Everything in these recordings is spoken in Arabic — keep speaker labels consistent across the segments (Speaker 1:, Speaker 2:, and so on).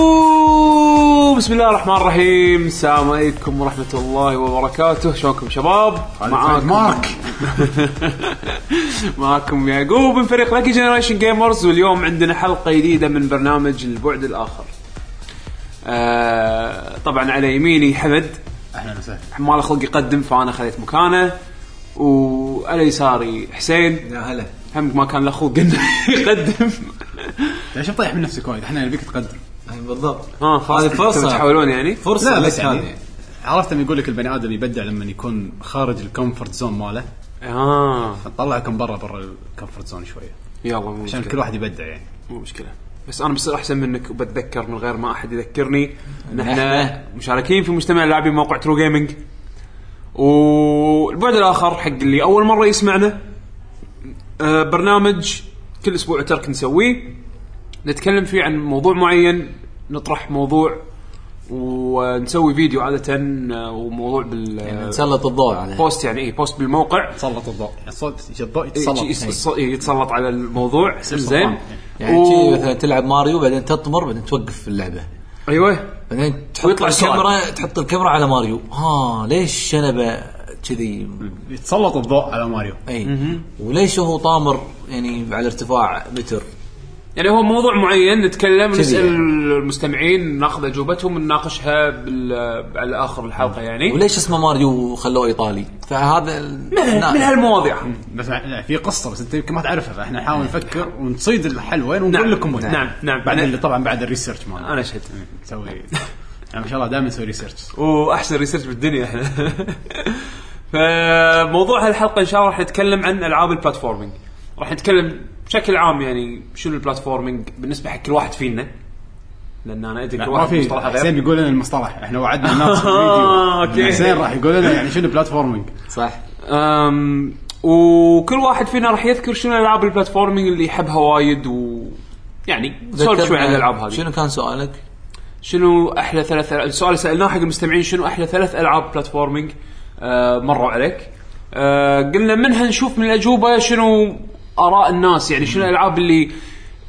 Speaker 1: اوه بسم الله الرحمن الرحيم السلام عليكم ورحمه الله وبركاته شلونكم شباب معاكم
Speaker 2: مارك
Speaker 1: معاكم يعقوب من فريق لاكي جنريشن جيمرز واليوم عندنا حلقه جديده من برنامج البعد الاخر آه طبعا على يميني حمد
Speaker 2: اهلا وسهلا
Speaker 1: ما له خلق يقدم فانا خذيت مكانه وعلى يساري حسين
Speaker 2: يا هلا
Speaker 1: هم ما كان له خلق انه يقدم
Speaker 2: ليش مطيح من نفسك وايد احنا نبيك تقدم
Speaker 3: أي بالضبط
Speaker 1: ها آه، خلاص
Speaker 3: هذه
Speaker 1: تبون
Speaker 3: فرصة.
Speaker 1: تحاولون يعني
Speaker 3: فرصه
Speaker 2: لا
Speaker 3: لا
Speaker 2: بس
Speaker 3: لك هذه
Speaker 2: يعني عرفت لما يقول لك البني ادم يبدع لما يكون خارج الكومفورت زون ماله
Speaker 1: اه
Speaker 2: طلعكم برا برا الكومفورت زون شويه
Speaker 1: يلا مو
Speaker 2: عشان
Speaker 1: مشكله
Speaker 2: كل واحد يبدع يعني
Speaker 1: مو مشكله بس انا بصير احسن منك وبتذكر من غير ما احد يذكرني ان احنا
Speaker 3: نحن-
Speaker 1: مشاركين في مجتمع اللاعبين موقع ترو جيمنج والبعد الاخر حق اللي اول مره يسمعنا آه، برنامج كل اسبوع ترك نسويه نتكلم فيه عن موضوع معين نطرح موضوع ونسوي فيديو عاده آه، وموضوع بال
Speaker 3: نسلط الضوء عليها
Speaker 1: بوست يعني اي بوست بالموقع
Speaker 2: تسلط الضوء الصوت يعني
Speaker 1: إيه،
Speaker 2: الضوء
Speaker 1: يجي
Speaker 2: يتسلط
Speaker 1: يتص- يتسلط على الموضوع زين
Speaker 3: يعني
Speaker 1: و-
Speaker 3: شي مثلا تلعب ماريو بعدين تطمر بعدين توقف اللعبه
Speaker 1: ايوه
Speaker 3: بعدين تحط
Speaker 1: ويطلع السؤال.
Speaker 3: الكاميرا تحط الكاميرا على ماريو ها ليش انا ب- كذي
Speaker 2: يتسلط الضوء على ماريو
Speaker 3: اي وليش هو طامر يعني على ارتفاع متر
Speaker 1: يعني هو موضوع معين نتكلم
Speaker 3: كذي
Speaker 1: نسال
Speaker 3: يعني.
Speaker 1: المستمعين ناخذ اجوبتهم نناقشها بال... على اخر الحلقه يعني
Speaker 3: وليش اسمه ماريو خلوه ايطالي فهذا ال- نعم.
Speaker 1: من
Speaker 3: نا-
Speaker 1: هالمواضيع
Speaker 2: بس لا، في قصه بس انت يمكن ما تعرفها فاحنا نحاول نفكر ونصيد الحل وين
Speaker 1: آه. نعم.
Speaker 2: ونقول لكم وين
Speaker 1: نعم، نعم.
Speaker 2: بعد
Speaker 1: نعم.
Speaker 2: اللي طبعا بعد الريسيرش مالنا
Speaker 1: انا شهد
Speaker 2: نسوي يعني ما شاء الله دائما نسوي ريسيرش
Speaker 1: واحسن ريسيرش بالدنيا احنا فموضوع هالحلقه ان شاء الله راح نتكلم عن العاب البلاتفورمينج راح نتكلم بشكل عام يعني شنو البلاتفورمينج بالنسبه حق كل واحد فينا لان انا ادري
Speaker 2: لا
Speaker 1: كل
Speaker 2: ما
Speaker 1: واحد
Speaker 2: في
Speaker 1: مصطلح غير
Speaker 2: حسين بيقول لنا المصطلح احنا وعدنا الناس في
Speaker 1: آه،
Speaker 2: الفيديو
Speaker 1: أوكي.
Speaker 2: حسين راح يقول لنا يعني شنو بلاتفورمينج
Speaker 3: صح
Speaker 1: أم، وكل واحد فينا راح يذكر شنو العاب البلاتفورمينج اللي يحبها وايد و يعني نسولف شوي عن الالعاب هذه
Speaker 3: شنو كان سؤالك؟
Speaker 1: شنو احلى ثلاث ألعاب السؤال اللي سالناه حق المستمعين شنو احلى ثلاث العاب بلاتفورمينج آه مروا عليك آه قلنا منها نشوف من الاجوبه شنو اراء الناس يعني شنو الالعاب اللي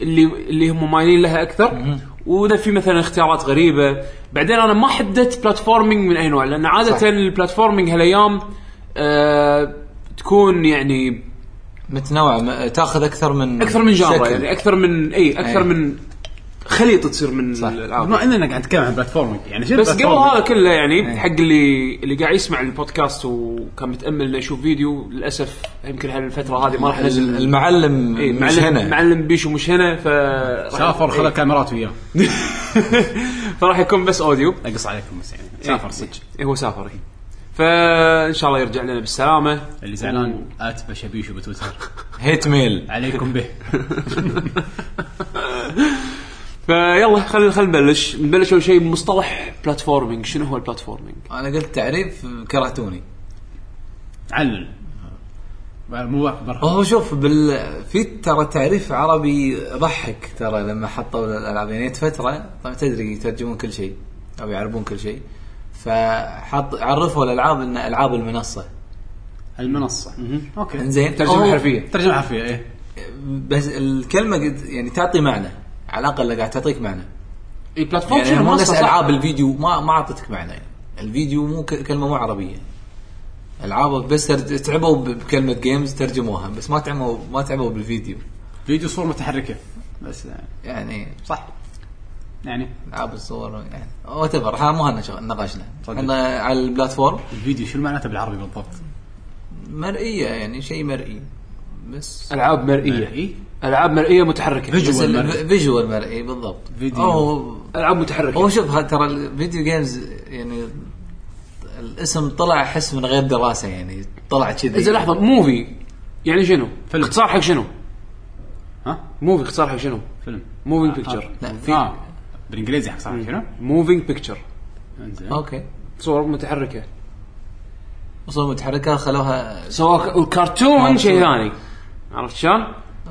Speaker 1: اللي اللي هم مايلين لها اكثر واذا في مثلا اختيارات غريبه بعدين انا ما حددت بلاتفورمينج من اي نوع لان عاده
Speaker 3: صح.
Speaker 1: البلاتفورمينج هالايام آه تكون يعني
Speaker 3: متنوع م- تاخذ اكثر من
Speaker 1: اكثر من جانرا
Speaker 3: شكل.
Speaker 1: يعني اكثر من اي اكثر
Speaker 3: أي.
Speaker 1: من خليطه تصير من الالعاب
Speaker 2: بما اننا قاعد نتكلم عن بلاتفورمينج يعني شنو
Speaker 1: بس قبل هذا
Speaker 2: بلاتفورمينج؟
Speaker 1: كله
Speaker 3: إيه.
Speaker 1: يعني حق اللي اللي قاعد يسمع البودكاست وكان متامل انه يشوف فيديو للاسف يمكن هالفتره هذه ما راح
Speaker 3: ال-
Speaker 1: ننزل
Speaker 3: المعلم
Speaker 1: إيه،
Speaker 3: مش
Speaker 1: معلم
Speaker 3: هنا
Speaker 1: معلم بيشو مش هنا ف
Speaker 2: سافر
Speaker 1: راح-
Speaker 2: خلى كاميرات وياه
Speaker 1: إيه. فراح يكون بس اوديو
Speaker 2: اقص عليكم بس يعني سافر صدق
Speaker 1: إيه، هو سافر إيه. فان شاء الله يرجع لنا بالسلامه
Speaker 2: اللي زعلان اتبع شبيشو بتويتر
Speaker 3: هيت ميل عليكم
Speaker 2: عليكم به
Speaker 1: فيلا خلينا خلينا نبلش نبلش اول شيء بمصطلح بلاتفورمينج شنو هو البلاتفورمينج؟
Speaker 3: انا قلت تعريف كرهتوني
Speaker 2: علل مو برا
Speaker 3: هو شوف بال في ترى تعريف عربي ضحك ترى لما حطوا الالعاب يعني جت فتره طبعا تدري يترجمون كل شيء او يعربون كل شيء فحط عرفوا الالعاب ان العاب المنصه
Speaker 2: المنصه اوكي
Speaker 3: انزين
Speaker 1: ترجمه
Speaker 3: أو-
Speaker 1: حرفيه
Speaker 2: ترجمه حرفيه ايه
Speaker 3: بس الكلمه قد يعني تعطي معنى على الاقل قاعد تعطيك معنى
Speaker 1: اي بلاتفورم
Speaker 3: يعني
Speaker 1: طيب، شنو
Speaker 3: مو نفس
Speaker 1: منصة، صح؟
Speaker 3: العاب الفيديو ما ما اعطتك معنى يعني. الفيديو مو ك- كلمه مو عربيه العاب بس ترج- تعبوا ب- بكلمه جيمز ترجموها بس ما تعبوا ما تعبوا بالفيديو
Speaker 2: فيديو صور متحركه بس يعني
Speaker 3: يعني
Speaker 2: صح يعني
Speaker 3: العاب الصور يعني وات ايفر احنا مو هالنش- نقاشنا
Speaker 2: صدق.
Speaker 3: احنا على البلاتفورم
Speaker 2: الفيديو شنو معناته بالعربي بالضبط؟
Speaker 3: مرئيه يعني شيء مرئي بس
Speaker 1: العاب
Speaker 3: إيه.
Speaker 1: مرئيه
Speaker 2: اي
Speaker 1: العاب مرئيه متحركه
Speaker 2: فيجوال
Speaker 3: بس
Speaker 2: مرئي.
Speaker 3: الفيجوال مرئي بالضبط
Speaker 2: فيديو.
Speaker 3: أو
Speaker 1: العاب متحركه
Speaker 3: هو شوف ها- ترى الفيديو جيمز يعني الاسم طلع احس من غير دراسه يعني طلع كذي
Speaker 1: اذا لحظه موفي يعني شنو؟
Speaker 2: إيه. فيلم.
Speaker 1: اختصار حق شنو؟
Speaker 2: ها
Speaker 1: موفي اختصار حق شنو؟
Speaker 2: فيلم
Speaker 1: موفينج
Speaker 2: آه،
Speaker 1: بيكتشر
Speaker 3: لا في
Speaker 2: في بالانجليزي صح شنو؟
Speaker 1: موفينج بيكتشر آه.
Speaker 2: انزين
Speaker 3: اوكي
Speaker 1: صور متحركه
Speaker 3: وصول متحركه خلوها
Speaker 1: سواء
Speaker 2: آه،
Speaker 1: الكرتون شيء ثاني عرفت شلون؟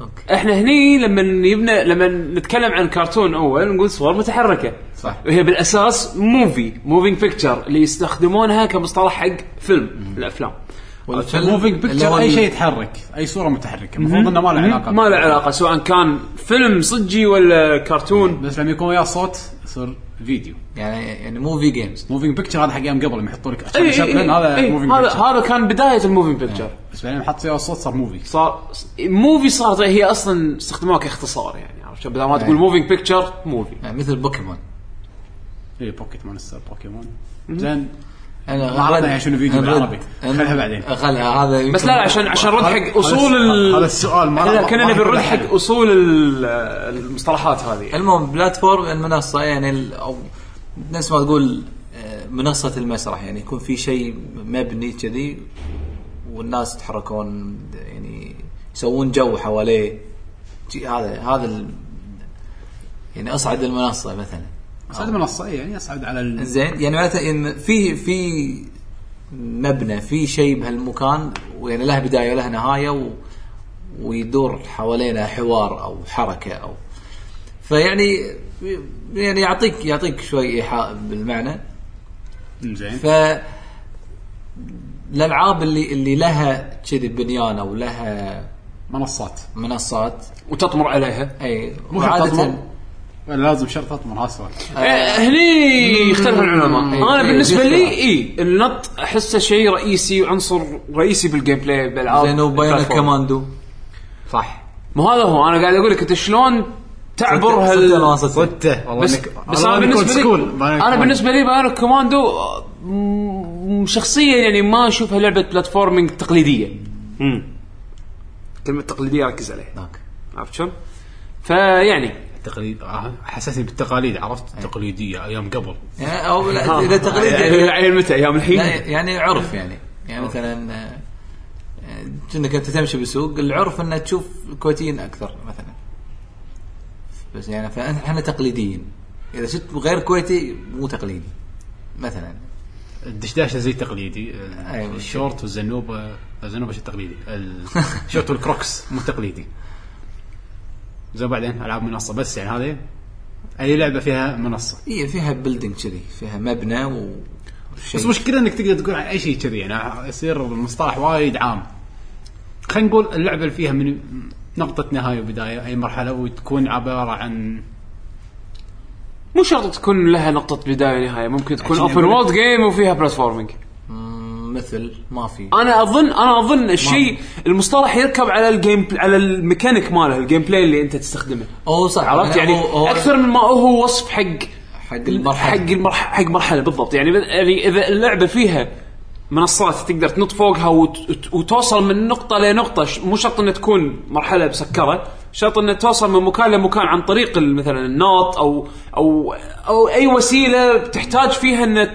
Speaker 3: اوكي
Speaker 1: احنا هني لما يبنى لما نتكلم عن كرتون اول نقول صور متحركه
Speaker 3: صح.
Speaker 1: وهي بالاساس موفي موفينج بيكتشر اللي يستخدمونها كمصطلح حق فيلم الافلام
Speaker 3: والفيلم
Speaker 2: موفينج
Speaker 3: اللي هو
Speaker 2: بيكتشر اي شيء يتحرك اي صوره متحركه المفروض انه ما له علاقه
Speaker 1: ما له علاقه سواء كان فيلم صجي ولا كرتون
Speaker 2: بس لما يكون وياه صوت يصير فيديو
Speaker 3: يعني يعني موفي جيمز
Speaker 2: موفينج بيكتشر هذا حق ايام قبل لما يحطوا لك
Speaker 1: إي، إي، إي،
Speaker 2: شابلن هذا
Speaker 1: إي،
Speaker 2: موفينج
Speaker 1: إيه، هذا
Speaker 2: بيكتشر
Speaker 1: هذا كان بدايه الموفينج بيكتشر
Speaker 2: بس بعدين حط وياه صوت صار موفي
Speaker 1: صار موفي صارت هي اصلا استخدموها كاختصار يعني عرفت شلون؟ بدل ما
Speaker 2: إيه.
Speaker 1: تقول موفينج بيكتشر موفي
Speaker 3: يعني مثل بوكيمون
Speaker 2: اي بوكيت مونستر بوكيمون زين
Speaker 3: انا
Speaker 2: ما عرفنا يعني شنو فيديو بالعربي. خلها بعدين.
Speaker 3: خلها هذا يمكن-
Speaker 1: بس لا لا، عشان عشان نرد
Speaker 2: هذا-
Speaker 1: حق اصول ال
Speaker 2: هذا السؤال ما
Speaker 1: احنا
Speaker 2: ما-
Speaker 1: كنا
Speaker 2: ما
Speaker 1: نبي
Speaker 2: يكون
Speaker 1: نرد
Speaker 2: له
Speaker 1: حق
Speaker 2: حل.
Speaker 1: اصول ال- المصطلحات هذه
Speaker 3: المهم بلاتفورم المنصه يعني ال- او نفس ما تقول آه، منصه المسرح يعني يكون في شيء مبني كذي والناس يتحركون يعني يسوون جو حواليه شي- هذا هذا ال- يعني اصعد المنصه مثلا
Speaker 2: اصعد منصه إي، يعني اصعد على ال-
Speaker 3: زين يعني معناته إن في في مبنى في شيء بهالمكان ويعني له بدايه وله نهايه و ويدور حوالينا حوار او حركه او فيعني يعني يعطيك يعطيك شوي ايحاء بالمعنى
Speaker 2: زين
Speaker 3: ف الالعاب اللي اللي لها كذي بنيان او لها
Speaker 2: منصات
Speaker 3: منصات
Speaker 1: وتطمر عليها
Speaker 3: اي
Speaker 2: مو شرط تطمر ولا لازم شرط تطمر هالسؤال
Speaker 1: آه، هني يختلف العلماء
Speaker 3: مم.
Speaker 1: انا
Speaker 3: إيه،
Speaker 1: بالنسبه
Speaker 3: إيه،
Speaker 1: لي
Speaker 3: اختلاف.
Speaker 1: اي النط احسه شيء رئيسي وعنصر رئيسي بالجيم بلاي بالالعاب
Speaker 3: زين وبينك
Speaker 1: البلاتفورم.
Speaker 3: كماندو صح
Speaker 1: ما هذا هو انا قاعد اقول لك انت شلون تعبر
Speaker 3: صدق أنا ما
Speaker 1: هال
Speaker 3: صدق.
Speaker 2: والله
Speaker 1: بس
Speaker 2: إنك-
Speaker 1: بس
Speaker 2: والله
Speaker 1: انا
Speaker 2: إنك
Speaker 1: بالنسبه
Speaker 2: old
Speaker 1: لي
Speaker 2: school. بايونيك
Speaker 1: انا
Speaker 2: كوماندو.
Speaker 1: بالنسبه لي بايونيك كوماندو آه، م- شخصيا يعني ما اشوفها لعبه بلاتفورمينج تقليديه كلمه تقليديه ركز عليها
Speaker 3: ذاك
Speaker 1: عرفت شلون؟ فيعني
Speaker 2: تقليد آه، حسسني بالتقاليد عرفت التقليديه ايام قبل
Speaker 3: يعني او لا اذا تقليد
Speaker 1: آه، يعني متى ايام الحين؟
Speaker 3: لا يعني عرف يعني يعني مثلا آه، آه، كأنك انت تمشي بالسوق العرف انه تشوف كويتيين اكثر مثلا بس يعني فاحنا تقليديين اذا شفت غير كويتي مو تقليدي مثلا
Speaker 2: الدشداشه زي تقليدي
Speaker 3: أيوة.
Speaker 2: الشورت والزنوبه الزنوبه شيء تقليدي الشورت والكروكس مو تقليدي زين بعدين العاب منصه بس يعني هذه اي لعبه فيها منصه
Speaker 3: هي إيه، فيها بيلدينج كذي فيها مبنى و
Speaker 2: بس مشكله انك تقدر تقول عن اي شيء كذي يعني يصير المصطلح وايد عام خلينا نقول اللعبه اللي فيها من نقطه نهايه وبدايه اي مرحله وتكون عباره عن
Speaker 1: مو شرط تكون لها نقطة بداية ونهاية ممكن تكون
Speaker 2: عشان
Speaker 1: اوبن
Speaker 2: أقول لك-
Speaker 1: وورد جيم وفيها بلاتفورمينج
Speaker 3: مم، مثل ما في
Speaker 1: انا اظن انا اظن الشيء المصطلح يركب على الجيم على الميكانيك ماله الجيم بلاي اللي انت تستخدمه
Speaker 3: او صح
Speaker 1: عرفت يعني
Speaker 3: هو- هو
Speaker 1: اكثر من ما هو وصف حق
Speaker 3: حق المرحله
Speaker 1: حق المرحله حق مرحله بالضبط يعني يعني اذا اللعبه فيها منصات تقدر تنط فوقها وت- وت- وتوصل من نقطه لنقطه ش- مو شرط انها تكون مرحله مسكره شرط انها توصل من مكان لمكان عن طريق ال- مثلا النوط او او او اي وسيله تحتاج فيها ان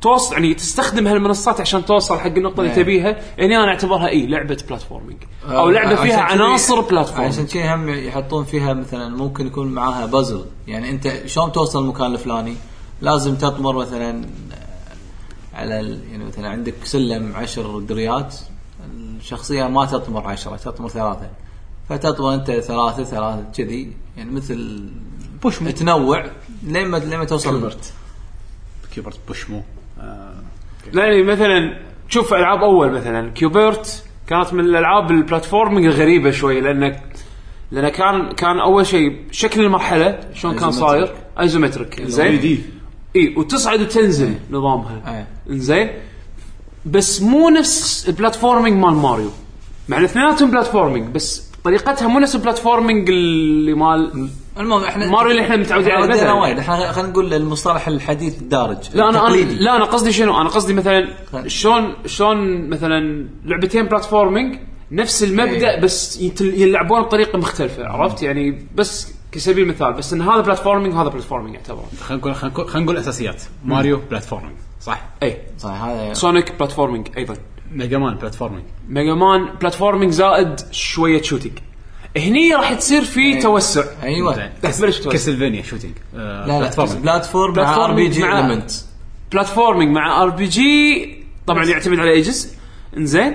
Speaker 1: توصل يعني تستخدم هالمنصات عشان توصل حق النقطه اللي
Speaker 3: إيه. آه،
Speaker 1: تبيها يعني انا اعتبرها اي لعبه بلاتفورمينج او لعبه
Speaker 3: عشان
Speaker 1: فيها
Speaker 3: كذي-
Speaker 1: عناصر بلاتفورمينج
Speaker 3: عشان كذي هم يحطون فيها مثلا ممكن يكون معاها بازل يعني انت شلون توصل المكان الفلاني لازم تطمر مثلا آه، على ال- يعني مثلا عندك سلم عشر دريات الشخصيه ما تطمر عشرة تطمر ثلاثه فتطمر انت ثلاثه ثلاثه كذي يعني مثل
Speaker 2: بوشمو
Speaker 3: تنوع لين ما لين ما توصل
Speaker 2: كبرت كبرت بوشمو آه،
Speaker 1: لا يعني مثلا تشوف العاب اول مثلا كيوبرت كانت من الالعاب البلاتفورمينج الغريبه شوي لانك لان كان كان اول شيء شكل المرحله شلون كان
Speaker 3: Isometric.
Speaker 1: صاير ايزومتريك زين
Speaker 2: 3D.
Speaker 1: اي وتصعد وتنزل نظامها زين بس مو نفس البلاتفورمينج مال ماريو مع ان اثنيناتهم بلاتفورمينج بس طريقتها مو نفس البلاتفورمينج اللي مال
Speaker 3: المهم احنا
Speaker 1: ماريو اللي احنا متعودين عليه
Speaker 3: ردينا
Speaker 1: مثلاً.
Speaker 3: وايد احنا خلينا نقول المصطلح الحديث الدارج
Speaker 1: لا انا انا
Speaker 3: التقليدي.
Speaker 1: لا انا قصدي شنو؟ انا قصدي مثلا
Speaker 3: خل-
Speaker 1: شلون شلون مثلا لعبتين بلاتفورمينج نفس المبدا
Speaker 3: إيه.
Speaker 1: بس يتل- يلعبون بطريقه مختلفه عرفت؟ يعني بس كسبيل مثال بس ان هذا بلاتفورمينج هذا بلاتفورمينج يعتبر
Speaker 2: خلينا نقول خلينا نقول- خلينا نقول اساسيات ماريو بلاتفورمينج صح
Speaker 1: اي
Speaker 3: صحيح هذا
Speaker 1: سونيك بلاتفورمينج ايضا
Speaker 2: ميجا مان بلاتفورمينج
Speaker 1: ميجا مان بلاتفورمينج زائد شويه شوتينج هني راح تصير
Speaker 3: إيه.
Speaker 1: في توسع
Speaker 3: ايوه
Speaker 1: تبلش توسع.
Speaker 2: كاسلفينيا شوتينج آه،
Speaker 3: لا لا
Speaker 2: بلاتفورمينج
Speaker 3: بلاتفورم مع ار
Speaker 1: بلاتفورم
Speaker 3: بي جي
Speaker 1: مع-
Speaker 3: المنت
Speaker 1: بلاتفورمينج مع ار بي جي طبعا يعتمد على ايجز انزين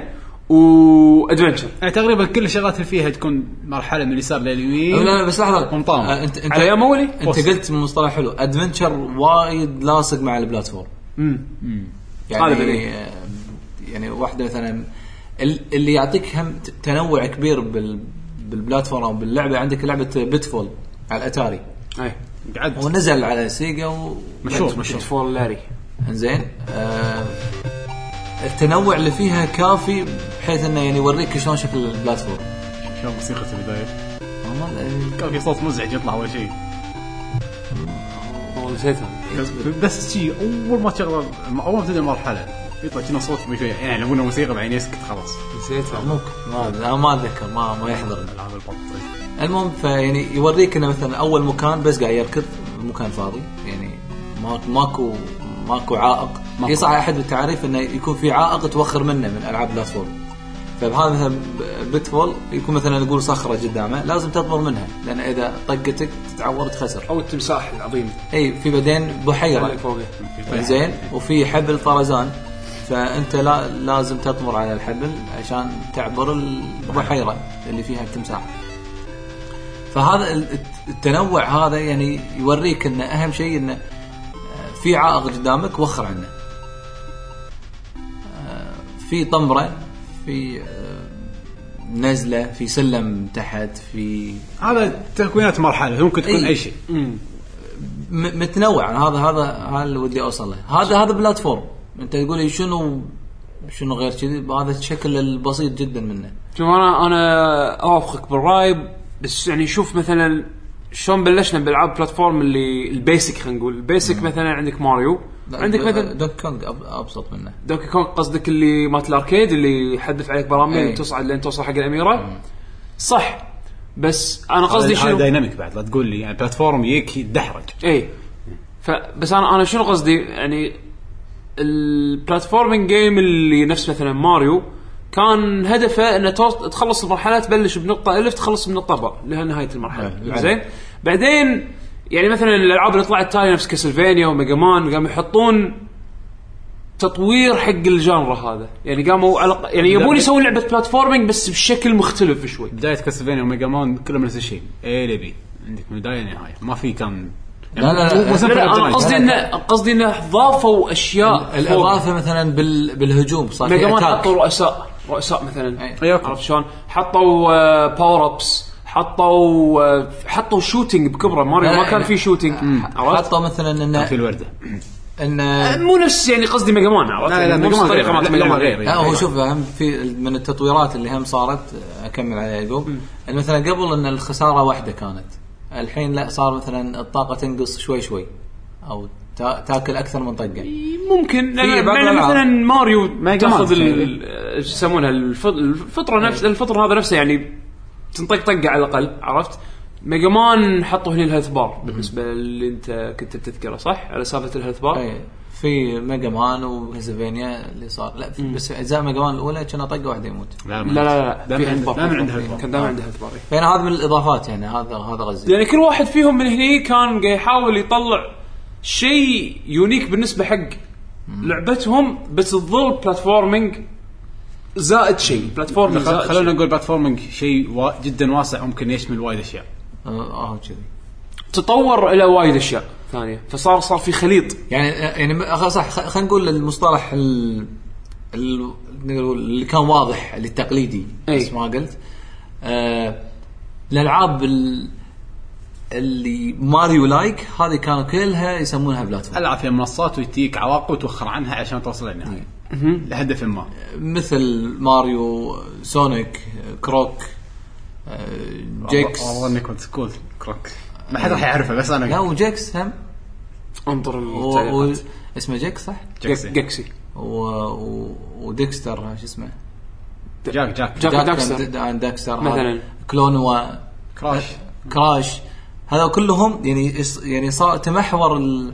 Speaker 1: وادفنشر
Speaker 2: يعني تقريبا كل الشغلات اللي فيها تكون مرحله من اليسار
Speaker 3: لا
Speaker 2: لليمين
Speaker 3: لا بس لحظه
Speaker 2: قمطان.
Speaker 3: آه، انت انت
Speaker 1: على ايام اولي
Speaker 3: انت قلت مصطلح حلو ادفنتشر وايد لاصق مع البلاتفورم
Speaker 1: هذا
Speaker 3: يعني
Speaker 1: بديهي.
Speaker 3: آه، يعني واحده مثلا ال- اللي يعطيك هم ت- تنوع كبير بال بالبلاتفورم او باللعبه عندك لعبه بيتفول على الاتاري
Speaker 1: اي
Speaker 2: قعدت
Speaker 3: ونزل على سيجا و
Speaker 2: مشهور مشهور
Speaker 1: بيتفول لاري
Speaker 3: زين آه التنوع اللي فيها كافي بحيث انه يعني يوريك شلون شكل البلاتفورم
Speaker 2: شلون موسيقى البدايه
Speaker 3: والله،
Speaker 2: كان في صوت مزعج يطلع اول شيء
Speaker 1: والله نسيتها
Speaker 2: بس- بس شي اول ما تشغل اول ما تبدا المرحله يطلع كنا صوت بشوي يعني يلعبون موسيقى بعدين يسكت خلاص
Speaker 1: نسيتها
Speaker 3: ممكن ما أدري، انا ما اتذكر ما ما يحضرني
Speaker 2: العاب البط
Speaker 3: المهم فيعني يوريك انه مثلا اول مكان بس قاعد يركض مكان فاضي يعني ما- ماكو ماكو عائق
Speaker 2: ماكو.
Speaker 3: اي صح احد التعاريف انه يكون في عائق توخر منه من العاب بلاتفورم فبهذا مثلا ب- بيتفول يكون مثلا نقول صخره قدامه لازم تطمر منها لان اذا طقتك تتعور تخسر
Speaker 1: او التمساح العظيم
Speaker 3: اي في بعدين
Speaker 1: اللي
Speaker 3: بحيره
Speaker 1: فوقه
Speaker 3: زين وفي حبل طرزان فانت لا لازم تطمر على الحبل عشان تعبر البحيره اللي فيها التمساح فهذا ال- التنوع هذا يعني يوريك ان اهم شيء انه في عائق قدامك وخر عنه آه، في طمره في آه، نزله في سلم تحت في
Speaker 2: هذا تكوينات مرحله ممكن تكون
Speaker 3: إي.
Speaker 2: اي شيء
Speaker 3: م- متنوع هذا هذا هذا اللي ودي اوصل له هذا هذا بلاتفورم انت تقول لي شنو شنو غير كذي هذا الشكل البسيط جدا منه
Speaker 1: شوف انا انا اوافقك بالراي بس يعني شوف مثلا شلون بلشنا بالعاب بلاتفورم اللي البيسك خلينا نقول البيسك مثلا عندك ماريو عندك مثلا
Speaker 3: دوك كونج أب- ابسط منه
Speaker 1: دوكي كونغ قصدك اللي مات الاركيد اللي يحذف عليك براميل
Speaker 3: إي.
Speaker 1: وتصعد لين توصل حق الاميره صح بس انا
Speaker 2: قصدي
Speaker 1: قصدي
Speaker 2: شنو
Speaker 1: شنو
Speaker 2: دايناميك بعد لا تقول لي يعني بلاتفورم يك يدحرج
Speaker 1: اي فبس انا انا شنو قصدي يعني البلاتفورمينج جيم اللي نفس مثلا ماريو كان هدفه انه توص- تخلص المرحله تبلش بنقطه الف تخلص بنقطه باء لها نهايه المرحله
Speaker 3: نعم.
Speaker 1: زين بعدين يعني مثلا الالعاب اللي طلعت تالي نفس كاسلفينيا وميجا مان قاموا يحطون تطوير حق الجانرا هذا يعني قاموا على ق- يعني يبون يسوون لعبه بلاتفورمينج بس بشكل مختلف شوي
Speaker 2: بدايه كاسلفينيا وميجا مان كلهم نفس الشيء اي لبي عندك من بدايه لنهايه ما في كان
Speaker 3: لا، لا، لا.
Speaker 2: مو- مو
Speaker 1: لا
Speaker 2: سمبل
Speaker 1: لا انا
Speaker 2: الدرجة.
Speaker 1: قصدي انه قصدي انه ضافوا اشياء فوق.
Speaker 3: الاضافه مثلا بال بالهجوم صار
Speaker 1: ميجا
Speaker 3: في
Speaker 1: مان
Speaker 3: attack.
Speaker 1: حطوا رؤساء رؤساء مثلا
Speaker 3: أي.
Speaker 2: أيوة.
Speaker 1: عرفت شلون؟ حطوا باور ابس حطوا آه، حطوا شوتنج بكبره ماريو ما
Speaker 3: أنا-
Speaker 1: كان في شوتنج عرفت؟
Speaker 3: حطوا مثلا
Speaker 2: في
Speaker 3: انه
Speaker 2: الورده
Speaker 3: انه
Speaker 1: مو نفس يعني قصدي ميجا مان عرفت؟
Speaker 2: لا، لا،
Speaker 1: يعني
Speaker 2: ميجا
Speaker 1: نفس
Speaker 2: مان غير.
Speaker 1: الطريقة مالت
Speaker 2: لا،
Speaker 1: ميجا
Speaker 2: لا،
Speaker 1: مان.
Speaker 2: غير.
Speaker 3: لا هو شوف اهم في من التطويرات اللي هم صارت اكمل عليها يعقوب مثلا قبل ان الخساره واحده كانت الحين لا صار مثلا الطاقه تنقص شوي شوي او تا- تاكل اكثر من طقه
Speaker 1: ممكن لأن-
Speaker 3: بعض
Speaker 1: لأن
Speaker 3: الألعاب.
Speaker 1: مثلا ماريو
Speaker 2: مان
Speaker 1: تاخذ ال-
Speaker 2: يعني.
Speaker 1: ال- ايش يسمونها الف- الفطره نفس
Speaker 2: إيه.
Speaker 1: الفطره هذا نفسه يعني تنطق طقه على الاقل عرفت؟ ميجا مان حطوا هنا الهيلث بار بالنسبه اللي انت كنت بتذكره صح؟ على سالفه الهيلث بار
Speaker 2: إيه.
Speaker 3: أي، في ميجا مان وهزلفينيا اللي صار لا في بس اجزاء ميجا مان الاولى كان طقه واحده يموت
Speaker 2: لا
Speaker 1: لا لا لا
Speaker 2: دائما
Speaker 1: في
Speaker 2: عندها
Speaker 1: هيلث بار.
Speaker 2: دائما عندها آه. الفار.
Speaker 1: كان دائما عندها إيه. هيلث بار إي.
Speaker 3: فانا هذا من الاضافات يعني هذا هذا غزي
Speaker 1: يعني كل واحد فيهم من هني كان قاعد يحاول يطلع شيء يونيك بالنسبه حق لعبتهم بس تظل بلاتفورمينج زائد شيء بلاتفورمينج
Speaker 2: خل-
Speaker 1: زائد
Speaker 2: خلونا
Speaker 1: شيء.
Speaker 2: نقول بلاتفورمينج شيء وا- جدا واسع ممكن يشمل وايد اشياء
Speaker 3: اه آه، كذي
Speaker 1: تطور الى وايد اشياء ثانيه فصار صار في خليط
Speaker 3: يعني يعني م- خلاص صح خ- خلينا نقول المصطلح ال ال- نقول اللي كان واضح اللي التقليدي
Speaker 1: أي.
Speaker 3: بس ما قلت آه الالعاب ال- اللي ماريو لايك هذه كانوا كلها يسمونها بلاتفورم
Speaker 2: العب فيها منصات وتجيك عواقب وتوخر عنها عشان توصل للنهايه لهدف ما
Speaker 3: مثل ماريو سونيك كروك آه، جيكس
Speaker 2: والله والله اني كنت كول كروك ما حد راح يعرفه بس انا
Speaker 3: لا وجيكس هم
Speaker 1: انظر
Speaker 3: و... و...
Speaker 1: التعليقات.
Speaker 3: اسمه جيكس صح؟
Speaker 2: جاكسي.
Speaker 1: جكسي
Speaker 3: و... و... وديكستر شو اسمه؟
Speaker 2: جاك جاك
Speaker 1: جاك
Speaker 3: داك-
Speaker 1: داكستر
Speaker 3: دا- داكستر
Speaker 1: مثلاً.
Speaker 3: هذا. كلون و
Speaker 2: كراش
Speaker 3: كراش هذا كلهم يعني يس- يعني صار تمحور ال-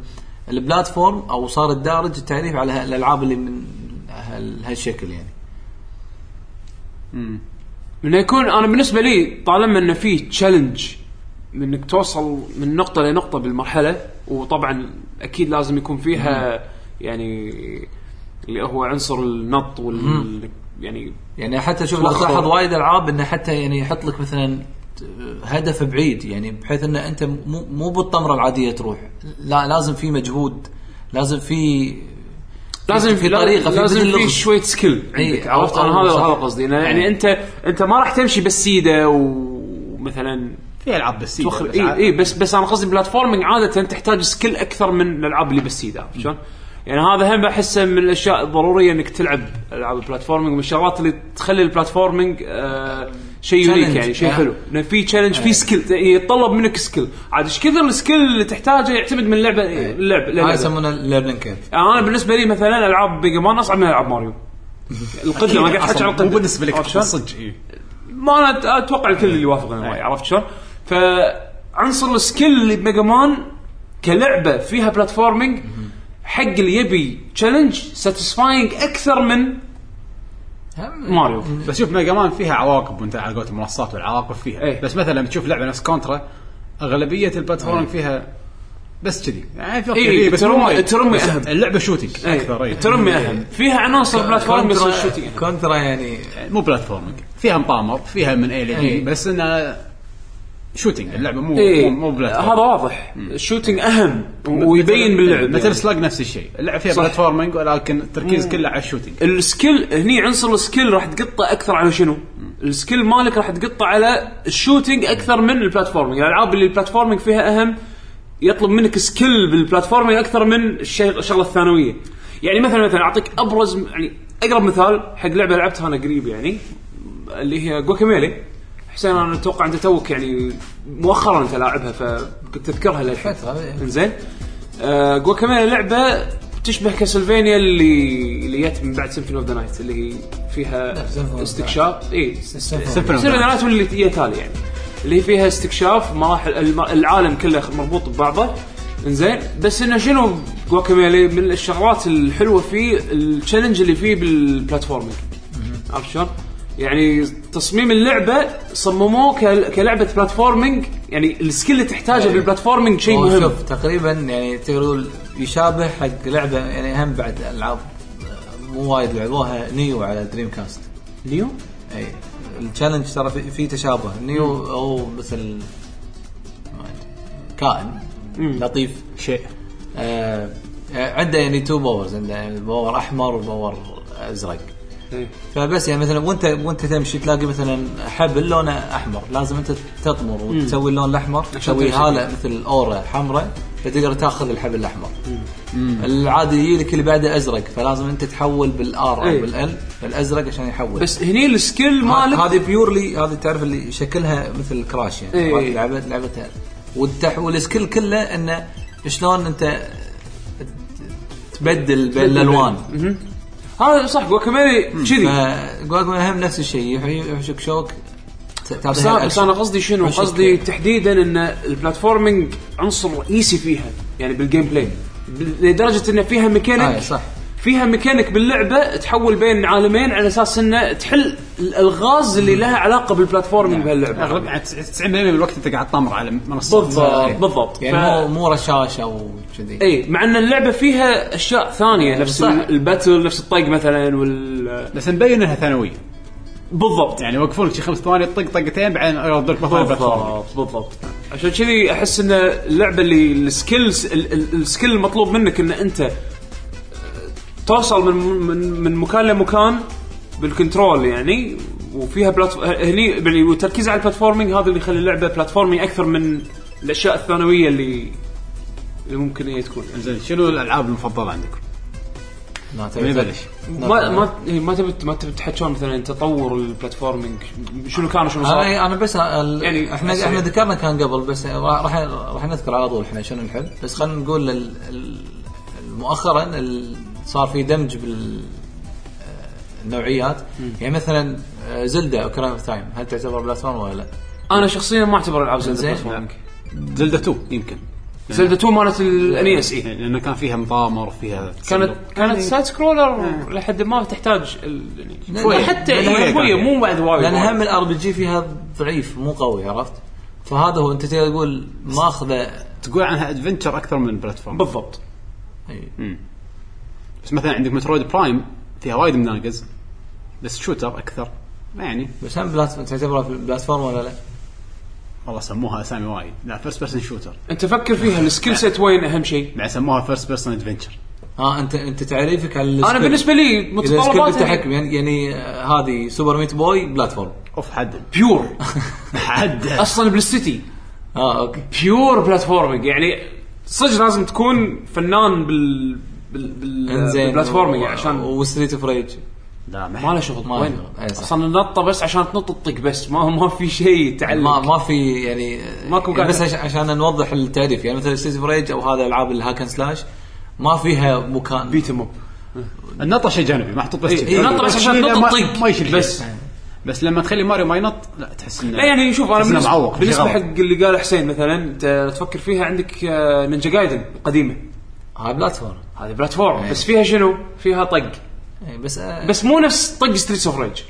Speaker 3: البلاتفورم او صار الدارج التعريف على ها- الالعاب اللي من هال- هالشكل يعني
Speaker 1: انه يكون انا بالنسبه لي طالما انه في تشالنج من انك توصل من نقطه لنقطه بالمرحله وطبعا اكيد لازم يكون فيها يعني اللي هو عنصر النط وال يعني
Speaker 3: يعني حتى شوف لو
Speaker 1: توخر.
Speaker 3: تلاحظ وايد العاب انه حتى يعني يحط لك مثلا ت- هدف بعيد يعني بحيث انه انت مو مو بالطمره العاديه تروح لا لازم في مجهود لازم في
Speaker 1: لازم في طريقه
Speaker 3: في
Speaker 1: لازم
Speaker 3: بدل
Speaker 1: في
Speaker 3: لغز.
Speaker 1: شويه سكيل عندك
Speaker 3: إي،
Speaker 1: عرفت
Speaker 3: أو-
Speaker 1: انا
Speaker 3: أو
Speaker 1: هذا
Speaker 3: صح. إيه.
Speaker 1: هذا قصدي إنه يعني
Speaker 3: إي.
Speaker 1: انت انت ما راح تمشي بس سيده و مثلا
Speaker 2: في العاب بس
Speaker 1: توخر
Speaker 3: إيه،
Speaker 1: اي اي إيه، بس بس انا قصدي بلاتفورمينج عاده تحتاج سكيل اكثر من الالعاب اللي بالسيد عرفت شلون؟ يعني هذا هم بحسه من الاشياء الضروريه انك تلعب العاب البلاتفورمينج ومن الشغلات اللي تخلي البلاتفورمينج آه شيء
Speaker 3: Challenge.
Speaker 1: يونيك يعني شيء
Speaker 3: آه.
Speaker 1: حلو لان في تشالنج في سكيل يتطلب منك سكيل عاد ايش كثر السكيل اللي تحتاجه يعتمد من اللعبه اللعب
Speaker 3: آه. هذا
Speaker 1: اللعبه
Speaker 3: يسمونه الليرنينج كيرف
Speaker 1: انا بالنسبه لي مثلا العاب بيجا مان اصعب من العاب ماريو القدره ما قاعد احكي عن القدره
Speaker 2: إيه، مو بالنسبه لك
Speaker 1: عرفت شلون؟
Speaker 2: صدق إيه. اي
Speaker 1: ما انا أت- اتوقع الكل اللي يوافق انا
Speaker 2: إيه.
Speaker 1: وياي، عرفت شلون؟ فعنصر السكيل اللي بميجا مان كلعبه فيها بلاتفورمينج حق اللي يبي تشالنج ساتيسفاينج اكثر من ماريو
Speaker 2: بس شوف ميجا مان فيها عواقب وانت على قولت منصات والعواقب فيها
Speaker 1: إيه.
Speaker 2: بس مثلا لما تشوف لعبه نفس كونترا اغلبيه البلاتفورم فيها بس كذي يعني في
Speaker 1: إيه،
Speaker 2: أوكي، بس
Speaker 1: الترمي-
Speaker 2: مو وايد.
Speaker 1: الترمي
Speaker 2: بس
Speaker 1: أهم.
Speaker 2: اللعبه شوتنج اكثر
Speaker 1: أي،
Speaker 2: إيه.
Speaker 1: ترمي اهم فيها عناصر بلاتفورمينج بس الشوتينج أهم.
Speaker 3: كونترا يعني
Speaker 2: مو بلاتفورمينج فيها مطامر فيها من اي لبي
Speaker 3: إيه.
Speaker 2: بس انها شوتنج اللعبه مو
Speaker 1: إيه،
Speaker 2: مو- مو بلاتفورم
Speaker 1: هذا واضح الشوتينج اهم ويبين باللعب يعني.
Speaker 2: مثل سلاج نفس الشيء اللعبه فيها
Speaker 1: صح. إيه.
Speaker 2: بلاتفورمينج ولكن التركيز كله على الشوتنج
Speaker 1: السكيل هني عنصر السكيل راح تقطه اكثر على شنو؟ السكيل مالك راح تقطه على الشوتينج اكثر من البلاتفورمينج، الالعاب اللي البلاتفورمينج فيها اهم يطلب منك سكيل بالبلاتفورمينج اكثر من الشي- الشغله الثانويه. يعني مثلا مثلا اعطيك ابرز يعني اقرب مثال حق لعبه لعبتها انا قريب يعني اللي هي جوكاميلي حسين انا اتوقع انت توك يعني مؤخرا انت لاعبها فكنت تذكرها للحين
Speaker 3: فترة، إيه.
Speaker 1: زين آه جواكاميلا لعبه تشبه كاسلفينيا اللي اللي جت من بعد سيمفوني اوف ذا نايت اللي هي فيها
Speaker 3: Symphony of the
Speaker 1: استكشاف إيه، اي سيمفوني
Speaker 3: Symphony
Speaker 1: اوف ذا نايت واللي هي تالي يعني اللي فيها استكشاف مراحل الم- العالم كله مربوط ببعضه انزين بس انه شنو جواكاميلي من الشغلات الحلوه فيه التشالنج اللي فيه بالبلاتفورمينج عرفت شلون؟ يعني تصميم اللعبه صمموه كل- كلعبه بلاتفورمينج يعني السكيل اللي تحتاجه بالبلاتفورمينج شيء
Speaker 3: إيه. هو
Speaker 1: مهم
Speaker 3: شوف تقريبا يعني تقدر تقول يشابه حق لعبه يعني هم بعد العاب آه، مو وايد لعبوها نيو على دريم كاست
Speaker 1: نيو
Speaker 3: اي التشالنج إيه. ترى في, في تشابه نيو او مثل ما أدري، كائن لطيف
Speaker 2: شيء
Speaker 3: آه آه، عنده يعني تو باورز عنده يعني باور احمر وباور ازرق
Speaker 1: إيه.
Speaker 3: فبس يعني مثلا وانت وانت تمشي تلاقي مثلا حبل لونه احمر لازم انت تطمر وتسوي اللون الاحمر تسوي
Speaker 1: تمشي.
Speaker 3: هاله مثل اورا حمراء فتقدر تاخذ الحبل الاحمر العادي يجي لك اللي بعده ازرق فلازم انت تحول بالار
Speaker 1: إيه.
Speaker 3: او بالال الازرق عشان يحول
Speaker 1: بس هني السكيل
Speaker 3: ه-
Speaker 1: مالك
Speaker 3: هذه بيورلي هذه تعرف اللي شكلها مثل كراش يعني
Speaker 1: إيه.
Speaker 3: هذه لعبت لعبتها والتح والسكيل كله انه شلون انت ت- تبدل بين الالوان
Speaker 1: هذا صح جواكاميلي كذي
Speaker 3: فجواك هم نفس الشيء يح- يحشك شوك ت- تعطيها
Speaker 1: بس أنا- بس
Speaker 3: الأكشن.
Speaker 1: انا قصدي شنو؟
Speaker 3: ماشي
Speaker 1: قصدي
Speaker 3: كيف.
Speaker 1: تحديدا ان البلاتفورمينج عنصر رئيسي فيها يعني بالجيم بلاي بل- لدرجه ان فيها ميكانيك
Speaker 3: آه، صح.
Speaker 1: فيها ميكانيك باللعبه تحول بين عالمين على اساس انه تحل الالغاز اللي لها علاقه
Speaker 3: نعم.
Speaker 1: بالبلاتفورمينج بهاللعبه
Speaker 2: اغلب يعني 90% من الوقت انت قاعد تطمر على منصات
Speaker 1: بالضبط بالضبط
Speaker 3: يعني
Speaker 1: ف- إيه.
Speaker 3: مو مو رشاش او كذي
Speaker 1: اي مع ان اللعبه فيها اشياء ثانيه نفس
Speaker 3: صح.
Speaker 1: ال- الباتل نفس الطق مثلا وال
Speaker 2: بس مبين انها ثانويه
Speaker 1: بالضبط
Speaker 2: يعني يوقفون لك شي خمس ثواني طق طقتين بعدين يردون لك مثلا بلاتفورم
Speaker 1: بالضبط بالضبط عشان كذي احس ان اللعبه اللي السكيلز ال- ال- السكيل المطلوب منك ان انت توصل من من, من مكان لمكان بالكنترول يعني وفيها بلاتف... هني يعني والتركيز على البلاتفورمينج هذا اللي يخلي اللعبه بلاتفورمينج اكثر من الاشياء الثانويه اللي اللي ممكن هي تكون
Speaker 2: زين شنو الالعاب المفضله عندكم؟
Speaker 3: لا، تبي-
Speaker 2: من يبلش؟
Speaker 1: ما ما إيه، ما تبي ما تبي تحكون مثلا تطور البلاتفورمينج شنو كان وشنو صار
Speaker 3: انا انا بس يعني
Speaker 1: يعني
Speaker 3: احنا
Speaker 1: سريع.
Speaker 3: احنا ذكرنا كان قبل بس راح راح نذكر على طول احنا شنو نحب بس خلينا نقول ال- ال- مؤخرا ال- صار في دمج بال آه، النوعيات يعني مثلا آه، زلدا اوكران اوف تايم هل تعتبر بلاتفورم ولا لا؟
Speaker 1: انا شخصيا ما اعتبر العاب زلده
Speaker 3: زين.
Speaker 1: بلاتفورمينج
Speaker 2: زلدا 2 يمكن
Speaker 1: زلده 2 مالت E الانيس اي
Speaker 2: لانه كان فيها مطامر فيها
Speaker 1: كانت
Speaker 3: يعني
Speaker 1: كانت سايد
Speaker 3: آه.
Speaker 1: سكرولر لحد ما تحتاج ال- يعني
Speaker 3: شوية.
Speaker 1: شويه حتى
Speaker 3: شوية
Speaker 1: يعني شويه
Speaker 2: كانت.
Speaker 1: مو بعد وايد
Speaker 3: لان
Speaker 1: وايد.
Speaker 3: هم الار بي جي فيها ضعيف مو قوي عرفت؟ فهذا هو انت تقدر تقول ماخذه
Speaker 2: تقول عنها ادفنتشر اكثر من بلاتفورم
Speaker 1: بالضبط
Speaker 3: أي.
Speaker 2: بس مثلا عندك مترويد برايم فيها وايد مناقز بس شوتر اكثر ما يعني
Speaker 3: بس هم بلاتفورم تعتبرها بلاتفورم ولا لا؟
Speaker 2: والله سموها اسامي وايد لا فيرست بيرسون شوتر
Speaker 1: انت فكر فيها السكيل سيت وين اهم شيء
Speaker 2: بعد سموها فيرست بيرسون ادفنتشر
Speaker 3: اه انت انت تعريفك على
Speaker 1: انا
Speaker 3: السكيل.
Speaker 1: بالنسبه لي
Speaker 3: اذا سكيل
Speaker 1: متطلبات
Speaker 3: التحكم يعني, يعني آه، هذه سوبر ميت بوي بلاتفورم
Speaker 2: اوف حد
Speaker 1: بيور
Speaker 2: حد
Speaker 1: اصلا بالسيتي
Speaker 3: اه اوكي
Speaker 1: بيور بلاتفورمينج يعني صدق لازم تكون فنان بال بال بال بالبلاتفورمينج عشان
Speaker 3: وستريت اوف ريج
Speaker 2: لا
Speaker 1: ما
Speaker 2: ما
Speaker 1: له شغل
Speaker 3: ما له
Speaker 1: وين
Speaker 3: شغل. أي صح.
Speaker 1: اصلا النطه بس عشان تنط تطق بس ما ما في شيء تعلم
Speaker 3: ما ما في يعني
Speaker 1: ماكو
Speaker 3: يعني بس
Speaker 1: قاعدة.
Speaker 3: عش- عشان نوضح التعريف يعني مثلا ستريت اوف ريج او هذا العاب الهاكن سلاش ما فيها مكان
Speaker 1: بيتم اب
Speaker 2: النطه شيء جانبي محطوط بس
Speaker 1: إيه،
Speaker 2: كذي.
Speaker 1: النطة بس عشان
Speaker 2: لا،
Speaker 1: تنط
Speaker 2: ما-
Speaker 1: تطق.
Speaker 2: ما يشيل شيء.
Speaker 1: بس.
Speaker 2: بس لما تخلي ماريو ما ينط لا تحس انه
Speaker 1: لا يعني شوف انا
Speaker 2: تحس إنه معوق
Speaker 1: بالنسبه,
Speaker 2: شيء
Speaker 1: بالنسبة
Speaker 2: غلط.
Speaker 1: حق اللي قال حسين مثلا انت تفكر فيها عندك آه، نينجا جايدن القديمه
Speaker 3: هذا بلاتفورم
Speaker 1: هذه
Speaker 2: إيه.
Speaker 1: بلاتفورم بس فيها شنو؟ فيها طق
Speaker 3: إيه، بس آه،
Speaker 1: بس مو نفس طق ستريتس اوف ريج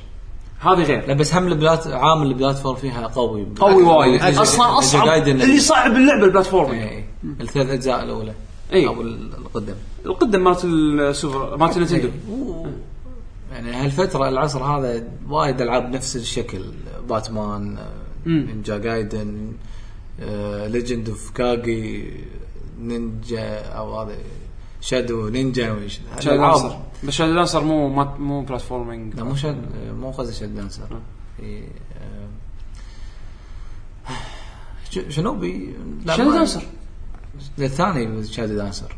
Speaker 1: هذه غير
Speaker 3: لا بس هم البلات عامل البلاتفورم فيها قوي
Speaker 1: قوي وايد
Speaker 3: أجل-
Speaker 1: اصلا اصعب
Speaker 3: أجل- Gaiden.
Speaker 1: اللي صعب اللعبه البلاتفورمينج
Speaker 3: إيه، الثلاث اجزاء الاولى
Speaker 1: إيه.
Speaker 3: او ال- القدم
Speaker 1: القدم مالت السوبر مالت
Speaker 2: إيه.
Speaker 1: النتندو
Speaker 3: يعني هالفترة العصر هذا وايد العاب نفس الشكل باتمان آه،
Speaker 1: مم.
Speaker 3: نينجا جايدن آه، ليجند اوف كاجي نينجا او هذا شادو نينجا وش-
Speaker 1: شادو
Speaker 3: الألعاب.
Speaker 1: دانسر بس شادو دانسر مو ما- مو بلاتفورمينج
Speaker 3: لا مو شاد مو قصدي شاد دانسر في آه، ش- شنوبي لا،
Speaker 1: شادو
Speaker 3: ما-
Speaker 1: دانسر
Speaker 3: الثاني شادو دانسر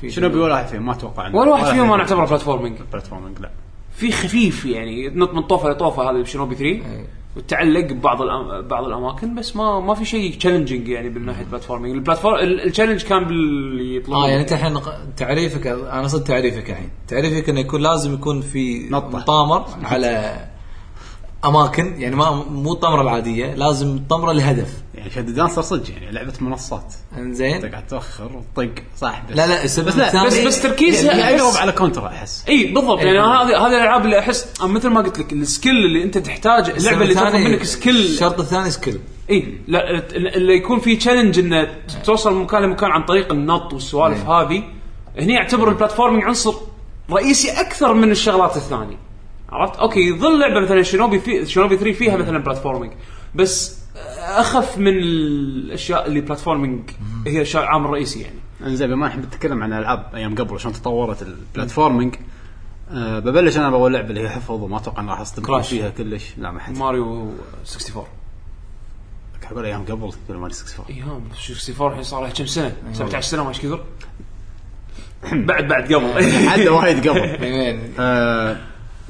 Speaker 3: في
Speaker 2: شنو بي ولا واحد فيهم ما اتوقع إنه-
Speaker 1: ولا واحد فيهم انا اعتبره بلاتفورمينج
Speaker 2: بلاتفورمينج لا
Speaker 1: في خفيف يعني تنط من طوفه لطوفه هذا بشنوبي 3
Speaker 3: إيه.
Speaker 1: وتعلق ببعض الأم... بعض الاماكن بس ما ما في شيء تشالنجينج يعني من ناحيه البلاتفورمينج البلاتفورم ال- التشالنج كان باللي يطلعون
Speaker 3: اه يعني انت الحين ق- تعريفك انا صدق تعريفك الحين تعريفك انه يكون لازم يكون في
Speaker 2: نطة.
Speaker 3: مطامر على اماكن يعني ما مو الطمره العاديه لازم الطمره لهدف
Speaker 2: يعني شادو دانسر صدق يعني لعبه منصات انت
Speaker 1: طيب.
Speaker 3: انزين
Speaker 2: قاعد تاخر وطق صح بس
Speaker 3: لا لا السبب
Speaker 2: بس لا
Speaker 3: الثاني
Speaker 1: بس بس تركيزها
Speaker 2: يعني
Speaker 1: أحس-
Speaker 2: اقرب على كونتر احس
Speaker 1: اي بالضبط يعني
Speaker 3: إيه.
Speaker 1: هذه هذه الالعاب اللي احس مثل ما قلت لك السكيل اللي انت تحتاج اللعبه اللي تاخذ
Speaker 3: إيه.
Speaker 1: منك سكيل
Speaker 3: الشرط الثاني سكيل
Speaker 1: اي إيه، لا ال- اللي يكون في تشالنج انه ت- توصل من مكان لمكان عن طريق النط والسوالف
Speaker 3: إيه.
Speaker 1: هذه هني اعتبر البلاتفورمينج عنصر رئيسي اكثر من الشغلات الثانيه عرفت اوكي ظل لعبه مثلا شينوبي في شينوبي 3 فيها مثلا بلاتفورمينج بس اخف من الاشياء اللي بلاتفورمينج هي الشيء العامل الرئيسي يعني
Speaker 2: انزين بما احنا بنتكلم عن العاب ايام قبل شلون تطورت البلاتفورمينج آه ببلش انا باول لعبه اللي هي حفظ وما اتوقع اني راح استمتع
Speaker 1: كراش.
Speaker 2: فيها كلش لا ما حد
Speaker 1: ماريو 64
Speaker 2: قاعد اقول ايام قبل قبل ما نسكس فور
Speaker 1: اي هم 64 الحين صار لها كم سنه 17 سنه ما ايش كثر بعد بعد قبل
Speaker 2: عدى وايد قبل
Speaker 1: إيه.
Speaker 3: يعني
Speaker 2: آه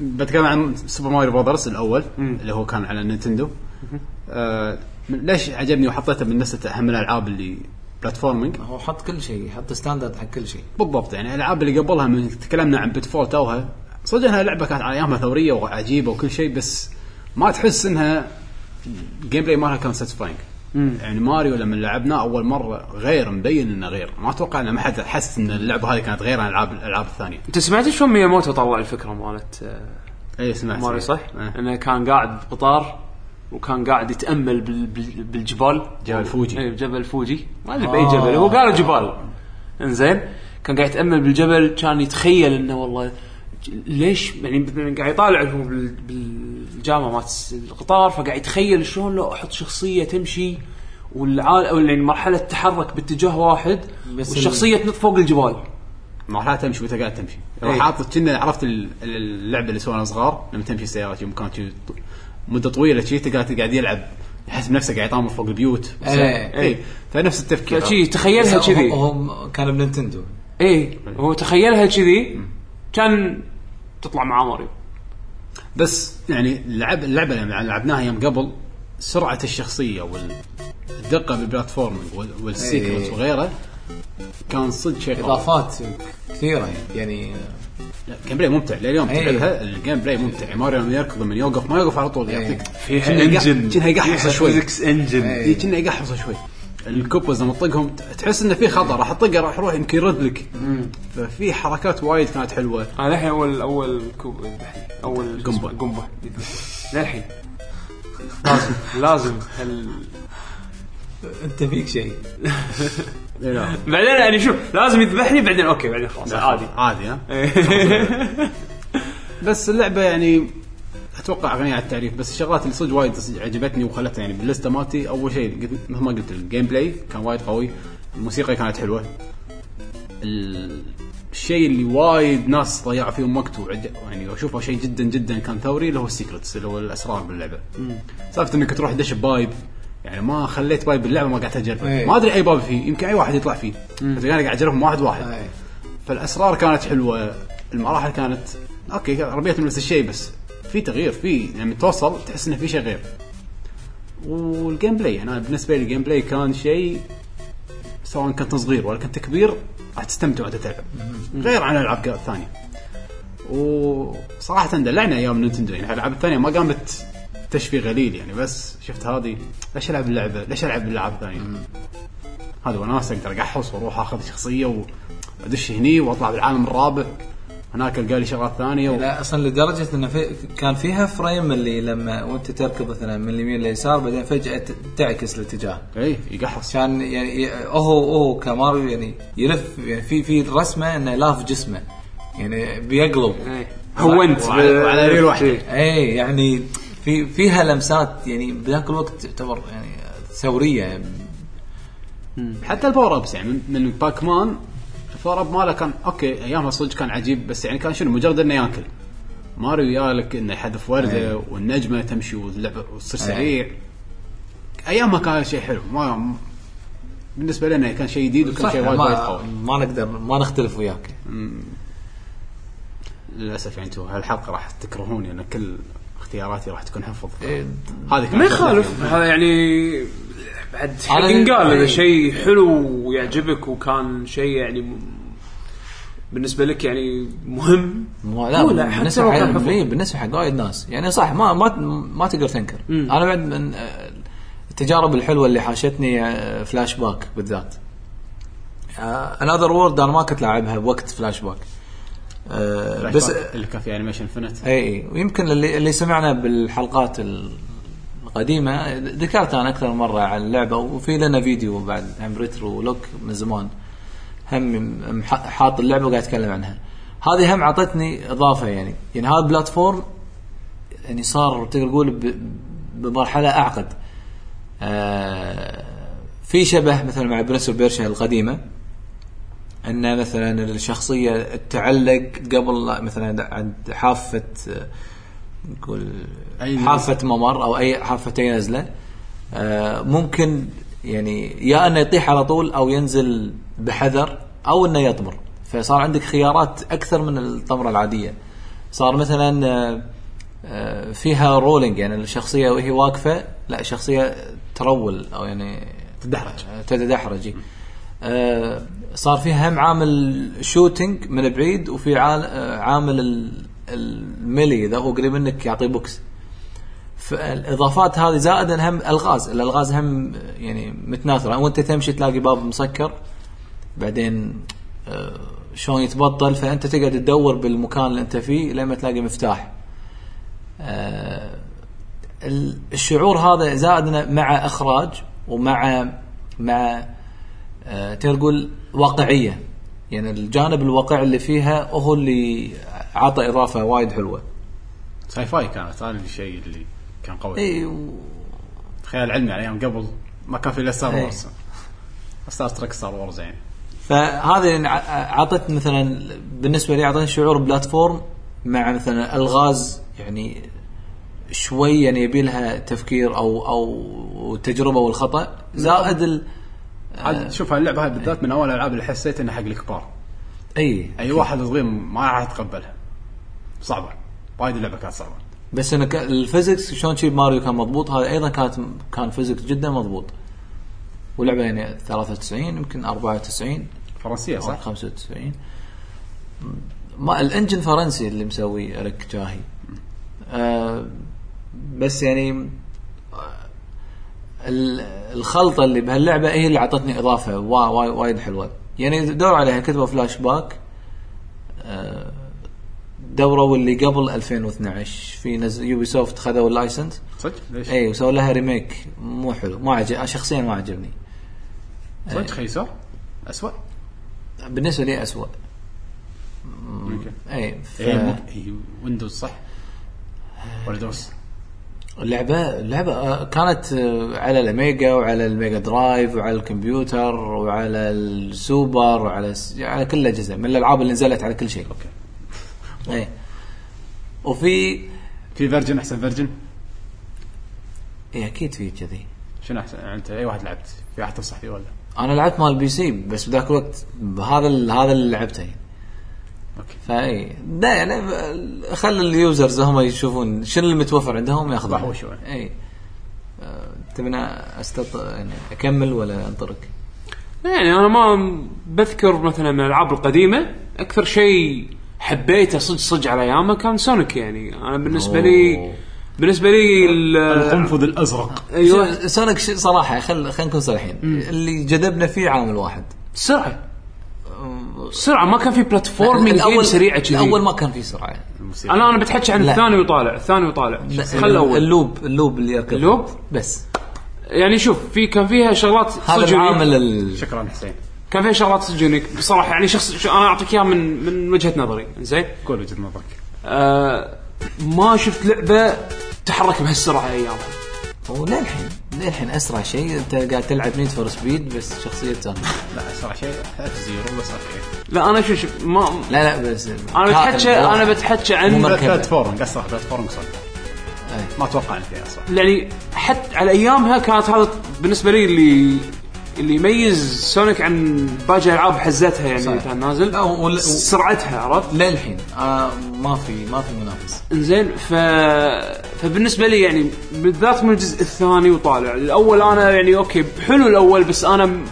Speaker 2: بتكلم عن سوبر ماريو براذرز الاول اللي هو كان على نينتندو آه من- ليش عجبني وحطيته من لسته اهم الالعاب اللي بلاتفورمينج
Speaker 3: هو حط كل شيء حط ستاندرد حق كل شيء
Speaker 2: بالضبط يعني الالعاب اللي قبلها من تكلمنا عن بيتفول توها صدق انها لعبه كانت على ايامها ثوريه وعجيبه وكل شيء بس ما تحس انها الجيم بلاي مالها كان ساتسفاينج يعني ماريو لما لعبناه اول مره غير مبين انه غير ما اتوقع ان ما حد حس ان اللعبه هذه كانت غير عن الالعاب الالعاب الثانيه
Speaker 1: انت سمعت شلون مياموتو طلع الفكره مالت آه،
Speaker 2: اي سمعت
Speaker 1: ماريو صح؟
Speaker 2: سمعت. إيه.
Speaker 1: انه كان قاعد بقطار وكان قاعد يتامل بال- بال- بالجبال
Speaker 2: جبل فوجي.
Speaker 1: اي جبل فوجي ما ادري
Speaker 3: آه.
Speaker 1: باي جبل هو قالوا جبال انزين كان قاعد يتامل بالجبل كان يتخيل انه والله ج- ليش يعني مثلا قاعد يطالع هو بال- بالجامه مالت الس- القطار فقاعد يتخيل شلون لو احط شخصيه تمشي والعالم يعني مرحله تتحرك باتجاه واحد
Speaker 3: بس
Speaker 1: والشخصيه تنط فوق الجبال
Speaker 2: مرحله تمشي وانت قاعد تمشي
Speaker 1: إيه.
Speaker 2: حاطط كنا عرفت ال- ال- اللعبه اللي سوونها صغار لما تمشي السيارات يوم كانت شي ط- مده طويله شي أنت قاعد قاعد يلعب يحس بنفسه قاعد يطامر فوق البيوت
Speaker 3: إيه.
Speaker 2: اي فنفس التفكير
Speaker 1: فشي تخيلها
Speaker 3: بس
Speaker 1: كذي
Speaker 3: هو- هو كان بنينتندو
Speaker 1: ايه هو تخيلها كذي كان تطلع معاه ماريو
Speaker 2: بس يعني اللعب اللعبه لما لعبناها يوم قبل سرعه الشخصيه والدقه بالبلاتفورمينج وال- والسيكونس
Speaker 3: إيه.
Speaker 2: وغيره كان صدق شيء قوي.
Speaker 3: اضافات كثيره يعني
Speaker 2: لا، الجيم بلاي ممتع لليوم
Speaker 3: إيه.
Speaker 2: تلعبها الجيم بلاي ممتع يعني ماريو لما يركض من يوقف ما يوقف على طول
Speaker 3: إيه.
Speaker 2: يعطيك
Speaker 1: فيها
Speaker 2: كأنه يقح-
Speaker 1: engine.
Speaker 2: كأنه يقحصه شوي
Speaker 4: فيزكس
Speaker 1: إيه.
Speaker 4: انجن
Speaker 2: اي إيه، كنا يقحصه شوي الكوبوز لما تطقهم ت- تحس انه في خطر راح اطقه راح يروح يمكن يرد لك ففي حركات وايد كانت حلوه
Speaker 1: انا الحين اول اول كوب الحين اول
Speaker 2: قنبة.
Speaker 1: قنبه للحين لازم لازم هال...
Speaker 3: انت فيك شيء
Speaker 1: بعدين يعني شوف لازم يذبحني بعدين اوكي بعدين خلاص عادي
Speaker 2: عادي ها بس اللعبه يعني اتوقع غنية عن التعريف بس الشغلات اللي صدق وايد صدق عجبتني وخلتها يعني باللسته مالتي اول شيء قلت مثل ما قلت الجيم بلاي كان وايد قوي الموسيقى كانت حلوه ال- الشيء اللي وايد ناس ضيعوا فيهم وقت وعج- يعني واشوفه شيء جدا جدا كان ثوري اللي هو السيكرتس اللي هو الاسرار باللعبه سالفه انك تروح دش ببايب يعني ما خليت بايب باللعبه ما قعدت اجربه
Speaker 3: إيه.
Speaker 2: ما ادري اي باب فيه يمكن اي واحد يطلع فيه بس انا قاعد اجربهم واحد واحد
Speaker 3: إيه.
Speaker 2: فالاسرار كانت حلوه المراحل كانت اوكي ربيتهم نفس الشيء بس في تغيير في يعني توصل تحس انه في شيء غير والجيم بلاي انا بالنسبه يعني لي الجيم بلاي كان شيء سواء كنت صغير ولا كنت كبير راح تستمتع وانت تلعب غير عن الالعاب الثانيه وصراحه دلعنا ايام نينتندو يعني الالعاب الثانيه ما قامت تشفي غليل يعني بس شفت هذه ليش العب اللعبه؟ ليش العب الالعاب الثانيه؟ هذا وناس اقدر اقحص واروح اخذ شخصيه وادش هني واطلع بالعالم الرابع هناك القى لي شغلات ثانيه و...
Speaker 3: لا اصلا لدرجه انه في كان فيها فريم اللي لما وانت تركض مثلا من اليمين لليسار بعدين فجاه ت- تعكس الاتجاه
Speaker 2: اي إيه، يقحص
Speaker 3: كان يعني ي- هو هو كماريو يعني يلف يعني في في رسمه انه لاف جسمه يعني بيقلب
Speaker 1: إيه. هونت
Speaker 2: وعلى- وعلى ريل واحدة.
Speaker 1: إيه.
Speaker 3: اي يعني في فيها لمسات يعني بذاك الوقت تعتبر يعني ثوريه
Speaker 2: حتى الباور ابس يعني من- من باك مان الباور اب ماله كان اوكي ايامها صدق كان عجيب بس يعني كان شنو مجرد انه ياكل ماريو يالك انه يحذف ورده
Speaker 3: أي.
Speaker 2: والنجمه تمشي واللعبه وتصير
Speaker 3: أي.
Speaker 2: سريع ايامها كان شيء حلو ما بالنسبه لنا كان شيء جديد وكان
Speaker 3: صح
Speaker 2: شيء وايد وايد
Speaker 3: ما,
Speaker 2: قوي
Speaker 3: ما نقدر ما نختلف وياك
Speaker 2: للاسف يعني انتم هالحلقه راح تكرهوني انا كل اختياراتي راح تكون حفظ
Speaker 3: إيه،
Speaker 2: هذه كانت
Speaker 1: ما يخالف هذا يعني بعد حق
Speaker 3: أنا-
Speaker 1: قال اذا
Speaker 3: إيه.
Speaker 1: شيء حلو ويعجبك وكان شيء يعني م- بالنسبه لك يعني مهم
Speaker 3: مو لا,
Speaker 1: مو لا، حتى لو
Speaker 3: بالنسبه
Speaker 1: كان
Speaker 3: حق
Speaker 1: حفظ.
Speaker 3: إيه، بالنسبه حق وايد ناس يعني صح ما ما ما تقدر تنكر
Speaker 1: مم.
Speaker 3: انا بعد من آه، التجارب الحلوه اللي حاشتني آه، فلاش باك بالذات آه، انذر وورد انا ما كنت لاعبها بوقت فلاش باك آه،
Speaker 2: فلاش
Speaker 3: بس
Speaker 2: باك اللي كان فيها انيميشن فنت
Speaker 3: اي اي إيه، ويمكن اللي اللي سمعنا بالحلقات ال- القديمه ذكرت انا اكثر من مره عن اللعبه وفي لنا فيديو بعد عن ريترو لوك من زمان هم مح- حاط اللعبه وقاعد اتكلم عنها هذه هم عطتني اضافه يعني يعني هذا البلاتفورم يعني صار تقدر تقول ب- بمرحله اعقد آه، في شبه مثلا مع برنس اوف بيرشا القديمه ان مثلا الشخصيه تعلق قبل مثلا عند حافه آه، نقول
Speaker 2: أي
Speaker 3: حافه ممر او اي حافه اي نزله آه، ممكن يعني يا انه يطيح على طول او ينزل بحذر او انه يطمر فصار عندك خيارات اكثر من الطمره العاديه صار مثلا آه، آه، فيها رولينج يعني الشخصيه وهي واقفه لا الشخصيه ترول او يعني
Speaker 2: تدحرج
Speaker 3: تتدحرجي آه صار فيها هم عامل شوتينج من بعيد وفي عال- آه، عامل ال- الميلي اذا هو قريب منك يعطي بوكس فالاضافات هذه زائدا هم الغاز الالغاز هم يعني متناثره وانت تمشي تلاقي باب مسكر بعدين آه، شلون يتبطل فانت تقعد تدور بالمكان اللي انت فيه لما تلاقي مفتاح آه، ال- الشعور هذا زائدنا مع اخراج ومع مع آه، تقدر تقول واقعيه يعني الجانب الواقعي اللي فيها هو اللي عطى اضافه وايد حلوه
Speaker 2: ساي فاي كانت هذا الشيء اللي كان قوي
Speaker 3: اي و-
Speaker 2: خيال علمي على ايام قبل ما كان في الا ستار
Speaker 3: إيه.
Speaker 2: وورز ستار ترك ستار وورز يعني
Speaker 3: فهذا يعني ع- عطت مثلا بالنسبه لي اعطتني شعور بلاتفورم مع مثلا الغاز يعني شوي يعني يبي لها تفكير او او تجربه والخطا زائد ال... آه.
Speaker 2: عاد شوف هاللعبه هاي
Speaker 3: إيه.
Speaker 2: بالذات من اول الالعاب اللي حسيت انها حق الكبار
Speaker 3: اي
Speaker 2: اي واحد صغير ما راح يتقبلها صعبه وايد اللعبه كانت صعبه
Speaker 3: بس انك الفيزكس شلون شي ماريو كان مضبوط هذا ايضا كانت كان فيزكس جدا مضبوط ولعبه يعني 93 يمكن 94
Speaker 2: فرنسيه
Speaker 3: او
Speaker 2: صح؟
Speaker 3: 95 ما الانجن فرنسي اللي مسوي ريك جاهي آه بس يعني آه، ال- الخلطه اللي بهاللعبه هي اللي اعطتني اضافه وا- وا- وايد حلوه يعني دور عليها كتبوا فلاش باك آه، دوروا اللي قبل 2012 في نزل يوبي سوفت خذوا اللايسنس
Speaker 2: صدق؟ ليش؟
Speaker 3: اي وسووا لها ريميك مو حلو ما عجب شخصيا ما عجبني إيه.
Speaker 2: صدق خيسوه؟ اسوء؟
Speaker 3: بالنسبه لي اسوء
Speaker 2: اوكي
Speaker 3: اي ف...
Speaker 2: إيه، هي مو- هي ويندوز صح؟ ولا دوس؟
Speaker 3: اللعبه اللعبه آه، كانت آه، على الاميجا وعلى الميجا درايف وعلى الكمبيوتر وعلى السوبر وعلى س- على كل الاجهزه من الالعاب اللي نزلت على كل شيء اوكي ايه وفي
Speaker 2: في فيرجن احسن فيرجن
Speaker 3: ايه اكيد في كذي
Speaker 2: شنو احسن يعني انت اي واحد لعبت في واحد تنصح فيه ولا
Speaker 3: انا لعبت مال بي سي بس بذاك الوقت بهذا ال- هذا اللي لعبته يعني
Speaker 2: اوكي
Speaker 3: فاي لا يعني ب- خلي اليوزرز هم يشوفون شنو اللي متوفر عندهم ياخذون
Speaker 2: ضحوا شوي.
Speaker 3: اي آه، تبنى استط يعني اكمل ولا انطرك؟
Speaker 1: يعني انا ما بذكر مثلا من الالعاب القديمه اكثر شيء حبيته صدق صدق على ايامه كان سونيك يعني انا بالنسبه لي
Speaker 3: أوه.
Speaker 1: بالنسبه لي ال-
Speaker 2: القنفذ الازرق
Speaker 1: ايوه
Speaker 3: شو- سونيك شو- صراحه خل خلينا نكون صريحين اللي جذبنا فيه عامل واحد
Speaker 1: سرعه سرعه ما كان في بلاتفورمينج جيم
Speaker 3: الأول-
Speaker 1: سريعه كذي
Speaker 3: الاول ما كان فيه سرعه
Speaker 2: الموسيقى
Speaker 1: انا انا بتحكي عن
Speaker 3: لا.
Speaker 1: الثاني وطالع الثاني وطالع
Speaker 3: لا،
Speaker 1: خل الاول
Speaker 3: اللوب اللوب اللي يركض
Speaker 1: اللوب؟
Speaker 3: بس
Speaker 1: يعني شوف في كان فيها شغلات صدق
Speaker 3: هذا
Speaker 1: يونيك.
Speaker 3: العامل ال...
Speaker 2: شكرا حسين
Speaker 1: كان فيها شغلات صدق يونيك بصراحه يعني شخص شو- انا اعطيك اياها من من وجهه نظري زين
Speaker 2: قول وجهه نظرك
Speaker 1: آه ما شفت لعبه تحرك بهالسرعه ايامها
Speaker 3: وللحين للحين اسرع شيء انت قاعد تلعب نيد فور سبيد بس شخصيه تانية
Speaker 2: لا اسرع شيء اف زيرو بس اوكي
Speaker 1: لا انا شو شوف ما
Speaker 3: لا لا بس
Speaker 1: انا بتحكى انا بتحكى
Speaker 3: مو
Speaker 1: عن
Speaker 3: مركبة.
Speaker 2: بلاتفورم اسرع بلاتفورم صدق
Speaker 3: أي.
Speaker 2: ما اتوقع ان فيها اسرع
Speaker 1: يعني حتى على ايامها كانت هذا بالنسبه لي اللي اللي يميز سونيك عن باقي العاب حزتها يعني
Speaker 3: صحيح.
Speaker 1: اللي كان نازل
Speaker 3: لا، و- وال-
Speaker 1: سرعتها عرفت
Speaker 3: للحين آه ما في ما في منافس
Speaker 1: انزين ف فبالنسبه لي يعني بالذات من الجزء الثاني وطالع الاول انا يعني اوكي حلو الاول بس انا م-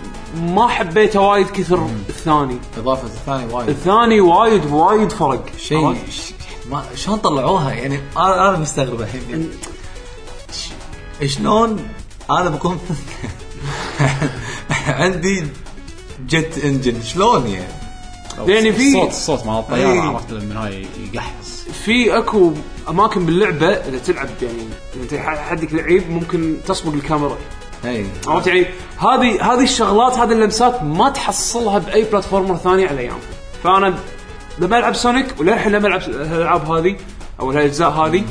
Speaker 1: ما حبيته وايد كثر الثاني
Speaker 3: اضافه الثاني وايد
Speaker 1: الثاني وايد وايد فرق عرفت؟
Speaker 3: شيء ش- ما شلون طلعوها يعني انا انا مستغرب الحين ش- شلون انا بكون عندي جت انجن شلون يعني
Speaker 1: يعني في-
Speaker 2: الصوت الصوت مال
Speaker 3: أي.
Speaker 2: الطياره عرفت من هاي يقحص
Speaker 1: في اكو اماكن باللعبه اذا تلعب يعني إذا انت ح- حدك لعيب ممكن تسبق الكاميرا
Speaker 3: اي
Speaker 1: عرفت يعني هذه هذه الشغلات هذه اللمسات ما تحصلها باي بلاتفورمر ثاني على ايام فانا لما العب سونيك وللحين لما العب الالعاب هذه او الاجزاء هذه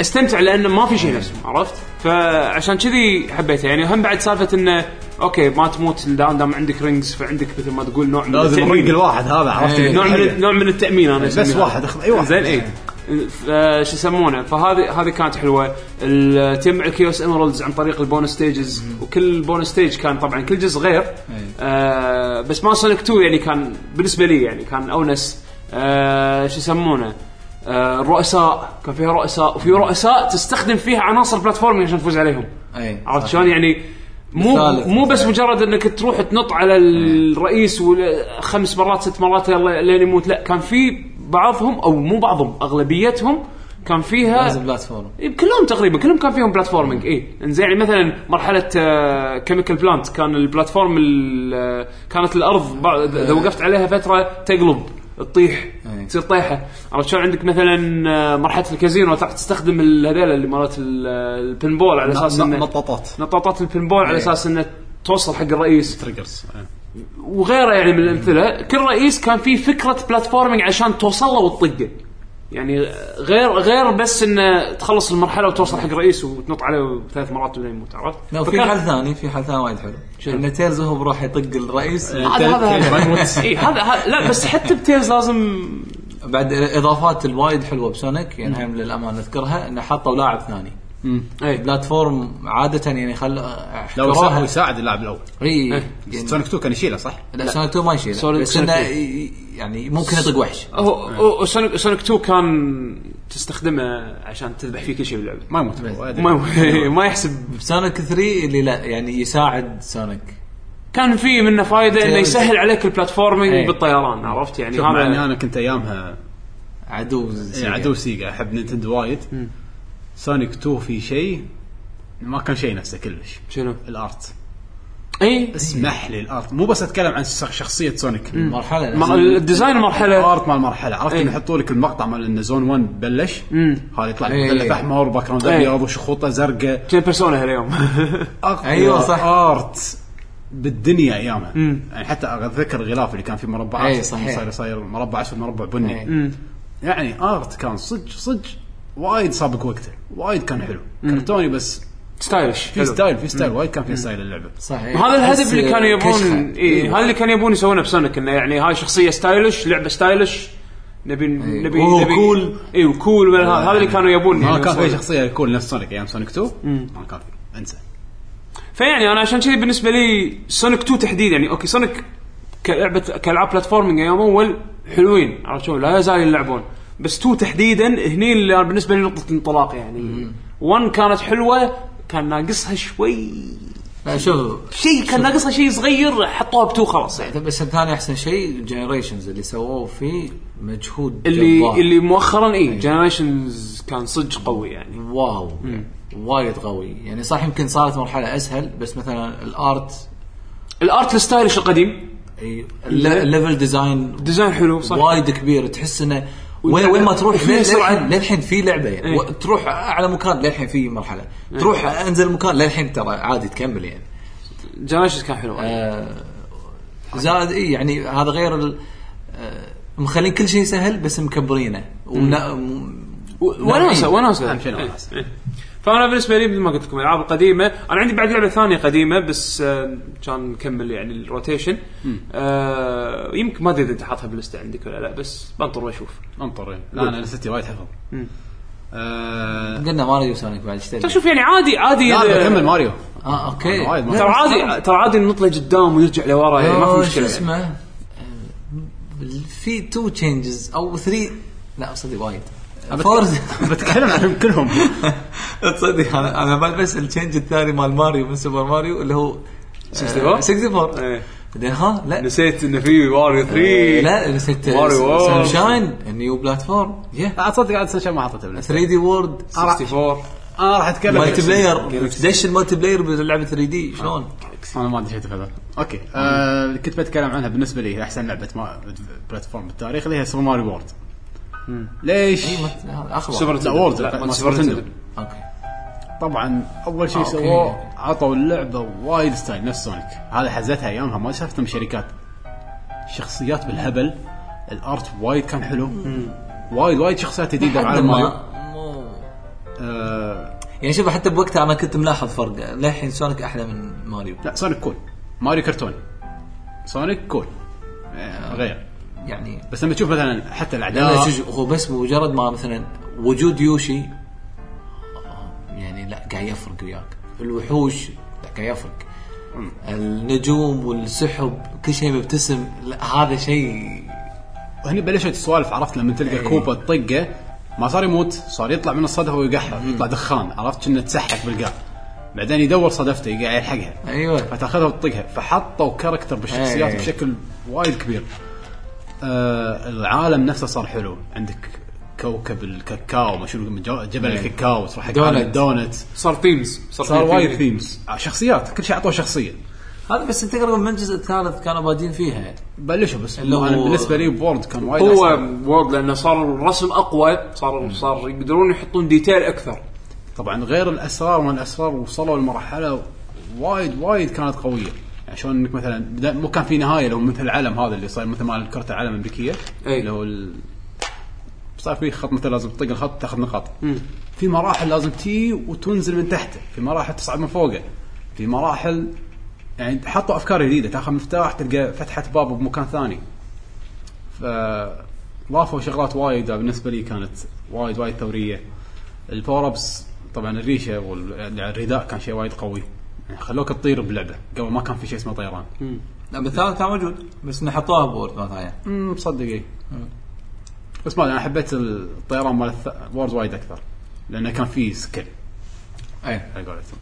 Speaker 1: استمتع لان ما في شيء نفسهم عرفت فعشان كذي حبيته يعني هم بعد سالفه انه اوكي ما تموت دام دام عندك رينجز فعندك مثل ما تقول نوع من
Speaker 2: لازم
Speaker 1: التأمين.
Speaker 2: الرنق الواحد هذا عرفت يعني
Speaker 3: أي.
Speaker 1: نوع
Speaker 2: اللي
Speaker 1: من
Speaker 2: يتحير.
Speaker 1: نوع من التامين انا
Speaker 2: بس
Speaker 1: أسميها.
Speaker 2: واحد، أخذ أي واحد.
Speaker 1: زين اي فا شو يسمونه فهذه هذه كانت حلوه ال- تجمع الكيوس ايمرالدز عن طريق البونس ستيجز وكل بونس ستيج كان طبعا كل جزء غير
Speaker 2: إيه.
Speaker 1: آه بس ما سونيك 2 يعني كان بالنسبه لي يعني كان اونس آه شو يسمونه آه الرؤساء كان فيها رؤساء وفي رؤساء تستخدم فيها عناصر بلاتفورمينج عشان تفوز عليهم
Speaker 3: اي
Speaker 1: عرفت شلون يعني مو
Speaker 3: مثالث.
Speaker 1: مو بس مجرد انك تروح تنط على الرئيس ولا- خمس مرات ست مرات يلا لين يموت لا كان في بعضهم او مو بعضهم اغلبيتهم كان
Speaker 3: لازم
Speaker 1: فيها
Speaker 3: بلاتفورم
Speaker 1: إيه، كلهم تقريبا كلهم كان فيهم بلاتفورمينج اي انزين يعني مثلا مرحله كيميكال بلانت كان البلاتفورم ال- آه، كانت الارض بعض- اذا وقفت عليها فتره تقلب تطيح
Speaker 3: إيه.
Speaker 1: تصير طيحه عرفت شلون عندك مثلا آه، مرحله الكازينو تعرف تستخدم ال- هذيلا اللي مرات ال- آه، البنبول على اساس
Speaker 2: ن-
Speaker 1: انه
Speaker 2: نطاطات
Speaker 1: نطاطات البنبول على
Speaker 3: إيه.
Speaker 1: اساس انه توصل حق الرئيس
Speaker 2: تريجرز أي.
Speaker 1: وغيره يعني من الامثله كل رئيس كان فيه فكره بلاتفورمينج عشان توصل له وتطقه يعني غير غير بس انه تخلص المرحله وتوصل حق رئيس وتنط عليه ثلاث مرات ولين يموت عرفت؟
Speaker 3: لا في
Speaker 1: فكان-
Speaker 3: حل ثاني في حل ثاني وايد حلو ان تيرز هو بروح يطق الرئيس
Speaker 2: إيه.
Speaker 1: هذا هذا
Speaker 2: ما يموت.
Speaker 1: هذا إي، هذا هذا- لا بس حتى بتيرز لازم
Speaker 3: بعد الاضافات الوايد حلوه بسونيك يعني هم للامانه نذكرها انه حطوا لاعب ثاني
Speaker 1: اي
Speaker 3: بلاتفورم عاده يعني خل
Speaker 2: لو يساعد-
Speaker 3: احتراها
Speaker 2: يساعد اللاعب الاول
Speaker 3: اي
Speaker 1: إيه.
Speaker 3: يعني
Speaker 2: سونيك 2 كان يشيله صح؟
Speaker 3: لا سونيك 2 ما يشيل
Speaker 1: سونيك-
Speaker 3: بس انه
Speaker 1: سونيك
Speaker 3: ي- يعني ممكن يطق وحش
Speaker 1: هو- هو سونيك سونيك 2 كان تستخدمه عشان تذبح فيه كل شيء باللعبه
Speaker 2: ما يموت
Speaker 3: بس.
Speaker 2: هو، أدري.
Speaker 1: ما ما يحسب
Speaker 3: بسونيك 3 اللي لا يعني يساعد سونيك
Speaker 1: كان في منه فائده انه يسهل عليك
Speaker 3: إيه.
Speaker 1: البلاتفورمينج بالطيران عرفت يعني
Speaker 2: شوف، مع اني
Speaker 1: هذا
Speaker 2: انا كنت ايامها
Speaker 3: عدو
Speaker 2: إيه،
Speaker 3: زي-
Speaker 2: عدو سيجا احب نينتندو وايد سونيك 2 في شيء ما كان شيء نفسه كلش
Speaker 1: شنو؟
Speaker 2: الارت
Speaker 1: اي
Speaker 2: اسمح لي الارت مو بس اتكلم عن شخ- شخصيه سونيك
Speaker 3: مرحله
Speaker 1: مر- الديزاين المرحله
Speaker 2: الارت مال المرحله عرفت
Speaker 1: إيه.
Speaker 2: انه يحطوا لك المقطع مال انه زون 1 بلش هذا يطلع لك
Speaker 3: إيه.
Speaker 2: مثلث احمر باك جراوند
Speaker 1: إيه.
Speaker 2: ابيض وشخوطه زرقاء
Speaker 1: كان بيرسونا هاليوم
Speaker 2: اقوى
Speaker 3: أيوة صح.
Speaker 2: ارت بالدنيا ايامها يعني حتى اتذكر الغلاف اللي كان فيه مربعات
Speaker 3: أي إيه، صحيح.
Speaker 2: صاير صاير مربع اسود مربع بني
Speaker 3: إيه.
Speaker 1: مم.
Speaker 2: يعني ارت كان صدق صدق وايد سابق وقته وايد كان حلو كرتوني بس
Speaker 1: ستايلش
Speaker 2: في
Speaker 1: حلو.
Speaker 2: ستايل في ستايل وايد كان في ستايل اللعبه
Speaker 3: صحيح
Speaker 1: وهذا الهدف
Speaker 3: بس
Speaker 1: اللي كانوا يبون
Speaker 3: كشخة. إيه.
Speaker 1: اي هذا اللي كانوا يبون يسوونه بسونيك انه يعني هاي شخصيه ستايلش لعبه ستايلش نبي
Speaker 2: إيه،
Speaker 1: نبي
Speaker 3: أوه،
Speaker 1: نبي
Speaker 3: كول.
Speaker 1: اي وكول ولا هذا هذا اللي كانوا يبون
Speaker 2: ما
Speaker 1: يعني
Speaker 2: كان في
Speaker 1: يوصلون.
Speaker 2: شخصيه كول نفس سونيك ايام سونيك 2 ما كان في انسى
Speaker 1: فيعني انا عشان كذي بالنسبه لي سونيك 2 تحديد يعني اوكي سونيك كلعبه كالعاب بلاتفورمينج ايام اول حلوين عرفت شلون لا يزال يلعبون بس 2 تحديدا هني اللي أنا بالنسبه لي نقطه انطلاق يعني 1 كانت حلوه كان ناقصها شوي
Speaker 3: لا شوف
Speaker 1: شيء كان ناقصها شيء صغير حطوها ب 2 خلاص يعني
Speaker 3: بس ثاني احسن شيء جنريشنز اللي سووه فيه مجهود
Speaker 1: اللي
Speaker 3: جبار.
Speaker 1: اللي مؤخرا اي جنريشنز كان صدق قوي يعني
Speaker 3: واو وايد قوي يعني صح يمكن صارت مرحله اسهل بس مثلا الارت
Speaker 1: الارت الستايلش القديم
Speaker 3: أي- الل- الليفل ديزاين
Speaker 1: ديزاين حلو صح
Speaker 3: وايد كبير تحس انه
Speaker 1: وأنت-
Speaker 3: وين وين ما تروح
Speaker 1: وفي
Speaker 3: لل-
Speaker 1: سرعة.
Speaker 3: للحين للحين في لعبه يعني
Speaker 1: إيه.
Speaker 3: و- تروح اعلى مكان للحين في مرحله تروح انزل مكان للحين ترى عادي تكمل يعني
Speaker 1: جنريشنز كان حلو
Speaker 3: آه، زائد اي يعني هذا غير ال- آه، مخلين كل شيء سهل بس مكبرينه
Speaker 1: إيه.
Speaker 3: ونا- م-
Speaker 1: وناسه
Speaker 3: نوعين.
Speaker 1: وناسه
Speaker 2: أهم شيء وناسة.
Speaker 1: إيه، إيه. فانا بالنسبه لي مثل ما قلت لكم العاب قديمه انا عندي بعد لعبه ثانيه قديمه بس آه، كان نكمل يعني الروتيشن آه يمكن ما ادري اذا انت حاطها باللسته عندك ولا لا بس بنطر واشوف
Speaker 2: انطر يعني. لا انا لستي وايد حفظ آه،
Speaker 3: قلنا ماريو سونيك بعد ايش
Speaker 1: ترى شوف يعني عادي عادي إذا-
Speaker 2: لا بكمل ماريو
Speaker 3: اه اوكي
Speaker 2: وايد ما-
Speaker 1: ترى عادي ترى عادي ننط له قدام ويرجع لورا يعني ما في
Speaker 3: آه، شو
Speaker 1: مشكله يعني.
Speaker 3: اسمه آه، في تو تشينجز او ثري لا صدق وايد فورز
Speaker 2: بتكلم عنهم كلهم
Speaker 3: تصدق انا انا بال- بس التشينج الثاني مال ماريو من سوبر ماريو اللي هو آه،
Speaker 1: 64
Speaker 3: 64
Speaker 1: إيه.
Speaker 3: بعدين ها لا
Speaker 1: نسيت انه في واريو 3
Speaker 3: لا نسيت
Speaker 1: ماريو وورد.
Speaker 3: سانشاين النيو بلاتفورم يا
Speaker 2: لا، تصدق آه، عاد سنشان ما حطيته بنفسي
Speaker 3: 3 دي وورد
Speaker 1: 64
Speaker 2: انا راح اتكلم
Speaker 3: مالتي بلاير دش المالتي بلاير بلعبه 3 دي شلون؟
Speaker 2: انا ما ادري شو هذا اوكي آه كنت بتكلم عنها بالنسبه لي احسن لعبه ما بلاتفورم بالتاريخ اللي هي سوبر ماريو وورد ليش؟
Speaker 3: إي، ما- هذا اخبر
Speaker 1: سوبر
Speaker 2: لا وورد
Speaker 1: لا،
Speaker 2: ما
Speaker 1: ما
Speaker 2: سوبر
Speaker 1: سوبر
Speaker 2: نتندو.
Speaker 1: نتندو.
Speaker 3: اوكي
Speaker 2: طبعا اول شيء
Speaker 3: آه، أوكي.
Speaker 2: سووه عطوا اللعبه وايد ستايل نفس سونيك هذا حزتها ايامها ما شافتهم شركات شخصيات بالهبل الارت وايد كان حلو وايد وايد شخصيات جديده بعالم ماريو
Speaker 3: ما- مو-
Speaker 2: آه
Speaker 3: يعني شوف حتى بوقتها انا كنت ملاحظ فرق للحين سونيك احلى من ماريو
Speaker 2: لا سونيك كول ماريو كرتوني سونيك كول آه غير
Speaker 3: يعني
Speaker 2: بس لما تشوف مثلا حتى
Speaker 3: لا
Speaker 2: الاعداء
Speaker 3: شوف هو بس مجرد ما مثلا وجود يوشي يعني لا قاعد يفرق وياك الوحوش لا قاعد يفرق النجوم والسحب كل شيء مبتسم لا هذا شيء
Speaker 2: هني بلشت السوالف عرفت لما تلقى
Speaker 3: إيه.
Speaker 2: كوبا تطقه ما صار يموت صار يطلع من الصدفه ويقحر يطلع دخان عرفت كأنه تسحق بالقاع بعدين يدور صدفته يقع يلحقها
Speaker 3: ايوه
Speaker 2: فتاخذها وتطقها فحطوا كاركتر بالشخصيات
Speaker 3: أي.
Speaker 2: بشكل وايد كبير آه العالم نفسه صار حلو عندك كوكب الكاكاو ما شنو من جو- جبل
Speaker 3: إيه.
Speaker 2: الكاكاو تروح حق
Speaker 3: دونت.
Speaker 2: عالم الدونت
Speaker 1: صار ثيمز
Speaker 2: صار وايد ثيمز شخصيات كل شيء اعطوه شخصيه
Speaker 3: هذا بس تقريبا من الجزء الثالث كانوا بادين فيها
Speaker 2: بلشوا بس
Speaker 3: اللي
Speaker 2: انا
Speaker 3: هو-
Speaker 2: بالنسبه لي بورد كان وايد
Speaker 1: هو
Speaker 2: أحسن.
Speaker 1: وورد لانه صار الرسم اقوى صار صار يقدرون يحطون ديتيل اكثر
Speaker 2: طبعا غير الاسرار ما الاسرار وصلوا لمرحله وايد وايد كانت قويه يعني شلون انك مثلا بدا- مو كان في نهايه لو مثل العلم هذا اللي صاير مثل مال كره العالم الامريكيه
Speaker 1: أي.
Speaker 2: اللي هو ال... صار في خط مثلا لازم تطق الخط تاخذ نقاط في مراحل لازم تي وتنزل من تحته في مراحل تصعد من فوقه في مراحل يعني حطوا افكار جديده تاخذ مفتاح تلقى فتحه باب بمكان ثاني ف آه، ضافوا شغلات وايد بالنسبه لي كانت وايد وايد ثوريه الباور ابس طبعا الريشه والرداء يعني كان شيء وايد قوي يعني خلوك تطير باللعبه قبل ما كان في شيء اسمه طيران
Speaker 3: لا بالثالث كان موجود بس انه حطوها بورد ما ثانيه
Speaker 2: امم مصدق اي بس ما أدري، انا حبيت الطيران مال الث- وورد وايد اكثر لانه كان فيه سكيل
Speaker 3: اي
Speaker 2: على قولتهم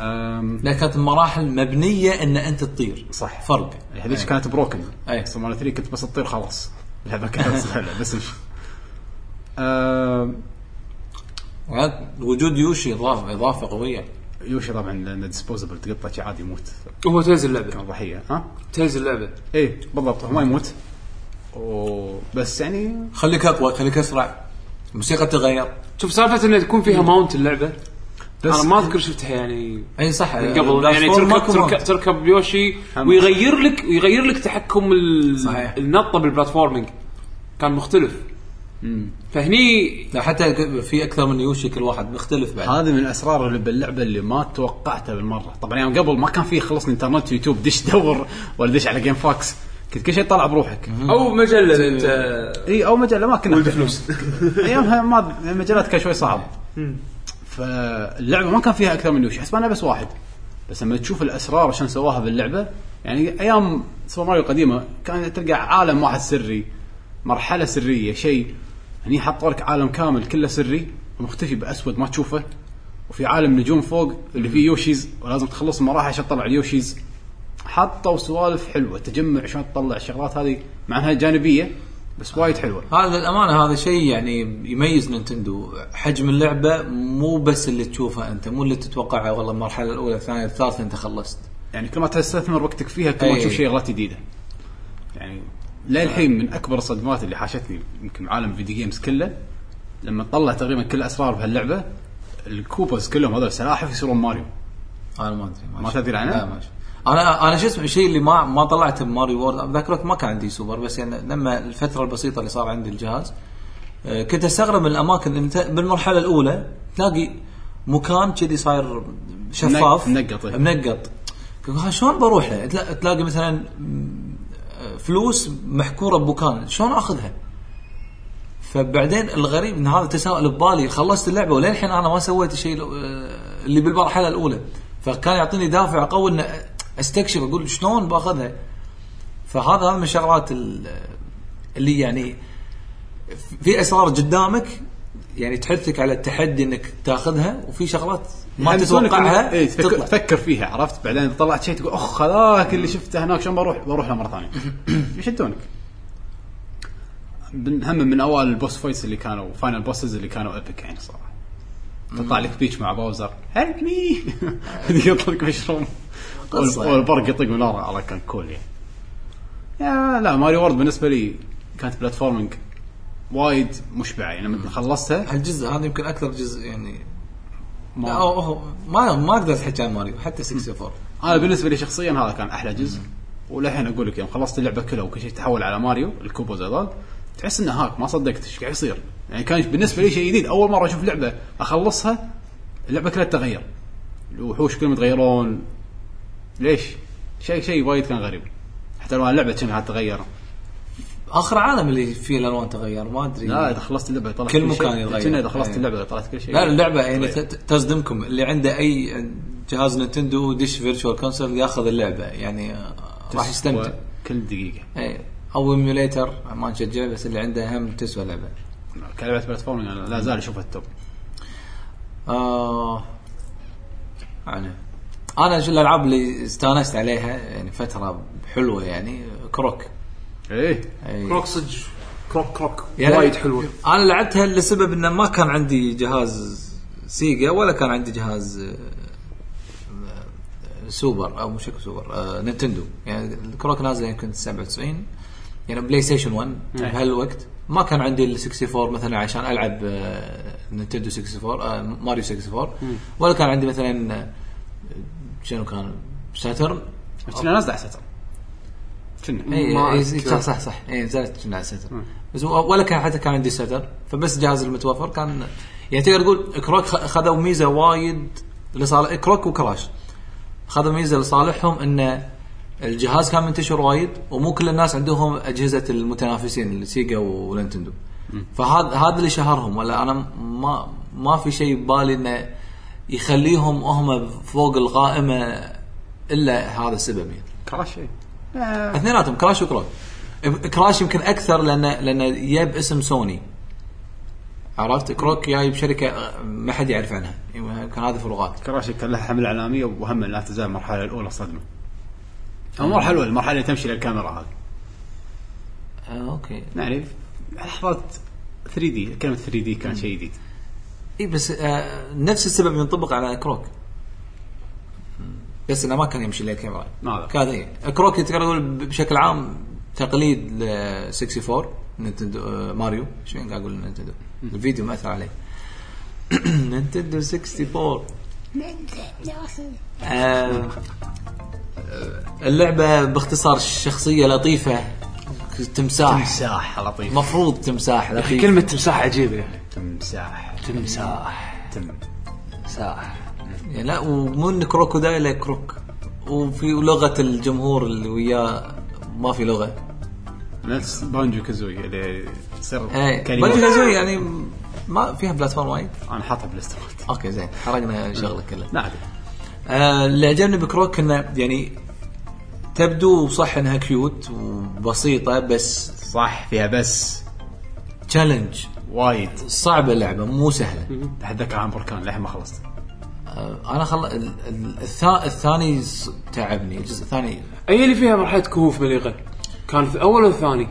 Speaker 2: أم،
Speaker 3: لا كانت المراحل مبنيه ان انت تطير
Speaker 2: صح. يعني
Speaker 3: فرق
Speaker 2: هذيك
Speaker 3: أي.
Speaker 2: كانت بروكن
Speaker 3: أي.
Speaker 2: بس مال 3 كنت بس تطير خلاص اللعبه كانت سهله بس مش أم،
Speaker 3: وهذا وجود يوشي اضافه اضافه قويه
Speaker 2: يوشي طبعا لانه ديسبوزبل تقطع شي عادي يموت
Speaker 1: هو تيز اللعبه
Speaker 2: كان ضحيه ها
Speaker 1: تيز اللعبه
Speaker 2: ايه بالضبط هو ما يموت و- بس يعني
Speaker 3: خليك اقوى خليك اسرع الموسيقى تتغير
Speaker 1: شوف سالفه انه تكون فيها ماونت اللعبه
Speaker 2: بس آه،
Speaker 1: انا ما اذكر شفتها يعني
Speaker 3: اي صح
Speaker 1: من قبل يعني
Speaker 3: بلاتفورم
Speaker 1: تركب
Speaker 3: ماكو ماونت.
Speaker 1: تركب, تركب يوشي
Speaker 2: هم.
Speaker 1: ويغير لك ويغير لك تحكم ال-
Speaker 3: صحيح.
Speaker 1: النطه بالبلاتفورمينج كان مختلف فهني
Speaker 3: لا حتى ك- في اكثر من يوشي كل واحد مختلف بعد
Speaker 2: هذه من الاسرار اللي باللعبه اللي ما توقعتها بالمره طبعا ايام قبل ما كان في خلص الانترنت يوتيوب دش دور ولا دش على جيم فاكس كنت كل شيء طلع بروحك
Speaker 1: او مجله انت
Speaker 2: اي او مجله ما كنا
Speaker 1: ولد فلوس
Speaker 2: ايامها ما المجالات كان شوي صعب فاللعبه ما كان فيها اكثر من وش حسب انا بس واحد بس لما تشوف الاسرار عشان سواها باللعبه يعني ايام سوبر ماريو القديمه كان تلقى عالم واحد سري مرحله سريه شيء هني حطوا لك عالم كامل كله سري ومختفي باسود ما تشوفه وفي عالم نجوم فوق اللي فيه يوشيز ولازم تخلص المراحل عشان تطلع اليوشيز حطوا سوالف حلوه تجمع عشان تطلع الشغلات هذه مع انها جانبيه بس وايد حلوه
Speaker 3: هذا الامانه هذا شيء يعني يميز نينتندو حجم اللعبه مو بس اللي تشوفها انت مو اللي تتوقعها والله المرحله الاولى الثانيه الثالثه انت خلصت
Speaker 2: يعني كل ما تستثمر وقتك فيها كل ما
Speaker 3: أي.
Speaker 2: تشوف شغلات جديده يعني للحين من اكبر الصدمات اللي حاشتني يمكن عالم الفيديو جيمز كله لما تطلع تقريبا كل اسرار بهاللعبه الكوبرز كلهم هذول سلاحف يصيرون ماريو
Speaker 3: انا ما ادري
Speaker 2: ما
Speaker 3: شفت.
Speaker 2: تدري عنه؟
Speaker 3: لا ما شفت. انا انا شو اسمه الشيء اللي ما ما طلعته بماريو وورد ذاك الوقت ما كان عندي سوبر بس يعني لما الفتره البسيطه اللي صار عندي الجهاز آه، كنت استغرب من الاماكن انت بالمرحله الاولى تلاقي مكان كذي صاير
Speaker 2: منق-
Speaker 3: شفاف
Speaker 2: منقط، إيه.
Speaker 3: منقط كنت أقول، "ها، شلون بروح له؟ تلا- تلاقي مثلا م، آه، فلوس محكوره بمكان شلون اخذها؟ فبعدين الغريب ان هذا تساؤل ببالي خلصت اللعبه وللحين انا ما سويت الشيء ال- آه، اللي بالمرحله الاولى فكان يعطيني دافع قوي ان استكشف اقول شلون باخذها فهذا هذا من الشغلات ال- اللي يعني في اسرار قدامك يعني تحثك على التحدي انك تاخذها وفي شغلات ما
Speaker 2: يعني يسوونك إنه-
Speaker 3: تتوقعها
Speaker 2: إيه، تفكر,
Speaker 3: تطلع
Speaker 2: تفكر فيها عرفت بعدين إذا طلعت شيء تقول اخ هذاك اللي شفته هناك شلون بروح بروح له مره ثانيه يشدونك من- هم من اوائل البوس فايتس اللي كانوا فاينل بوسز اللي كانوا ايبك يعني صراحه تطلع لك بيتش مع باوزر هيلب مي يطلق مشروم
Speaker 3: قصة.
Speaker 2: وال- والبرق يطق من ورا على كان كول يعني يا لا ماري وورد بالنسبه لي كانت بلاتفورمينج وايد مشبعه يعني لما خلصتها
Speaker 3: هالجزء هذا يمكن اكثر جزء يعني
Speaker 2: ما-
Speaker 3: لا، أو- أو- ما ما اقدر احكي عن ماريو حتى 64
Speaker 2: انا بالنسبه آه، لي شخصيا هذا كان احلى جزء وللحين اقول لك يوم خلصت اللعبه كلها وكل شيء تحول على ماريو الكوبوز هذول تحس انه هاك ما صدقت ايش قاعد يصير يعني كان بالنسبه لي شيء جديد اول مره اشوف لعبه اخلصها اللعبه كلها تتغير الوحوش كلهم يتغيرون ليش؟ شيء شيء وايد كان غريب حتى لو اللعبه كانها تتغير
Speaker 3: اخر عالم اللي فيه الالوان تغير ما ادري
Speaker 2: لا اذا خلصت اللعبه طلعت
Speaker 3: كل
Speaker 2: شيء.
Speaker 3: مكان يتغير.
Speaker 2: كنا اذا خلصت
Speaker 3: أي.
Speaker 2: اللعبه طلعت كل شيء طيب.
Speaker 3: لا اللعبه يعني
Speaker 2: تغير.
Speaker 3: ت- تصدمكم اللي عنده اي جهاز نينتندو دش فيرتشوال كونسول ياخذ اللعبه يعني آه، راح يستمتع
Speaker 2: كل دقيقه
Speaker 3: اي او ايميوليتر إيه. ما نشجع بس اللي عنده هم تسوى لعبه
Speaker 2: كلعبه بلاتفورمينج أنا لا زال اشوفها التوب
Speaker 3: آه يعني انا شو الالعاب اللي استانست عليها يعني فتره حلوه يعني كروك إيه.
Speaker 2: ايه
Speaker 3: أي.
Speaker 1: كروك صدق كروك كروك
Speaker 3: يعني-
Speaker 1: وايد حلوه
Speaker 3: انا لعبتها لسبب انه ما كان عندي جهاز سيجا ولا كان عندي جهاز آه، آه، سوبر او مش هيك سوبر آه، نينتندو يعني الكروك نازله يمكن 97 يعني بلاي ستيشن 1 بهالوقت ما كان عندي ال 64 مثلا عشان العب آه، نينتندو 64 آه، ماريو 64 ولا كان عندي مثلا آه، شنو كان ساترن
Speaker 2: كنا نازله على ستر كنا
Speaker 3: اي
Speaker 1: ما
Speaker 3: اي
Speaker 1: أذكر.
Speaker 3: إيه، صح صح إيه، صح اي نزلت كنا على الستر بس و- ولا كان حتى كان عندي ستر فبس الجهاز المتوفر كان يعني تقدر تقول كروك خ- خذوا ميزه وايد لصالح كروك وكراش خذوا ميزه لصالحهم ان الجهاز كان منتشر وايد ومو كل الناس عندهم اجهزه المتنافسين السيجا وننتندو فهذا هذا اللي شهرهم ولا انا ما ما في شيء ببالي انه يخليهم هم فوق القائمه الا هذا السبب يعني
Speaker 2: كراش اي
Speaker 3: اثنيناتهم كراش وكروك كراش يمكن اكثر لان لان يب اسم سوني عرفت كروك جاي بشركه آه، ما حد يعرف عنها يمكن كان هذه فروقات
Speaker 2: كراشي كان لها حمله اعلاميه وهم لا تزال المرحله الاولى صدمه المرحله الاولى المرحله اللي تمشي للكاميرا هذه
Speaker 3: آه اوكي
Speaker 2: يعني لحظات 3 دي كلمه 3 دي كان شيء جديد
Speaker 3: اي بس آه نفس السبب ينطبق على كروك بس انه ما كان يمشي للكاميرا
Speaker 2: نعم.
Speaker 3: كان إيه. كروك تقدر تقول بشكل عام تقليد ل 64 نينتندو آه، ماريو شو قاعد اقول نينتندو الفيديو مأثر عليه نينتندو 64 آه، اللعبه باختصار شخصيه لطيفه تمساح
Speaker 2: تمساح لطيف
Speaker 3: مفروض تمساح لطيف
Speaker 1: كلمه تمساح عجيبه يعني
Speaker 2: تمساح
Speaker 1: تمساح
Speaker 3: تمساح يعني لا ومو ان كروكودايل كروك وفي لغه الجمهور اللي وياه ما في لغه
Speaker 2: نفس بانجو كازوي اللي تصير
Speaker 3: ايه
Speaker 2: كلمات
Speaker 3: بنجي كازوي يعني ما فيها بلاتفورم وايد
Speaker 2: انا حاطها بالاسترات
Speaker 3: اوكي زين حرقنا شغله كلها
Speaker 2: ما ادري
Speaker 3: آه، اللي عجبني بكروك انه يعني تبدو صح انها كيوت وبسيطه بس
Speaker 2: صح فيها بس
Speaker 3: تشالنج
Speaker 2: وايد
Speaker 3: صعبه اللعبه مو سهله
Speaker 2: اتذكر عن بركان للحين ما خلصت
Speaker 3: آه، انا خل ال- ال- الثا- الثاني س- تعبني الجزء الثاني
Speaker 1: اي اللي فيها مرحله كهوف مليغه كان في الاول والثاني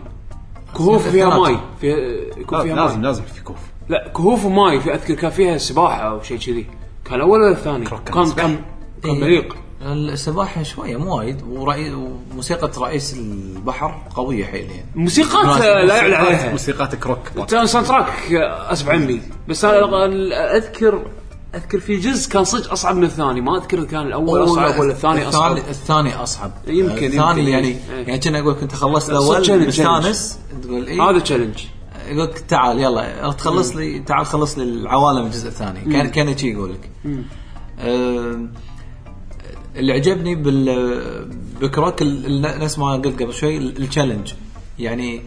Speaker 1: كهوف
Speaker 3: سنة
Speaker 1: فيها
Speaker 3: الثلاثة.
Speaker 1: ماي فيها يكون فيها
Speaker 2: لازم
Speaker 1: ماي
Speaker 2: لازم في كوف
Speaker 1: لا كهوف وماي في اذكر كان فيها سباحه او شيء كذي كان الاول ولا الثاني
Speaker 2: كروك كان
Speaker 1: كان
Speaker 2: سباحة.
Speaker 1: كان كان
Speaker 3: إيه،
Speaker 1: مليق
Speaker 3: السباحه شويه مو وايد ورأي- وموسيقى رئيس البحر قويه حيل يعني
Speaker 1: موسيقات آه، لا يعلى عليها يعني
Speaker 2: موسيقات كروك
Speaker 1: كان ساوند تراك آه، اسف عمي بس انا أغ- اذكر اذكر في جزء كان صدق اصعب من الثاني ما اذكر كان الاول اصعب ولا الثاني اصعب
Speaker 3: الثاني, الثاني اصعب
Speaker 1: يمكن- يمكن.
Speaker 3: الثاني يعني
Speaker 1: إيه.
Speaker 3: يعني كنا اقول كنت خلصت
Speaker 1: صدق
Speaker 3: الاول
Speaker 1: challenge-
Speaker 3: مستانس تقول إيه؟ اي
Speaker 1: هذا تشالنج
Speaker 3: يقول لك تعال يلا تخلص لي تعال خلص لي العوالم الجزء الثاني كان كان شي يقول لك أم، اللي عجبني بال بكروك ال- ال- نفس ما قلت قبل شوي ال- التشالنج يعني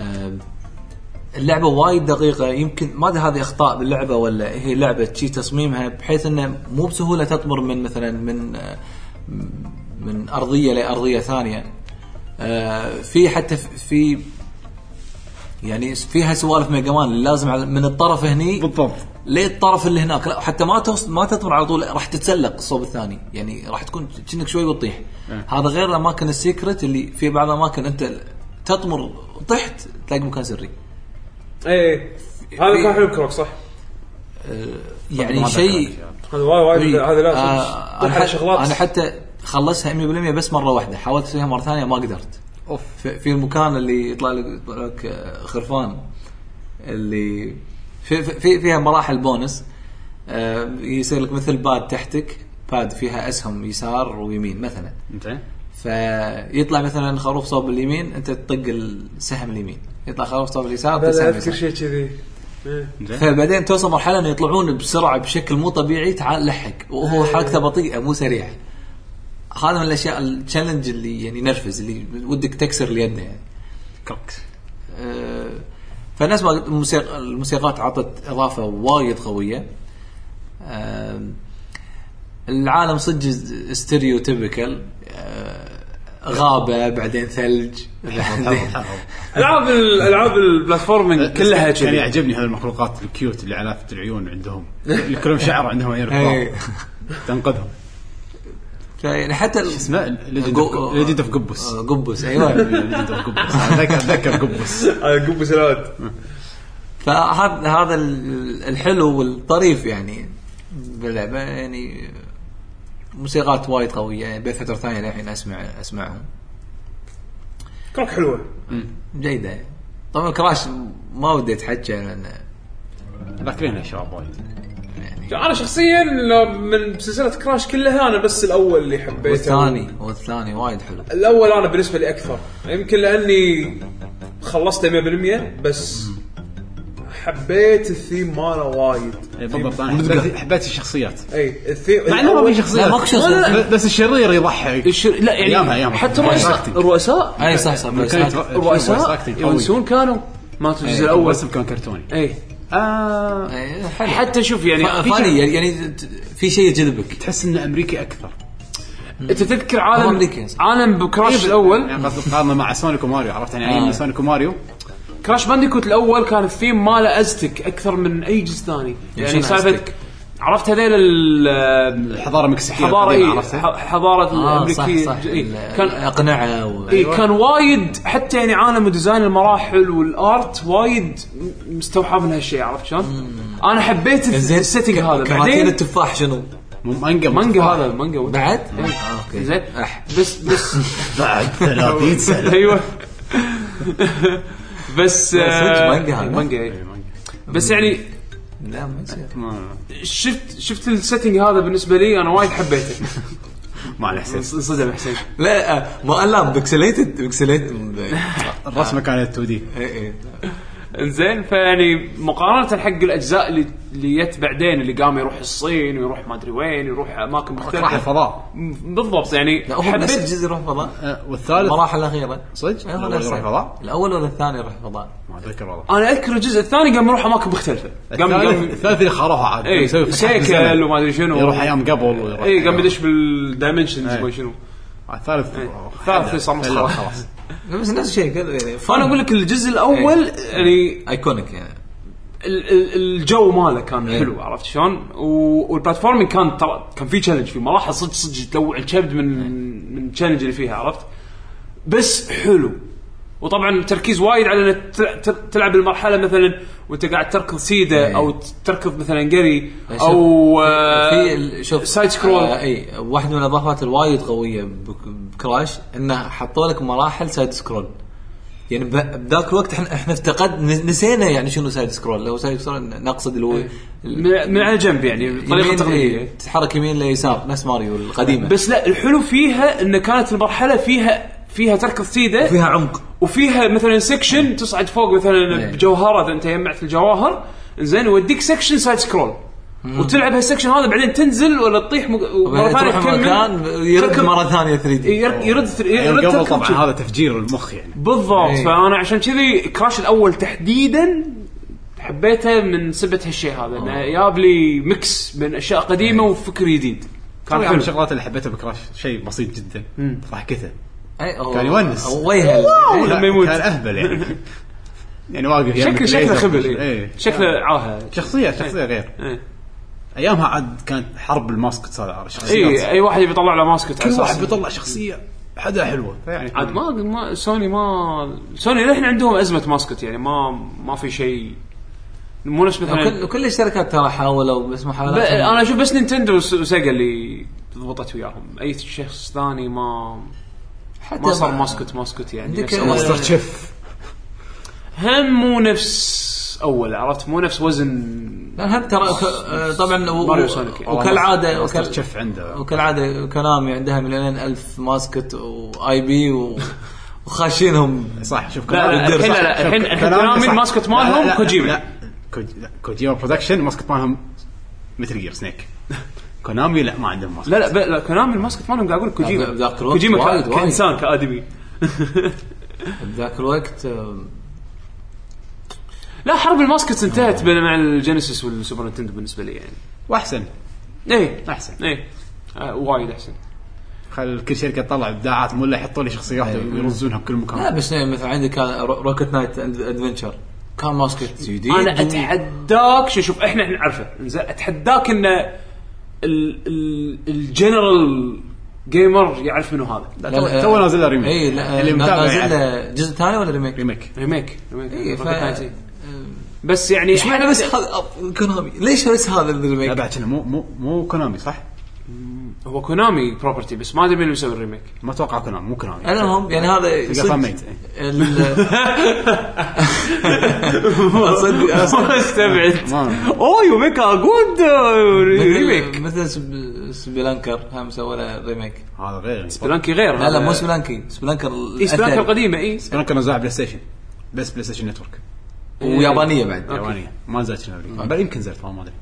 Speaker 3: أم، اللعبه وايد دقيقه يمكن ما ادري هذه اخطاء باللعبه ولا هي لعبه شي تصميمها بحيث انه مو بسهوله تطمر من مثلا من أه، من ارضيه لارضيه ثانيه أه، في حتى في- في يعني فيها سوالف ميجامان لازم على- من الطرف هني
Speaker 2: بالضبط
Speaker 3: للطرف اللي هناك لا حتى ما توصل ما تطمر على طول راح تتسلق الصوب الثاني يعني راح تكون كأنك شوي وتطيح هذا غير الاماكن السيكرت اللي في بعض الاماكن انت تطمر طحت تلاقي مكان سري
Speaker 1: ايه هذا كان حلو كروك صح
Speaker 2: ما
Speaker 3: يعني
Speaker 2: أتذكر
Speaker 3: شيء
Speaker 2: هالشيء هذا.
Speaker 1: هذا وايد وايد هذا لازم
Speaker 3: آه
Speaker 1: طرح
Speaker 3: انا,
Speaker 1: طيب، على
Speaker 3: حت
Speaker 1: شغلات
Speaker 3: أنا حتى خلصها 100% بس مره واحده حاولت فيها مره ثانيه ما قدرت
Speaker 2: اوف
Speaker 3: في, في المكان اللي يطلع لك, يطلع لك آه، خرفان اللي في, في- في فيها مراحل بونس آه، يصير لك مثل باد تحتك باد فيها اسهم يسار ويمين مثلا
Speaker 2: انت
Speaker 3: فيطلع مثلا خروف صوب اليمين انت تطق السهم اليمين يطلع خروف صوب اليسار تطق
Speaker 1: هذا
Speaker 3: السهم
Speaker 1: اذكر
Speaker 3: اليسار
Speaker 1: شيء كذي إيه.
Speaker 3: فبعدين توصل مرحله انه يطلعون بسرعه بشكل مو طبيعي تعال لحق وهو حركته بطيئه مو سريعه هذا من الاشياء التشالنج اللي يعني نرفز اللي ودك تكسر اليد يعني
Speaker 2: كروك
Speaker 3: أه، فالناس ما قلت- الموسيق- الموسيقات عطت اضافه وايد قويه أه، العالم صدق ستيريوتيبكال غابه بعدين ثلج
Speaker 2: إيه،
Speaker 3: بعدين
Speaker 1: العاب الالعاب البلاتفورمينج كلها
Speaker 2: كان
Speaker 1: كذي
Speaker 2: يعني يعجبني هذه المخلوقات الكيوت اللي علافه العيون عندهم اللي كلهم شعر عندهم عيون
Speaker 3: إيه.
Speaker 2: كبار. تنقذهم
Speaker 3: يعني حتى ال-
Speaker 2: اسمه
Speaker 3: جو-
Speaker 2: ليجند اوف قبس
Speaker 3: آه، قبس ايوه
Speaker 2: ليجند اوف قبس اتذكر اتذكر قبس
Speaker 3: آه،
Speaker 1: قبس العود
Speaker 3: فهذا هذا ال- الحلو والطريف يعني باللعبه يعني موسيقات وايد قويه يعني بفتره ثانيه للحين اسمع اسمعهم
Speaker 1: كروك حلوه
Speaker 3: جيده يعني. طبعا كراش ما ودي اتحكى لان
Speaker 2: ذاكرينها شباب وايد
Speaker 3: يعني
Speaker 1: انا شخصيا من سلسله كراش كلها انا بس الاول اللي حبيته
Speaker 3: والثاني والثاني وايد حلو
Speaker 1: الاول انا بالنسبه لي اكثر يمكن لاني خلصته 100% بس حبيت الثيم ماله وايد
Speaker 2: إيه، بالضبط انا حبيت- حبيت الشخصيات
Speaker 4: إيه.
Speaker 1: اي الثيم
Speaker 2: مع انه ما في
Speaker 3: لا،
Speaker 2: شخصيات
Speaker 3: ماكو شخصيات.
Speaker 2: لا، لا، بس الشرير يضحك
Speaker 1: الش- لا يعني
Speaker 2: أيامها- أيامها.
Speaker 1: حتى
Speaker 2: أيامها.
Speaker 1: الرؤساء
Speaker 2: Acting.
Speaker 1: الرؤساء
Speaker 3: اي صح صح بس
Speaker 2: كانت-
Speaker 3: أنا-
Speaker 2: voice
Speaker 1: إيه، الرؤساء
Speaker 2: acting قوي.
Speaker 1: يونسون كانوا ماتوا الجزء
Speaker 2: الاول
Speaker 1: الاول
Speaker 2: رسم كان كرتوني
Speaker 1: اي
Speaker 2: آه
Speaker 3: إيه، حلو
Speaker 1: إيه. حتى شوف يعني
Speaker 3: ف-
Speaker 1: في
Speaker 3: فاني يعني- يعني ت- في شيء يجذبك
Speaker 2: تحس انه امريكي اكثر
Speaker 1: انت تذكر
Speaker 3: هو
Speaker 1: عالم
Speaker 3: أمريكي.
Speaker 1: عالم بكراش الاول
Speaker 2: يعني قصدي مقارنه مع سونيك وماريو عرفت يعني
Speaker 1: آه.
Speaker 2: ايام سونيك وماريو
Speaker 1: كراش بانديكوت الاول كان الثيم ماله ازتك اكثر من اي جزء ثاني يعني
Speaker 3: شنو
Speaker 1: سالفه
Speaker 3: أزتك؟
Speaker 1: عرفت هذيل ال-
Speaker 2: الحضاره المكسيكيه
Speaker 1: حضاره
Speaker 2: القديمة،
Speaker 1: اي
Speaker 2: عرفتها؟
Speaker 1: ح- حضاره
Speaker 3: اه صح
Speaker 1: الامريكيه
Speaker 3: صح
Speaker 1: آه، إي.
Speaker 3: ال- أيوة.
Speaker 1: كان
Speaker 3: الاقنعه و...
Speaker 1: إي كان وايد حتى يعني عالم ديزاين المراحل والارت وايد م- مستوحى من هالشيء عرفت شلون؟ انا حبيت الث-
Speaker 3: زين
Speaker 1: السيتنج
Speaker 3: ك-
Speaker 1: هذا
Speaker 3: كراتين
Speaker 1: بعدين
Speaker 3: التفاح شنو؟
Speaker 2: مو مانجا
Speaker 1: مانجا هذا مانجا
Speaker 3: بعد؟
Speaker 1: إي.
Speaker 3: آه، اوكي
Speaker 1: زين
Speaker 3: أح.
Speaker 1: بس بس
Speaker 2: بعد 30 سنه
Speaker 1: ايوه بس
Speaker 3: لا، صدق
Speaker 1: آه،
Speaker 3: مانجا هذا.
Speaker 1: مانجا إي. بس يعني
Speaker 3: لا ما يصير
Speaker 1: شفت شفت السيتنج هذا بالنسبه لي انا وايد حبيته
Speaker 2: مع الحسين
Speaker 1: انصدم حسين
Speaker 3: لا آه، ما لا بكسليتد بكسليتد
Speaker 1: آه.
Speaker 2: الرسمه كانت 2 دي
Speaker 3: إيه،
Speaker 1: انزين فيعني مقارنه حق الاجزاء اللي اللي جت بعدين اللي قام يروح الصين ويروح ما ادري وين يروح اماكن
Speaker 2: راح
Speaker 1: مختلفه
Speaker 2: الفضاء
Speaker 1: م- بالضبط يعني
Speaker 3: لا هو بس
Speaker 1: حبيت
Speaker 3: الجزء يروح فضاء
Speaker 2: أه، والثالث
Speaker 3: المراحل الاخيره
Speaker 2: صدق؟
Speaker 3: إيه، هو
Speaker 2: الأول
Speaker 3: نفسه.
Speaker 2: يروح فضاء؟
Speaker 3: الاول ولا الثاني يروح فضاء
Speaker 2: ما اتذكر والله
Speaker 1: انا اذكر الجزء الثاني قام يروح اماكن مختلفه آه، قام
Speaker 2: الثالث
Speaker 1: قام
Speaker 2: الثالث اللي خاروها عاد
Speaker 1: اي
Speaker 2: يسوي فتحة في
Speaker 1: سيكل
Speaker 2: إيه، الزمن.
Speaker 1: وما ادري شنو إيه،
Speaker 2: يروح ايام قبل ويروح
Speaker 1: اي قام يدش بالدايمنشنز
Speaker 2: إيه.
Speaker 1: ما شنو
Speaker 2: الثالث
Speaker 1: الثالث صار مسخرة.
Speaker 2: خلاص
Speaker 3: بس نفس الشيء كذا يعني.
Speaker 1: فانا اقول لك الجزء الاول
Speaker 3: إيه.
Speaker 1: يعني
Speaker 3: ايكونيك يعني
Speaker 1: ال- ال- الجو ماله كان
Speaker 3: إيه.
Speaker 1: حلو عرفت شلون؟ و- والبلاتفورمينج كان ترى كان في تشالنج في مراحل صدق صدق تلوع الكبد من
Speaker 3: إيه.
Speaker 1: من التشالنج اللي فيها عرفت؟ بس حلو وطبعا تركيز وايد على انك تل- تل- تلعب المرحله مثلا وانت قاعد تركض سيده
Speaker 3: إيه.
Speaker 1: او ت- تركض مثلا قري آه،
Speaker 3: شوف،
Speaker 1: او
Speaker 3: في ال- شوف
Speaker 1: سايد سكرول
Speaker 3: آه، اي واحده من الاضافات الوايد قويه بك- بكراش انه حطوا لك مراحل سايد سكرول يعني ب- بذاك الوقت احنا احنا افتقد نس- نسينا يعني شنو سايد سكرول لو سايد سكرول نقصد اللي هو
Speaker 1: من من على جنب يعني بالطريقه
Speaker 3: يمين-
Speaker 1: التقليديه
Speaker 3: إيه، تتحرك يمين ليسار نفس ماريو القديمه
Speaker 1: بس لا الحلو فيها ان كانت المرحله فيها فيها تركض سيده
Speaker 3: فيها عمق
Speaker 1: وفيها مثلا سكشن تصعد فوق مثلا
Speaker 3: إيه.
Speaker 1: بجوهره اذا انت جمعت الجواهر زين يوديك سكشن سايد سكرول وتلعب هالسكشن هذا بعدين تنزل ولا تطيح مق- مره ثانيه
Speaker 3: تروح
Speaker 1: تكمل
Speaker 3: مكان يرد
Speaker 1: تركض-
Speaker 3: مره ثانيه 3 دي
Speaker 1: يرد يرد, يرد
Speaker 2: قبل
Speaker 1: تركض
Speaker 2: طبعا هذا تفجير المخ يعني
Speaker 1: بالضبط
Speaker 3: إيه.
Speaker 1: فانا عشان كذي كراش الاول تحديدا حبيته من سبه هالشيء هذا انه جاب لي ميكس بين اشياء قديمه وفكر جديد كان
Speaker 2: طبعا من
Speaker 1: حلو
Speaker 2: الشغلات اللي حبيتها بكراش شيء بسيط جدا ضحكته كان يونس.
Speaker 3: وجهه
Speaker 1: لما
Speaker 2: لا،
Speaker 1: يموت.
Speaker 2: كان اهبل يعني يعني واقف
Speaker 1: شكله
Speaker 2: يمك
Speaker 1: شكله
Speaker 2: ليزر.
Speaker 1: خبل إيه.
Speaker 2: إيه.
Speaker 1: شكله عاهه
Speaker 2: شخصيه شخصيه غير
Speaker 1: إيه.
Speaker 2: ايامها عاد كانت حرب الماسكت هذا
Speaker 1: اي
Speaker 2: شخصيات
Speaker 1: اي إيه، واحد يبي يطلع له ماسكت
Speaker 2: كل واحد بيطلع شخصيه حدا حلوه فيعني
Speaker 1: عاد ما ما سوني ما سوني للحين عندهم ازمه ماسكت يعني ما ما في شيء مو نفس مثلا
Speaker 3: كل كل الشركات ترى حاولوا بس
Speaker 1: ب-
Speaker 3: محاولات
Speaker 1: انا اشوف بس نينتندو وس- وسيجا اللي ضبطت وياهم اي شخص ثاني ما
Speaker 3: حتى
Speaker 1: ما صار ماسكت ماسكت يعني
Speaker 3: عندك
Speaker 1: نفس أول.
Speaker 2: ماستر تشيف
Speaker 1: هم مو نفس اول عرفت مو نفس وزن
Speaker 3: لا هم ترى ك- آه، طبعا و-
Speaker 1: ماريو سونيك.
Speaker 3: و- وكالعاده
Speaker 2: ماستر
Speaker 3: وكال-
Speaker 2: تشيف عنده
Speaker 3: وكالعاده كونامي عندها مليونين الف ماسكت واي بي و- وخاشينهم
Speaker 2: صح شوف
Speaker 1: لا،
Speaker 2: كلامي-
Speaker 1: الحين لا، لا،
Speaker 2: شوف
Speaker 1: الحين- الحين
Speaker 2: كلامي
Speaker 1: كلامي
Speaker 2: صح.
Speaker 1: الماسكت
Speaker 2: لا، لا،
Speaker 1: مالهم
Speaker 2: لا،
Speaker 1: كوجيما.
Speaker 2: لا كوج- لا، كوجيما برودكشن ماسكت مالهم مثل جير سنيك كونامي لا ما عندهم ماسكت
Speaker 1: لا لا ب- لا كلام الماسكت مالهم قاعد اقول لك
Speaker 3: لا،
Speaker 1: كوجيما
Speaker 3: بذاك الوقت
Speaker 1: كوجيما
Speaker 3: وايد،
Speaker 1: ك-
Speaker 3: وايد.
Speaker 1: كانسان كادمي
Speaker 3: بذاك الوقت آه،
Speaker 1: لا حرب الماسكت
Speaker 3: آه.
Speaker 1: انتهت بين- مع الجينيسيس والسوبر نينتندو بالنسبه لي يعني
Speaker 2: واحسن
Speaker 1: ايه
Speaker 2: احسن
Speaker 1: ايه آه، وايد احسن
Speaker 2: خل كل شركه تطلع ابداعات مو الا يحطوا لي شخصيات
Speaker 1: إيه.
Speaker 2: ويرزونها بكل
Speaker 3: لا
Speaker 2: مكان
Speaker 3: بس يعني مثلا عندك كان رو- روكت نايت أد- ادفنشر كان ماسكت جديد
Speaker 1: انا اتحداك شو شوف احنا احنا نعرفه زين اتحداك ان ال- ال- الجنرال جيمر يعرف منو هذا
Speaker 2: لا، تو- تو نازل له ريميك
Speaker 3: اي إيه،
Speaker 2: اللي
Speaker 3: لا اللي
Speaker 2: متابع
Speaker 3: نازل
Speaker 2: يعرف.
Speaker 3: له جزء ثاني ولا ريميك؟
Speaker 2: ريميك
Speaker 1: ريميك ريميك
Speaker 3: إيه، ف-
Speaker 1: ريميك نايتي. بس يعني
Speaker 3: ايش معنى بس هذا أب- كونامي ليش بس هذا
Speaker 2: لا
Speaker 3: الريميك؟
Speaker 2: بعد كنا مو مو مو كونامي صح؟
Speaker 1: هو كونامي بروبرتي بس ما ادري مين اللي مسوي الريميك
Speaker 2: ما اتوقع كونامي مو كونامي
Speaker 3: انا هم يعني هذا
Speaker 2: تلقى
Speaker 3: صدق
Speaker 2: فميت.
Speaker 3: ال- أصدق- أصدق.
Speaker 1: ما استبعد
Speaker 2: ما-
Speaker 1: اوه يو ميك ا جود ريميك
Speaker 3: مثل- مثل سب- سبلانكر هم سووا له ريميك
Speaker 2: هذا غير
Speaker 1: بلانكي غير آه.
Speaker 3: لا لا مو سبلانكي سبلانكر
Speaker 1: اي سبلانكي
Speaker 3: الأثري.
Speaker 1: القديمه اي
Speaker 2: انا كان نزاع بلاي ستيشن بس بلاي ستيشن نتورك
Speaker 3: ويابانيه بعد
Speaker 2: يابانيه ما نزلت هنا امريكا بل يمكن نزلت ما ادري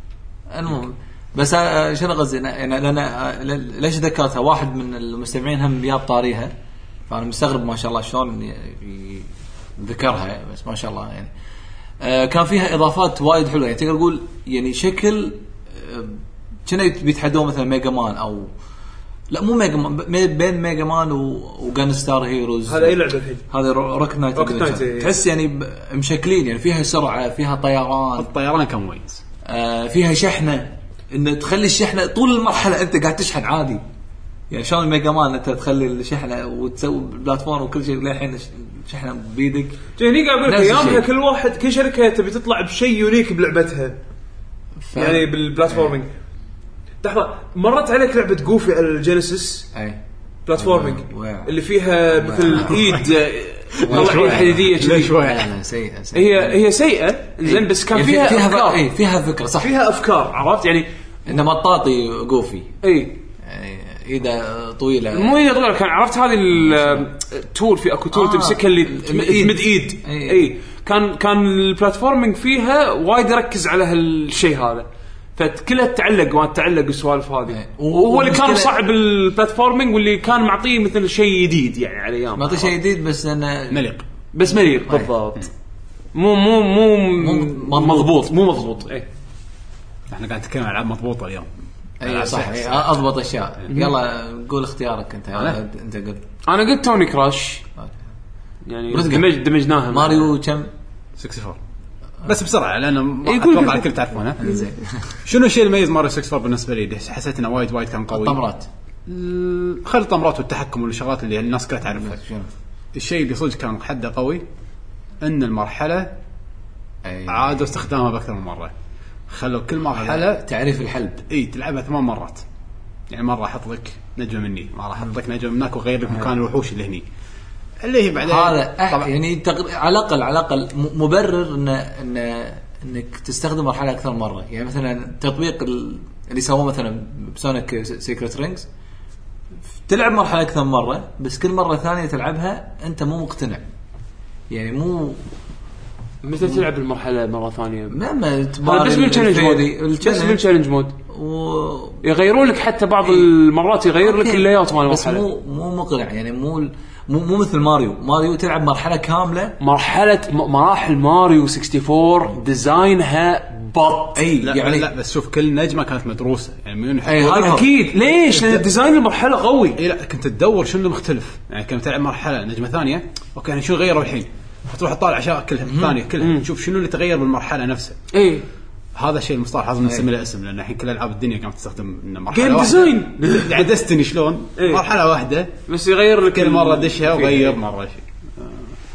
Speaker 3: المهم بس آه، شنو قصدي أنا- يعني لان آه، ل- ليش ذكرتها واحد من المستمعين هم جاب طاريها فانا مستغرب ما شاء الله شلون ي- ي- ذكرها بس ما شاء الله يعني آه، كان فيها اضافات وايد حلوه يعني تقدر تقول يعني شكل آه، كنا يت- بيتحدون مثلا ميجا مان او لا مو ميجا مان ب- بين ميجا مان و- وجان ستار هيروز
Speaker 1: هذا أي لعبة الحين؟
Speaker 3: هذا رو- روك نايت
Speaker 1: روك نايت،
Speaker 3: Adventure.
Speaker 1: إيه.
Speaker 3: تحس يعني ب- مشكلين يعني فيها سرعه فيها طيران
Speaker 2: الطيران كان مميز
Speaker 3: آه، فيها شحنه انه تخلي الشحنه طول المرحله انت قاعد تشحن عادي يعني شلون الميجا مان انت تخلي الشحنه وتسوي البلاتفورم وكل شيء للحين شحنه بايدك
Speaker 1: هني يعني قاعد اقول لك
Speaker 3: نفس الشيء.
Speaker 1: ايامها كل واحد كل شركه تبي تطلع بشيء يونيك بلعبتها
Speaker 3: ف...
Speaker 1: يعني بالبلاتفورمينج لحظه مرت عليك لعبه جوفي على الجينيسيس
Speaker 3: اي
Speaker 1: بلاتفورمينج
Speaker 3: واو.
Speaker 1: اللي فيها مثل ايد طلع ايد حديديه
Speaker 2: ليش
Speaker 1: كذي.
Speaker 2: شوي
Speaker 3: لا لا سيئه سيئه
Speaker 1: هي هي سيئه زين بس كان
Speaker 3: يعني في-
Speaker 1: فيها
Speaker 3: فيها فكرة-
Speaker 1: افكار
Speaker 3: اي فيها فكره صح
Speaker 1: فيها افكار عرفت يعني
Speaker 3: انه مطاطي جوفي
Speaker 1: اي
Speaker 3: يعني ايده طويله
Speaker 4: مو اذا طلع كان عرفت هذه التول في اكو تول
Speaker 3: آه،
Speaker 4: تمسكها اللي
Speaker 3: الإيد.
Speaker 4: تمد ايد
Speaker 3: إي.
Speaker 4: اي كان كان البلاتفورمينج فيها وايد يركز على هالشيء هذا فكلها تعلق ما تعلق السوالف هذه
Speaker 3: إي.
Speaker 4: وهو اللي كان
Speaker 3: والمشكلة-
Speaker 4: صعب البلاتفورمينج واللي كان معطيه مثل شيء جديد يعني على ايام
Speaker 3: معطي شيء جديد بس طيب. انه
Speaker 2: مليق
Speaker 4: بس مليق
Speaker 3: إي.
Speaker 4: بالضبط مو مو مو
Speaker 3: مضبوط.
Speaker 4: مضبوط مو مضبوط اي
Speaker 2: احنا قاعد نتكلم عن العاب مضبوطه اليوم
Speaker 3: اي إيه، صح إي، اضبط اشياء يلا قول اختيارك انت
Speaker 2: أنا؟
Speaker 3: انت قول
Speaker 4: انا قلت توني كراش يعني
Speaker 3: برزقة.
Speaker 4: دمج دمجناها
Speaker 3: ماريو كم
Speaker 2: 64 بس بسرعه لان ما
Speaker 4: إي، قول-
Speaker 2: اتوقع
Speaker 4: قول.
Speaker 2: الكل تعرفونه
Speaker 3: إيه، زين
Speaker 2: شنو الشيء المميز ماريو 64 بالنسبه لي؟ حسيت انه وايد وايد كان قوي
Speaker 3: طمرات
Speaker 2: ال- خل الطمرات والتحكم والشغلات اللي الناس كلها تعرفها
Speaker 3: شنو
Speaker 2: الشيء اللي صدق كان حده قوي ان المرحله
Speaker 3: أي.
Speaker 2: عادوا استخدامها باكثر من مره خلوا كل
Speaker 3: على
Speaker 2: مرحله
Speaker 3: تعريف الحلب
Speaker 2: اي تلعبها ثمان مرات يعني مره احط لك نجمه مني مره احط لك نجمه من هناك واغير لك مكان الوحوش اللي هني اللي هي بعدين
Speaker 3: هذا أح-
Speaker 2: طبعا
Speaker 3: يعني تق... على الاقل على الاقل م- مبرر ان ان انك تستخدم مرحله اكثر من مره يعني مثلا تطبيق ال- اللي سووه مثلا بسونيك سيكريت رينجز تلعب مرحله اكثر من مره بس كل مره ثانيه تلعبها انت مو مقتنع يعني مو
Speaker 4: متى تلعب المرحله مره ثانيه
Speaker 3: ما ما
Speaker 4: هذا بس بالتشالنج مود بس
Speaker 3: التشالنج
Speaker 4: بالتشالنج مود
Speaker 3: و...
Speaker 4: يغيرون لك حتى بعض
Speaker 3: إي.
Speaker 4: المرات يغير لك
Speaker 3: أوكي.
Speaker 4: اللاyout مال
Speaker 3: بس
Speaker 4: المرحله
Speaker 3: مو مو مقنع يعني مو ال- مو مو مثل ماريو ماريو تلعب مرحله كامله
Speaker 4: مرحله م- مراحل ماريو 64 ديزاينها بط
Speaker 3: اي
Speaker 2: لا,
Speaker 3: يعني
Speaker 2: لا بس شوف كل نجمه كانت مدروسه يعني من
Speaker 3: اي هذا هو.
Speaker 4: اكيد ليش؟ لان ديزاين المرحله قوي
Speaker 2: اي لا كنت تدور شنو المختلف يعني كنت تلعب مرحله نجمه ثانيه اوكي يعني شو غيروا الحين فتروح تطالع اشياء كلها الثانيه كلها تشوف شنو اللي تغير بالمرحله نفسها
Speaker 4: اي
Speaker 2: هذا الشيء المصطلح لازم نسمي له اسم لان الحين كل العاب الدنيا قامت تستخدم انه مرحله
Speaker 4: جيم
Speaker 2: واحدة.
Speaker 4: ديزاين
Speaker 2: يعني دستني شلون
Speaker 4: إيه.
Speaker 2: مرحله واحده
Speaker 4: بس يغير لك
Speaker 2: كل
Speaker 4: ال-
Speaker 2: مره دشها
Speaker 4: فيه.
Speaker 2: وغير مره شيء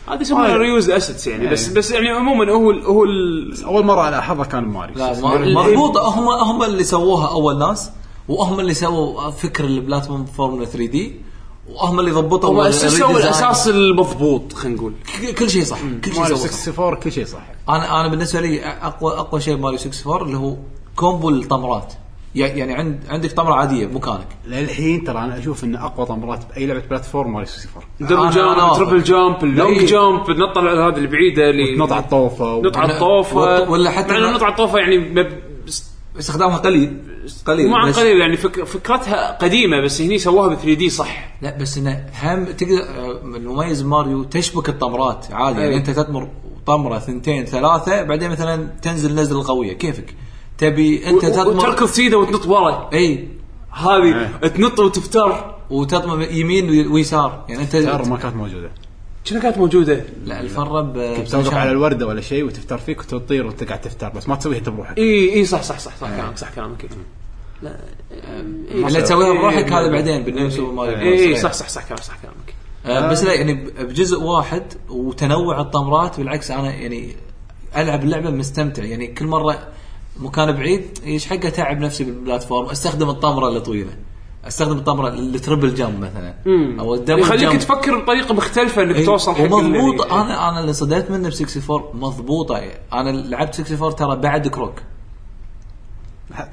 Speaker 4: هذا يسمونه
Speaker 2: آه.
Speaker 4: ريوز اسيتس يعني بس
Speaker 2: إي.
Speaker 4: بس يعني عموما هو ال هو ال
Speaker 2: اول مره الاحظها كان ماريو
Speaker 3: لا،
Speaker 2: لا
Speaker 3: ما-
Speaker 4: ال-
Speaker 3: مضبوطه هم هم اللي سووها اول ناس وهم اللي سووا فكر البلاتفورم فورمولا 3 دي وهم اللي ضبطوا
Speaker 4: هو
Speaker 3: ال-
Speaker 4: اسسوا
Speaker 3: الريديزاين.
Speaker 4: الاساس المضبوط خلينا نقول
Speaker 3: ك- كل شيء صح كل شيء
Speaker 2: ماريو
Speaker 3: سووه صح
Speaker 2: 64 كل شيء صح
Speaker 3: انا انا بالنسبه لي اقوى اقوى شيء ماريو 64 اللي هو كومبو الطمرات يعني يعني عند عندك طمره عاديه مكانك
Speaker 2: للحين ترى انا اشوف ان اقوى طمرات باي لعبه بلاتفورم ماريو 64
Speaker 4: دبل
Speaker 3: أنا- إيه. أنا
Speaker 4: جامب
Speaker 3: واثق.
Speaker 4: تربل جامب اللونج
Speaker 3: إي.
Speaker 4: جامب نط على هذه البعيده اللي
Speaker 2: نط على الطوفه و-
Speaker 4: نط على
Speaker 3: ولا-
Speaker 4: الطوفه
Speaker 3: ولا حتى
Speaker 4: مع انه
Speaker 3: ما-
Speaker 4: نط على الطوفه يعني مب...
Speaker 3: استخدامها قليل قليل
Speaker 4: مو عن
Speaker 3: بس-
Speaker 4: قليل يعني فك... فكرتها قديمه بس هني سووها ب 3 دي صح
Speaker 3: لا بس انه هم تقدر آه، المميز ماريو تشبك الطمرات عادي يعني
Speaker 4: أي.
Speaker 3: انت تطمر طمره ثنتين ثلاثه بعدين مثلا تنزل نزله قويه كيفك تبي انت
Speaker 4: و-
Speaker 3: تطمر
Speaker 4: وتركض سيده وتنط ورا
Speaker 3: اي
Speaker 4: هذه
Speaker 3: إيه.
Speaker 4: تنط وتفتر
Speaker 3: وتطمر يمين وي- ويسار يعني انت
Speaker 2: ترى ما كانت موجوده
Speaker 4: شنو كانت موجوده؟
Speaker 3: لا آه، الفره ب
Speaker 2: تسوق على الورده ولا شيء وتفتر فيك وتطير وانت قاعد تفتر بس ما تسويها انت بروحك
Speaker 4: اي اي صح صح صح
Speaker 3: إيه.
Speaker 4: صح كلامك صح كلامك لا إي.
Speaker 3: اللي إيه، تسويها بروحك
Speaker 4: إي.
Speaker 3: هذا بعدين بالنيو سوبر ماريو
Speaker 4: اي إي،
Speaker 3: بروس.
Speaker 4: إيه. صح صح صح كلامك صح كلامك
Speaker 3: آه، بس لا يعني ب- بجزء واحد وتنوع الطمرات بالعكس انا يعني العب اللعبه مستمتع يعني كل مره مكان بعيد ايش حقه تعب نفسي بالبلاتفورم استخدم الطمره الطويله استخدم الطمره التربل جامب مثلا او الدبل
Speaker 4: يخليك
Speaker 3: جامب
Speaker 4: تفكر بطريقه مختلفه انك
Speaker 3: إي،
Speaker 4: توصل حق يعني.
Speaker 3: ومضبوطه
Speaker 4: ال-
Speaker 3: انا انا اللي صدقت منه ب 64 مضبوطه انا يعني لعبت 64 ترى بعد كروك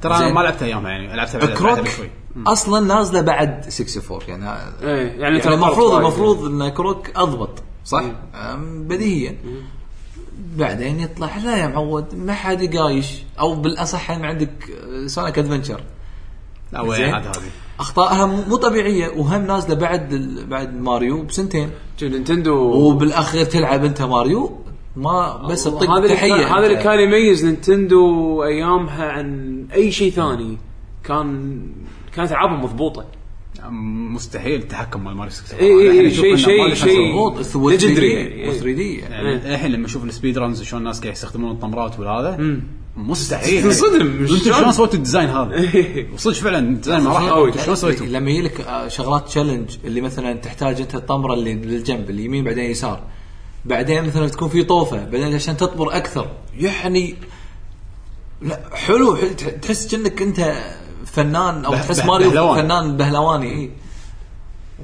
Speaker 2: ترى انا
Speaker 3: زين.
Speaker 2: ما لعبتها ايامها يعني لعبتها بعد-
Speaker 3: كروك
Speaker 2: بعدها بشوي
Speaker 3: اصلا نازله بعد 64 يعني
Speaker 4: إي، يعني
Speaker 3: يعني المفروض
Speaker 4: تنطر.
Speaker 3: المفروض
Speaker 4: يعني.
Speaker 3: ان كروك اضبط صح؟
Speaker 4: إيه.
Speaker 3: أم، بديهيا بعدين يطلع لا يا معود ما حد يقايش او بالاصح ان عندك آه، سونيك ادفنشر
Speaker 2: لا وين
Speaker 3: زين.
Speaker 2: عاد هذه
Speaker 3: اخطائها مو مو طبيعيه وهم نازله بعد ال- بعد ماريو بسنتين
Speaker 4: نينتندو
Speaker 3: وبالاخير تلعب انت ماريو ما بس تطق
Speaker 4: هذا اللي
Speaker 3: تحيه
Speaker 4: كان- هذا اللي
Speaker 3: أنت.
Speaker 4: كان يميز نينتندو ايامها عن اي شيء ثاني كان كانت العابهم مضبوطه
Speaker 2: أم، مستحيل التحكم مال ماريو 64
Speaker 4: إي إي
Speaker 2: أنا الحين
Speaker 4: إي،
Speaker 2: أشوف
Speaker 4: شيء-
Speaker 2: إنه
Speaker 4: شيء-
Speaker 2: مالي
Speaker 4: شيء.
Speaker 2: خسران.
Speaker 3: مضبوط
Speaker 4: Legendary. إيه.
Speaker 3: 3 دي
Speaker 2: يعني الحين لما اشوف السبيد رانز وشلون الناس قاعد يستخدمون الطمرات وهذا مستحيل
Speaker 4: تنصدم.
Speaker 2: انتم
Speaker 4: شلون؟ إيه.
Speaker 2: شلون سويتوا الديزاين هذا؟ وصدق فعلا الديزاين ما راح
Speaker 4: قوي. إيه.
Speaker 2: قوي شلون سويتوا؟
Speaker 3: لما يجيلك آه، شغلات تشالنج اللي مثلا تحتاج انت الطمره اللي للجنب اليمين بعدين يسار بعدين مثلا تكون في طوفه بعدين عشان تطمر اكثر يعني لا حلو حل- تح- تحس كأنك انت فنان او
Speaker 2: به-
Speaker 3: تحس
Speaker 2: به-
Speaker 3: ماريو
Speaker 2: بهلوان.
Speaker 3: فنان بهلواني اي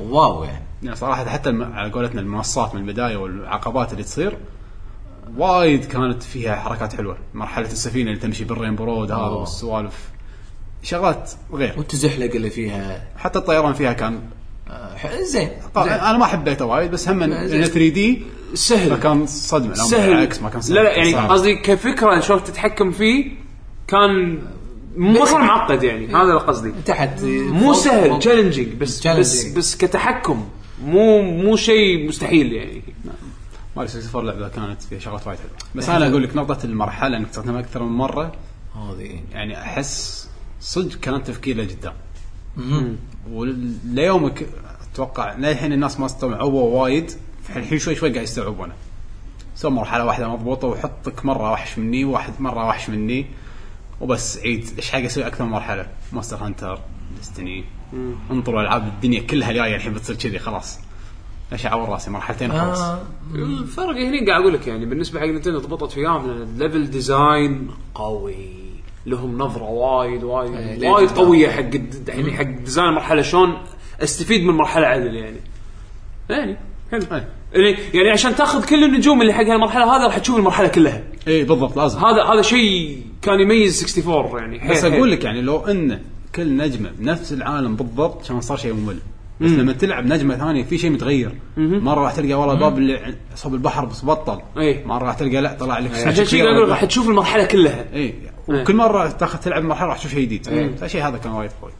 Speaker 3: واو يعني
Speaker 2: يعني صراحه حتى الم- على قولتنا المنصات من البدايه والعقبات اللي تصير وايد كانت فيها حركات حلوه مرحله السفينه اللي تمشي بالرينبو رود هذا
Speaker 3: آه.
Speaker 2: والسوالف شغلات غير
Speaker 3: وتزحلق اللي فيها
Speaker 2: حتى الطيران فيها كان
Speaker 3: آه، ح- زين زين.
Speaker 2: انا ما حبيته وايد بس هم انه
Speaker 3: زين.
Speaker 2: 3 دي
Speaker 4: سهل
Speaker 2: فكان صدمه لا،
Speaker 4: سهل
Speaker 2: بالعكس ما كان صدمه
Speaker 4: لا لا يعني
Speaker 2: صعب.
Speaker 4: قصدي كفكره شلون تتحكم فيه كان ما صار معقد يعني هذا اللي قصدي
Speaker 3: تحت
Speaker 4: مو
Speaker 3: إيه. فوق-
Speaker 4: سهل
Speaker 3: فوق.
Speaker 4: تشالنجينج بس بس
Speaker 3: Challenging.
Speaker 4: بس كتحكم مو مو شيء مستحيل يعني
Speaker 2: ماريو 64 لعبه كانت فيها شغلات وايد حلوه بس انا اقول لك نقطه المرحله انك تستخدمها اكثر من مره
Speaker 3: هذه
Speaker 2: يعني احس صدق كان تفكير لقدام وليومك اتوقع للحين الناس ما استوعبوا وايد الحين شوي شوي قاعد يستوعبونه سوى مرحله واحده مضبوطه وحطك مره وحش مني واحد مره وحش مني وبس عيد ايش حق اسوي اكثر من مرحله ماستر هانتر ديستني انطروا العاب الدنيا كلها جايه الحين بتصير كذي خلاص ايش اعور راسي مرحلتين وخلاص
Speaker 3: آه.
Speaker 4: الفرق هنا قاعد اقول لك يعني بالنسبه حق نتندو ضبطت وياهم لان الليفل ديزاين قوي لهم نظره وايد وايد
Speaker 3: ليه
Speaker 4: وايد
Speaker 3: جداً.
Speaker 4: قويه حق الد- يعني حق ديزاين المرحله شلون استفيد من المرحله عدل يعني يعني حلو
Speaker 2: أي.
Speaker 4: يعني يعني عشان تاخذ كل النجوم اللي حق هالمرحله هذا راح تشوف المرحله كلها
Speaker 2: اي إيه، بالضبط لازم
Speaker 4: هذا هذا شيء كان يميز 64 يعني حيل-
Speaker 2: بس
Speaker 4: حيل.
Speaker 2: اقول لك يعني لو ان كل نجمه بنفس العالم بالضبط كان صار شيء ممل بس لما تلعب نجمه ثانيه في شيء متغير مره راح تلقى والله باب اللي صوب البحر بس بطل
Speaker 4: إيه.
Speaker 2: مره راح تلقى لا طلع لك
Speaker 4: عشان كذا اقول لك راح تشوف المرحله كلها
Speaker 2: اي
Speaker 4: إيه.
Speaker 2: وكل مره تاخذ تلعب مرحله راح تشوف شيء جديد فالشيء هذا كان وايد قوي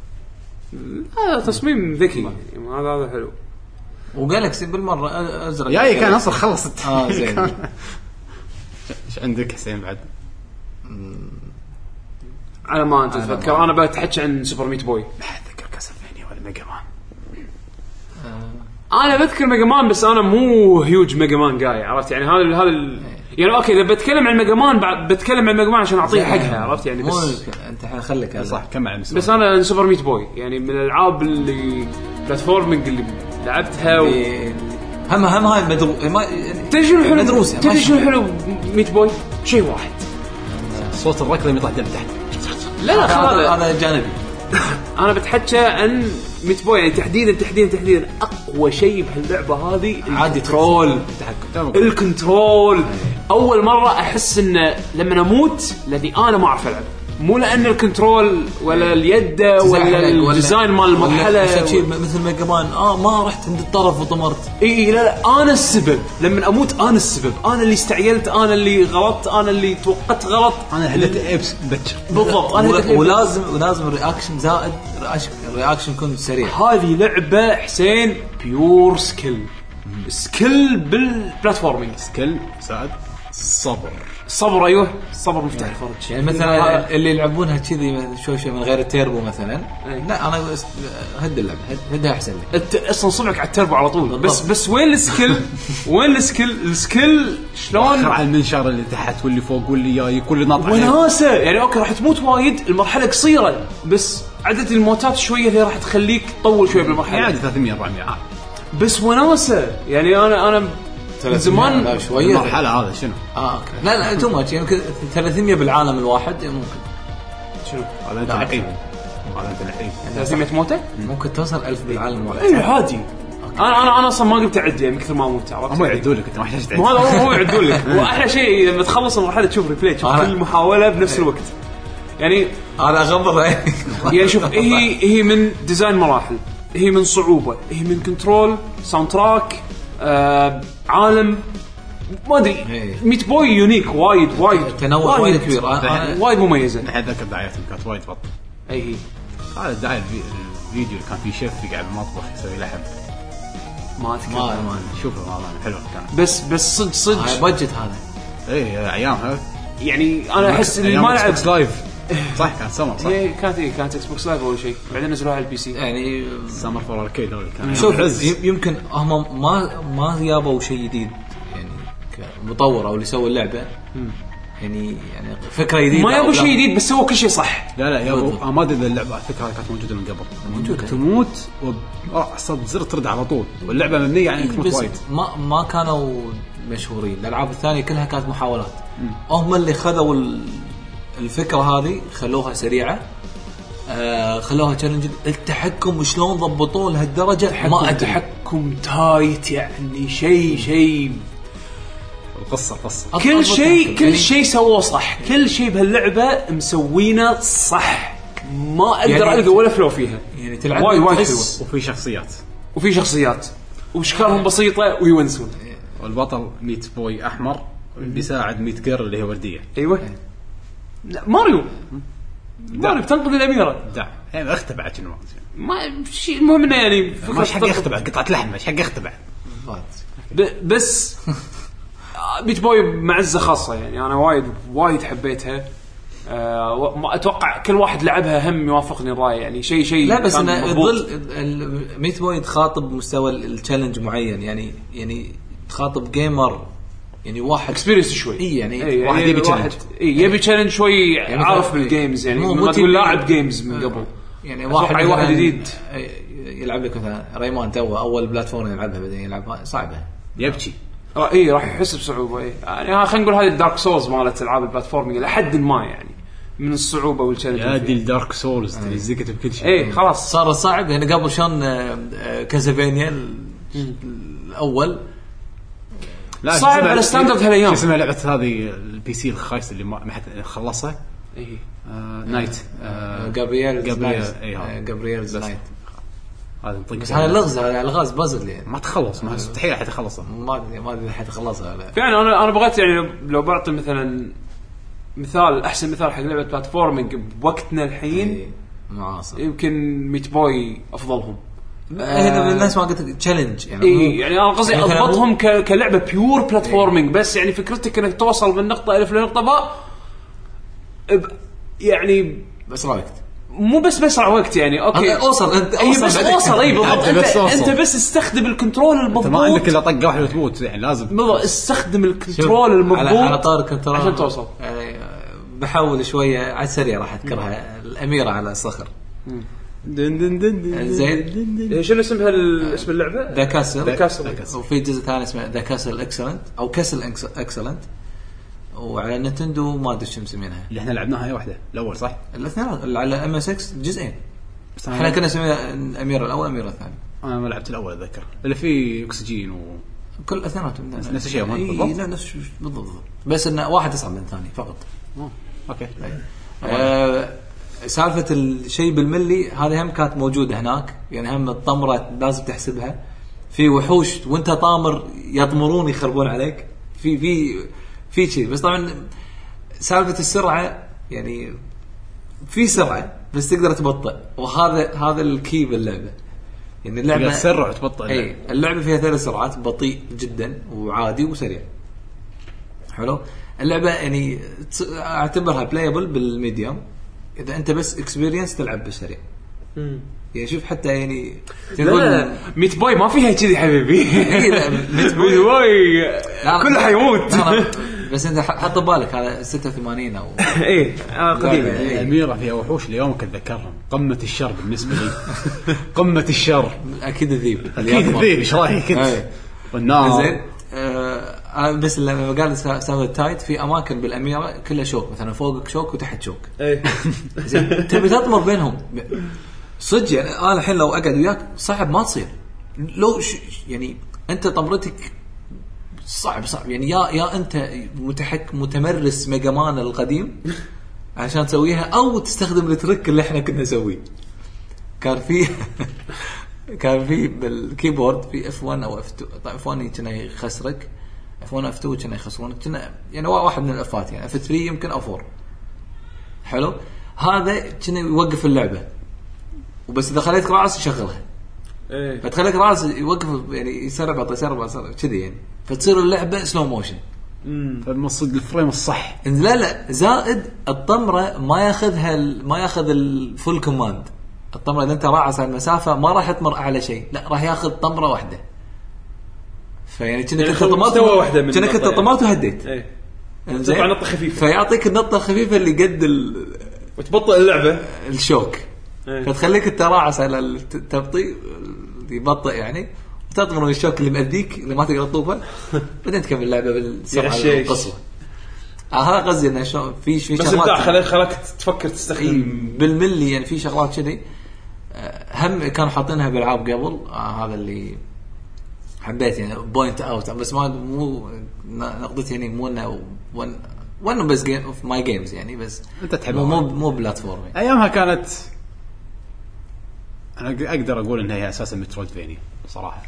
Speaker 4: هذا تصميم ذكي يعني هذا هذا حلو
Speaker 3: وجالكسي بالمره أ- ازرق
Speaker 2: يا إيه، كان اصلا
Speaker 4: آه.
Speaker 2: خلصت
Speaker 3: اه زين
Speaker 2: ايش عندك حسين بعد؟
Speaker 4: على ما انت تتذكر انا بتحكي عن سوبر ميت بوي
Speaker 2: ما اتذكر كاسلفينيا ولا ميجا مان
Speaker 4: انا بذكر ميجا مان بس انا مو هيوج ميجا مان جاي عرفت يعني هذا ال- هذا ال- يعني اوكي اذا بتكلم عن ميجا مان بعد- بتكلم عن ميجا مان عشان اعطيه حقها عرفت يعني
Speaker 3: مو
Speaker 4: بس
Speaker 3: انت خليك هذا.
Speaker 2: صح كمل عن السؤال.
Speaker 4: بس انا سوبر ميت بوي يعني من الالعاب اللي بلاتفورمينج اللي لعبتها و...
Speaker 3: إيه. هم هم هاي مدرو ما
Speaker 4: تدري شنو الحلو
Speaker 3: يعني مدروسة،
Speaker 4: تدري
Speaker 3: ماشي.
Speaker 4: شنو الحلو ميت بوي؟ شيء واحد
Speaker 2: صوت الركض يطلع دم تحت
Speaker 4: لا لا خل هذا
Speaker 3: هذا هذا جانبي
Speaker 4: انا بتحكى عن ميت بوي يعني تحديدا تحديدا تحديدا اقوى شيء بهاللعبه هذه
Speaker 3: عادي
Speaker 4: الكنترول
Speaker 2: تمام.
Speaker 4: الكنترول اول مره احس انه لما اموت لاني انا ما اعرف العب مو لان الكنترول ولا اليد ولا الديزاين مال المرحله
Speaker 3: يعني، ولا شيء مثل ميجا مان اه ما رحت عند الطرف وطمرت
Speaker 4: اي لا لا انا السبب لما اموت انا السبب انا اللي استعجلت انا اللي غلطت انا اللي توقعت غلط
Speaker 2: انا هديت ايبس بكر
Speaker 4: بالضبط انا
Speaker 3: ولا-
Speaker 4: هديت-
Speaker 3: ولازم ولازم الرياكشن زائد رياكشن- الرياكشن يكون سريع
Speaker 4: هذه لعبه حسين بيور سكيل سكيل بالبلاتفورمينج
Speaker 2: كل سعد صبر
Speaker 4: صبر ايوه صبر مفتاح الفرج
Speaker 3: يعني مثلا اللي يلعبونها كذي شوي شوي من غير التيربو مثلا
Speaker 4: أي.
Speaker 3: لا انا أس- هد اللعبه هد- هدها احسن لي
Speaker 4: انت اصلا صبعك على التربو على طول
Speaker 3: بالضبط.
Speaker 4: بس بس وين السكيل؟ وين السكيل؟ السكيل
Speaker 2: اخر
Speaker 4: شلون
Speaker 2: على المنشار اللي تحت واللي فوق واللي جاي كل ناط عليه
Speaker 4: وناسه يعني اوكي راح تموت وايد المرحله قصيره بس عدد الموتات شويه اللي راح تخليك تطول شويه
Speaker 2: يعني عادي
Speaker 4: بالمرحله
Speaker 2: 300 400 عادي
Speaker 4: بس وناسه يعني انا انا من
Speaker 3: لا،
Speaker 4: زمان
Speaker 3: شويه
Speaker 2: المرحله هذا شنو؟
Speaker 3: اه اوكي لا لا تو ماتش يمكن 300 بالعالم الواحد ممكن
Speaker 2: هذا انت لعيب هذا انت لعيب
Speaker 4: 300 موته؟
Speaker 3: ممكن توصل 1000 بالعالم الواحد
Speaker 4: اي عادي انا انا انا اصلا ما قمت اعد يعني من كثر ما اموت عرفت؟
Speaker 2: هم يعدوا لك انت ما احتاج تعد
Speaker 4: مو هذا هو هو يعدون لك واحلى شيء لما تخلص المرحله تشوف ريبلاي تشوف
Speaker 3: آه.
Speaker 4: كل محاوله بنفس الوقت يعني
Speaker 3: انا اغمض
Speaker 4: يعني شوف هي هي من ديزاين مراحل هي من صعوبه هي من كنترول ساوند تراك آه، عالم ما ادري
Speaker 3: إيه.
Speaker 4: ميت بوي يونيك وايد وايد آه،
Speaker 3: تنوع وايد كبير أنا- أنا-
Speaker 4: وايد مميزه
Speaker 2: الحين ذاك دعاياتهم كانت وايد بطل
Speaker 4: اي هي
Speaker 2: هذا الدعايه الفي- الفيديو اللي كان فيه شيف قاعد بالمطبخ يسوي لحم
Speaker 4: ما اذكر
Speaker 3: ما ما
Speaker 2: شوفه والله حلو كان إيه،
Speaker 4: بس بس صدق
Speaker 3: هاي
Speaker 4: صدق
Speaker 3: بجت هذا
Speaker 2: اي ايامها
Speaker 4: يعني انا احس اللي
Speaker 2: أيام
Speaker 4: ما
Speaker 2: إكس
Speaker 4: لعب
Speaker 2: بوكس لايف صح كان سمر صح
Speaker 4: إيه، كانت إيه، كانت اكس بوكس لايف اول شيء بعدين نزلوها على البي سي
Speaker 3: يعني
Speaker 2: سمر فور اركيد هذول كان
Speaker 3: شوف
Speaker 2: عز.
Speaker 3: يم- يمكن هم ما ما جابوا شيء جديد يعني كمطور او اللي سوى اللعبه يعني يعني فكره جديده
Speaker 4: ما يبوا
Speaker 3: أو
Speaker 4: شيء
Speaker 3: لا.
Speaker 4: جديد بس سووا كل شيء صح
Speaker 2: لا لا يا
Speaker 3: بالضبط.
Speaker 2: أبو، أنا ما ادري اذا اللعبه على فكره كانت موجوده من قبل
Speaker 3: موجودة.
Speaker 2: تموت وعصب زر ترد على طول واللعبه مبنيه على انك تموت
Speaker 3: بس
Speaker 2: وايد
Speaker 3: ما ما كانوا مشهورين الالعاب الثانيه كلها كانت محاولات هم اللي خذوا ال- الفكره هذه خلوها سريعه آه خلوها تشالنج التحكم شلون ضبطوه لهالدرجه ما ادري
Speaker 4: تحكم تايت يعني شيء شيء
Speaker 2: القصه قصه
Speaker 3: أضبط-
Speaker 4: كل
Speaker 3: أضبط
Speaker 4: شيء
Speaker 3: يعني
Speaker 4: كل شيء سووه صح كل شيء بهاللعبه مسوينه صح ما اقدر
Speaker 3: يعني-
Speaker 4: القى ولا فلو فيها
Speaker 3: يعني تلعب
Speaker 4: وايد وايد
Speaker 3: تحس-
Speaker 2: وفي شخصيات
Speaker 4: وفي شخصيات واشكالهم بسيطه ويونسون
Speaker 2: والبطل ميت بوي احمر بيساعد ميت جيرل اللي هي ورديه
Speaker 3: أيوة.
Speaker 4: ايوه لا، ماريو ماريو تنقذ الاميره
Speaker 2: دع يعني اختبى بعد شنو وقت يعني.
Speaker 4: ما شيء المهم انه يعني
Speaker 2: ما ايش حق
Speaker 4: تنقذ.
Speaker 2: اختبى قطعه لحم ايش حق اختبى
Speaker 4: ب- بس آه، بيت بوي معزه خاصه يعني انا وايد وايد حبيتها آه، و- ما اتوقع كل واحد لعبها هم يوافقني الراي يعني شيء شيء
Speaker 3: لا بس
Speaker 4: كان
Speaker 3: انه
Speaker 4: مضبوط.
Speaker 3: يظل ال- ميت بوي تخاطب مستوى ال- التشالنج معين يعني يعني تخاطب جيمر يعني واحد
Speaker 4: اكسبيرينس شوي
Speaker 3: إي يعني
Speaker 4: إي،
Speaker 3: واحد يبي challenge.
Speaker 4: اي إيه، يبي تشالنج شوي عارف
Speaker 3: مثلاً-
Speaker 4: بالجيمز يعني
Speaker 3: مو-
Speaker 4: ما
Speaker 3: مو
Speaker 4: تقول
Speaker 3: تبي-
Speaker 4: لاعب جيمز من
Speaker 3: آه.
Speaker 4: قبل
Speaker 3: يعني
Speaker 4: أتوقع
Speaker 3: واحد
Speaker 4: أي واحد
Speaker 3: مثلاً
Speaker 4: جديد.
Speaker 3: يلعب لك مثلا ريمان تو اول بلاتفورم يلعبها بعدين يلعبها صعبه
Speaker 2: يبكي
Speaker 3: آه.
Speaker 4: را- اي آه، إيه، راح يحس بصعوبه اي يعني ها- خلينا نقول هذه الدارك سولز مالت العاب البلاتفورمينج الى حد ما يعني من الصعوبه
Speaker 2: يا
Speaker 4: والتشالنج
Speaker 2: دي الدارك سولز اللي زقت بكل شيء
Speaker 4: اي إيه، خلاص
Speaker 3: صار صعب يعني قبل شلون آه، آه، كازافينيا ال- الاول
Speaker 2: لا،
Speaker 4: صعب
Speaker 2: شو اسمها-
Speaker 4: على ستاندرد هالايام.
Speaker 2: شو اسمها لعبه هذه البي سي الخايسه اللي ما ما حد خلصها
Speaker 4: إي.
Speaker 2: آه، نايت آه،
Speaker 3: جابرييل
Speaker 2: جابرييل،
Speaker 3: نايت.
Speaker 2: إي، ها.
Speaker 3: آه، جابرييل نايت
Speaker 2: هذا نطق
Speaker 3: بس
Speaker 2: فيها.
Speaker 3: هذا لغز هذا الغاز بازل يعني
Speaker 2: ما تخلص ما مستحيل حد يخلصها
Speaker 3: ما ادري ما ادري حد خلصها ولا
Speaker 4: فعلا انا انا بغيت يعني لو بعطي مثلا مثال احسن مثال حق لعبه بلاتفورمينج بوقتنا الحين
Speaker 3: إي، معاصر
Speaker 4: يمكن ميت بوي افضلهم
Speaker 3: هنا
Speaker 4: آه.
Speaker 3: من الناس ما قلت تشالنج يعني
Speaker 4: اي
Speaker 3: مو-
Speaker 4: يعني انا قصدي
Speaker 3: مثلاً مو-
Speaker 4: اضبطهم ك- كلعبه بيور بلاتفورمينج بس يعني فكرتك انك توصل من نقطه الف لنقطه باء ب- يعني
Speaker 3: بس رايك
Speaker 4: مو بس بسرع وقت يعني اوكي
Speaker 3: أنت أوصل، أنت
Speaker 4: اي
Speaker 3: أوصل
Speaker 4: بس
Speaker 3: بعدين.
Speaker 4: اوصل اي بالضبط
Speaker 2: أنت
Speaker 4: انت
Speaker 2: بس أوصل.
Speaker 4: انت بس استخدم الكنترول
Speaker 2: انت ما عندك
Speaker 4: المضبوط
Speaker 2: الا طقه واحده وتموت يعني لازم
Speaker 4: بالضبط، استخدم الكنترول
Speaker 3: على, على
Speaker 4: المضبوط
Speaker 3: طار كنترول
Speaker 4: عشان توصل.
Speaker 3: آه، بحاول شويه على السريع راح اذكرها الاميره على الصخر
Speaker 2: دن دن دن دن
Speaker 3: زين.
Speaker 2: دن دن.
Speaker 4: إيه، شنو اسمها ال- اسم اللعبه؟
Speaker 3: ذا كاسل
Speaker 4: ذا كاسل.
Speaker 2: ذا كاسل.
Speaker 3: وفي جزء ثاني اسمه ذا كاسل اكسلنت او كاسل اكسلنت وعلى نتندو ما ادري شو مسمينها
Speaker 2: اللي احنا لعبناها هي واحده الاول صح؟
Speaker 3: الاثنين على ام اس اكس جزئين
Speaker 2: بس
Speaker 3: احنا
Speaker 2: انا
Speaker 3: كنا نسميها الاميره الاول الاميره الثانيه
Speaker 2: انا ما لعبت الاول اتذكر اللي فيه اكسجين و
Speaker 3: كل اثنيناتهم نفس
Speaker 2: نفس الشيء، ما بالضبط.
Speaker 3: بالضبط نفس الشيء، بالضبط بس انه واحد اصعب من الثاني فقط طيب.
Speaker 2: أوه، اوكي
Speaker 3: آه، سالفه الشيء بالملي هذه هم كانت موجوده هناك يعني هم الطمره لازم تحسبها في وحوش وانت طامر يطمرون يخربون عليك في في في شيء بس طبعا سالفه السرعه يعني في سرعه بس تقدر تبطئ وهذا هذا الكي باللعبه يعني اللعبه
Speaker 2: تقدر تسرع وتبطئ
Speaker 3: اي اللعبه فيها ثلاث سرعات بطيء جدا وعادي وسريع حلو اللعبه يعني تس- اعتبرها بلايبل بالميديوم اذا انت بس اكسبيرينس تلعب بالسريع يعني شوف حتى يعني
Speaker 4: لا ميت بوي ما فيها كذي حبيبي
Speaker 3: إي، لا، ميت بوي-
Speaker 4: ميت بوي
Speaker 3: لا، لا،
Speaker 4: كله حيموت
Speaker 3: لا، لا، بس انت ح- حط ببالك هذا 86 او
Speaker 4: اي آه، قديم
Speaker 3: لا، لا.
Speaker 2: الاميره فيها وحوش اليوم اتذكرهم قمه الشر بالنسبه لي قمه الشر
Speaker 3: اكيد الذيب إيه.
Speaker 2: اكيد ذيب ايش رايك انت؟
Speaker 3: أي.
Speaker 2: والنار
Speaker 3: زين آه انا بس لما قال سا- سالفه التايت في اماكن بالاميره كلها شوك مثلا فوقك شوك وتحت شوك زين تبي تطمر بينهم صدق يعني انا الحين لو اقعد وياك صعب ما تصير لو ش... يعني انت طمرتك صعب صعب يعني يا يا انت متحك متمرس ميجا مان القديم عشان تسويها او تستخدم الترك اللي احنا كنا نسويه كان في كان في بالكيبورد في اف 1 او اف 2 طبعا اف 1 كان يخسرك اف 1 اف 2 كان يخسرونك كنا يعني وا- واحد من الافات يعني اف 3 يمكن او 4 حلو هذا كنا يوقف اللعبه وبس اذا خليت راس يشغلها
Speaker 4: إيه.
Speaker 3: فتخليك راس يوقف يعني يسرع بطيء يسرع بطيء، يسرع كذي يعني فتصير اللعبه سلو موشن
Speaker 2: لما تصد الفريم الصح
Speaker 3: إن لا لا زائد الطمره ما ياخذها ال- ما ياخذ الفول كوماند الطمره اذا انت راعس على المسافه ما راح يطمر اعلى شيء لا راح ياخذ طمره واحده فيعني كأنك
Speaker 4: يعني
Speaker 3: انت طمرت
Speaker 4: مستوى واحدة من
Speaker 3: كأنك انت
Speaker 4: النقطة
Speaker 3: طمرت وهديت
Speaker 4: إيه.
Speaker 3: إنزين؟
Speaker 4: تطلع نقطة خفيفة.
Speaker 3: فيعطيك النقطه الخفيفه اللي قد ال-
Speaker 4: وتبطئ اللعبه
Speaker 3: الشوك
Speaker 4: إيه.
Speaker 3: فتخليك انت راعس على الت- التبطيء يبطئ يعني وتطمر من الشوك اللي مأذيك اللي ما تقدر تطوفه بعدين تكمل اللعبه بالسرعه
Speaker 4: يغشيش.
Speaker 3: القصوى آه، هذا قصدي انه شلون في في
Speaker 4: بس ابداع خلي- خلاك تفكر تستخدم
Speaker 3: إيه، بالملي يعني في شغلات كذي آه، هم كانوا حاطينها بالعاب قبل آه هذا اللي حبيت يعني بوينت اوت بس ما مو نقطتي يعني مو انه ون ون بس جيم اوف ماي جيمز يعني بس
Speaker 2: أنت تحبها.
Speaker 3: مو مو, مو بلاتفورم يعني.
Speaker 2: ايامها كانت انا أق- اقدر اقول انها هي اساسا مترويدفينيا صراحه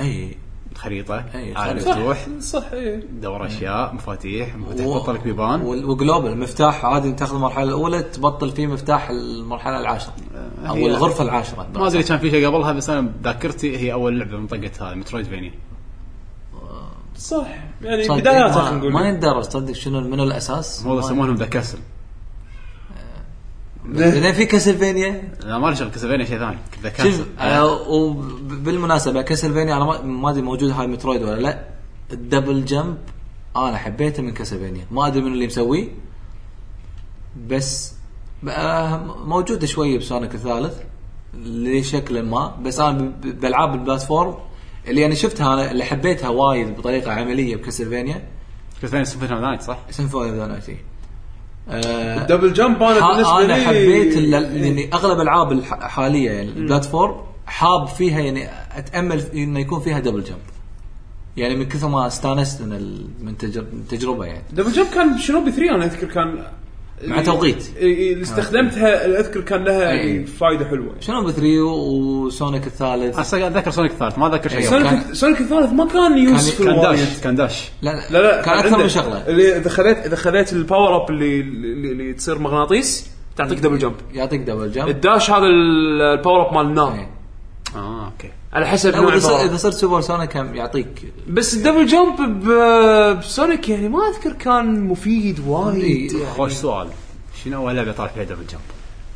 Speaker 3: اي
Speaker 2: خريطه
Speaker 3: أي،
Speaker 2: عالم
Speaker 3: إيه، صح. إيه.
Speaker 2: مفتوح
Speaker 4: صح اي
Speaker 2: دور اشياء مفاتيح مفاتيح
Speaker 3: و-
Speaker 2: بطل لك بيبان
Speaker 3: وال- وجلوبال مفتاح عادي تاخذ المرحله الاولى تبطل فيه مفتاح المرحله العاشره او
Speaker 2: آه، هي-
Speaker 3: الغرفه العاشره
Speaker 2: ما ادري كان في شيء قبلها بس انا ذاكرتي هي اول لعبه منطقه هذه مترويدفينيا
Speaker 4: صح يعني
Speaker 3: صدق
Speaker 4: بدايات
Speaker 3: ما-
Speaker 4: خلينا نقول
Speaker 3: ما يندرج تصدق شنو منو الاساس
Speaker 2: هم والله يسمونهم ذا كاسل
Speaker 3: لان في كاسلفينيا
Speaker 2: لا ما لي شغل كاسلفينيا شيء ثاني ذا
Speaker 3: شوف
Speaker 2: كاسل
Speaker 3: آه، وب- بالمناسبه كاسلفينيا انا ما- ما ادري موجود هاي مترويد ولا لا الدبل جمب انا حبيته من كاسلفينيا ما ادري من اللي مسويه بس آه، موجود شوي بسونيك الثالث لشكل ما بس انا ب- ب- بالعاب البلاتفورم اللي انا شفتها انا اللي حبيتها وايد بطريقه عمليه بكاسلفينيا
Speaker 2: كاسلفينيا سيمفوني أوف ذا نايت صح؟
Speaker 3: سيمفوني اوف ذا نايت إي. آه،
Speaker 4: دبل جمب انا بالنسبه
Speaker 3: ها- انا
Speaker 4: لي
Speaker 3: حبيت ال- يعني اغلب العاب الح- الحاليه يعني البلاتفورم حاب فيها يعني اتامل في- انه يكون فيها دبل جمب يعني من كثر ما استانست من ال- من تجر- من التجربه يعني
Speaker 4: دبل جمب كان شنوبي 3 انا اذكر كان
Speaker 3: مع توقيت.
Speaker 4: إي- إي، اللي استخدمتها اللي اذكر كان لها يعني
Speaker 3: إي.
Speaker 4: فائده حلوه
Speaker 3: شنو 3 وسونيك
Speaker 4: أه.
Speaker 3: الثالث
Speaker 2: أصلاً اتذكر سونيك الثالث ما اذكر شيء
Speaker 3: أيوة.
Speaker 2: قبل.
Speaker 4: سونيك
Speaker 3: كان-
Speaker 4: سونيك الثالث ما كان يوسفل
Speaker 2: كان
Speaker 4: وايد
Speaker 2: داش كان داش
Speaker 3: لا
Speaker 4: لا لا
Speaker 3: كان اكثر
Speaker 4: عنده-
Speaker 3: من شغله
Speaker 4: اللي اذا خذيت اذا خذيت الباور اب اللي اللي, اللي تصير مغناطيس تعطيك دبل جمب
Speaker 3: يعطيك دبل جمب
Speaker 4: الداش هذا ال- الباور اب مال النار
Speaker 3: إيه.
Speaker 2: اه اوكي
Speaker 1: على حسب
Speaker 3: لا،
Speaker 1: نوع
Speaker 3: وإذا صر-
Speaker 1: الباور.
Speaker 3: اذا صرت سوبر سونيك كان يعطيك
Speaker 1: بس الدبل جمب ب- بسونيك يعني ما اذكر كان مفيد وايد
Speaker 3: إي.
Speaker 2: خوش سؤال شنو اول لعبه طالع فيها دبل جمب؟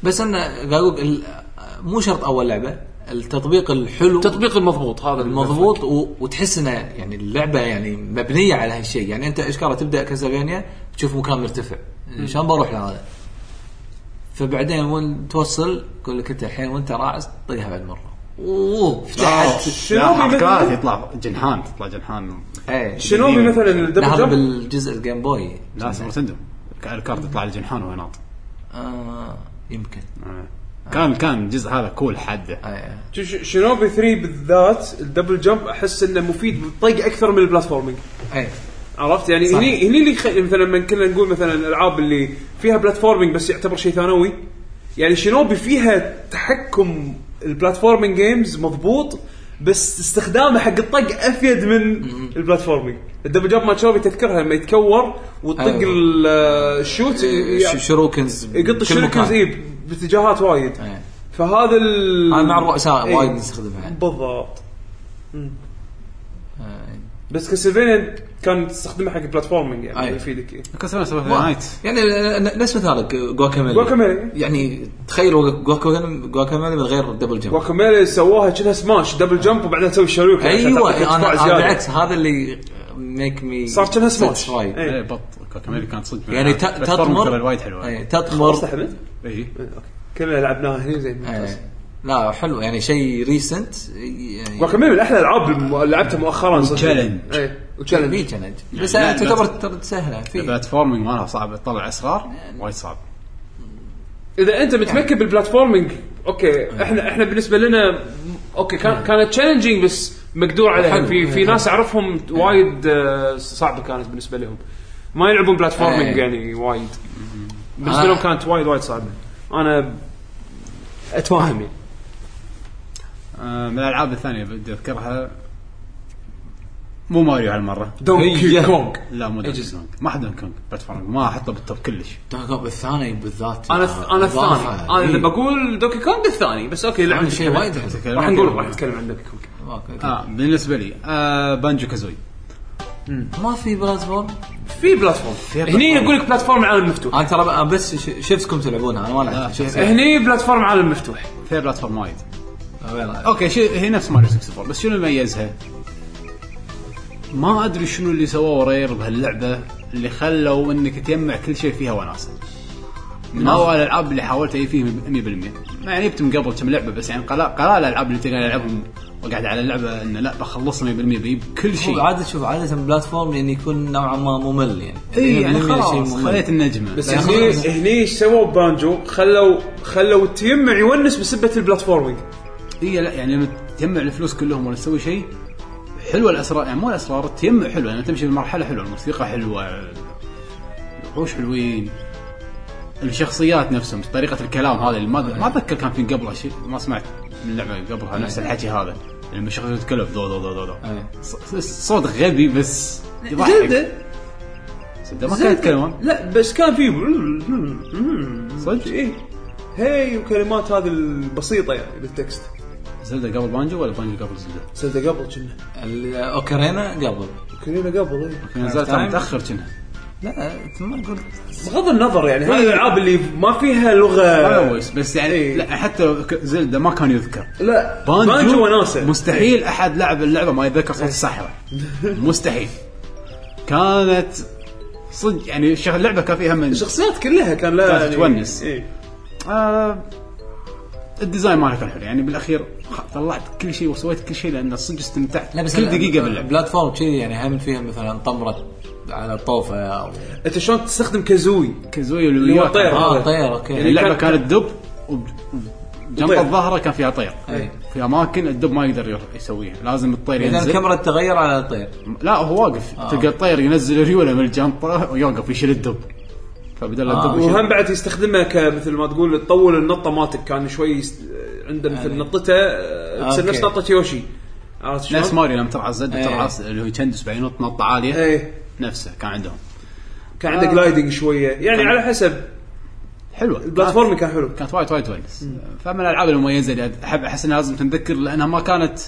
Speaker 3: بس انا قاعد اقول ال- مو شرط اول لعبه التطبيق الحلو
Speaker 1: التطبيق المضبوط هذا اللي
Speaker 3: مضبوط و... وتحس انه يعني اللعبه يعني مبنيه على هالشيء يعني انت اشكاله تبدا كاسلفينيا تشوف مكان مرتفع شلون بروح لهذا فبعدين وين توصل يقول لك انت الحين وانت راعس طقها بعد مره اوه فتحت
Speaker 4: شنوبي
Speaker 2: لا، حركات
Speaker 4: مثلا
Speaker 2: يطلع جنحان تطلع جنحان
Speaker 3: ايه
Speaker 4: شنوبي مثلا الدبل
Speaker 3: هذا
Speaker 4: جمب
Speaker 3: بالجزء الجيم بوي
Speaker 2: لا سوبر سندم الكارت يطلع الجنحان وهو ناط
Speaker 3: آه يمكن
Speaker 2: آه. كان كان الجزء هذا كول حده
Speaker 3: آه.
Speaker 4: ش- ش- شنوبي 3 بالذات الدبل جمب احس انه مفيد بالطق اكثر من البلاتفورمينج
Speaker 3: ايه
Speaker 4: عرفت يعني
Speaker 3: صح.
Speaker 4: هني هني اللي خ... مثلا من كنا نقول مثلا الالعاب اللي فيها بلاتفورمينج بس يعتبر شيء ثانوي يعني شينوبي فيها تحكم البلاتفورمينج جيمز مضبوط بس استخدامه حق الطق افيد من البلاتفورمينج الدبل جاب ما شينوبي تذكرها لما يتكور وتطق
Speaker 3: أيوة.
Speaker 4: ال- الشوت
Speaker 3: ش-
Speaker 4: يعني
Speaker 3: شروكنز
Speaker 4: يقط الشركه اي باتجاهات وايد
Speaker 3: ايه
Speaker 4: فهذا ال
Speaker 3: هاي مع الرؤساء
Speaker 4: إيه.
Speaker 3: وايد يعني. نستخدمها
Speaker 4: بالضبط
Speaker 3: آه.
Speaker 4: بس كاسلفينيا كان تستخدمه حق البلاتفورمينج يعني
Speaker 3: أيوة.
Speaker 4: يفيدك إيه.
Speaker 2: كسرنا سوبر نايت
Speaker 3: يعني ن- نفس مثالك جواكاميلي
Speaker 4: جواكاميلي.
Speaker 3: يعني تخيل جواكاميلي جواكاميلي من غير دبل جمب
Speaker 4: واكاميلي سواها كأنها سماش دبل جمب وبعدين تسوي الشريوكن
Speaker 3: ايوه
Speaker 4: عشان تعطيك
Speaker 3: انا
Speaker 4: دفاع
Speaker 3: أنا
Speaker 4: زيادة.
Speaker 3: بالعكس هذا اللي ميك مي
Speaker 4: صار كأنها سماش
Speaker 3: يعني
Speaker 4: إيه.
Speaker 2: ايه بط كاميري كانت صدق
Speaker 3: يعني ت-
Speaker 2: بس فورمة ترى
Speaker 3: تطمر
Speaker 2: وايد إيه. حلوه
Speaker 3: إيه،
Speaker 2: اي
Speaker 4: خلاص
Speaker 3: تطمر
Speaker 4: تحمل
Speaker 2: اي
Speaker 4: كلنا لعبناها هني زين ممتاز
Speaker 3: إيه. لا حلو يعني شيء ريسنت يعني
Speaker 4: واكاميلي من احلى الالعاب اللي لعبتها مؤخرا صدق
Speaker 2: وتشالنج.
Speaker 4: ايه
Speaker 3: إيه. في
Speaker 4: وتشالنج
Speaker 3: تشالنج
Speaker 2: يعني
Speaker 3: بس
Speaker 2: لا-
Speaker 3: تعتبر
Speaker 2: لا-
Speaker 3: تر- سهله في
Speaker 2: البلاتفورمينج مالها صعب تطلع اسرار وايد صعب
Speaker 4: اذا انت متمكن بالبلاتفورمينج اوكي احنا احنا بالنسبه لنا اوكي كان كانت تشالنجينج بس مقدور عليها
Speaker 3: حلو.
Speaker 4: في في
Speaker 3: إيه.
Speaker 4: ناس اعرفهم وايد آه، صعبه كانت بالنسبه لهم ما يلعبون بلاتفورمينج
Speaker 3: إيه.
Speaker 4: يعني وايد بالنسبه
Speaker 3: أنا-
Speaker 4: لهم كانت وايد وايد صعبه انا اتفاهم يعني
Speaker 2: آه، من الالعاب الثانيه بدي اذكرها مو ماريو هالمره
Speaker 4: دونكي
Speaker 3: هي-
Speaker 4: كونغ
Speaker 2: لا مو دونكي
Speaker 4: Ages.
Speaker 2: كونغ ما حد دونكي كونغ بلاتفورمينج ما احطه بالتوب كلش
Speaker 3: الثاني بالذات
Speaker 4: انا الث- انا الثاني انا اذا بقول دوكي كونغ الثاني بس اوكي لعبه
Speaker 3: إيه. يعني شيء وايد حلو
Speaker 2: تتكلم
Speaker 4: راح
Speaker 2: عن-
Speaker 4: نقول راح نتكلم عن دوكي كونغ
Speaker 2: اه بالنسبه لي آه بانجو كازوي
Speaker 3: ما في بلاتفورم
Speaker 4: في بلاتفورم هني
Speaker 2: بلاتفورم.
Speaker 4: يقول لك بلاتفورم عالم مفتوح
Speaker 3: انا ترى بقى- بس ش- شفتكم تلعبونها انا ما لعبت
Speaker 2: لا،
Speaker 3: شفت
Speaker 4: هني بلاتفورم عالم مفتوح
Speaker 2: فيها بلاتفورم وايد
Speaker 3: وين-
Speaker 2: اوكي شي هي نفس ماريو 64 بس شنو اللي ميزها؟ ما ادري شنو اللي سووه رير بهاللعبه اللي خلوا انك تجمع كل شيء فيها وناسه.
Speaker 3: نعم.
Speaker 2: من اول الالعاب اللي حاولت اجيب فيه 100% يعني جبت من قبل كم لعبه بس يعني قلال قلال الالعاب اللي تقدر العبهم وقعد على اللعبه انه لا بخلصها 100% بجيب كل
Speaker 3: هو
Speaker 2: شيء.
Speaker 3: عادة شوف عادة بلاتفورم يعني يكون نوعا ما ممل يعني
Speaker 2: اي
Speaker 4: إيه،
Speaker 2: يعني
Speaker 3: 100% شيء
Speaker 2: خلاص
Speaker 3: ممل.
Speaker 2: خليت النجمه
Speaker 4: بس
Speaker 3: لا،
Speaker 4: هني
Speaker 3: خلاص.
Speaker 4: هني ايش سووا بانجو خلوا خلوا التيمع يونس بسبه البلاتفورمينج
Speaker 2: هي لا يعني لما تجمع الفلوس كلهم ولا تسوي شيء حلوه الاسرار يعني مو الاسرار تجمع حلوه يعني تمشي بالمرحله حلوه الموسيقى حلوه الوحوش حلوين الشخصيات نفسهم طريقه الكلام هذا اللي ما ما اتذكر كان في قبله شيء ما سمعت من اللعبه قبلها نفس الحكي هذا لما شغلت تتكلم دو دو دو دو, دو.
Speaker 3: إيه.
Speaker 2: ص- ص- صوت غبي بس يضحك
Speaker 4: زلده
Speaker 2: صدق ما كانوا يتكلمون
Speaker 4: لا بس كان في
Speaker 2: صدق
Speaker 4: اي هي وكلمات هذه البسيطه يعني بالتكست
Speaker 2: زلده قبل بانجو ولا بانجو قبل زلده؟
Speaker 4: صدق قبل كنا
Speaker 3: الاوكرينا قبل
Speaker 4: كلنا قبل إيه.
Speaker 2: نزلت
Speaker 3: تايم.
Speaker 2: متاخر كنا
Speaker 3: لا أنت ما قلت
Speaker 4: بغض النظر يعني هذه الالعاب اللي ما فيها
Speaker 2: هذا
Speaker 4: لغه
Speaker 2: هو بس- بس يعني
Speaker 4: إيه.
Speaker 2: لا حتى ك- زلده ما كان يذكر
Speaker 4: لا
Speaker 2: بانجو,
Speaker 4: بانجو وناسه
Speaker 2: مستحيل احد لعب اللعبه ما يتذكر صوت الصحراء مستحيل كانت صدق يعني شغل اللعبه كان فيها من
Speaker 4: الشخصيات كلها كان لها
Speaker 2: كانت
Speaker 4: يعني-
Speaker 2: تونس.
Speaker 4: إيه.
Speaker 2: آه الديزاين مالها كان حلو يعني بالاخير خ- طلعت كل شيء وسويت كل شيء لان صدق استمتعت
Speaker 3: لا بس
Speaker 2: كل
Speaker 3: ال-
Speaker 2: دقيقه باللعب
Speaker 3: البلاتفورم كذي يعني هم فيها مثلا طمره على آه، الطوفه او
Speaker 4: انت شلون تستخدم كازوي
Speaker 2: كازويا
Speaker 4: اللي هو
Speaker 2: والوياك
Speaker 4: طير.
Speaker 2: آه،
Speaker 3: اه طير اوكي
Speaker 2: يعني اللعبه
Speaker 4: كان-
Speaker 2: كانت دب وب- جنب
Speaker 4: وطير.
Speaker 2: الظهره كان فيها طير
Speaker 3: إيه.
Speaker 2: في اماكن الدب ما يقدر يروح- يسويها لازم الطير
Speaker 3: اذا
Speaker 2: ينزل
Speaker 3: الكاميرا تتغير على الطير
Speaker 2: لا هو واقف آه. تلقى الطير ينزل ريوله من الجنطه ويوقف يشيل الدب فبدل
Speaker 3: آه.
Speaker 2: الدب يشيل
Speaker 4: وهم بعد يستخدمها كمثل ما تقول تطول النطه مالتك كان شوي يست- عنده مثل نطته آه، تصير
Speaker 3: أوكي.
Speaker 4: نفس نطه يوشي عرفت شلون؟
Speaker 2: نفس ماريو لما ترعى زد
Speaker 3: إيه.
Speaker 2: ترعى اللي هو يكندس بعدين ينط نطه عاليه
Speaker 4: ايه
Speaker 2: نفسه كان عندهم
Speaker 4: كان عنده جلايدنج شويه يعني على حسب
Speaker 2: حلوه
Speaker 4: البلاتفورم كان حلو
Speaker 2: كانت وايد وايد ونس فمن الالعاب المميزه اللي احب احس انها لازم تنذكر لانها ما كانت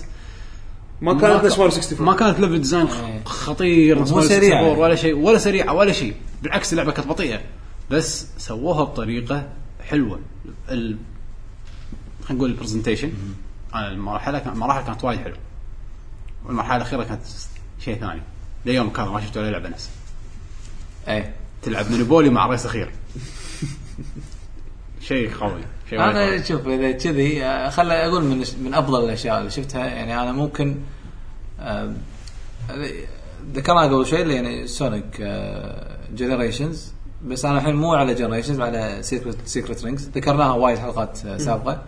Speaker 4: ما كانت نفس ماريو
Speaker 2: ما
Speaker 4: 64
Speaker 2: كانت ليفل ديزاين خ-
Speaker 3: إيه.
Speaker 2: خطير نفس
Speaker 3: مو
Speaker 2: ماريو
Speaker 3: سريعة.
Speaker 2: 64 ولا شيء ولا سريعه ولا شيء بالعكس اللعبه كانت بطيئه بس سووها بطريقه حلوه ال... خلينا نقول البرزنتيشن على المرحله كان... المراحل كانت وايد حلوه والمرحله الاخيره كانت شيء ثاني ليوم كان ما شفت ولا لعبه نفسها
Speaker 3: اي
Speaker 2: تلعب مونوبولي مع رئيس اخير شيء قوي شيء وايد قوي.
Speaker 3: انا شوف اذا كذي آه، خل اقول من من افضل الاشياء اللي شفتها يعني انا ممكن آه، ذكرناها قبل شوي اللي يعني سونيك جنريشنز بس انا الحين مو على جنريشنز على سيكرت سيكرت رينجز ذكرناها وايد حلقات آه، سابقه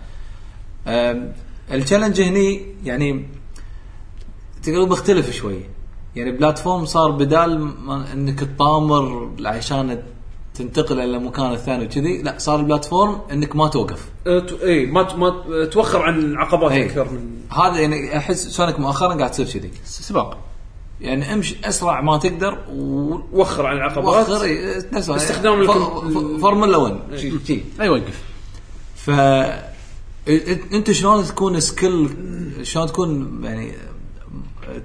Speaker 3: آم، التشالنج هني يعني تقدر بيختلف شوي يعني بلاتفورم صار بدال ما انك تطامر عشان تنتقل الى المكان الثاني وكذي لا صار البلاتفورم انك ما توقف
Speaker 4: آه، ت- اي ما ت- ما ت- آه، توخر عن عقبات
Speaker 3: إيه.
Speaker 4: اكثر من
Speaker 3: هذا يعني احس سونيك مؤخرا قاعد تصير كذي
Speaker 2: سباق
Speaker 3: يعني امشي اسرع ما تقدر و
Speaker 4: وخر عن العقبات
Speaker 3: وخر إيه، نفس هذا.
Speaker 4: استخدام
Speaker 3: ف-
Speaker 4: الكم-
Speaker 3: ف- فورمولا 1 شي- شي.
Speaker 2: لا يوقف
Speaker 3: ف إنت- انت شلون تكون سكيل شلون تكون يعني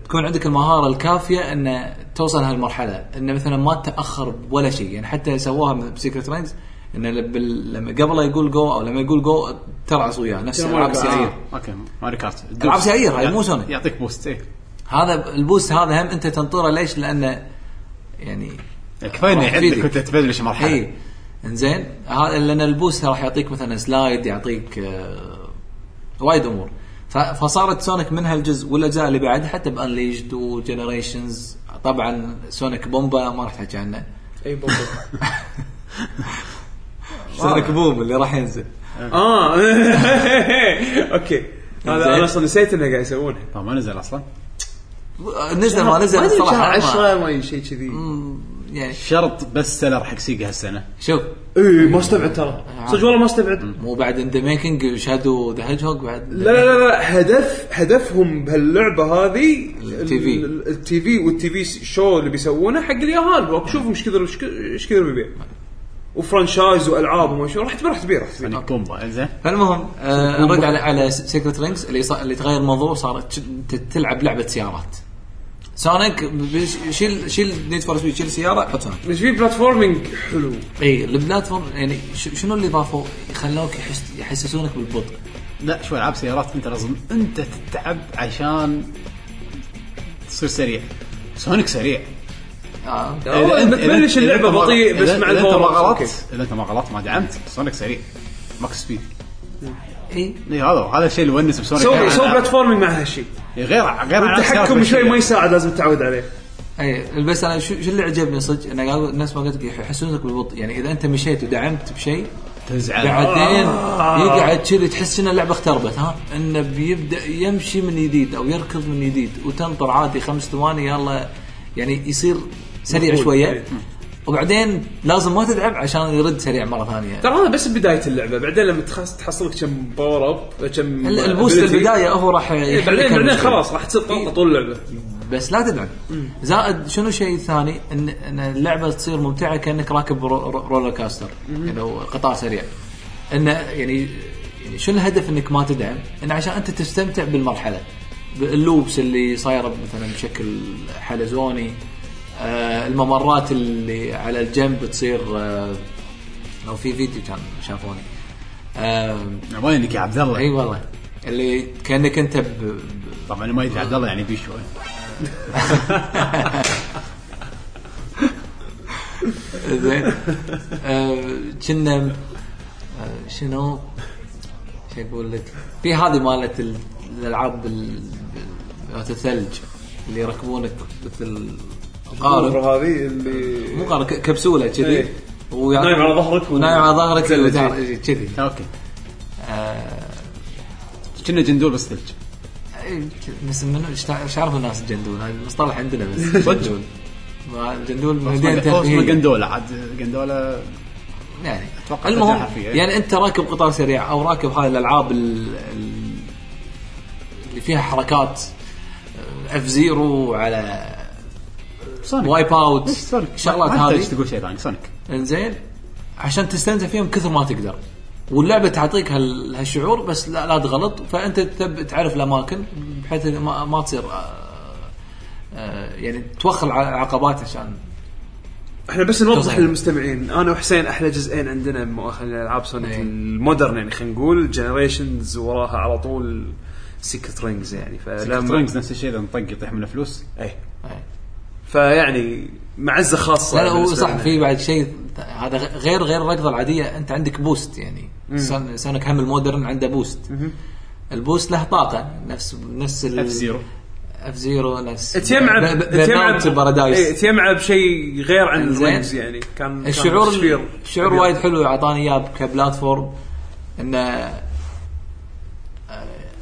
Speaker 3: تكون عندك المهاره الكافيه ان توصل هالمرحله ان مثلا ما تتاخر ولا شيء يعني حتى سووها بسيكرت رينز ان لب- لما قبله يقول جو او لما يقول جو ترعس وياه نفس العاب السيارة.
Speaker 2: آه، اوكي ماري كارت
Speaker 3: ألعاب سيارة، هاي مو سوني.
Speaker 2: يعطيك بوست ايه
Speaker 3: هذا البوست هذا هم انت تنطره ليش؟ لانه يعني
Speaker 2: كفايه انه
Speaker 3: راح
Speaker 2: عندك
Speaker 3: يفيدك.
Speaker 2: وانت تبلش مرحله
Speaker 4: إيه.
Speaker 3: اي انزين هذا لان البوست راح يعطيك مثلا سلايد يعطيك آه، وايد امور ف- فصارت سونيك من هالجزء والاجزاء اللي بعد حتى بانليجد وجنريشنز طبعا سونيك بومبا ما راح تحكي عنه
Speaker 4: اي بوبا.
Speaker 3: سونيك بوم اللي راح ينزل
Speaker 4: اه اوكي هذا
Speaker 3: زين.
Speaker 4: انا اصلا نسيت انه قاعد يسوونه
Speaker 2: طبعا ما نزل اصلا
Speaker 3: نزل ما نزل
Speaker 4: أدري، شهر
Speaker 3: الصراحه ما-
Speaker 4: 10 ما أدري، شيء كذي
Speaker 3: يعني
Speaker 2: شرط بس سلر حق سيجا هالسنه
Speaker 3: شوف إيه،
Speaker 4: اي ما استبعد ترى صدق والله ما استبعد
Speaker 3: مو بعد ان ذا ميكنج شادو ذا هيدج هوج بعد
Speaker 4: لا لا لا لا هدف هدفهم بهاللعبه هذه
Speaker 3: التي
Speaker 4: ال- التي في والتي في شو اللي بيسوونه حق اليهال روك شوفهم ايش كثر إيش كثر- ايش كثر بيبيع وفرانشايز والعاب وما شو راح تبيع راح تبيع راح تبيع
Speaker 2: يعني كومبا زين
Speaker 3: فالمهم آه نرد على على سيكرت رينجز اللي صار اللي تغير الموضوع صارت ش- ت- تلعب لعبه سيارات سونيك بش- شيل شيل نيد فور سبيد شيل سياره حط سونيك
Speaker 4: بس في بلاتفورمينج حلو
Speaker 3: اي البلاتفورم يعني ش- شنو اللي ضافوا خلوك يحس يحسسونك بالبطء
Speaker 2: لا شوي العاب سيارات انت لازم انت تتعب عشان تصير سريع سونيك سريع
Speaker 3: آه.
Speaker 4: أوه،
Speaker 2: أنت-
Speaker 4: بتبلش
Speaker 2: أنت-
Speaker 4: اللعبه
Speaker 2: إذا أنت ما-
Speaker 4: بطيء بس
Speaker 2: إذا-
Speaker 4: مع
Speaker 2: اذا انت ما
Speaker 4: الباور أوكي.
Speaker 2: غلطت اذا انت ما غلطت ما دعمت سونيك سريع ماكس سبيد
Speaker 3: اي
Speaker 2: اي هذا هذا الشيء اللي يونس بسونيك
Speaker 4: سوي
Speaker 2: يعني
Speaker 4: سوي
Speaker 2: أنا- إيه،
Speaker 4: بلاتفورمينج مع هالشيء
Speaker 2: غير غير عن
Speaker 4: التحكم
Speaker 2: السيارات
Speaker 4: شوي ما
Speaker 2: بالشيء.
Speaker 4: يساعد لازم تتعود عليه
Speaker 3: اي بس انا شو شو اللي عجبني صدق انا قاعد أقول- نفس ما قلت لك يحسسونك بالبطء يعني اذا انت مشيت ودعمت بشيء
Speaker 2: تزعل
Speaker 3: بعدين
Speaker 4: آه.
Speaker 3: يقعد كذي تحس ان اللعبه اختربت ها انه بيبدا يمشي من جديد او يركض من جديد وتنطر عادي خمس ثواني يلا يعني يصير سريع
Speaker 4: مفروض.
Speaker 3: شويه وبعدين لازم ما تتعب عشان يرد سريع مره ثانيه
Speaker 4: ترى هذا بس بدايه اللعبه بعدين لما تخص- تحصل لك كم باور اب كم
Speaker 3: ال- البوست يعني
Speaker 4: ability.
Speaker 3: البدايه هو راح
Speaker 4: إيه،
Speaker 3: يحل
Speaker 4: بعدين
Speaker 3: لك
Speaker 4: بعدين
Speaker 3: المشكلة.
Speaker 4: خلاص راح تصير طاقه طول اللعبه
Speaker 3: بس لا تدعم زائد شنو الشيء الثاني ان ان اللعبه تصير ممتعه كانك راكب رو- رو- رولر كاستر يعني هو قطار سريع ان يعني يعني شنو الهدف انك ما تدعم؟ ان عشان انت تستمتع بالمرحله باللوبس اللي صايره مثلا بشكل حلزوني آه الممرات اللي على الجنب تصير آه لو في فيديو كان شافوني آه
Speaker 2: وينك يا عبد
Speaker 3: اي
Speaker 4: أيوه.
Speaker 2: الله؟
Speaker 3: والله اللي كانك انت ب- ب-
Speaker 2: طبعا اللي ما يدري عبد الله يعني بي شوي
Speaker 3: زين آه، كنا آه، شنو شو اقول لك في هذه مالت ال- الالعاب بال- بال- مالت الثلج اللي يركبونك مثل قارب
Speaker 4: هذه اللي
Speaker 3: مو قارب ك- كبسوله كذي
Speaker 4: إيه.
Speaker 3: ويعطيك-
Speaker 4: نايم على ظهرك و-
Speaker 3: ونايم على ظهرك
Speaker 4: زلة
Speaker 3: وتع- كذي
Speaker 2: اوكي
Speaker 3: آه،
Speaker 2: كنا جندول بس ثلج
Speaker 3: إيه، بس منو ايش تع- إيش عرفوا الناس الجندول هذا المصطلح عندنا بس جندول ما- الجندول مدينة
Speaker 2: اسمه
Speaker 3: ترفيهية.
Speaker 2: قندوله عاد قندوله
Speaker 3: يعني
Speaker 2: أتوقع
Speaker 3: المهم
Speaker 2: تتلاعب فيه، إيه.
Speaker 3: يعني انت راكب قطار سريع او راكب هاي الالعاب ال- ال- اللي فيها حركات اف زيرو على
Speaker 2: سونيك
Speaker 3: وايب اوت
Speaker 2: إيش سونيك؟
Speaker 3: شغلات
Speaker 2: ما تحتاج
Speaker 3: هذه
Speaker 2: تقول شيء ثاني سونيك
Speaker 3: انزين عشان تستمتع فيهم كثر ما تقدر واللعبه تعطيك هال- هالشعور بس لا, لا تغلط فانت تب تعرف الاماكن بحيث إن ما, ما تصير آه، آه، يعني توخل على العقبات عشان
Speaker 4: احنا بس نوضح
Speaker 3: تفضل.
Speaker 4: للمستمعين انا وحسين احلى جزئين عندنا مؤخرا الالعاب سونيك
Speaker 3: إيه.
Speaker 4: المودرن يعني خلينا نقول جنريشنز وراها على طول سيكت رينجز يعني فلما
Speaker 2: ترينكس نفس الشيء اذا نطق يطيح من الفلوس
Speaker 4: اي
Speaker 3: إيه.
Speaker 4: فيعني معزه خاصه
Speaker 3: لا لا هو
Speaker 4: بالنسبة
Speaker 3: صح
Speaker 4: لنا.
Speaker 3: في بعد شيء هذا غير غير الركضه العاديه انت عندك بوست يعني سون- سونيك هم المودرن عنده بوست البوست له طاقه نفس نفس
Speaker 2: اف زيرو
Speaker 3: اف زيرو نفس
Speaker 4: تيمعب
Speaker 3: ب- ب- Burnout
Speaker 4: تيمعب
Speaker 3: Paradise.
Speaker 4: إيه، تيمعب شيء غير عن
Speaker 3: إنزين.
Speaker 4: الرينجز يعني كان
Speaker 3: الشعور
Speaker 4: كان تشفير.
Speaker 3: الشعور وايد حلو اعطاني اياه كبلاتفورم انه آه،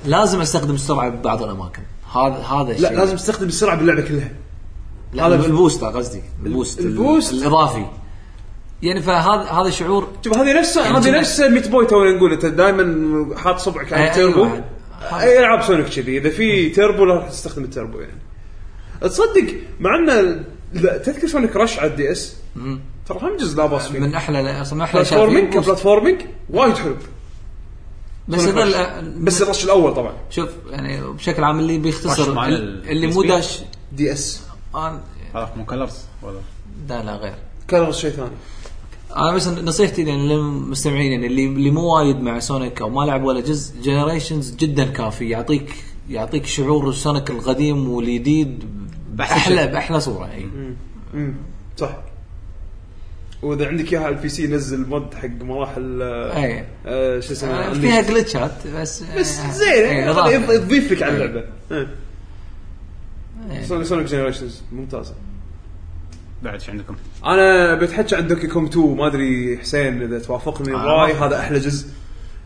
Speaker 3: لازم استخدم السرعه ببعض الاماكن هذا هذا
Speaker 4: لا
Speaker 3: الشيء
Speaker 4: لازم تستخدم السرعه باللعبه كلها
Speaker 3: لا هذا البوست قصدي البوست
Speaker 4: البوست.
Speaker 3: الاضافي يعني فهذا هذا شعور
Speaker 4: شوف هذه نفسها
Speaker 3: يعني
Speaker 4: هذه
Speaker 3: جمع-
Speaker 4: نفسها ميت بوي تونا نقول انت دائما حاط صبعك على
Speaker 3: أي- أيوة. أي
Speaker 4: التربو
Speaker 3: واحد.
Speaker 4: اي العاب سونيك كذي اذا في تربو لا راح تستخدم التربو يعني تصدق مع ان لا، تذكر سونيك رش على الدي اس ترى هم جزء لا باص فيه
Speaker 3: من احلى اصلا من احلى الأشياء فيه
Speaker 4: بلاتفورمينج
Speaker 3: البوست.
Speaker 4: كبلاتفورمينج وايد حلو
Speaker 3: بس
Speaker 4: Sonic Rush.
Speaker 3: هذا
Speaker 4: بس الرش الاول طبعا
Speaker 3: شوف يعني بشكل عام اللي
Speaker 2: Rush
Speaker 3: بيختصر
Speaker 2: مع
Speaker 3: ال-
Speaker 2: ال-
Speaker 3: اللي مو
Speaker 2: PSP.
Speaker 3: داش
Speaker 4: دي اس
Speaker 3: انا
Speaker 2: هذا مو كلرز ولا
Speaker 3: لا لا غير
Speaker 4: كان شيء ثاني
Speaker 3: انا بس نصيحتي يعني للمستمعين يعني اللي اللي مو وايد مع سونيك او ما لعب ولا جزء جنريشنز جدا كافي يعطيك يعطيك شعور سونيك القديم والجديد باحلى باحلى صوره اي
Speaker 4: امم صح واذا عندك اياها على البي سي نزل مود حق مراحل آه،
Speaker 3: اي
Speaker 4: آه، شو اسمه
Speaker 3: آه، فيها
Speaker 4: Unleashed.
Speaker 3: جلتشات بس
Speaker 4: بس
Speaker 3: آه،
Speaker 4: زين
Speaker 3: إي،
Speaker 4: يعني
Speaker 3: إضافة.
Speaker 4: يض- يضيف لك على إيه. اللعبه
Speaker 3: إي.
Speaker 4: سونيك جنريشنز ممتازه
Speaker 2: بعد شو عندكم؟
Speaker 4: انا بتحكي عن دوكي كوم 2 ما ادري حسين اذا توافقني
Speaker 2: آه.
Speaker 4: الراي هذا احلى جزء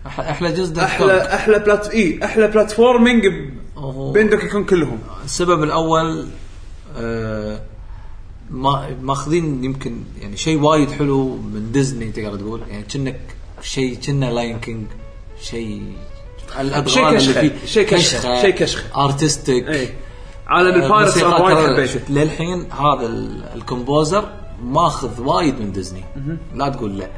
Speaker 3: أح- احلى جزء
Speaker 4: احلى احلى بلات اي احلى بلاتفورمينج ب-
Speaker 3: أوه.
Speaker 4: إيه، بين دوكي كوم كلهم
Speaker 3: السبب الاول آه، ما ماخذين يمكن يعني شيء وايد حلو من ديزني تقدر تقول يعني كأنك شيء كنا لاين كينج شيء الابغال
Speaker 4: كشخة،
Speaker 3: اللي فيه
Speaker 4: شيء كشخة، شيء كشخة. إيه.
Speaker 3: ارتستيك
Speaker 4: اي عالم البايرتس
Speaker 3: موسيقى
Speaker 4: انا وايد
Speaker 3: ترى
Speaker 4: حبيته
Speaker 3: للحين هذا ال- الكومبوزر ماخذ وايد من ديزني لا تقول لا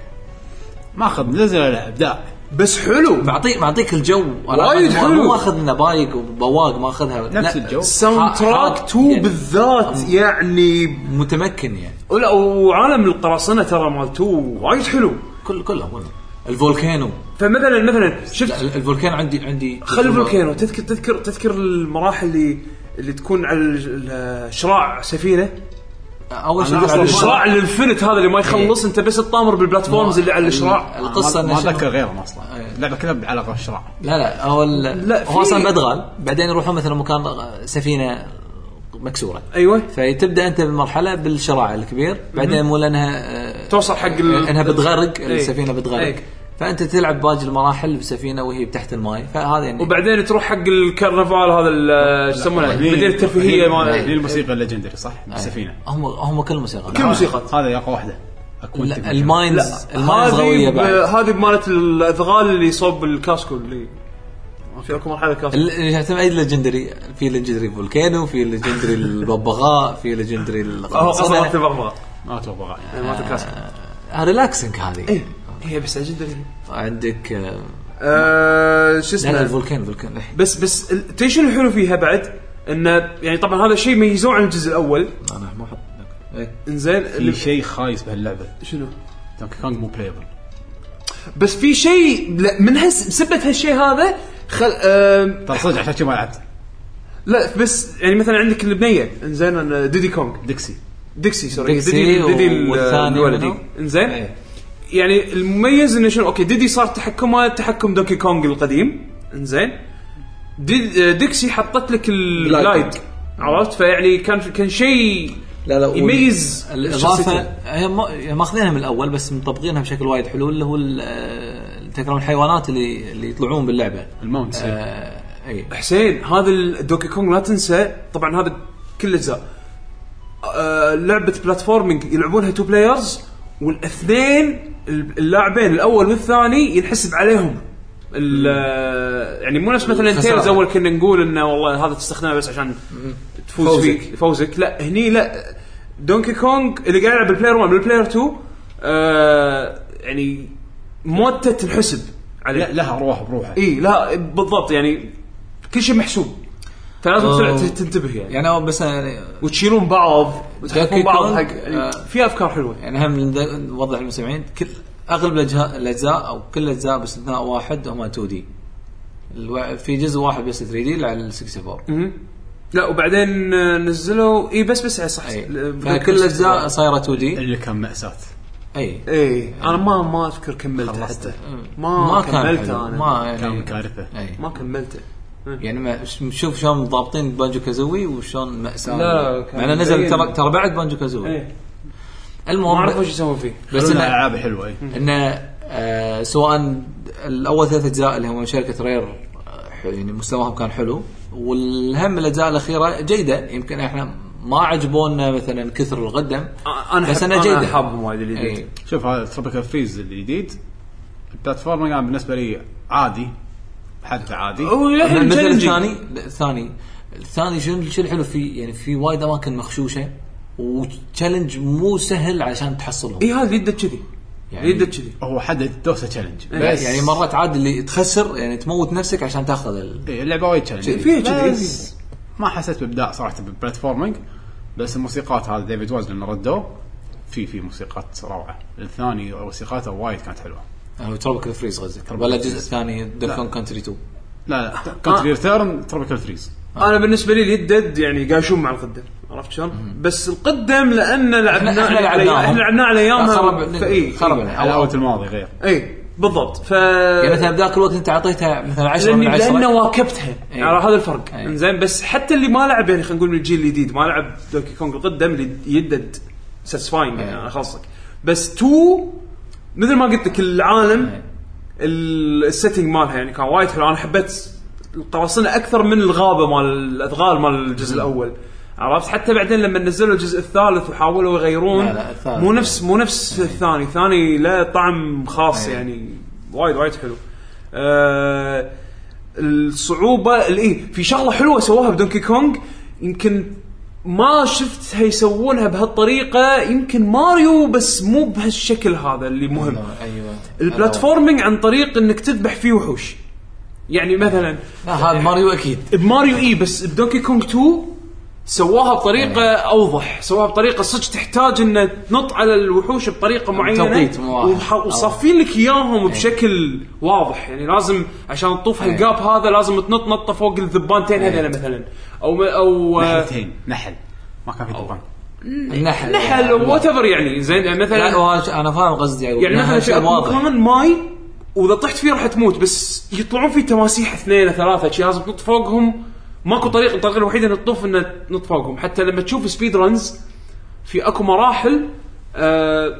Speaker 2: ماخذ نزل ولا ابداع
Speaker 4: بس حلو
Speaker 3: معطيك معطيك الجو أنا
Speaker 4: وايد
Speaker 3: ما-
Speaker 4: حلو.
Speaker 3: مو ماخذ نبايق وبواق ماخذها
Speaker 2: نفس
Speaker 3: لا،
Speaker 2: الجو.
Speaker 4: ساوند تراك
Speaker 3: حاط-
Speaker 4: 2
Speaker 3: يعني
Speaker 4: بالذات يعني
Speaker 3: متمكن يعني
Speaker 4: ولا وعالم القراصنه ترى مال 2 وايد حلو
Speaker 3: كل كلهم كلهم الفولكانو
Speaker 4: فمثلا مثلا
Speaker 3: لا،
Speaker 4: شفت
Speaker 3: ال- الفولكان عندي عندي
Speaker 4: خلي الفولكانو تذكر تذكر تذكر المراحل اللي اللي تكون على الج- ال- شراع سفينه
Speaker 3: اول شيء
Speaker 2: أنا أصلاً
Speaker 3: ما-
Speaker 4: الشراع الانفنت هذا اللي ما يخلص انت بس تطامر بالبلاتفورمز اللي على الشراع
Speaker 3: القصه
Speaker 2: ما- ما
Speaker 3: إنه شنو-
Speaker 2: اتذكر غيرهم اصلا
Speaker 3: إيه.
Speaker 2: اللعبه كلها على الشراع
Speaker 3: لا لا اول هو
Speaker 4: لا، في-
Speaker 3: اصلا مدغال بعدين يروحون مثلا مكان آه، سفينه مكسوره
Speaker 4: ايوه
Speaker 3: فتبدا انت بالمرحله بالشراع الكبير بعدين مو لانها آه،
Speaker 4: توصل حق ال-
Speaker 3: انها بتغرق
Speaker 4: إيه.
Speaker 3: السفينه بتغرق
Speaker 4: إيه.
Speaker 3: فانت تلعب باقي المراحل بسفينه وهي تحت الماي فهذا يعني
Speaker 4: وبعدين تروح حق الكرنفال هذا ال- شو يسمونه مدينه الترفيهيه
Speaker 3: آه.
Speaker 2: هي
Speaker 4: مال
Speaker 2: الموسيقى الليجندري صح؟ السفينه
Speaker 3: هم هم كل آه. موسيقى
Speaker 4: كل موسيقى
Speaker 2: هذا ياقه واحده اكون
Speaker 3: لا، الماينز الماينز
Speaker 4: هذه
Speaker 3: قويه
Speaker 4: ب-
Speaker 3: بعد
Speaker 4: هذه بمالت الاذغال اللي صوب الكاسكو اللي في اكو مرحله كاسكو
Speaker 3: ال- يعتمد اي ليجندري في ليجندري فولكانو في ليجندري الببغاء في ليجندري
Speaker 4: هو قصدي مالت
Speaker 3: القنصنة.
Speaker 4: البغبغاء
Speaker 2: ما اتوقع يعني.
Speaker 4: مالت الكاسكو
Speaker 3: آه، ريلاكسنج هذه
Speaker 4: هي بس اجندري
Speaker 3: عندك آه،
Speaker 4: آه، شو
Speaker 3: لا لا
Speaker 4: اسمه
Speaker 3: الفولكان الفولكان
Speaker 4: بس بس ال- تدري شنو الحلو فيها بعد؟ انه يعني طبعا هذا الشيء ميزوه عن الجزء الاول
Speaker 3: انا ما احط إيه.
Speaker 4: انزين
Speaker 2: في
Speaker 4: اللي-
Speaker 2: شيء خايس بهاللعبه
Speaker 4: شنو؟
Speaker 2: دونكي كونج مو بلايبل
Speaker 4: بس في شيء لا، من هس بسبه هالشيء هذا خل آم،
Speaker 2: ترى صدق عشان كذي ما لعبت
Speaker 4: لا بس يعني مثلا عندك البنيه انزين أنا ديدي كونغ
Speaker 2: ديكسي
Speaker 4: ديكسي سوري
Speaker 3: ديكسي
Speaker 4: ديدي ديدي ال-
Speaker 3: والثاني
Speaker 4: الولدي
Speaker 3: منو؟
Speaker 4: انزين
Speaker 3: إيه.
Speaker 4: يعني المميز انه شنو اوكي ديدي صار تحكمه تحكم دونكي كونغ القديم انزين دي- آه، ديكسي حطت لك اللايت عرفت فيعني كان كان شيء
Speaker 3: لا لا
Speaker 4: يميز
Speaker 3: الاضافه
Speaker 4: شخصيته.
Speaker 3: هي ما- ماخذينها من الاول بس مطبقينها بشكل وايد حلو اللي هو ال- آه، تكرار الحيوانات اللي اللي يطلعون باللعبه
Speaker 2: الماونت
Speaker 3: آه، اي
Speaker 4: حسين هذا الدوكي كونغ لا تنسى طبعا هذا كل اجزاء آه، لعبه بلاتفورمينج يلعبونها تو بلايرز والاثنين اللاعبين الاول والثاني ينحسب عليهم ال- آه، يعني مو نفس مثلا
Speaker 3: الخسارة.
Speaker 4: تيلز اول كنا نقول انه والله هذا تستخدمه بس عشان تفوز
Speaker 3: فوزك.
Speaker 4: فوزك. فيه فوزك لا هني لا دونكي كونغ اللي قاعد يلعب بالبلاير 1 بالبلاير 2 آه يعني موته تنحسب عليه
Speaker 2: لا لها روح بروحها
Speaker 4: اي إيه، لا بالضبط يعني كل شيء محسوب فلازم
Speaker 3: أوه.
Speaker 4: تلع- تنتبه يعني
Speaker 3: يعني هو بس يعني
Speaker 4: وتشيلون بعض
Speaker 3: دونكي
Speaker 4: وتحكون بعض
Speaker 3: كونغ،
Speaker 4: حق يعني
Speaker 3: آه.
Speaker 4: في افكار حلوه
Speaker 3: يعني هم لنذ- نوضح للمستمعين كل اغلب الأجه- الاجزاء او كل الاجزاء باستثناء واحد هم 2 دي في جزء واحد بس 3 دي على ال 64
Speaker 4: مهم. لا وبعدين آه، نزلوا اي بس بس على صح
Speaker 3: اي
Speaker 4: ل-
Speaker 3: فكل الاجزاء صايره 2 دي
Speaker 2: اللي كان مأساة
Speaker 3: اي
Speaker 4: اي انا إيه. ما ما اذكر كملته
Speaker 2: خلصته.
Speaker 4: حتى ما
Speaker 3: ما كان
Speaker 4: كملته
Speaker 3: حلو.
Speaker 4: أنا.
Speaker 3: ما
Speaker 2: كان
Speaker 3: يعني
Speaker 2: كارثه
Speaker 3: اي
Speaker 4: ما كملته
Speaker 3: يعني ما شوف شلون ضابطين بانجو كازوي وشلون مأساة
Speaker 4: لا، كان
Speaker 3: مع انه نزل
Speaker 4: زين.
Speaker 3: ترى ترى بعد بانجو كازوي
Speaker 4: إيه. ما
Speaker 3: المهم
Speaker 4: اعرف وش يسوون فيه
Speaker 3: بس
Speaker 2: بس
Speaker 3: انه
Speaker 2: الالعاب حلوه اي
Speaker 3: انه آه، سواء الاول ثلاث اجزاء اللي هم من شركه رير آه، ح- يعني مستواهم كان حلو والهم الاجزاء الاخيره جيده يمكن احنا ما عجبونا مثلا كثر القدم
Speaker 4: آه، انا
Speaker 3: بس
Speaker 4: حب-
Speaker 3: أنا جيدة. إيه.
Speaker 4: حابهم وايد اللي
Speaker 3: اي
Speaker 4: جيت.
Speaker 2: شوف هذا تروبيكال فريز الجديد البلاتفورم كان بالنسبه لي عادي حدث عادي
Speaker 4: وللحين
Speaker 3: مثلا
Speaker 4: challenging.
Speaker 3: الثاني لا، الثاني الثاني شنو شنو الحلو فيه يعني في وايد اماكن مخشوشه وتشالنج مو سهل عشان تحصلهم
Speaker 1: إيه،
Speaker 4: اي هذا يده كذي
Speaker 3: يعني-
Speaker 4: يده كذي
Speaker 2: هو حدث دوسه تشالنج
Speaker 3: بس يعني مرات عاد اللي تخسر يعني تموت نفسك عشان تاخذ ال...
Speaker 2: إيه، اللعبه وايد تشالنج
Speaker 4: فيها كذي.
Speaker 2: بس ما حسيت بابداع صراحه بالبلاتفورمينج بس الموسيقات هذا ديفيد واز لما ردوه في في موسيقات روعه الثاني موسيقاته وايد كانت حلوه
Speaker 3: هو تروبيكال فريز آه، قصدك ولا الجزء الثاني دكون كونتري 2
Speaker 2: لا لا كانت ريتيرن تروبيكال فريز
Speaker 4: انا بالنسبه لي اليدد يعني قاشون مع القدم عرفت شلون؟ بس القدم لان لعبناه
Speaker 3: إحنا
Speaker 4: على-
Speaker 3: لعبناهم.
Speaker 4: احنا لعبناه على ايامها
Speaker 3: خرب
Speaker 4: فإي،
Speaker 3: خرب
Speaker 4: إي.
Speaker 3: علينا.
Speaker 2: حلاوه الماضي غير
Speaker 4: اي بالضبط ف
Speaker 3: يعني مثلا بذاك الوقت انت اعطيتها مثلا 10 من إيه.
Speaker 4: لاني
Speaker 3: 10
Speaker 4: لانه واكبتها
Speaker 3: إي.
Speaker 4: على هذا الفرق
Speaker 3: إي.
Speaker 4: انزين بس حتى اللي ما لعب يعني خلينا نقول من الجيل الجديد ما لعب دوكي كونغ القدم اللي يدد ساتسفاينج
Speaker 3: إي.
Speaker 4: يعني انا خلصك بس تو مثل ما قلت لك
Speaker 3: إيه.
Speaker 4: العالم السيتنج مالها يعني كان وايد حلو انا حبيت القراصنه اكثر من الغابه مال الاثغال مال
Speaker 3: إيه.
Speaker 4: الجزء الاول عرفت حتى بعدين لما نزلوا الجزء الثالث وحاولوا يغيرون
Speaker 3: لا، لا، الثالث.
Speaker 4: مو نفس مو نفس الثاني الثاني له طعم خاص يعني وايد وايد حلو آه الصعوبه الاي في شغله حلوه سووها بدونكي كونج يمكن ما شفتها يسوونها بهالطريقه يمكن ماريو بس مو بهالشكل هذا اللي مهم
Speaker 3: ايوه
Speaker 4: البلاتفورمينج عن طريق انك تذبح فيه وحوش يعني مثلا
Speaker 3: لا هذا ماريو اكيد
Speaker 4: بماريو اي بس بدونكي كونج 2 سواها بطريقه اوضح سواها بطريقه صدق تحتاج ان تنط على الوحوش بطريقه معينه
Speaker 3: توقيت مو واحد.
Speaker 4: وح- وصافين لك اياهم بشكل واضح يعني لازم عشان تطوف هالجاب هذا لازم تنط نطه فوق الذبانتين هذول مثلا او او
Speaker 2: نحلتين نحل ما كان في طبعا
Speaker 3: النحل
Speaker 4: نحل وات ايفر يعني زين مثلا
Speaker 3: لا وهذا شيء- انا فاهم قصدي
Speaker 4: يعني مثلا شيء
Speaker 3: واضح
Speaker 4: مكان ماي واذا طحت فيه راح تموت بس يطلعون فيه تماسيح اثنين ثلاثه شي لازم تنط فوقهم ماكو طريقه الطريقه الوحيده انك تطوف انك تنط فوقهم حتى لما تشوف سبيد رنز في اكو مراحل آه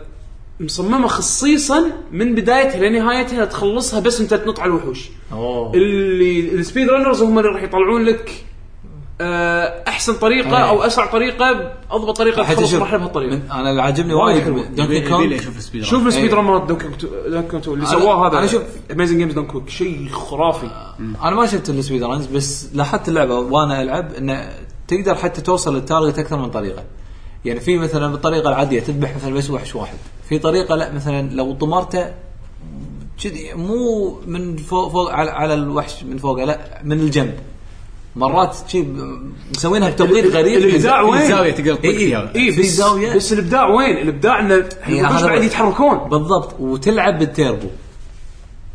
Speaker 4: مصممه خصيصا من بدايتها لنهايتها تخلصها بس انت تنط على الوحوش
Speaker 3: اوه
Speaker 4: اللي السبيد رانرز هم اللي راح يطلعون لك آه، احسن طريقه
Speaker 3: أي.
Speaker 4: او اسرع طريقه اضبط طريقه
Speaker 3: حتى
Speaker 4: تخلص
Speaker 3: شوف،
Speaker 4: المرحله بهالطريقه
Speaker 3: من- انا اللي عاجبني
Speaker 4: وايد
Speaker 3: وايد
Speaker 4: حلوة.
Speaker 3: دونكي
Speaker 2: يبيلي
Speaker 3: كونغ
Speaker 2: اشوف السبيد ران.
Speaker 4: شوف السبيد
Speaker 3: أي.
Speaker 4: ران مال دونكي كونغ- دونكي كونغ 2 اللي
Speaker 3: أنا-
Speaker 4: سواه هذا
Speaker 3: أنا شوف- آه.
Speaker 4: اميزنج جيمز دونكي كونغ شيء خرافي
Speaker 3: انا ما شفت السبيد رانز بس لاحظت اللعبه وانا العب انه تقدر حتى توصل للتارجت اكثر من طريقه يعني في مثلا بالطريقه العاديه تذبح مثلا بس وحش واحد في طريقه لا مثلا لو طمرته كذي مو من فوق فوق على, على الوحش من فوق لا من الجنب مرات شي مسوينها بتوقيت غريب
Speaker 4: الإبداع وين؟
Speaker 2: في زاويه تقدر تطق
Speaker 3: إي إي.
Speaker 2: فيها
Speaker 4: اي
Speaker 3: في
Speaker 4: إيه، بس
Speaker 3: زاوية.
Speaker 4: بس الابداع وين؟ الابداع انه الوحوش
Speaker 3: إيه، هذا
Speaker 4: بعد
Speaker 3: هو.
Speaker 4: يتحركون
Speaker 3: بالضبط وتلعب بالتيربو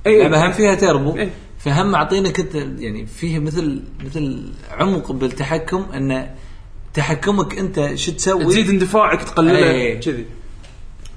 Speaker 2: إيه.
Speaker 3: اللعبه هم
Speaker 4: اي
Speaker 3: فيها تيربو
Speaker 4: إيه.
Speaker 3: فهم معطينك انت يعني فيه مثل مثل عمق بالتحكم انه تحكمك انت شو تسوي
Speaker 4: تزيد اندفاعك تقلله
Speaker 3: إي.
Speaker 4: كذي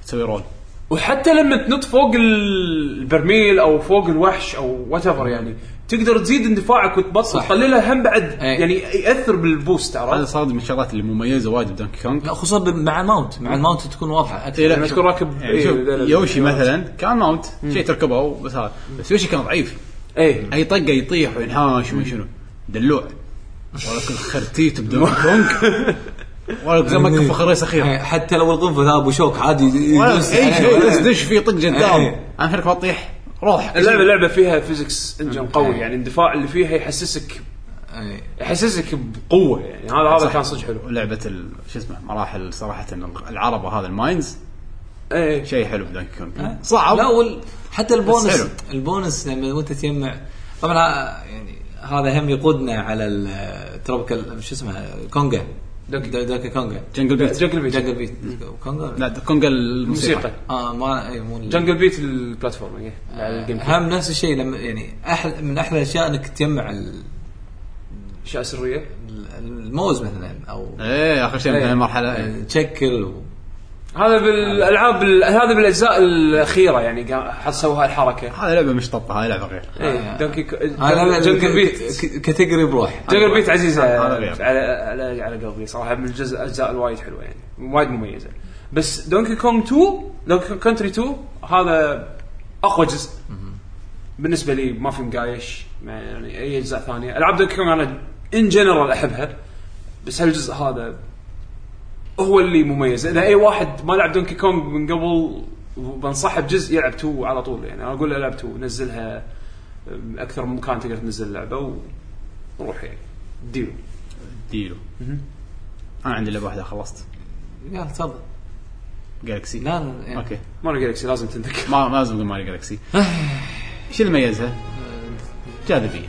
Speaker 2: تسوي رول
Speaker 4: وحتى لما تنط فوق ال- البرميل او فوق الوحش او وات يعني تقدر تزيد اندفاعك وتبطل
Speaker 3: صح. إيه.
Speaker 4: تقلله هم بعد
Speaker 3: إي.
Speaker 4: يعني ياثر بالبوست
Speaker 2: هذا
Speaker 4: عرفت؟
Speaker 2: صار من الشغلات اللي مميزه وايد بدونكي كونغ
Speaker 3: لا خصوصا ب- مع الماونت مع الماونت تكون واضحه اكثر
Speaker 2: إيه، لا.
Speaker 4: لما تكون راكب
Speaker 2: يعني
Speaker 4: إي،
Speaker 2: شوف
Speaker 4: لا، لا، لا.
Speaker 2: يوشي مثلا كان ماونت شيء تركبه بس هذا بس يوشي كان ضعيف
Speaker 4: اي
Speaker 2: اي طقه يطيح وينهاش وما شنو دلوع ولكن خرتيت بدونكي كونغ ولا ما كفى خريص اخير
Speaker 3: إيه، حتى لو القنفذ هذا ابو شوك عادي ي-
Speaker 2: ولا
Speaker 3: يدوس يعني
Speaker 2: اي
Speaker 3: عليه.
Speaker 2: شيء بس دش فيه طق جدام
Speaker 3: إيه.
Speaker 2: انا خليك ما تطيح روح إيه.
Speaker 4: اللعبه اللعبه فيها فيزكس انجن قوي يعني الاندفاع اللي فيها يحسسك
Speaker 3: إيه.
Speaker 4: يحسسك بقوه يعني هذا هذا
Speaker 2: صح.
Speaker 4: كان صدق حلو
Speaker 2: لعبه ال- شو اسمه مراحل صراحه العربه هذا الماينز
Speaker 4: اي
Speaker 2: شيء حلو بدونكي كونغ
Speaker 3: لا
Speaker 2: صعب
Speaker 3: وال... حتى
Speaker 2: بس
Speaker 3: البونس
Speaker 2: حلو.
Speaker 3: البونس لما وانت تجمع طبعا ه- يعني هذا هم يقودنا على التروبيكال شو اسمه كونجا
Speaker 4: دونكي.
Speaker 3: دوكي كونجا
Speaker 2: جنجل بيت
Speaker 4: جنجل بيت
Speaker 3: جنجل بيت كونجا
Speaker 2: لا كونغ الموسيقى
Speaker 4: موسيقى
Speaker 3: اه ما اي مو ال-
Speaker 4: جنجل بيت البلاتفورم الجيم
Speaker 3: هم نفس الشيء لما يعني احلى من احلى الاشياء انك تجمع ال-
Speaker 4: اشياء سريه
Speaker 3: ال- الموز مثلا او
Speaker 2: ايه اخر شيء من
Speaker 4: إيه.
Speaker 2: المرحله إيه.
Speaker 3: تشكل و-
Speaker 4: هذا بالالعاب ال- هذا بالاجزاء الاخيره يعني قا- إيه، حد سوى هالحركه
Speaker 2: هذه لعبه مش طبطه هاي لعبه غير
Speaker 4: اي دونكي كو-
Speaker 3: هذا لا-
Speaker 4: جنجل
Speaker 3: ك-
Speaker 4: بيت
Speaker 3: ك- كاتيجوري بروح
Speaker 4: جنجل بيت عزيزه
Speaker 2: هذا غير.
Speaker 4: على على على قلبي صراحه من الجزء الاجزاء الوايد حلوه يعني وايد مميزه بس دونكي كونج 2 دونكي كونج كونتري 2 هذا اقوى جزء بالنسبه لي ما في مقايش مع يعني اي اجزاء ثانيه العاب دونكي كونج انا ان جنرال احبها بس هالجزء هذا هو اللي مميز اذا اي واحد ما لعب دونكي كونج من قبل بنصحه بجزء يلعب 2 على طول يعني انا اقول له العب 2 نزلها أم، اكثر من مكان تقدر تنزل اللعبه وروح يعني ديلو
Speaker 2: ديلو انا عندي لعبه واحده خلصت
Speaker 3: يلا تفضل
Speaker 2: جالكسي
Speaker 3: لا لا يعني
Speaker 2: اوكي
Speaker 4: ماريو جالكسي لازم تنذكر
Speaker 2: ما ما لازم اقول ماري جالكسي شو اللي ميزها؟ جاذبيه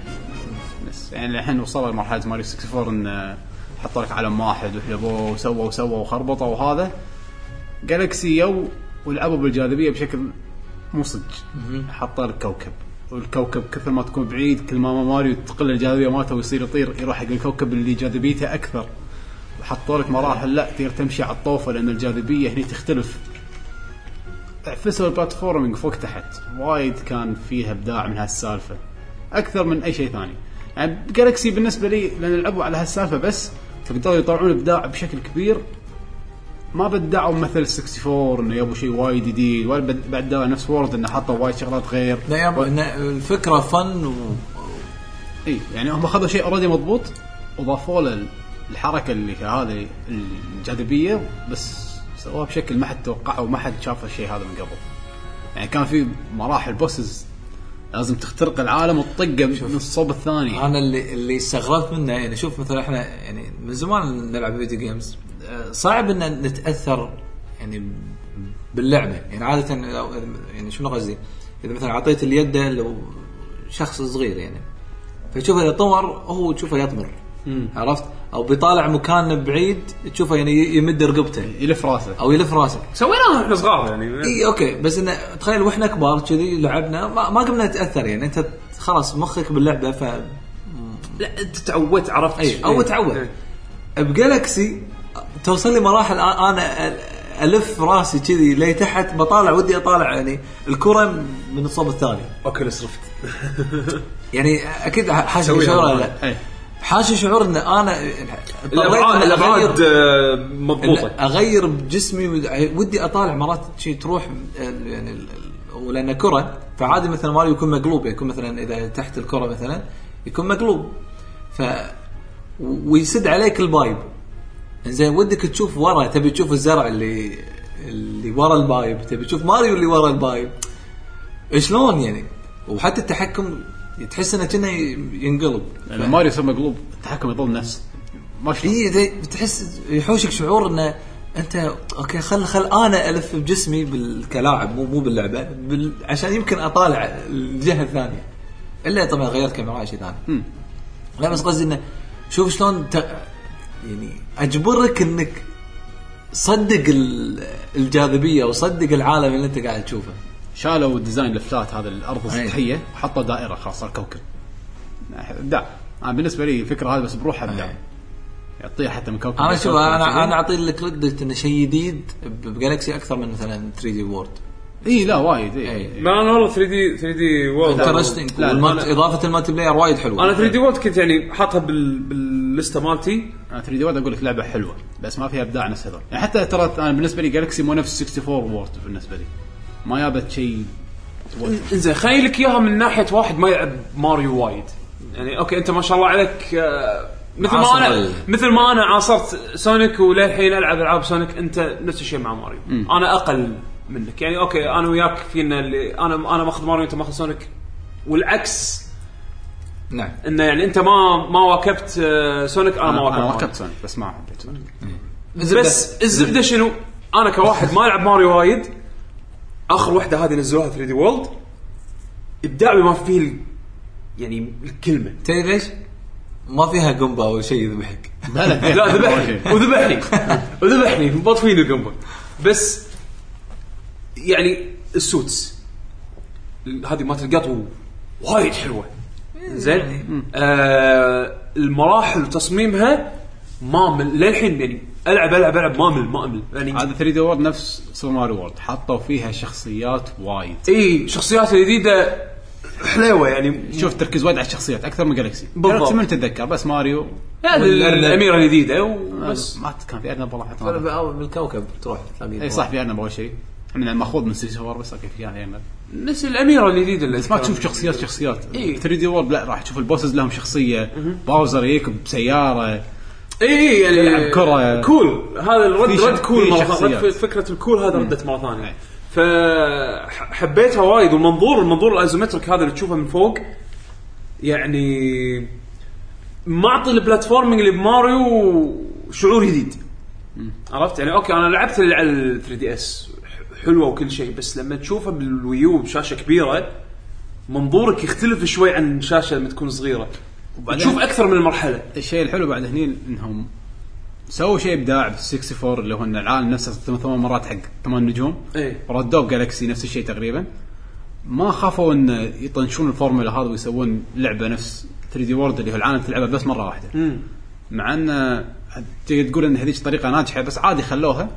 Speaker 2: بس يعني الحين وصلوا لمرحله ماريو 64 ان حطوا لك عالم واحد وحلبوه وسووا وسووا وخربطوا وهذا جالكسي يو ولعبوا بالجاذبيه بشكل مو صدق حطوا لك كوكب والكوكب كثر ما تكون بعيد كل ما ماريو تقل الجاذبيه مالته ويصير يطير يروح حق الكوكب اللي جاذبيته اكثر وحطوا لك مراحل لا تقدر تمشي على الطوفه لان الجاذبيه هنا تختلف عفسوا البلاتفورمينج فوق تحت وايد كان فيها ابداع من هالسالفه اكثر من اي شيء ثاني يعني جالكسي بالنسبه لي لان لعبوا على هالسالفه بس فقدروا يطلعون ابداع بشكل كبير ما بدعوا مثل 64 انه يبوا شيء وايد جديد ولا بد- بدعوا نفس وورد انه حطوا وايد شغلات غير
Speaker 3: لا يا أبو- إن الفكره فن و
Speaker 2: اي يعني هم اخذوا شيء اوريدي مضبوط وضافوا له الحركه اللي هذه الجاذبيه بس سووها بشكل ما حد توقعه وما حد شاف الشيء هذا من قبل. يعني كان في مراحل بوسز لازم تخترق العالم وتطقه من الصوب الثاني
Speaker 3: انا اللي اللي استغربت منه يعني شوف مثلا احنا يعني من زمان نلعب فيديو جيمز آه، صعب ان نتاثر يعني ب- باللعبه يعني عاده لو يعني شنو قصدي؟ اذا مثلا اعطيت اليد لو شخص صغير يعني فشوفه اذا طمر هو تشوفه يطمر عرفت؟ او بيطالع مكان بعيد تشوفه يعني ي- يمد رقبته
Speaker 2: يلف راسه
Speaker 3: او يلف راسه
Speaker 4: سويناها احنا صغار يعني
Speaker 3: اي اوكي بس انه تخيل واحنا كبار كذي لعبنا ما, ما قمنا نتاثر يعني انت خلاص مخك باللعبه ف
Speaker 4: لا انت تعودت عرفت
Speaker 3: اي او تعود
Speaker 4: إيه.
Speaker 3: بجالكسي توصل لي مراحل آ- انا أ- الف راسي كذي لي تحت بطالع ودي اطالع يعني الكره من الصوب الثاني
Speaker 4: اوكي صرفت
Speaker 3: يعني اكيد ح- حاسس
Speaker 4: سويها
Speaker 3: بشعور
Speaker 4: مرة.
Speaker 3: لا
Speaker 2: إيه.
Speaker 3: حاشي شعور ان انا اضطريت
Speaker 5: الابعاد
Speaker 3: إن
Speaker 5: الابعاد
Speaker 3: أغير-
Speaker 5: آه،
Speaker 3: يعني إن
Speaker 5: مضبوطه
Speaker 3: اغير بجسمي ود- ودي اطالع مرات شي تروح ال- يعني ال- ال- ولانه كره فعادي مثلا ماريو يكون مقلوب يعني يكون مثلا اذا تحت الكره مثلا يكون مقلوب ف و- ويسد عليك البايب زين ودك تشوف ورا تبي تشوف الزرع اللي اللي ورا البايب تبي تشوف ماريو اللي ورا البايب شلون يعني وحتى التحكم تحس انه كأنه ينقلب
Speaker 2: لان ماريو يصير مقلوب التحكم يظل نفس ما شلون
Speaker 3: اي زي إيه، بتحس يحوشك شعور انه انت اوكي خل خل انا الف بجسمي بال- كلاعب مو مو باللعبه بال... عشان يمكن اطالع الجهه الثانيه الا طبعا غيرت كاميرا شيء ثاني لا بس قصدي انه شوف شلون ت... يعني اجبرك انك صدق ال- الجاذبيه وصدق العالم اللي انت قاعد تشوفه
Speaker 2: شالوا الديزاين الفلات هذا الارض
Speaker 3: أي.
Speaker 2: السطحيه وحطوا دائره خلاص صار كوكب ابداع انا بالنسبه لي الفكره هذه بس بروحها ابداع
Speaker 3: أي.
Speaker 2: يعطيها حتى من كوكب
Speaker 3: انا شوف
Speaker 2: لكوكب
Speaker 3: انا
Speaker 2: شوي.
Speaker 3: انا اعطي الكريدت انه شيء جديد ب- بجالكسي اكثر من مثلا 3 دي وورد
Speaker 2: اي إيه، لا وايد اي
Speaker 4: إيه.
Speaker 3: أي.
Speaker 5: ما انا والله 3 دي 3 دي وورد
Speaker 3: انترستنج
Speaker 2: لا،
Speaker 3: والمالت-
Speaker 2: أنا-
Speaker 3: اضافه المالتي بلاير وايد حلوه
Speaker 5: انا 3 دي وورد كنت يعني حاطها بال... باللسته مالتي
Speaker 2: انا 3 دي وورد اقول لك لعبه حلوه بس ما فيها ابداع نفس هذول يعني حتى ترى انا بالنسبه لي جالكسي مو نفس 64 وورد بالنسبه لي ما جابت شيء
Speaker 4: انزين خليني لك اياها من ناحيه واحد ما يلعب ماريو وايد يعني اوكي انت ما شاء الله عليك آه، مثل ما
Speaker 3: عاصر
Speaker 4: انا
Speaker 3: ال-
Speaker 4: مثل ما انا عاصرت سونيك وللحين العب العاب سونيك انت نفس الشيء مع ماريو انا اقل منك يعني اوكي انا وياك فينا اللي انا انا ماخذ ماريو انت ماخذ سونيك والعكس
Speaker 3: نعم
Speaker 4: انه يعني انت ما ما واكبت آه، سونيك انا ما واكبت
Speaker 2: انا
Speaker 4: ماريو.
Speaker 2: واكبت سونيك بس ما حبيت سونيك
Speaker 4: بس الزبده شنو؟ انا كواحد ما العب ماريو وايد اخر وحده هذه نزلوها 3 دي وولد ابداع بما فيه ال- يعني الكلمه
Speaker 3: تدري ليش؟ ما فيها قنبه او شيء يذبحك
Speaker 4: لا
Speaker 2: يعني
Speaker 4: ذبحني وذبحني وذبحني مطفين القنبه بس يعني السوتس ال- هذه مالت القطو وايد حلوه زين آه المراحل وتصميمها ما مل للحين يعني العب العب العب ما مل ما امل يعني
Speaker 2: هذا 3 دي وورد نفس سوبر ماريو وورد حطوا فيها شخصيات وايد
Speaker 4: اي شخصيات الجديده حلوه يعني
Speaker 2: شوف تركيز وايد على الشخصيات اكثر من جالكسي
Speaker 4: بالضبط.
Speaker 2: جالكسي من تتذكر بس ماريو
Speaker 4: هذه
Speaker 3: والأرنب.
Speaker 4: الاميره الجديده وبس
Speaker 2: ما كان في ارنب والله حتى ما-
Speaker 3: بالكوكب تروح تلاقيه
Speaker 2: اي صح في ارنب اول شيء احنا ماخوذ من سيسي وور بس اوكي في ارنب
Speaker 4: نفس الاميره الجديده اللي
Speaker 2: بس ما تشوف شخصيات شخصيات
Speaker 4: إي.
Speaker 2: 3 دي وورد لا راح تشوف البوسز لهم شخصيه باوزر يجيك بسياره
Speaker 4: اي يعني
Speaker 2: يلعب كرة.
Speaker 4: كول هذا الرد
Speaker 2: في شخ-
Speaker 4: رد كول
Speaker 2: في
Speaker 4: مرة
Speaker 2: شخصيات. إيه.
Speaker 4: ثانية. رد فكره الكول هذا ردت مره
Speaker 2: أي.
Speaker 4: ثانيه فحبيتها وايد والمنظور المنظور الازومترك هذا اللي تشوفه من فوق يعني معطي البلاتفورمينج اللي بماريو شعور جديد عرفت يعني اوكي انا لعبت اللي على ال 3 دي اس حلوه وكل شيء بس لما تشوفها بالويو بشاشه كبيره منظورك يختلف شوي عن شاشه لما تكون صغيره
Speaker 2: وبعدين-
Speaker 4: تشوف اكثر من مرحله
Speaker 2: الشيء الحلو بعد هني انهم سووا شيء ابداع بال 64 اللي هو ان العالم نفسه ثم- ثمان مرات حق ثمان نجوم
Speaker 4: إيه.
Speaker 2: ردوه بجالكسي نفس الشيء تقريبا ما خافوا ان يطنشون الفورمولا هذا ويسوون لعبه نفس 3 دي وورد اللي هو العالم تلعبه بس مره واحده مع ان تقدر تقول ان هذيك طريقه ناجحه بس عادي خلوها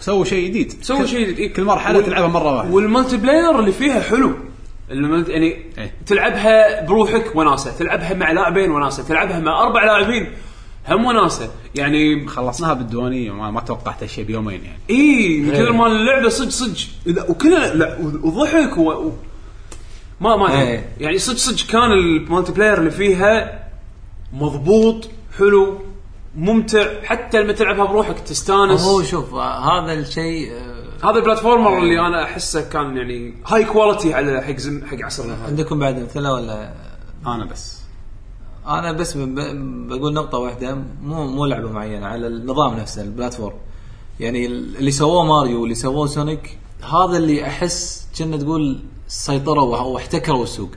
Speaker 2: وسووا شيء جديد
Speaker 4: سووا
Speaker 2: كل-
Speaker 4: شيء جديد، إيه.
Speaker 2: كل مرحله
Speaker 4: وال-
Speaker 2: تلعبها مره واحده
Speaker 4: والمالتي بلاير اللي فيها حلو الملت... يعني
Speaker 2: إيه.
Speaker 4: تلعبها بروحك وناسه تلعبها مع لاعبين وناسه تلعبها مع اربع لاعبين هم وناسه يعني
Speaker 2: خلصناها بالديوانيه ما, ما توقعت هالشيء بيومين يعني
Speaker 4: اي إيه، من كثر ما اللعبه صدق صدق لا وكلها لا و- وضحك و... و... ما ما أدري.
Speaker 3: إيه.
Speaker 4: يعني صدق صدق كان المالتي بلاير اللي فيها مضبوط حلو ممتع حتى لما تلعبها بروحك تستانس
Speaker 3: هو شوف آه، هذا الشيء آه،
Speaker 4: هذا البلاتفورمر اللي انا احسه كان يعني هاي كواليتي على حق زم... حق عصرنا هذا
Speaker 3: عندكم بعد امثله ولا
Speaker 2: انا بس
Speaker 3: انا بس ب- ب- بقول نقطه واحده مو مو لعبه معينه على النظام نفسه البلاتفورم يعني ال- اللي سووه ماريو واللي سووه سونيك هذا اللي احس كنا تقول سيطروا وه- واحتكروا السوق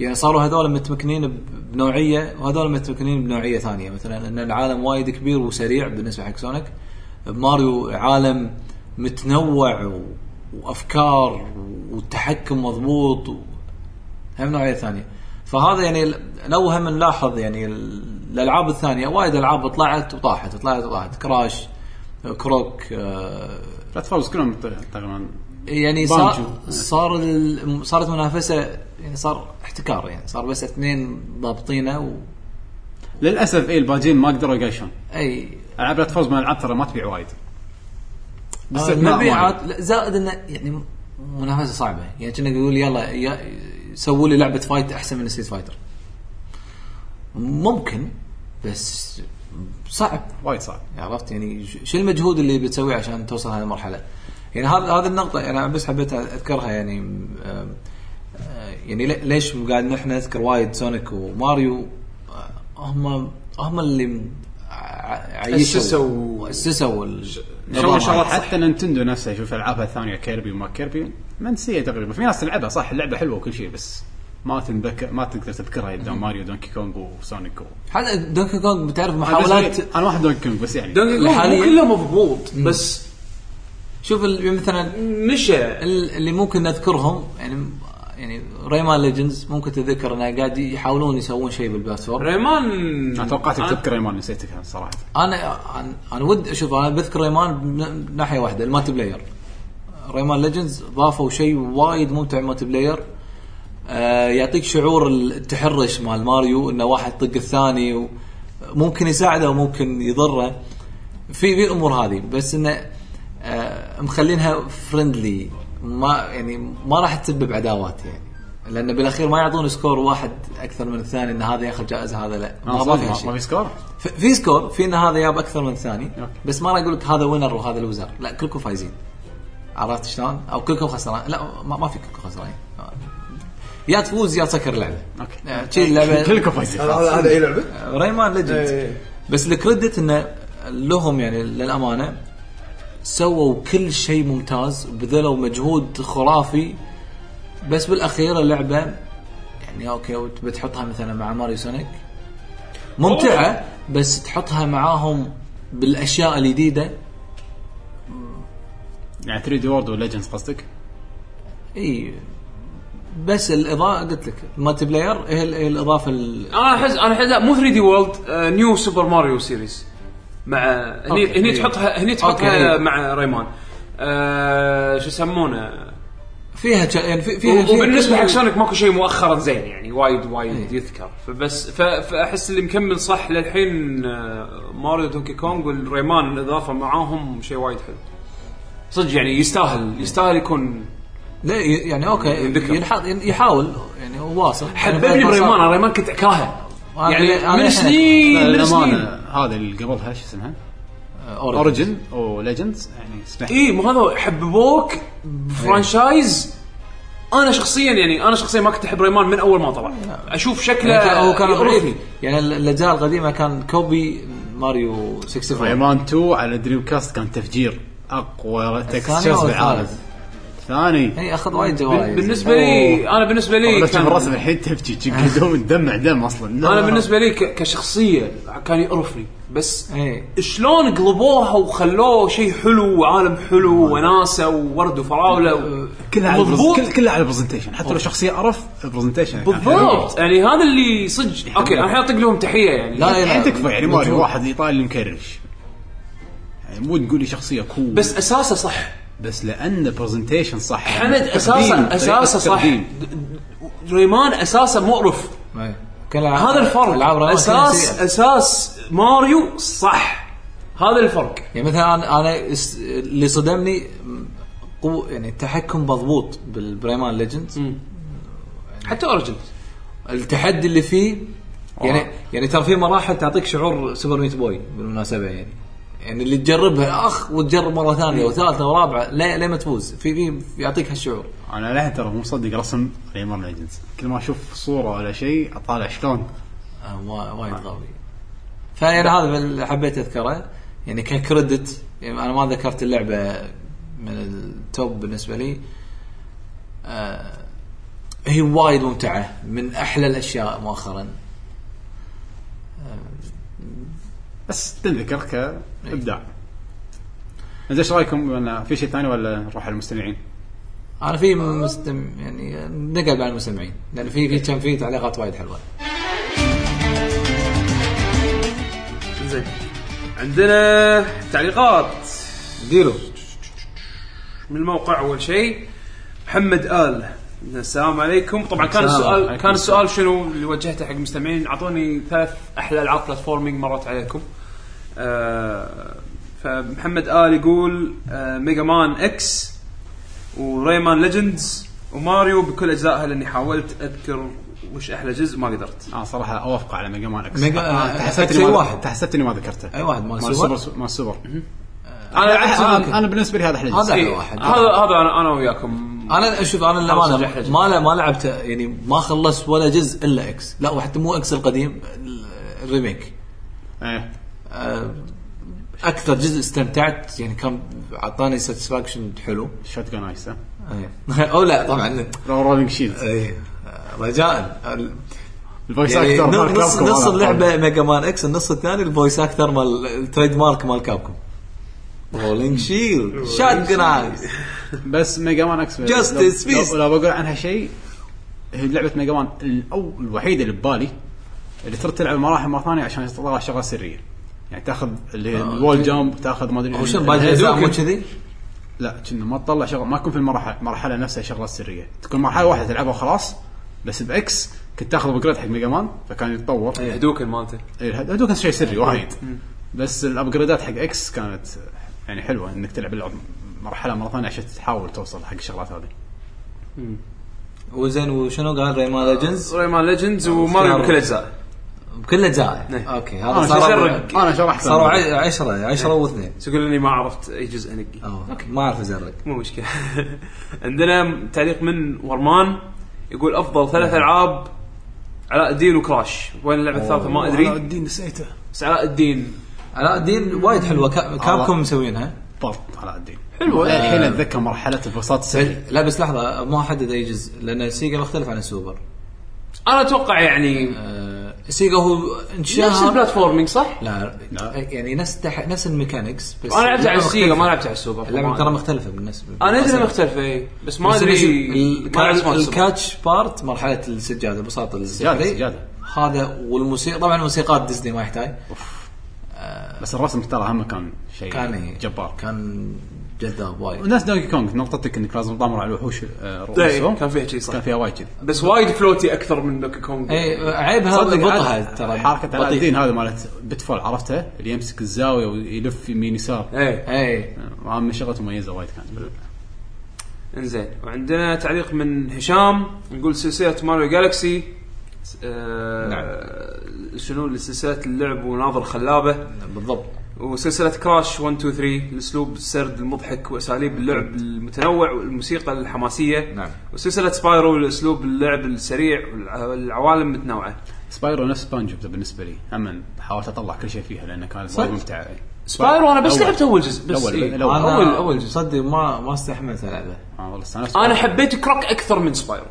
Speaker 3: يعني صاروا هذول متمكنين ب- بنوعيه وهذول متمكنين بنوعيه ثانيه مثلا ان العالم وايد كبير وسريع بالنسبه حق سونيك بماريو عالم متنوع و... وافكار والتحكم مضبوط و... هم نوعيه ثانيه فهذا يعني ال- لو هم نلاحظ يعني ال- الالعاب الثانيه وايد العاب طلعت وطاحت طلعت وطاحت كراش كروك آه،
Speaker 2: بلاتفورمز كلهم تقريبا
Speaker 3: يعني صار
Speaker 2: بانجو.
Speaker 3: صار ال- صارت منافسه يعني صار احتكار يعني صار بس اثنين ضابطينه و
Speaker 2: للاسف اي إيه، الباجين ما قدروا يقيشون
Speaker 3: اي
Speaker 2: العاب بلاتفورم العاب ترى ما تبيع وايد
Speaker 3: آه،
Speaker 2: استثناء
Speaker 3: المبيعات لا، زائد انه يعني منافسه صعبه يعني كنا يقول يلا يا- سووا لي لعبه فايت احسن من ستريت فايتر ممكن بس صعب
Speaker 2: وايد صعب
Speaker 3: عرفت يعني ش- شو المجهود اللي بتسويه عشان توصل هذه المرحله؟ يعني هذا هذه النقطه انا بس حبيت اذكرها يعني أم، آه، يعني لي- ليش قاعد نحن نذكر وايد سونيك وماريو آه، هم هم اللي م- ع- عيشوا
Speaker 4: أسسوا-
Speaker 3: اسسوا ال-
Speaker 2: شغل
Speaker 3: النظام
Speaker 2: شغل
Speaker 3: هذا.
Speaker 2: حتى نينتندو نفسها شوف العابها الثانيه كيربي وما كيربي منسيه تقريبا في ناس تلعبها صح اللعبه حلوه وكل شيء بس ما تنذكر ما تقدر تذكرها قدام ماريو دونكي كونغ وسونيك و... آه، إيه،
Speaker 3: حتى دونكي كونغ بتعرف
Speaker 2: أنا بالنسبة لي-
Speaker 3: محاولات
Speaker 2: انا واحد دونكي كونغ بس يعني
Speaker 1: دونكي كونغ مو
Speaker 3: حالياً-
Speaker 1: كله مضبوط بس
Speaker 3: شوف ال- مثلا
Speaker 1: مشى
Speaker 3: ال- اللي ممكن نذكرهم يعني يعني ريمان ليجندز ممكن تذكر انه قاعد يحاولون يسوون شيء بالبلاتفورم
Speaker 1: ريمان
Speaker 3: آه.
Speaker 2: انا توقعتك تذكر ريمان نسيتك أنا صراحه
Speaker 3: انا انا, أنا ود اشوف انا بذكر ريمان من ناحيه واحده المالتي بلاير ريمان ليجندز ضافوا شيء وايد ممتع مالتي بلاير آه يعطيك شعور التحرش مال ماريو انه واحد يطق الثاني ممكن يساعده وممكن يضره في في امور هذه بس انه آه مخلينها فرندلي ما يعني ما راح تسبب عداوات يعني لانه بالاخير ما يعطون سكور واحد اكثر من الثاني ان هذا ياخذ جائزه هذا لا
Speaker 2: آه، ما, ما,
Speaker 3: ما, ما في
Speaker 2: ما,
Speaker 3: هالشيء
Speaker 2: ما في سكور
Speaker 3: ف- في سكور في ان هذا جاب اكثر من الثاني
Speaker 2: أوكي.
Speaker 3: بس ما راح اقول لك هذا وينر وهذا لوزر لا كلكم فايزين عرفت شلون؟ او كلكم خسران لا ما, ما في كلكم خسرانين يا تفوز يا تسكر اللعبه
Speaker 2: اوكي
Speaker 1: نعم،
Speaker 3: آه، شي اللعبه
Speaker 2: إيه، كلكم فايزين
Speaker 6: هذا هذا- هذا اي لعبه؟
Speaker 3: ريمان ليجند
Speaker 6: إيه.
Speaker 3: بس الكريدت انه لهم يعني للامانه سووا كل شيء ممتاز بذلوا مجهود خرافي بس بالاخير اللعبه يعني اوكي بتحطها مثلا مع ماريو سونيك ممتعه بس تحطها معاهم بالاشياء الجديده
Speaker 2: يعني 3 دي وورد وليجندز قصدك؟
Speaker 3: اي بس الاضاءه قلت لك المالتي بلاير هي ال- هي الاضافه ال-
Speaker 1: انا احس انا احس لا مو 3 دي وورلد آه، نيو سوبر ماريو سيريز مع هني
Speaker 3: أوكي.
Speaker 1: هني تحطها هني تحطها
Speaker 3: أوكي.
Speaker 1: مع ريمان آه، شو يسمونه
Speaker 3: فيها شا- يعني في- فيها شيء
Speaker 1: وبالنسبه
Speaker 3: كل-
Speaker 1: حق سونيك ماكو شيء مؤخرا زين يعني وايد وايد
Speaker 3: إيه.
Speaker 1: يذكر فبس ف- فاحس اللي مكمل صح للحين آه، ماريو دونكي كونغ والريمان الاضافه معاهم شيء وايد حلو صدق يعني يستاهل يستاهل يكون
Speaker 3: لا ي- يعني اوكي
Speaker 1: ذكر.
Speaker 3: ينحط يحاول يعني هو واصل يعني
Speaker 1: حببني بريمان انا ريمان كنت اكرهه
Speaker 3: أنا-
Speaker 1: يعني
Speaker 3: أنا
Speaker 1: من
Speaker 3: أحب.
Speaker 1: سنين من
Speaker 2: للأمانة،
Speaker 1: سنين
Speaker 2: هذا اللي قبلها شو اسمها؟
Speaker 3: اوريجن
Speaker 2: اوريجن وليجندز يعني اسمح
Speaker 1: اي إيه، مو هذا حببوك بفرانشايز انا شخصيا يعني انا شخصيا ما كنت احب ريمان من اول ما طلع اشوف شكله
Speaker 3: يعني هو كان
Speaker 1: يقرفني.
Speaker 3: غريب يعني ال- الاجزاء القديمه كان كوبي ماريو 64
Speaker 2: ريمان 2 على دريم كاست كان تفجير اقوى تكستشرز
Speaker 3: أو
Speaker 2: بالعالم
Speaker 3: الثالث؟
Speaker 2: ثاني
Speaker 3: اي اخذ إيه، وايد جوائز
Speaker 1: بالنسبه لي انا بالنسبه لي
Speaker 2: رسم
Speaker 1: إيه، كان
Speaker 2: الرسم الحين تبكي تجي دوم تدمع دم اصلا لا،
Speaker 1: انا
Speaker 2: لا.
Speaker 1: بالنسبه لي ك- كشخصيه كان يقرفني بس
Speaker 3: اي
Speaker 1: شلون قلبوها وخلوه شيء حلو وعالم حلو وناسه وورد وفراوله و-
Speaker 3: يعني
Speaker 2: كلها على
Speaker 1: مضبوط
Speaker 2: البرز- كل- كلها على البرزنتيشن حتى لو شخصيه قرف البرزنتيشن كان حلو.
Speaker 1: بالضبط يعني هذا اللي صدق اوكي انا الحين اطق لهم تحيه يعني
Speaker 3: لا لا
Speaker 2: الحين تكفى يعني ماريو
Speaker 3: مجهود.
Speaker 2: واحد ايطالي مكرش يعني مو تقول لي شخصيه كول
Speaker 1: بس اساسه صح
Speaker 2: بس لان برزنتيشن صح
Speaker 1: حمد
Speaker 2: تقديم،
Speaker 1: اساسه
Speaker 2: طريقة
Speaker 1: اساسه صح
Speaker 2: تقديم.
Speaker 1: د- ريمان اساسه مقرف
Speaker 3: إي. كل ألعاب-
Speaker 1: هذا
Speaker 3: ألعاب
Speaker 1: الفرق
Speaker 3: ريمان
Speaker 1: اساس
Speaker 3: كلها سيئة.
Speaker 1: اساس ماريو صح هذا الفرق
Speaker 3: يعني مثلا انا انا اس- اللي صدمني م- قو يعني التحكم مضبوط بالبريمان ليجندز
Speaker 1: حتى اوريجنز
Speaker 3: التحدي اللي فيه يعني يعني ترى في مراحل تعطيك شعور سوبر ميت بوي بالمناسبه يعني يعني اللي تجربها اخ وتجرب مره ثانيه وثالثه ورابعه لا لا ما تفوز في في يعطيك هالشعور
Speaker 2: انا للحين ترى مو مصدق رسم ريمان ليجندز كل ما اشوف صوره ولا شيء اطالع شلون
Speaker 3: آه، وا- وايد قوي فيعني هذا اللي حبيت اذكره يعني ككريدت يعني انا ما ذكرت اللعبه من التوب بالنسبه لي آه هي وايد ممتعه من احلى الاشياء مؤخرا
Speaker 2: بس تنذكر كابداع زين ايش رايكم ولا في شيء ثاني ولا نروح على المستمعين؟
Speaker 3: انا في مستم يعني نقل مع المستمعين لان في في كان في تعليقات وايد حلوه
Speaker 1: زين عندنا تعليقات
Speaker 3: ديرو
Speaker 1: من الموقع اول شيء محمد ال
Speaker 4: السلام عليكم طبعا كان
Speaker 3: السلام
Speaker 4: السؤال
Speaker 3: عليكم.
Speaker 4: كان السؤال شنو اللي وجهته حق المستمعين اعطوني ثلاث احلى العاب بلاتفورمينج مرت عليكم آه فمحمد ال يقول آه ميجا مان اكس وريمان ليجندز وماريو بكل اجزائها لاني حاولت اذكر وش احلى جزء ما قدرت
Speaker 2: انا صراحه اوافق على ميجا مان اكس
Speaker 3: ميجا-
Speaker 2: أنا تحسبت
Speaker 3: شيء
Speaker 2: اني ما-
Speaker 3: واحد.
Speaker 2: تحسبت اني ما ذكرته
Speaker 3: أي واحد، مال السوبر.
Speaker 2: السوبر مال السوبر
Speaker 4: انا
Speaker 2: أنا-
Speaker 3: ممكن.
Speaker 2: انا بالنسبه لي هذا احلى
Speaker 3: هذا
Speaker 2: جزء
Speaker 3: أحلى
Speaker 4: إيه،
Speaker 3: واحد.
Speaker 4: هذا هذا انا انا وياكم
Speaker 3: انا اشوف انا
Speaker 4: خمسة
Speaker 3: للامانه
Speaker 4: جحلة.
Speaker 3: ما ما لعبته يعني ما خلصت ولا جزء الا اكس لا وحتى مو اكس القديم ال- الريميك
Speaker 2: إيه.
Speaker 3: آه، اكثر جزء استمتعت يعني كان اعطاني ساتسفاكشن حلو
Speaker 2: شوت جان ايس ها؟
Speaker 3: آه. او لا طبعا
Speaker 2: رو- رولينج شيلد
Speaker 3: اي يعني، آه، رجاء ال-
Speaker 2: الفويس
Speaker 3: يعني
Speaker 2: اكتر مال
Speaker 3: نص
Speaker 2: كابكوم
Speaker 3: نص
Speaker 2: هذا.
Speaker 3: اللعبه ميجا مان اكس النص الثاني الفويس اكتر مال التريد مارك مال كابكم رولينج شيلد شات جن ايز
Speaker 2: بس ميجا مان اكس
Speaker 3: Justice
Speaker 2: لو-
Speaker 3: Beast.
Speaker 2: لو, لو بقول عنها شيء هي لعبه ميجا مان الأو الوحيده اللي ببالي اللي ترد تلعب المراحل مره ثانيه عشان تطلع شغله سريه يعني تاخذ اللي هي الوول جامب تاخذ ما ادري
Speaker 3: او شنو
Speaker 2: ال-
Speaker 3: باقي الاجزاء مو
Speaker 2: الهدوكن.
Speaker 3: كذي؟
Speaker 2: لا كنا ما تطلع شغل ما يكون في المرحله المرحله نفسها شغله سريه تكون مرحله واحده تلعبها وخلاص بس باكس كنت تاخذ ابجريد حق ميجا مان فكان يتطور
Speaker 4: هدوكن مالته
Speaker 2: إيه، هذول كان شيء سري وايد بس الابجريدات حق اكس كانت يعني حلوه انك تلعب اللعب مرحله مره ثانيه عشان تحاول توصل حق الشغلات هذه
Speaker 3: وزين وشنو قال ريمان ليجندز
Speaker 4: ريمان ليجندز وماريو بكل اجزائه
Speaker 3: بكل اجزاء
Speaker 4: نعم.
Speaker 3: اوكي
Speaker 2: انا
Speaker 3: هذا صار
Speaker 2: شرق انا شرحت
Speaker 3: صاروا 10 10 واثنين
Speaker 4: تقول اني ما عرفت اي جزء انقي
Speaker 3: اوكي ما اعرف ازرق
Speaker 4: مو مشكله عندنا تعليق من ورمان يقول افضل ثلاث العاب علاء الدين وكراش وين اللعبه الثالثه ما ادري
Speaker 2: الدين نسيته
Speaker 4: بس علاء الدين
Speaker 3: علاء الدين وايد حلوه كا- كابكم مسوينها
Speaker 2: بط على الدين حلوه الحين
Speaker 4: آه.
Speaker 2: اتذكر مرحله البساط السري
Speaker 4: طيب.
Speaker 3: لا بس لحظه ما حدد اي جزء لان سيجا مختلف عن السوبر
Speaker 4: انا اتوقع يعني
Speaker 3: آه، سيجا هو
Speaker 4: نفس
Speaker 3: انشهر
Speaker 4: البلاتفورمينج صح؟
Speaker 3: لا
Speaker 2: لا.
Speaker 3: يعني نفس تح... نفس الميكانكس بس
Speaker 4: انا لعبت على
Speaker 3: اللعبة
Speaker 4: السيجا ما
Speaker 3: مختلفة.
Speaker 4: لعبت على السوبر
Speaker 3: اللعبه ترى مختلفه بالنسبه
Speaker 4: انا ادري إنها مختلفه
Speaker 1: إيه.
Speaker 4: اي بس ما
Speaker 3: بس
Speaker 4: ادري
Speaker 3: ال-
Speaker 4: ما لعبت مال السوبر.
Speaker 3: الكاتش بارت مرحله السجاده بساط
Speaker 2: سجادة،
Speaker 3: السحري.
Speaker 2: سجادة.
Speaker 3: هذا والموسيقى طبعا موسيقات ديزني ما يحتاج
Speaker 2: بس الرسم ترى هم كان شيء
Speaker 4: إيه.
Speaker 3: كان
Speaker 2: جبار
Speaker 3: كان جذاب وايد
Speaker 2: وناس دونكي كونغ نقطتك انك لازم تطامر على الوحوش آه،
Speaker 4: إيه،
Speaker 2: رؤوسهم
Speaker 4: كان فيها شيء صح
Speaker 2: كان فيها وايد كذي
Speaker 4: بس وايد فلوتي اكثر من دوكي كونج
Speaker 3: اي إيه، عيبها
Speaker 2: صدق
Speaker 3: بطئها
Speaker 2: عاد
Speaker 3: ترى
Speaker 2: حركه علاء
Speaker 3: بطيئة.
Speaker 2: الدين هذه مالت بتفول عرفتها اللي يمسك الزاويه ويلف يمين يسار
Speaker 4: ايه
Speaker 3: اي
Speaker 2: آه، من شغلته مميزه وايد كانت
Speaker 4: انزين وعندنا تعليق من هشام نقول سلسله ماريو جالكسي س- آه نعم. شنو سلسله اللعب وناظر خلابه
Speaker 3: بالضبط
Speaker 4: وسلسله كراش 1 2 3 الاسلوب السرد المضحك واساليب
Speaker 2: نعم.
Speaker 4: اللعب المتنوع والموسيقى الحماسيه
Speaker 3: نعم.
Speaker 4: وسلسله سبايرو الاسلوب اللعب السريع والعوالم متنوعه
Speaker 2: سبايرو نفس سبانج بوب بالنسبه لي هم حاولت اطلع كل شيء فيها لانه كان وايد ممتع إيه.
Speaker 4: سبايرو انا بس
Speaker 2: الأول.
Speaker 4: لعبت اول جزء بس
Speaker 2: الأول،
Speaker 4: إيه.
Speaker 2: الأول.
Speaker 4: اول اول جزء
Speaker 3: صدق ما ما استحملت العبه
Speaker 2: آه، والله استانست.
Speaker 4: انا حبيت كروك اكثر من سبايرو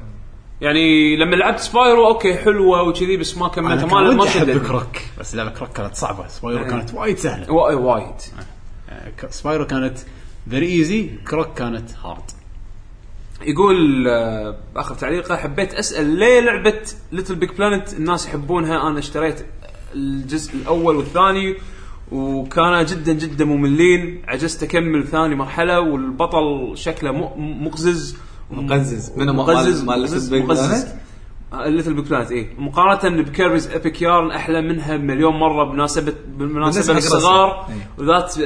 Speaker 4: يعني لما لعبت سبايرو اوكي حلوه وكذي بس ما
Speaker 2: أنا
Speaker 4: كملتها
Speaker 2: كان
Speaker 4: ما ما
Speaker 2: ودي أحب
Speaker 4: شدتني. إيه.
Speaker 2: كروك بس لعبه كروك كانت صعبه سبايرو كانت وايد سهله
Speaker 4: وا- وايد
Speaker 2: آه، ك- سبايرو كانت فيري ايزي كروك كانت هارد
Speaker 4: يقول آه، اخر تعليقه حبيت اسال ليه لعبه ليتل بيج بلانت الناس يحبونها انا اشتريت الجزء الاول والثاني وكان جدا جدا مملين عجزت اكمل ثاني مرحله والبطل شكله م- م- مقزز
Speaker 3: مقزز. منو مال- مال Little Big Planet؟
Speaker 4: ليتل بيج بلانت اي مقارنه إيه. بكيربيز ايبك يارن احلى منها مليون مره بمناسبه بالمناسبه
Speaker 3: بالنسبة حق
Speaker 4: للصغار
Speaker 3: الرسم. إي.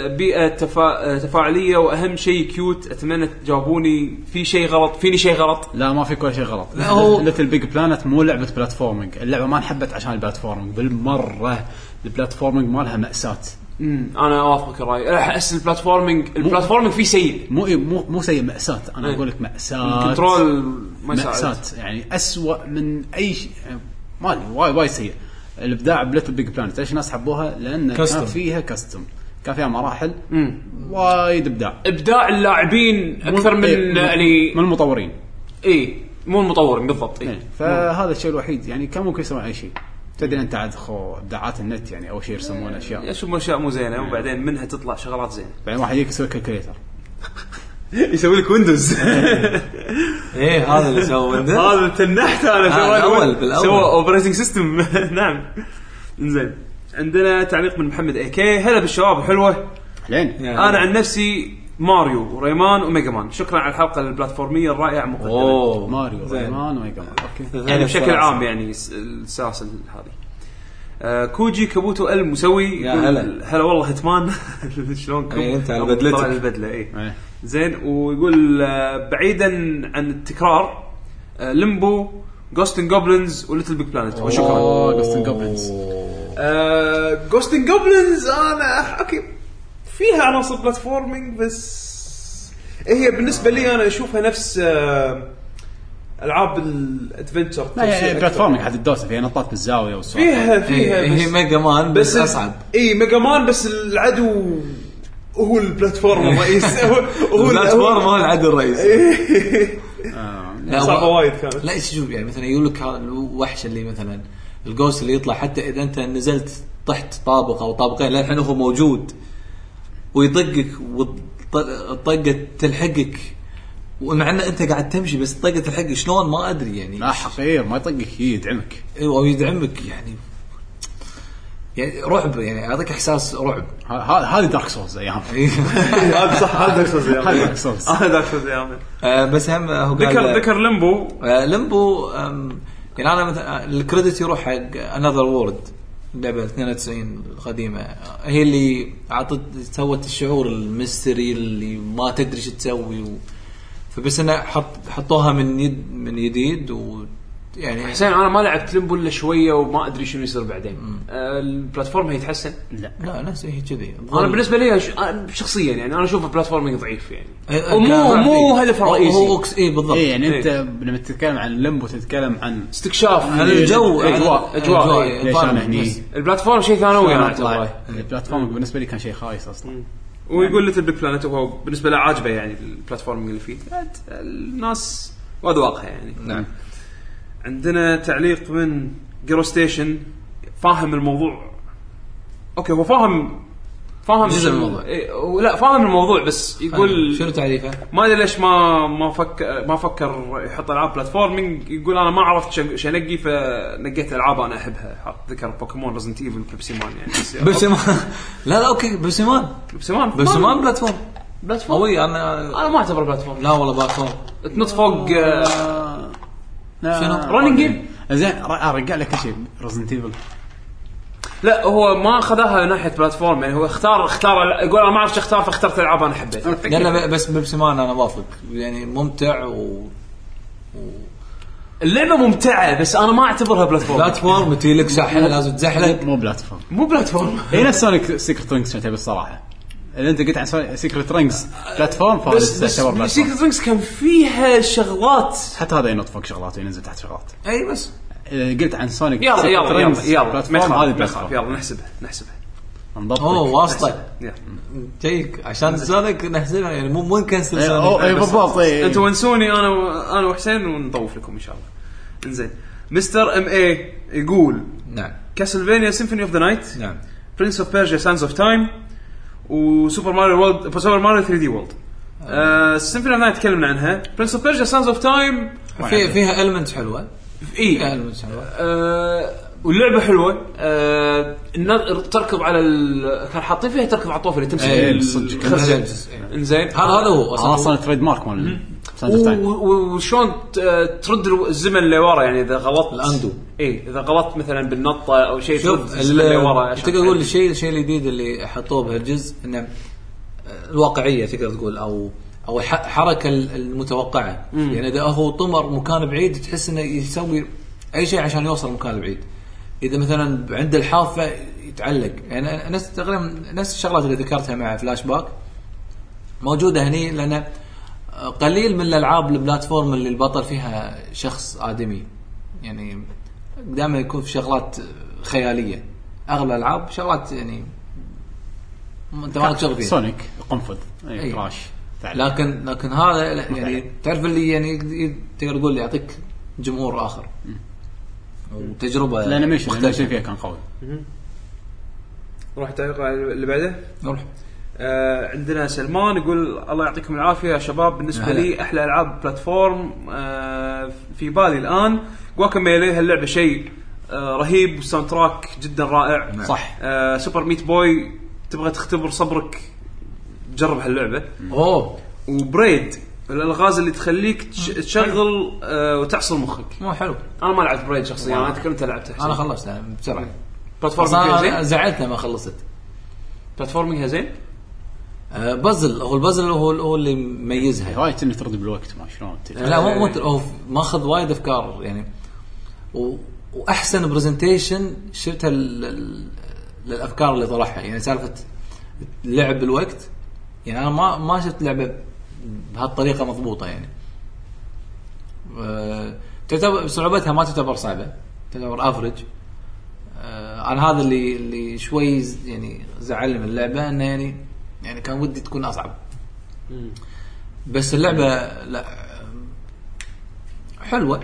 Speaker 4: وذات بيئه تفا... تفاعليه واهم شيء كيوت اتمنى تجاوبوني في شيء غلط فيني شيء غلط
Speaker 2: لا ما في كل شيء غلط
Speaker 3: لا، هو-
Speaker 2: ليتل بيج بلانت مو لعبه بلاتفورمينج اللعبه ما انحبت عشان البلاتفورمينج بالمره البلاتفورمينج مالها ماساه
Speaker 4: امم انا اوافقك الراي أنا احس البلاتفورمينج البلاتفورمينج فيه سيء
Speaker 2: مو مو مو سيء ماساه انا
Speaker 4: إيه.
Speaker 2: اقول لك ماساه
Speaker 4: الكنترول ما يساعد
Speaker 2: آه، مأساة يعني أسوأ من أي شيء يعني ما أدري، وايد وايد سيء الإبداع بليتل بيج بلانت ليش الناس حبوها؟ لأن كان
Speaker 3: Custom.
Speaker 2: فيها كاستم كان فيها مراحل
Speaker 4: أمم.
Speaker 2: وايد إبداع
Speaker 4: ابداع اللاعبين
Speaker 2: مو-
Speaker 4: اكثر
Speaker 2: إيه،
Speaker 4: من
Speaker 2: مو-
Speaker 4: يعني
Speaker 2: من المطورين
Speaker 4: اي
Speaker 1: إيه.
Speaker 4: مو المطور بالضبط
Speaker 2: إيه.
Speaker 4: اي
Speaker 2: فهذا الشيء الوحيد يعني كان ممكن يسوون أي شيء تدري أنت عاد خو إبداعات النت يعني أول شيء يرسمون أشياء
Speaker 4: يشوف اشياء مو زينه وبعدين منها تطلع شغلات زينه
Speaker 2: بعدين واحد يجيك يسوي كالكوليتر
Speaker 4: يسوي لك ويندوز
Speaker 3: ايه هذا اللي سوى ويندوز
Speaker 4: هذا تنحت انا
Speaker 3: آه،
Speaker 4: سوى
Speaker 3: بالأول- بالأول.
Speaker 4: سوى اوبريتنج سيستم نعم انزين عندنا تعليق من محمد اي كي هلا بالشباب الحلوه
Speaker 2: لين
Speaker 4: انا عن نفسي ماريو ريمان وميجا مان شكرا على الحلقه البلاتفورميه الرائعه مقدما
Speaker 3: اوه
Speaker 2: ماريو
Speaker 4: زين.
Speaker 2: ريمان وميجا مان اوكي
Speaker 4: يعني بشكل عام يعني الس- السلاسل هذه آه كوجي كابوتو المسوي
Speaker 3: يا
Speaker 4: يقول
Speaker 3: هلا.
Speaker 4: هلا والله هتمان شلونكم؟
Speaker 3: إيه، أنت على
Speaker 4: أبو
Speaker 3: بدلتك.
Speaker 4: طلع البدله اي
Speaker 2: إيه.
Speaker 4: زين ويقول آه، بعيدا عن التكرار آه، لمبو جوستن جوبلنز وليتل بيج بلانت وشكرا
Speaker 2: اوه جوستن جوبلنز
Speaker 4: جوستن جوبلنز انا اوكي فيها عناصر بلاتفورمينج بس هي بالنسبه لي انا اشوفها نفس آه، العاب الادفنتشر
Speaker 2: يعني بلاتفورمينج حد الدوسه فيها نطات بالزاويه والسوالف
Speaker 4: فيها فيها
Speaker 3: هي
Speaker 4: إيه، بس,
Speaker 3: إيه، ميجا مان بس اصعب
Speaker 4: اي ميجا مان بس العدو هو البلاتفورم الرئيس هو هو
Speaker 3: البلاتفورم مال العدو الرئيسي آه،
Speaker 4: لا،
Speaker 3: لا،
Speaker 4: صعبه
Speaker 3: و-
Speaker 4: وايد كانت
Speaker 3: لا ايش شوف يعني مثلا يقول لك هذا الوحش اللي مثلا الجوست اللي يطلع حتى اذا انت نزلت طحت طابق او طابقين للحين هو موجود ويطقك والطقه تلحقك ومع ان انت قاعد تمشي بس الطقه تلحقك شلون ما ادري يعني
Speaker 2: لا حقير ما يطقك يدعمك
Speaker 3: ايوه ويدعمك يعني يعني رعب يعني يعطيك احساس رعب
Speaker 2: ه- ه- هذه دارك سولز ايام
Speaker 4: هذا صح هذا شو
Speaker 2: هذه دارك سولز
Speaker 4: هذا شو
Speaker 3: آه، بس هم هو قال-
Speaker 4: ذكر ذكر لمبو
Speaker 3: آه، لمبو آم، يعني انا مثلا الكريدت يروح حق انذر وورد لعبه 92 القديمه آه، هي اللي اعطت سوت الشعور الميستري اللي ما تدري ايش تسوي و... فبس انه حط حطوها من يد من جديد و يعني
Speaker 1: حسين انا ما لعبت لمبو الا شويه وما ادري شنو يصير بعدين آه، البلاتفورم هي تحسن
Speaker 3: لا نفس هي كذي
Speaker 1: انا بالنسبه لي ش- أنا شخصيا يعني انا اشوف البلاتفورمينج ضعيف يعني
Speaker 3: آه،
Speaker 1: ومو
Speaker 3: كان-
Speaker 1: مو هدف
Speaker 3: هو
Speaker 1: رئيسي
Speaker 3: أكس- اي بالضبط
Speaker 2: اي يعني انت لما تتكلم عن لمبو تتكلم عن إيه،
Speaker 1: استكشاف
Speaker 3: عن
Speaker 4: إيه.
Speaker 3: الجو عن-
Speaker 1: اجواء اجواء إيه.
Speaker 2: ليش
Speaker 3: environment
Speaker 2: انا هني
Speaker 3: بس.
Speaker 1: البلاتفورم شيء ثانوي يعني. انا
Speaker 2: طلع.
Speaker 1: اعتبره
Speaker 2: البلاتفورم بالنسبه يعني؟ لي كان شيء خايس اصلا
Speaker 4: ويقول ليتل بيج بلانت وهو بالنسبه له عاجبه يعني البلاتفورمينج اللي فيه uh, بعد الناس واذواقها يعني
Speaker 3: نعم
Speaker 4: عندنا تعليق من جيرو ستيشن فاهم الموضوع اوكي هو فاهم فاهم
Speaker 3: جزء من
Speaker 4: شنو-
Speaker 3: الموضوع.
Speaker 4: إيه، هو- لا فاهم الموضوع بس يقول
Speaker 3: آه، شنو تعريفه؟
Speaker 4: ما ادري ليش ما ما فكر ما فكر يحط العاب بلاتفورمينج يقول انا ما عرفت شن- شو انقي فنقيت العاب انا احبها حط ذكر بوكيمون ريزنت ايفل بيبسي مان يعني بس-
Speaker 3: بسمان لا لا اوكي بسمان
Speaker 4: بيبسي مان
Speaker 3: بسمان بلاتفورم
Speaker 1: بلاتفورم
Speaker 3: قوي انا
Speaker 1: انا ما اعتبره بلاتفورم
Speaker 3: لا والله بلاتفورم
Speaker 1: تنط فوق آه،
Speaker 3: شنو؟
Speaker 1: Running game.
Speaker 2: زين آه، رجع لك كل شيء ريزنت ايفل
Speaker 1: لا هو ما خذاها ناحيه بلاتفورم يعني هو اختار اختار يقول انا ما اعرف شو اختار فاخترت العاب انا حبيتها
Speaker 3: لا لا بس بيبسي مان انا موافق يعني ممتع و
Speaker 1: اللعبه ممتعه بس انا ما اعتبرها بلاتفورم
Speaker 3: بلاتفورم تجي لك ساحله لازم تزحلق
Speaker 2: مو بلاتفورم
Speaker 1: مو Uh, بلاتفورم
Speaker 2: هي نفس سونيك سيكرت رينجز كانت بالصراحه اذا انت قلت عن سيكرت رينجز بلاتفورم
Speaker 1: بس
Speaker 2: فهذا
Speaker 1: بس
Speaker 2: يعتبر بلاتفورم
Speaker 1: سيكرت رينجز كان فيها شغلات
Speaker 2: حتى هذا ينط فوق شغلات وينزل تحت شغلات
Speaker 3: اي بس
Speaker 2: اذا قلت عن سونيك
Speaker 1: يلا
Speaker 2: Secret
Speaker 1: يلا
Speaker 2: Rings
Speaker 1: يلا يلا ما
Speaker 2: بلاتفورم هذه
Speaker 1: يخاف، ما يخاف،
Speaker 2: بلاتفورم
Speaker 4: يلا نحسبها نحسبها
Speaker 3: اوه
Speaker 2: انضبط
Speaker 3: واسطه
Speaker 4: يلا.
Speaker 3: جايك عشان سونيك نحسبها يعني مو مو نكنسل
Speaker 2: اوه اي
Speaker 3: سونيك
Speaker 2: إيه، بالضبط إيه. اي
Speaker 4: انتم ونسوني انا و... انا وحسين ونطوف لكم ان شاء الله انزين مستر ام اي يقول
Speaker 3: نعم
Speaker 4: كاسلفينيا سيمفوني اوف ذا نايت
Speaker 3: نعم
Speaker 4: برنس اوف بيرجيا سانز اوف تايم وسوبر ماريو وورلد سوبر ماريو 3 دي وورلد
Speaker 3: آه.
Speaker 4: سيمفوني اوف نايت تكلمنا عنها برنس اوف بيرجيا سانز اوف تايم
Speaker 3: في فيها المنت حلوه
Speaker 4: إيه.
Speaker 3: فيها
Speaker 1: اي
Speaker 3: المنت حلوه
Speaker 1: آه، واللعبه حلوه آه، النظ- تركض على ال... كان حاطين فيها تركض على الطوف اللي تمسك
Speaker 3: إيه،
Speaker 1: ال-
Speaker 2: صدق.
Speaker 1: الخزة.
Speaker 3: إيه.
Speaker 1: انزين
Speaker 3: هذا هذا هو
Speaker 2: اصلا
Speaker 3: اصلا
Speaker 2: تريد مارك آه، مال Sands of
Speaker 3: طيب.
Speaker 2: Time.
Speaker 1: و- و- وشلون ت- ترد الو- الزمن لورا يعني اذا غلطت
Speaker 3: الأندو.
Speaker 4: إيه،
Speaker 1: اي اذا غلطت مثلا بالنطه او شيء ترد
Speaker 3: شوف
Speaker 1: الزمن لورا عشان-
Speaker 3: تقدر تقول الشيء الشيء الجديد اللي حطوه بهالجزء انه الواقعيه تقدر تقول او او الح- الحركه ال- المتوقعه يعني اذا هو طمر مكان بعيد تحس انه يسوي اي شيء عشان يوصل مكان بعيد اذا مثلا عند الحافه يتعلق يعني نفس تقريبا نفس الشغلات اللي ذكرتها مع فلاش باك موجوده هني لان قليل من الالعاب البلاتفورم اللي البطل فيها شخص ادمي يعني دائما يكون في شغلات خياليه اغلب الالعاب شغلات يعني م- انت ما لك شغل فيها
Speaker 2: سونيك قنفذ اي
Speaker 3: أي.
Speaker 1: أيوه.
Speaker 2: كراش تعال.
Speaker 3: لكن لكن هذا لا، يعني تعرف اللي يعني يقد- تقدر تقول يعطيك جمهور اخر وتجربه
Speaker 2: الانيميشن
Speaker 3: مختلفه
Speaker 2: الانيميشن فيها كان قوي
Speaker 4: نروح التعليق اللي بعده
Speaker 3: نروح
Speaker 4: آه عندنا سلمان يقول الله يعطيكم العافيه يا شباب بالنسبه
Speaker 3: هلا.
Speaker 4: لي احلى العاب بلاتفورم آه في بالي الان جواكاميلي هاللعبه شيء آه رهيب والساوند تراك جدا رائع
Speaker 3: صح
Speaker 4: آه سوبر ميت بوي تبغى تختبر صبرك جرب هاللعبه
Speaker 3: اوه
Speaker 4: وبريد الالغاز اللي تخليك تش-
Speaker 3: نعم.
Speaker 4: تشغل آه، وتعصر مخك
Speaker 3: مو حلو
Speaker 4: انا ما لعبت بريد شخصيا انا اذكر انت لعبتها
Speaker 3: انا
Speaker 4: حسين.
Speaker 3: خلصتها بسرعه
Speaker 4: بلاتفورمينج
Speaker 3: اصلا
Speaker 4: فيها
Speaker 3: أنا
Speaker 4: زين
Speaker 3: زعلت لما خلصت
Speaker 4: بلاتفورمينجها زين
Speaker 3: آه، بازل هو البازل هو هو اللي ميزها
Speaker 2: هواي انه ترد بالوقت ما شلون تدري.
Speaker 3: لا مو مو هو ماخذ وايد افكار يعني و... واحسن برزنتيشن شفتها لل- لل- للافكار اللي طرحها يعني سالفه لعب بالوقت يعني انا ما ما شفت لعبه بهالطريقه مضبوطه يعني آه، تعتبر صعوبتها ما تعتبر صعبه تعتبر افرج انا آه، هذا اللي اللي شوي ز- يعني زعلني من اللعبه انه يعني يعني كان ودي تكون اصعب بس اللعبه لا حلوه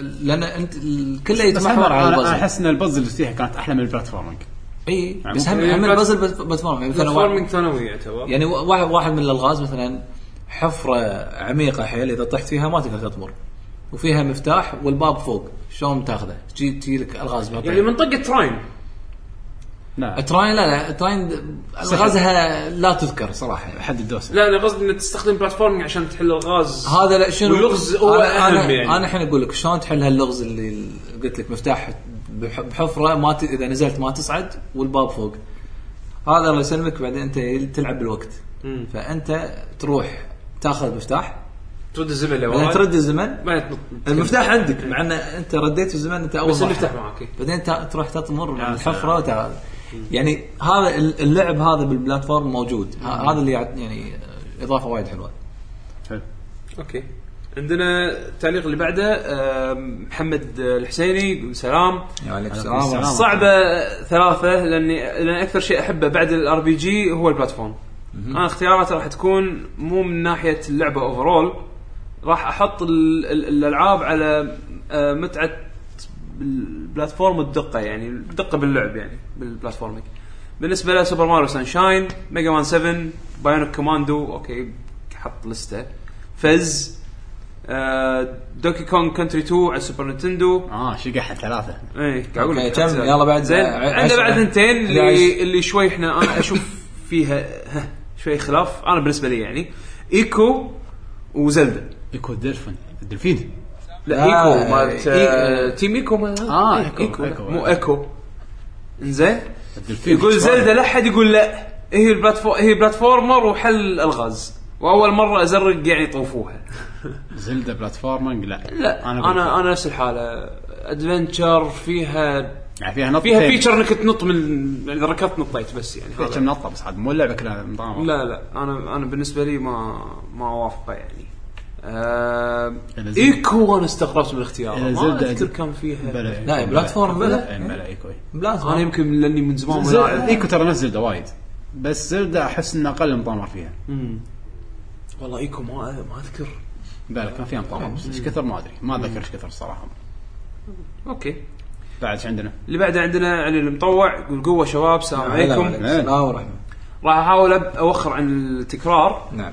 Speaker 3: لان انت ال- كله
Speaker 2: بس
Speaker 3: يتمحور
Speaker 2: هم- انا
Speaker 3: على
Speaker 2: أنا
Speaker 3: البازل
Speaker 2: احس ان البازل اللي فيها كانت احلى من البلاتفورمينج
Speaker 3: اي
Speaker 2: يعني
Speaker 3: بس هم
Speaker 4: ممكن-
Speaker 3: هم البازل بت- بلاتفورم يعني مثلا واحد-
Speaker 4: بلاتفورمينج ثانوي يعتبر
Speaker 3: يعني وا- واحد واحد من الالغاز مثلا حفره عميقه حيل اذا طحت فيها ما تقدر تطمر وفيها مفتاح والباب فوق شلون تاخذه؟ تجي تجي لك الغاز بعطيك.
Speaker 4: يعني من طقه تراين
Speaker 2: لا
Speaker 3: تراين لا لا تراين الغازها لا تذكر صراحه
Speaker 2: حد الدوسه
Speaker 4: لا انا قصدي انك تستخدم بلاتفورمينج عشان تحل الغاز
Speaker 3: هذا لا شنو
Speaker 4: واللغز هو
Speaker 3: أنا-
Speaker 4: أهم
Speaker 3: أنا-
Speaker 4: يعني.
Speaker 3: انا الحين اقول لك شلون تحل هاللغز اللي قلت لك مفتاح بح- بحفره ما ت... اذا نزلت ما تصعد والباب فوق هذا الله يسلمك بعدين انت تلعب بالوقت
Speaker 4: مم.
Speaker 3: فانت تروح تاخذ مفتاح
Speaker 4: يعني ترد الزمن
Speaker 3: بعدين
Speaker 4: لورا
Speaker 3: ترد الزمن
Speaker 4: ما تنط
Speaker 3: المفتاح عندك مع ان انت رديت في الزمن انت اول
Speaker 4: بس
Speaker 3: واحد.
Speaker 4: المفتاح معك، إيه.
Speaker 3: بعدين تا- تروح تطمر من الحفره وتعال يعني هذا ال- اللعب هذا بالبلاتفورم موجود ه- هذا اللي يع- يعني اضافه وايد حلوه
Speaker 2: حلو.
Speaker 4: اوكي عندنا التعليق اللي بعده آم، محمد الحسيني يقول سلام
Speaker 3: يا عليك
Speaker 2: السلام.
Speaker 3: السلام
Speaker 4: صعبة ثلاثة لاني لان اكثر شيء احبه بعد الار بي جي هو البلاتفورم. انا اختياراتي راح تكون مو من ناحية اللعبة اوفرول راح احط ال- ال- الالعاب على آه، متعة البلاتفورم والدقة يعني الدقة باللعب يعني بالبلاتفورمينج. بالنسبة لسوبر ماريو سانشاين، ميجا مان 7، بايونيك كوماندو اوكي حط لستة. فز آه، دوكي كونغ كونتري 2 على السوبر نينتندو
Speaker 2: اه شقح ثلاثه
Speaker 4: ايه قاعد اقول
Speaker 3: اوكي،
Speaker 4: لك.
Speaker 3: كم؟ يلا بعد
Speaker 4: زين
Speaker 3: ع-
Speaker 4: عندنا
Speaker 3: عشرة.
Speaker 4: بعد اثنتين
Speaker 3: إحداعش.
Speaker 4: اللي اللي شوي احنا انا اشوف فيها ها، شوي خلاف انا بالنسبه لي يعني ايكو وزلدا
Speaker 2: ايكو الدلفين الدلفين
Speaker 4: لا
Speaker 3: آه،
Speaker 4: ايكو مالت
Speaker 3: إيكو.
Speaker 4: آه، تيم ايكو ما
Speaker 2: آه،
Speaker 4: إيه،
Speaker 2: إيكو،
Speaker 4: ايكو
Speaker 2: إيكو.
Speaker 4: مو ايكو انزين
Speaker 2: الدلفين
Speaker 4: يقول زلدا لا حد يقول لا هي البلاتفورم هي بلاتفورمر وحل الغاز واول مره ازرق يعني طوفوها
Speaker 2: زلدا بلاتفورمينج لا
Speaker 4: لا
Speaker 2: انا
Speaker 4: انا
Speaker 2: انا
Speaker 4: انا نفس الحاله ادفنتشر فيها
Speaker 2: يعني فيها نط
Speaker 4: فيها فيتشر انك تنط من اذا ركضت نطيت بس يعني
Speaker 2: فيها
Speaker 4: هذا
Speaker 2: كم نطه بس عاد مو اللعبه كلها نظام
Speaker 4: لا لا انا انا بالنسبه لي ما ما اوافقه يعني آه
Speaker 2: إلا يعني زلدة.
Speaker 4: ايكو انا استغربت من اختياره
Speaker 2: إلا
Speaker 4: ما
Speaker 2: زلدة
Speaker 4: اذكر
Speaker 2: أدري.
Speaker 4: كان فيها
Speaker 2: بلا
Speaker 3: لا،
Speaker 2: إيكو،
Speaker 3: بلاتفورم بلا.
Speaker 2: إيه، بلا ايكو إيه.
Speaker 3: بلاتفورم
Speaker 4: انا يمكن لاني من زمان ما
Speaker 2: زلدة-
Speaker 4: لاعب
Speaker 2: ايكو ترى نفس زلدا وايد بس زلدا احس انه اقل مطامر فيها
Speaker 4: مم. والله ايكو ما ما اذكر
Speaker 2: بلا كان فيها مطامر بس ايش كثر ما ادري ما اتذكر ايش كثر الصراحه
Speaker 4: اوكي
Speaker 2: بعد ايش عندنا؟
Speaker 4: اللي بعده عندنا علي المطوع يقول قوه شباب السلام عليكم
Speaker 3: السلام ورحمه
Speaker 4: راح احاول أب- اوخر عن التكرار
Speaker 3: نعم.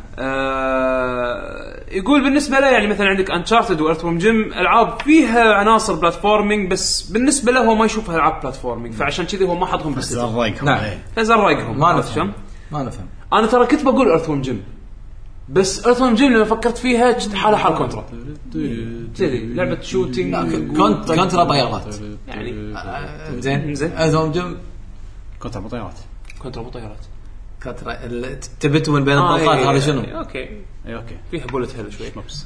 Speaker 4: آه يقول بالنسبه له يعني مثلا عندك انشارتد وارتوم جيم العاب فيها عناصر بلاتفورمينج بس بالنسبه له هو ما يشوفها العاب بلاتفورمينج فعشان كذي هو ما حطهم
Speaker 2: بس
Speaker 4: بالستة
Speaker 2: الرايق
Speaker 3: نعم.
Speaker 2: إيه.
Speaker 4: فزرقهم
Speaker 3: ما
Speaker 4: عرفت
Speaker 3: نفهم
Speaker 4: شلون؟
Speaker 3: ما نفهم
Speaker 4: انا ترى كنت بقول ارتوم جيم بس ارتوم جيم لما فكرت فيها كنت حالها حال كونترا كذي لعبه شوتنج
Speaker 3: كنت كنت طيارات
Speaker 4: يعني
Speaker 3: زين
Speaker 4: زين.
Speaker 3: ازوم جم
Speaker 2: كنت بطيارات
Speaker 4: كونترا مو طيارات
Speaker 3: كتر ال- تبت من بين
Speaker 4: آه،
Speaker 3: الطلقات
Speaker 4: إيه،
Speaker 3: هذا
Speaker 4: إيه،
Speaker 3: شنو؟
Speaker 4: إيه، اوكي
Speaker 2: اي اوكي
Speaker 4: فيها بولت هيل شوي
Speaker 2: مبس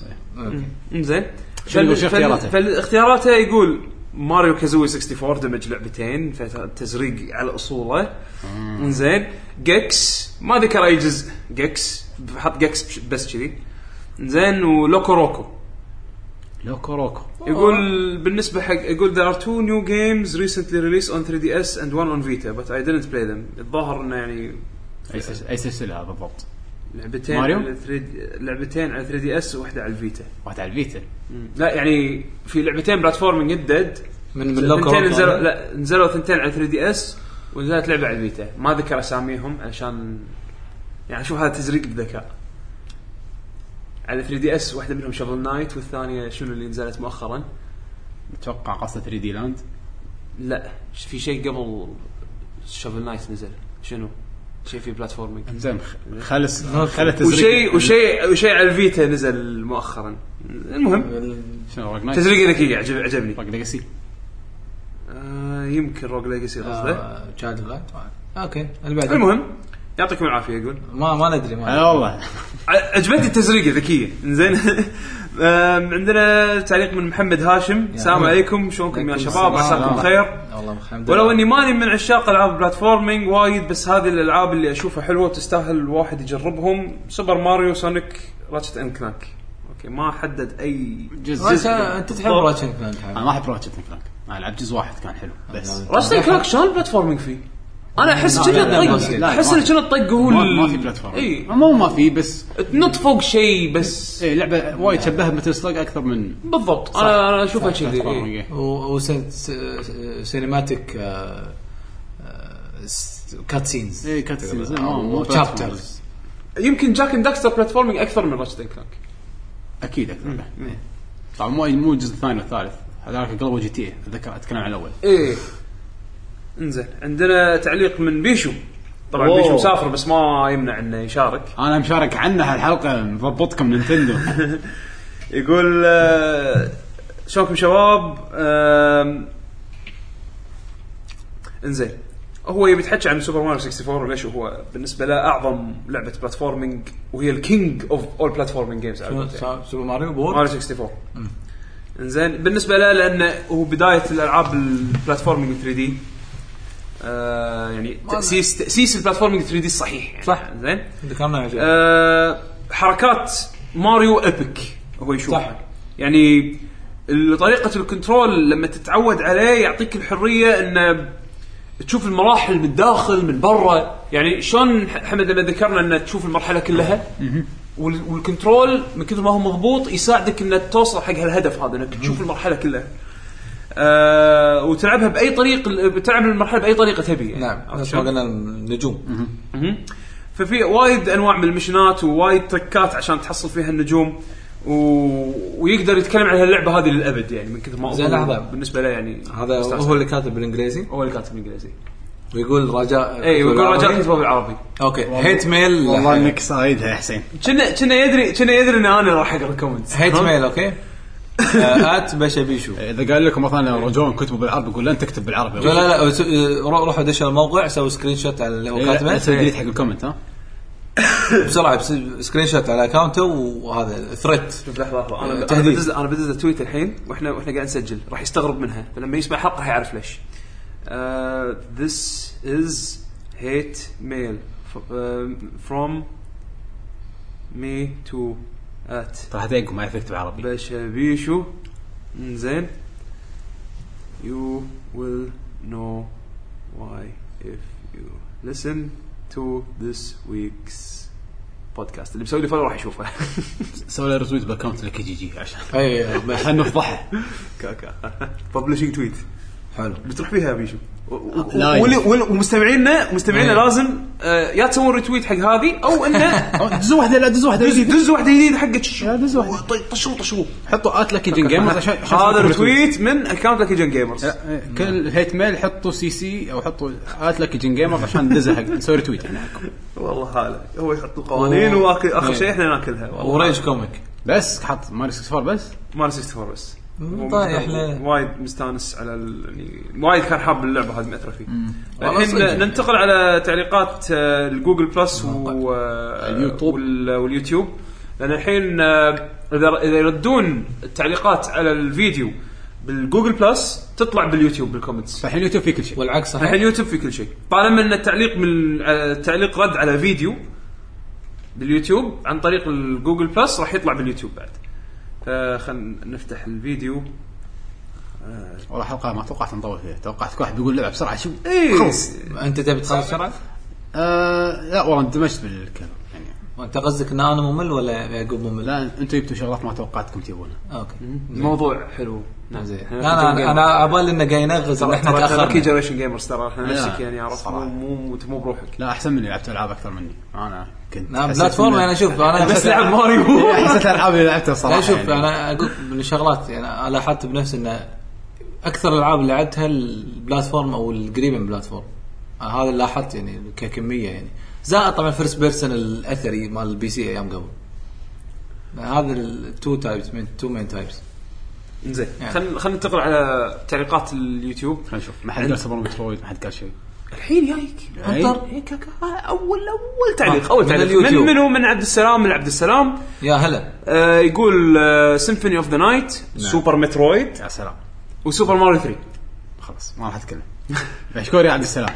Speaker 2: إيه.
Speaker 4: زين
Speaker 2: شو يقول- شو اختياراته؟
Speaker 4: فالاختياراته يقول ماريو كازوي 64 دمج لعبتين فتزريق على
Speaker 2: آه.
Speaker 4: اصوله زين جكس ما ذكر اي جزء جكس حط جكس بش- بس كذي زين ولوكو روكو
Speaker 2: آه. لوكو روكو
Speaker 4: يقول بالنسبه حق يقول there are two new games recently released on 3DS and one on Vita but I didn't play them الظاهر انه يعني
Speaker 2: اي سلس- أي سلسله بالضبط
Speaker 4: لعبتين
Speaker 2: ماريو؟
Speaker 4: على 3D لعبتين على 3DS وواحده على الفيتا
Speaker 2: واحد على الفيتا
Speaker 4: لا يعني في لعبتين بلاتفورمينج جدد
Speaker 3: من من لوكو
Speaker 4: ثنتين
Speaker 3: روكو.
Speaker 4: نزلوا لا نزلوا ثنتين على 3 دي اس ونزلت لعبه على الفيتا ما ذكر اساميهم عشان يعني شوف هذا تزريق بذكاء على 3 دي اس واحده منهم شفل نايت والثانيه شنو اللي نزلت مؤخرا
Speaker 2: اتوقع قصه 3 دي لاند
Speaker 4: لا ش- في شيء قبل شفل نايت نزل شنو شيء في بلاتفورمينج
Speaker 2: زين خلص خلت
Speaker 4: وشيء وشيء وشيء على الفيتا نزل مؤخرا المهم
Speaker 2: شنو روج نايت
Speaker 4: تزريقه ذكيه عجب عجبني
Speaker 2: روج ليجاسي
Speaker 4: آه يمكن روج ليجاسي
Speaker 3: آه.
Speaker 4: قصده
Speaker 3: تشايلد لايت اوكي اللي بعده
Speaker 4: المهم يعطيكم العافيه اقول
Speaker 3: ما ما ندري ما
Speaker 2: انا والله
Speaker 4: ع- عجبتني التزريقه ذكيه زين آم، عندنا تعليق من محمد هاشم السلام
Speaker 3: هلا.
Speaker 4: عليكم شلونكم يا
Speaker 3: عليكم
Speaker 4: شباب
Speaker 3: السلام.
Speaker 4: عساكم بخير
Speaker 3: والله الحمد
Speaker 4: ولو اني ماني من عشاق العاب البلاتفورمينج وايد بس هذه الالعاب اللي اشوفها حلوه وتستاهل الواحد يجربهم سوبر ماريو سونيك راتشت اند كلانك اوكي ما حدد اي
Speaker 2: جزء
Speaker 3: انت
Speaker 2: جزء
Speaker 3: انت تحب راتشن كلانك
Speaker 2: انا ما احب روجت اند كلانك انا لعبت جزء واحد كان حلو بس
Speaker 4: راتشت اند كلانك شلون البلاتفورمينج فيه؟ انا احس
Speaker 3: لا، لا،
Speaker 4: كنا
Speaker 3: لا،
Speaker 4: طق
Speaker 3: لا،
Speaker 4: احس
Speaker 2: ما
Speaker 4: ان كنا إيه، طق هو
Speaker 2: ما,
Speaker 4: ال-
Speaker 2: ما في بلاتفورم
Speaker 4: اي
Speaker 2: مو ما في بس
Speaker 4: تنط فوق شيء بس
Speaker 2: إيه لعبه وايد شبهها مثل سلاج اكثر من إيه.
Speaker 4: بالضبط انا انا اشوفها كذي إيه.
Speaker 2: بلاتفورم
Speaker 4: إي.
Speaker 3: وسينماتيك آه، كات سينز
Speaker 2: اي كات سينز إيه، ما- ما
Speaker 3: او
Speaker 2: بلاتفورم.
Speaker 3: تشابترز
Speaker 4: يمكن جاك اند داكستر بلاتفورمينج اكثر من راتشت اند كلانك
Speaker 2: اكيد اكثر إيه. طبعا مو مو الجزء الثاني والثالث هذاك قلبه جي تي إيه، اتذكر اتكلم عن الاول
Speaker 4: ايه انزين عندنا تعليق من بيشو طبعا
Speaker 2: أوه.
Speaker 4: بيشو مسافر بس ما يمنع انه يشارك
Speaker 2: انا مشارك عنه هالحلقه مضبطكم نينتندو
Speaker 4: يقول آه، شلونكم شباب آم، انزين هو يبي يتحكى عن سوبر ماريو 64 وليش هو بالنسبه له اعظم لعبه بلاتفورمينج وهي الكينج اوف اول بلاتفورمينج جيمز
Speaker 3: سوبر ماريو بورد
Speaker 4: ماريو 64 انزين بالنسبه له لانه هو بدايه الالعاب البلاتفورمينج 3 دي آه يعني تاسيس تاسيس البلاتفورمينج 3 دي الصحيح يعني
Speaker 3: صح.
Speaker 4: زين
Speaker 3: ذكرنا يا شيخ.
Speaker 4: آه حركات ماريو ايبك هو يشوفها
Speaker 3: صح.
Speaker 4: يعني ال- طريقه الكنترول لما تتعود عليه يعطيك الحريه انه تشوف المراحل من داخل من برا يعني شلون ح- حمد لما ذكرنا انه تشوف المرحله كلها وال- والكنترول من كثر ما هو مضبوط يساعدك انك توصل حق هالهدف هذا انك تشوف المرحله كلها آه وتلعبها باي طريق بتلعب المرحله باي طريقه تبي يعني.
Speaker 3: نعم نفس
Speaker 4: عرفت
Speaker 3: ما
Speaker 4: شلون؟
Speaker 3: قلنا النجوم
Speaker 4: مهم. ففي وايد انواع من المشنات ووايد تركات عشان تحصل فيها النجوم و... ويقدر يتكلم عن هاللعبه هذه للابد يعني من كثر ما
Speaker 3: زين،
Speaker 4: هو
Speaker 3: لحظة.
Speaker 4: بالنسبه له يعني
Speaker 3: هذا
Speaker 4: مستانس.
Speaker 3: هو اللي كاتب بالانجليزي
Speaker 4: هو اللي كاتب بالانجليزي
Speaker 3: ويقول رجاء
Speaker 4: اي ويقول
Speaker 3: بالعربي.
Speaker 4: إيه، رجاء كتبه بالعربي
Speaker 3: اوكي هيت ميل
Speaker 2: والله انك صايدها يا حسين
Speaker 4: كنا كنا يدري كنا يدري ان انا راح اقرا الكومنتس
Speaker 3: هيت ميل اوكي آه، ات باشا بيشو
Speaker 2: اذا قال لكم مثلا رجون كتبوا بالعربي قول لن تكتب بالعربي
Speaker 3: لا لا لا وس- آه، رو- روحوا دش الموقع سووا سكرين شوت على اللي هو
Speaker 2: إيه، لا، اسوي
Speaker 3: كاتبه
Speaker 2: ديليت حق الكومنت ها
Speaker 3: بسرعه بس- سكرين شوت على اكونته وهذا ثريت
Speaker 4: شوف لحظه لحظه انا انا
Speaker 3: تهديد.
Speaker 4: بدز انا بدز تويت الحين واحنا واحنا قاعد نسجل راح يستغرب منها فلما يسمع الحلقه راح يعرف ليش. Uh, this is hate mail f- um, from me to at
Speaker 2: راح تلاقيكم ما يعرف يكتب عربي
Speaker 4: بشبيشو زين you will know why if you listen to this week's podcast اللي مسوي لي فولو راح يشوفه
Speaker 2: سوي له ريتويت باكونت لك جي جي عشان
Speaker 3: اي بس
Speaker 2: عشان نفضحه
Speaker 4: كاكا ببلشنج تويت
Speaker 3: حلو
Speaker 4: بتروح فيها يا بيشو و- و-
Speaker 2: لا
Speaker 4: ول- ول- ومستمعينا مستمعينا
Speaker 3: آه، إيه.
Speaker 4: لازم آه، يا تسوون ريتويت حق هذه او انه
Speaker 2: أو دز واحده لا دز واحده
Speaker 4: دز دز واحده جديده حقك
Speaker 3: آه.
Speaker 2: لا، دز واحدة.
Speaker 4: طشوا طشوا
Speaker 2: حطوا ات لك جن جيمرز عشان عشان
Speaker 4: هذا
Speaker 2: تسوي retweet.
Speaker 4: ريتويت من اكونت لكي جن جيمرز
Speaker 3: آه.
Speaker 2: لا، إيه، كل هيت ميل حطوا سي سي او حطوا ات لك جن جيمرز عشان ندزها حق نسوي ريتويت يعني حقكم
Speaker 4: والله هلا هو يحط القوانين
Speaker 3: أوه.
Speaker 4: واخر آخر
Speaker 3: إيه.
Speaker 4: شيء احنا ناكلها والله
Speaker 3: وريج كوميك
Speaker 2: بس حط ماري 64 بس
Speaker 4: ماري 64 بس
Speaker 3: مم،
Speaker 4: هو
Speaker 3: طيب،
Speaker 4: مستانس-
Speaker 3: إحنا-
Speaker 4: وايد مستانس على ال- يعني وايد كان حاب اللعبه هذه مأثره فيه
Speaker 3: والله
Speaker 4: الحين
Speaker 3: صدق.
Speaker 4: ننتقل على تعليقات آه، الجوجل بلس
Speaker 3: طيب.
Speaker 4: و آه،
Speaker 2: اليوتيوب.
Speaker 4: وال- واليوتيوب لان الحين آه، اذا اذا يردون التعليقات على الفيديو بالجوجل بلس تطلع باليوتيوب بالكومنتس
Speaker 2: فالحين اليوتيوب فيه كل شيء
Speaker 3: والعكس صحيح
Speaker 4: الحين يوتيوب في كل شيء طالما ان التعليق من آه، التعليق رد على فيديو باليوتيوب عن طريق الجوجل بلس راح يطلع باليوتيوب بعد فخلنا نفتح الفيديو
Speaker 2: والله حلقه ما توقعت نطول فيها توقعت كل واحد بيقول لعبه بسرعه شو
Speaker 4: اي
Speaker 2: خلص
Speaker 3: انت تبي تخلص بسرعه؟
Speaker 2: آه لا والله اندمجت بالكلام يعني
Speaker 3: انت قصدك ان انا ممل ولا يعقوب ممل؟
Speaker 2: لا انتم جبتوا شغلات ما توقعتكم تجيبونها
Speaker 3: اوكي
Speaker 4: الموضوع حلو نعم
Speaker 3: زين لا انا
Speaker 4: انا
Speaker 3: انا عبالي انه قاعد ينغز
Speaker 4: طيب.
Speaker 3: ان احنا
Speaker 4: لكي
Speaker 3: تاخرنا
Speaker 4: جنريشن جيمرز ترى احنا
Speaker 2: لا،
Speaker 4: نفسك يعني عرفت
Speaker 2: صراحة.
Speaker 4: مو مو أنت مو بروحك
Speaker 2: لا احسن مني لعبت العاب اكثر مني انا كنت
Speaker 3: نعم،
Speaker 2: حسيت
Speaker 3: بلاتفورم
Speaker 2: إن-
Speaker 3: انا شوف انا
Speaker 2: بس لعب
Speaker 4: ماريو
Speaker 2: حسيت الالعاب اللي لعبتها
Speaker 3: لا
Speaker 2: صراحه
Speaker 3: شوف
Speaker 2: يعني.
Speaker 3: انا اقول من الشغلات يعني أنا لاحظت بنفسي ان اكثر الالعاب اللي لعبتها البلاتفورم او القريبه من البلاتفورم أنا هذا اللي لاحظت يعني ككميه يعني زائد طبعا فيرست بيرسون الاثري مال البي سي ايام قبل هذا التو تايبس من تو مين تايبس
Speaker 4: زين
Speaker 3: يعني.
Speaker 4: خلينا خلينا ننتقل على تعليقات اليوتيوب
Speaker 2: خلينا نشوف ما حد قال سوبر مترويد ما حد قال شيء
Speaker 4: الحين جايك
Speaker 3: انطر.
Speaker 4: إيه، كاكا. آه، اول اول تعليق اول
Speaker 3: من
Speaker 4: تعليق من
Speaker 3: اليوتيوب.
Speaker 4: منو من عبد السلام من عبد السلام
Speaker 3: يا هلا
Speaker 4: آه يقول سيمفوني اوف ذا نايت سوبر مترويد
Speaker 2: يا سلام
Speaker 4: وسوبر ماريو 3
Speaker 2: خلاص ما راح اتكلم مشكور يا عبد السلام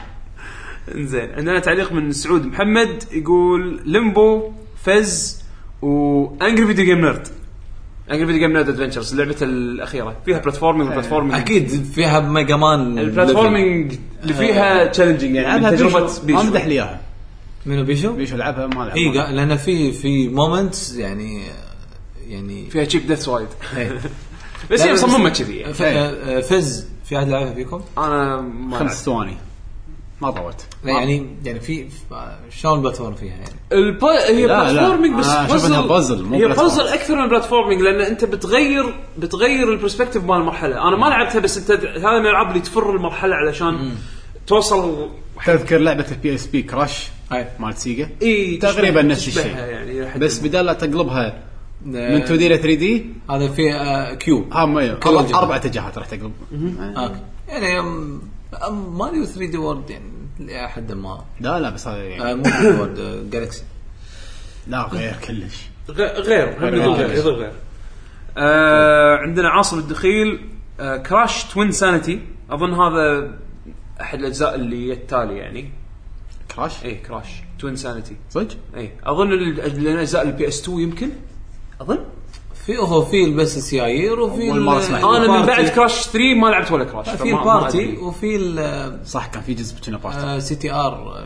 Speaker 4: انزين عندنا تعليق من سعود محمد يقول ليمبو فز وانجري فيديو جيم نيرد انجري فيديو جيم نيرد ادفنتشرز لعبته الاخيره فيها بلاتفورمينج وبلاتفورمينج
Speaker 3: اكيد فيها ميجا مان
Speaker 4: البلاتفورمينج اللي فيها تشالنجينج يعني من
Speaker 2: العبها
Speaker 4: تجربه
Speaker 2: بيشو ما
Speaker 4: بيشو
Speaker 2: امدح لي اياها
Speaker 3: منو بيشو؟
Speaker 2: بيشو العبها ما العبها
Speaker 3: اي لان في في مومنتس يعني يعني
Speaker 4: فيها تشيب ديث وايد
Speaker 3: إيه.
Speaker 4: بس
Speaker 3: لا،
Speaker 4: هي
Speaker 3: بس-
Speaker 4: مصممه كذي
Speaker 2: إيه،
Speaker 4: يعني.
Speaker 3: ف- آه، فز في احد لعبها فيكم؟
Speaker 4: انا ما ألعب.
Speaker 2: خمس ثواني ما طولت
Speaker 3: لا يعني يعني في في- شلون البلاتفورم فيها يعني؟
Speaker 4: الب... هي
Speaker 2: لا، لا.
Speaker 4: بلاتفورمينج بس
Speaker 2: آه، أشوف إنها بازل، مو
Speaker 4: هي
Speaker 2: بلاتفورم.
Speaker 4: بازل اكثر من بلاتفورمينج لان انت بتغير بتغير البرسبكتيف مال المرحله انا ما لعبتها بس انت هذا من الالعاب اللي تفر المرحله علشان توصل
Speaker 2: تذكر لعبه البي اس بي كراش
Speaker 3: هاي.
Speaker 2: مالت سيجا
Speaker 3: إيه.
Speaker 4: اي
Speaker 2: تقريبا
Speaker 4: تشبه-
Speaker 2: نفس
Speaker 4: تشبهها
Speaker 2: الشيء.
Speaker 4: يعني إلى حد
Speaker 2: بس
Speaker 4: ما.
Speaker 2: بدال لا تقلبها من 2
Speaker 3: آه،
Speaker 2: دي ل 3 دي
Speaker 3: هذا في آه، كيوب
Speaker 2: ها ما
Speaker 3: كل
Speaker 2: أربع-
Speaker 3: الجهة.
Speaker 2: اربع اتجاهات راح تقلب
Speaker 3: آه. يعني آه، أم- أم- ماريو 3 دي وورد يعني الى حد ما
Speaker 2: لا لا بس هذا يعني
Speaker 3: آه، مو 3 دي وورد آه، جالكسي
Speaker 2: لا غير كلش
Speaker 4: غ- غير هم
Speaker 2: غير-
Speaker 4: يقول
Speaker 2: غير.
Speaker 4: غير يقول غير آه عندنا عاصم الدخيل آه كراش توين سانتي اظن هذا احد الاجزاء اللي التالي يعني إيه،
Speaker 2: كراش
Speaker 4: اي كراش توين سانتي
Speaker 2: صدق
Speaker 4: اي اظن إيه، ال- الاجزاء البي اس 2 يمكن اظن
Speaker 3: في هو في بس السيايير وفي
Speaker 2: أول
Speaker 3: ال-
Speaker 2: مرة أسمع.
Speaker 4: انا من
Speaker 3: البارتي.
Speaker 4: بعد كراش 3 ما لعبت ولا كراش
Speaker 3: في
Speaker 4: فما- ما
Speaker 3: البارتي
Speaker 4: أدري.
Speaker 3: وفي ال-
Speaker 2: صح كان في جزء كنا بارت
Speaker 3: آه، سي تي ار آه،